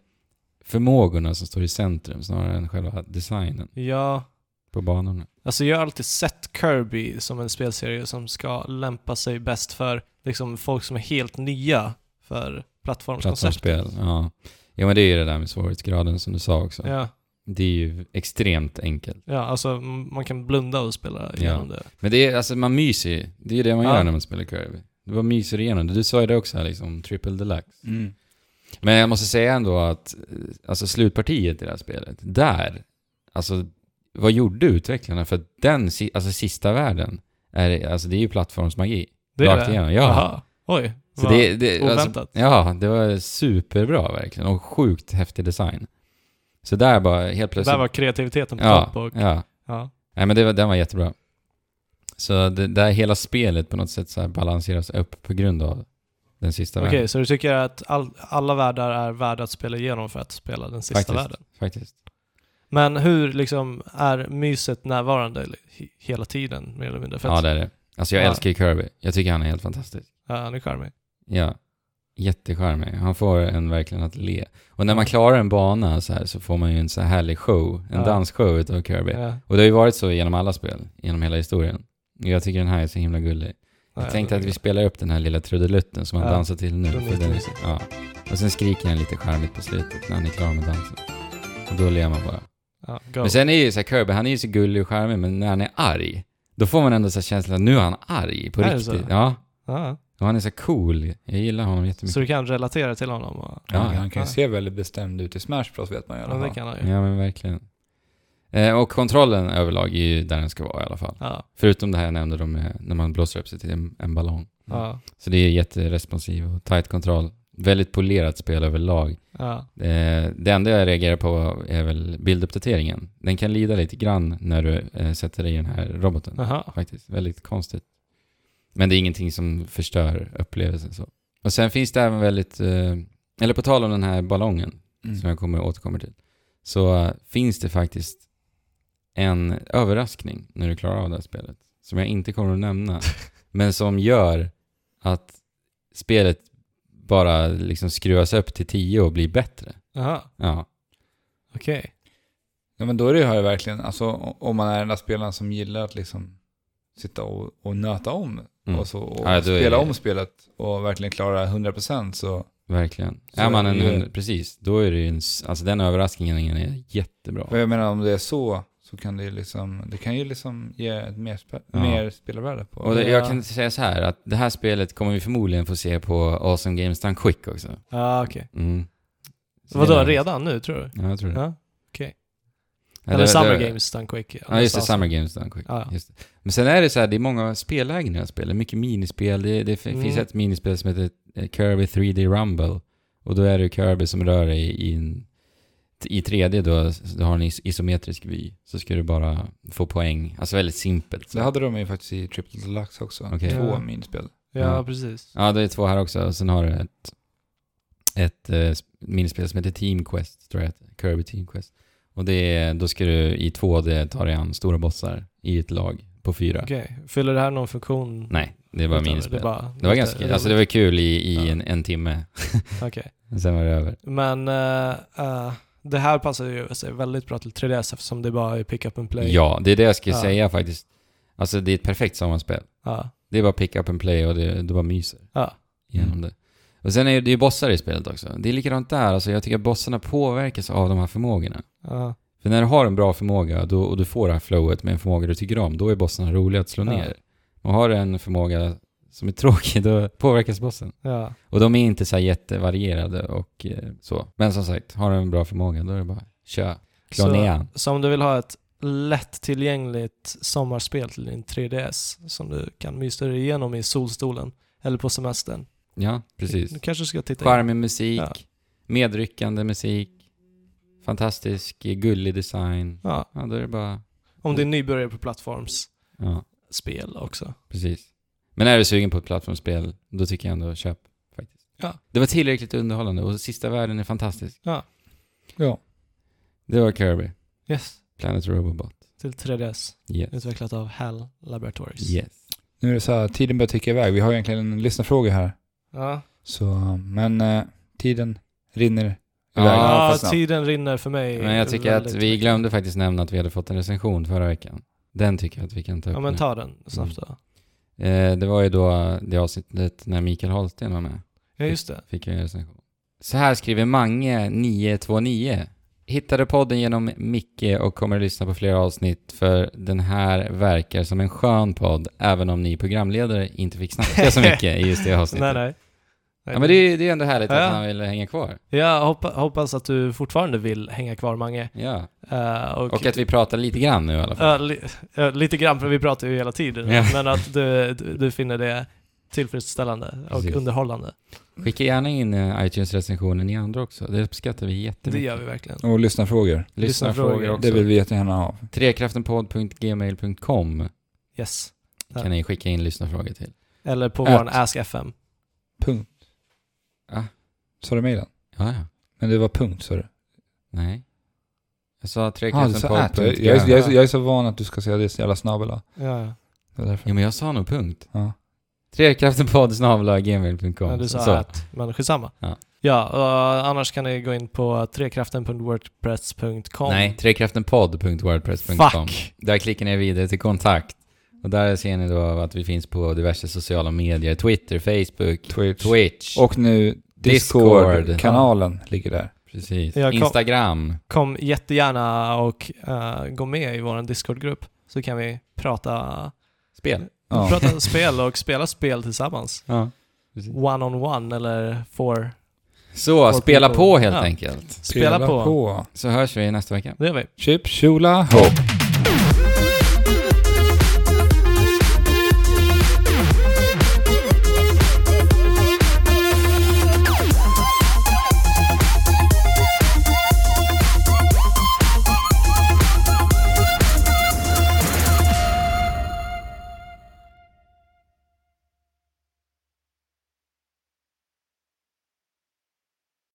S1: förmågorna som står i centrum snarare än själva designen
S2: Ja,
S1: på banorna.
S2: Alltså jag har alltid sett Kirby som en spelserie som ska lämpa sig bäst för liksom folk som är helt nya för plattformskoncept.
S1: Plattformsspel, ja. Ja men det är ju det där med svårighetsgraden som du sa också.
S2: Ja,
S1: Det är ju extremt enkelt.
S2: ja, alltså m- man kan blunda och spela igenom det.
S1: Men det är, alltså man myser ju. Det är ju det man
S2: Ja.
S1: gör när man spelar Kirby. Du bara myser igenom det. Du sa ju det också här liksom, triple deluxe.
S3: Mm.
S1: Men jag måste säga ändå att eh, alltså slutpartiet i det här spelet, där, alltså vad gjorde utvecklarna? För att den si- alltså, sista världen, är, alltså det är ju plattformsmagi.
S2: Det är
S1: Rakt
S2: det.
S1: igenom, ja.
S2: Jaha. Oj.
S1: Så
S2: vad-
S1: det, alltså- det,
S2: oväntat.
S1: ja, det var superbra verkligen och sjukt häftig design. Så där bara helt plötsligt...
S2: där var kreativiteten på topp.
S1: ja,
S2: Och,
S1: ja.
S2: ja.
S1: Nej men det var, den var jättebra. Så det, där hela spelet på något sätt så här balanseras upp på grund av den sista
S2: Okej,
S1: världen.
S2: så du tycker att all, alla världar är värda att spela igenom för att spela den sista
S1: Faktiskt.
S2: världen?
S1: Faktiskt.
S2: Men hur liksom är myset närvarande he- hela tiden mer eller mindre? För
S1: Ja
S2: att,
S1: det är det. Alltså jag
S2: Ja.
S1: älskar ju Kirby. Jag tycker han är helt fantastisk.
S2: ja, han är charmig.
S1: Ja, jättecharmig. Han får en verkligen att le. Och när man klarar en bana så här så får man ju en så här härlig show, en
S2: Ja.
S1: dansshow utav Kirby.
S2: Ja.
S1: Och det har ju varit så genom alla spel, genom hela historien. Och Jag tycker den här är så himla gullig.
S2: Ja,
S1: Jag tänkte
S2: det-
S1: att vi spelar upp den här lilla trudelutten som han
S2: Ja.
S1: dansar till nu.
S2: Den är
S1: För den,
S2: jättemysig.
S1: ja. Och sen skriker han lite charmigt på slutet när han är klar med dansen. Och då ler man bara.
S2: Ja, go.
S1: Men sen är ju så här, Kirby, han är ju så gullig och charmig, men när han är arg, då får man ändå så här känslan att nu är han arg på
S2: Är det
S1: riktigt.
S2: så?
S1: Ja.
S2: Ja.
S1: Och han är så här cool. Jag gillar honom jättemycket.
S2: Så du kan relatera till honom? Och,
S1: Ja,
S3: han, han kan ju
S2: ja.
S3: se väldigt bestämd ut i Smash Bros vet man i alla
S2: ja, det
S3: fall.
S2: kan han ju. Ja.
S1: Ja, men verkligen. Eh, och kontrollen överlag är ju där den ska vara i alla fall.
S2: Ja,
S1: Förutom det här jag nämnde då med när man blåser upp sig till en, en ballong.
S2: ja,
S1: Så det är jätteresponsiv och tight kontroll. Väldigt polerat spel överlag. Eh, det enda jag reagerar på är väl bilduppdateringen. Den kan lida lite grann när du eh, sätter dig i den här roboten.
S2: Aha.
S1: Faktiskt, väldigt konstigt. Men det är ingenting som förstör upplevelsen så. Och sen finns det även väldigt, eh, eller på tal om den här ballongen,
S2: Mm.
S1: som jag kommer återkommer till, så eh, finns det faktiskt en överraskning när du klarar av det här spelet, som jag inte kommer att nämna,
S2: <laughs>
S1: men som gör att spelet bara liksom skruvas upp till 10 och blir bättre.
S2: Aha,
S1: Ja.
S2: okej.
S3: Ja, men då är det här verkligen, alltså o- om man är den där spelaren som gillar att liksom sitta och, och nöta om
S1: Mm.
S3: och, så, och
S1: Ja, då är
S3: spela
S1: det-
S3: om spelet och verkligen klara 100% så
S1: Verkligen.
S3: Så
S1: är man en
S3: det är-
S1: hund, precis, då är det ju en, s- alltså den överraskningen är jättebra.
S3: För jag menar om det är så, så kan det ju liksom, det kan ju liksom ge ett mer, spe,
S1: Ja.
S3: mer spelarvärde på.
S1: Och det,
S2: Ja.
S1: jag kan säga så här, att det här spelet kommer vi förmodligen få se på Awesome Games Done Quick också.
S2: Ja, okej.
S1: Mm. Så det
S2: Vadå,
S1: är-
S2: redan nu tror du?
S1: Ja, jag tror det.
S2: Ja, okej.
S1: Ja,
S2: Eller
S1: det-
S2: Summer
S1: det-
S2: Games done quick.
S1: Ja, just det, Summer Games Done Quick.
S2: Ja, ja.
S1: Just det. Men sen är det så här, det är många spellägen i det här spelet. Mycket minispel. Det, det fin-
S2: Mm.
S1: finns ett minispel som heter eh, Kirby 3D Rumble. Och då är det Kirby som rör dig i, en, i 3D då, så du har en is- isometrisk vy. Så ska du bara få poäng. Alltså väldigt simpelt.
S3: Det hade de ju faktiskt i Triple Deluxe också.
S1: Okej.
S3: Två
S2: Ja.
S3: minispel.
S2: Ja,
S1: Ja. Mm.
S2: precis.
S1: Ja, det är två här också. Och sen har du ett, ett eh, sp- minispel som heter Team Quest, tror jag heter. Kirby Team Quest. Och det är, då ska du i 2D ta dig an stora bossar i ett lag på fyra.
S2: Okej. Fyller det här någon funktion?
S1: Nej, det är bara
S2: Utöver-
S1: minispel.
S2: Det, är bara,
S1: Det var ganska kul. Alltså det var kul i, i
S2: Ja.
S1: en, en timme.
S2: Okej.
S1: Sen var det över.
S2: Men eh, eh, det här passar ju sig väldigt bra till 3DS eftersom det bara är pick up and play.
S1: Ja, det är det jag skulle
S2: Ja.
S1: säga faktiskt. Alltså det är ett perfekt sommarspel.
S2: Ja.
S1: Det är bara pick up and play och det, det bara myser
S2: Ja. Mm.
S1: genom det. Och sen är det ju bossar i spelet också. Det är likadant där. Alltså jag tycker att bossarna påverkas av de här förmågorna.
S2: Ja.
S1: För när du har en bra förmåga då, och du får det här flowet med en förmåga du tycker om, då är bossarna roliga att slå
S2: Ja.
S1: ner. Och har du en förmåga som är tråkig, då påverkas bossen.
S2: ja.
S1: Och de är inte så här jättevarierade och eh, så. Men som sagt, har du en bra förmåga, då är det bara kör.
S2: Så-
S1: Klonean.
S2: Så om du vill ha ett lättillgängligt sommarspel till din 3DS som du kan mysa dig igenom i solstolen eller på semestern.
S1: Ja, precis.
S2: Du kanske ska titta in.
S1: Charmig musik,
S2: Ja.
S1: medryckande musik, fantastisk, eh, gullig design.
S2: Ja.
S1: Ja, då är det bara...
S2: Om
S1: Mm.
S2: det är nybörjare på plattformsspel
S1: Ja,
S2: också.
S1: precis. Men är du sugen på ett plattformsspel, då tycker jag ändå köp faktiskt.
S2: Ja.
S1: Det var tillräckligt underhållande och sista världen är fantastisk.
S3: Ja.
S1: Det var Kirby,
S2: Yes.
S1: Planet Robobot.
S2: Till 3DS.
S1: Yes.
S2: Utvecklat av HAL Laboratories.
S1: Yes.
S3: Nu är det så här, tiden börjar ticka iväg. Vi har egentligen en lyssnarfråga här.
S2: Ja.
S3: Så, men eh, tiden rinner iväg.
S1: Ja,
S3: Ja,
S2: Ja,
S3: fast snabbt.
S2: tiden rinner för mig.
S1: Men jag tycker att
S2: väldigt
S1: vi
S2: mycket.
S1: glömde faktiskt nämna att vi hade fått en recension förra veckan. Den tycker jag att vi kan ta upp
S2: Ja, men
S1: nu.
S2: ta den snabbt
S1: Mm.
S2: då.
S1: Eh, det var ju då det avsnittet när Mikael Holsten var med.
S2: Ja, just det.
S1: Fick jag en recension. Så här skriver Mange929. Hittade podden genom Micke och kommer att lyssna på flera avsnitt för den här verkar som en skön podd även om ni programledare inte fick
S2: <laughs>
S1: snacka så mycket i just det avsnittet.
S2: Nej, nej.
S1: Ja, men det är ju det är ändå härligt
S2: Ja, ja.
S1: att han ville hänga kvar.
S2: Jag hoppa, hoppas att du fortfarande vill hänga kvar, Mange.
S1: Ja.
S2: Eh, och
S1: Och att vi pratar lite grann nu i alla fall.
S2: Ja, li, ja, lite grann, för vi pratar ju hela tiden.
S1: Ja.
S2: Men att du, du, du finner det tillfredsställande och
S1: Precis.
S2: underhållande.
S1: Skicka gärna in eh, iTunes-recensionen i andra också. Det uppskattar vi
S2: Det
S1: jättemycket.
S2: gör vi verkligen.
S3: Och lyssnarfrågor.
S1: Lyssna frågor
S2: lyssnarfrågor.
S1: också.
S3: Det vill vi jättegärna ha.
S1: Trekraftenpodd.gmail.com
S2: Yes.
S1: kan ni skicka in lyssnarfrågor till.
S2: Eller på
S3: Ät.
S2: vår Ask FM.
S3: Punkt.
S1: Ah.
S3: Sa du mejlen?
S1: Ja, ja.
S3: Men det var punkt sa du?
S1: Nej. Jag sa
S3: Ah, du sa at. Jag, jag, är-
S1: trekraftenpodd.gmail.
S3: jag, är- jag är så van att du ska säga det så jävla snabbla.
S2: Ja, ja.
S3: Det var därför.
S1: Jo, men jag sa nog punkt.
S3: Ja.
S1: Trekraftenpodd snabel-a gmail.com.
S2: Men du sa
S1: Så.
S2: att, men skitsamma.
S1: Ja.
S2: Ja, och annars kan ni gå in på trekraften.wordpress.com.
S1: Nej, trekraftenpodd.wordpress.com.
S2: Fuck!
S1: Där klickar ni vidare till kontakt. Och där ser ni då att vi finns på diverse sociala medier. Twitter, Facebook,
S3: Twitch.
S1: Twitch.
S3: Och nu
S1: Discord.
S3: Discord-kanalen ligger där.
S1: Precis.
S2: Jag kom-
S1: Instagram.
S2: Kom jättegärna och eh, gå med i vår Discord-grupp så kan vi prata,
S1: Spel.
S3: Ja.
S2: prata spel och spela spel tillsammans.
S1: Ja. Precis.
S2: One-on-one eller for.
S1: Så,
S2: Folk
S1: spela
S2: på-
S1: på helt
S2: Ja.
S1: enkelt.
S2: Spela, på.
S3: på.
S1: Så hörs vi nästa vecka.
S2: Det gör vi.
S3: Chip, Chula, Hopp.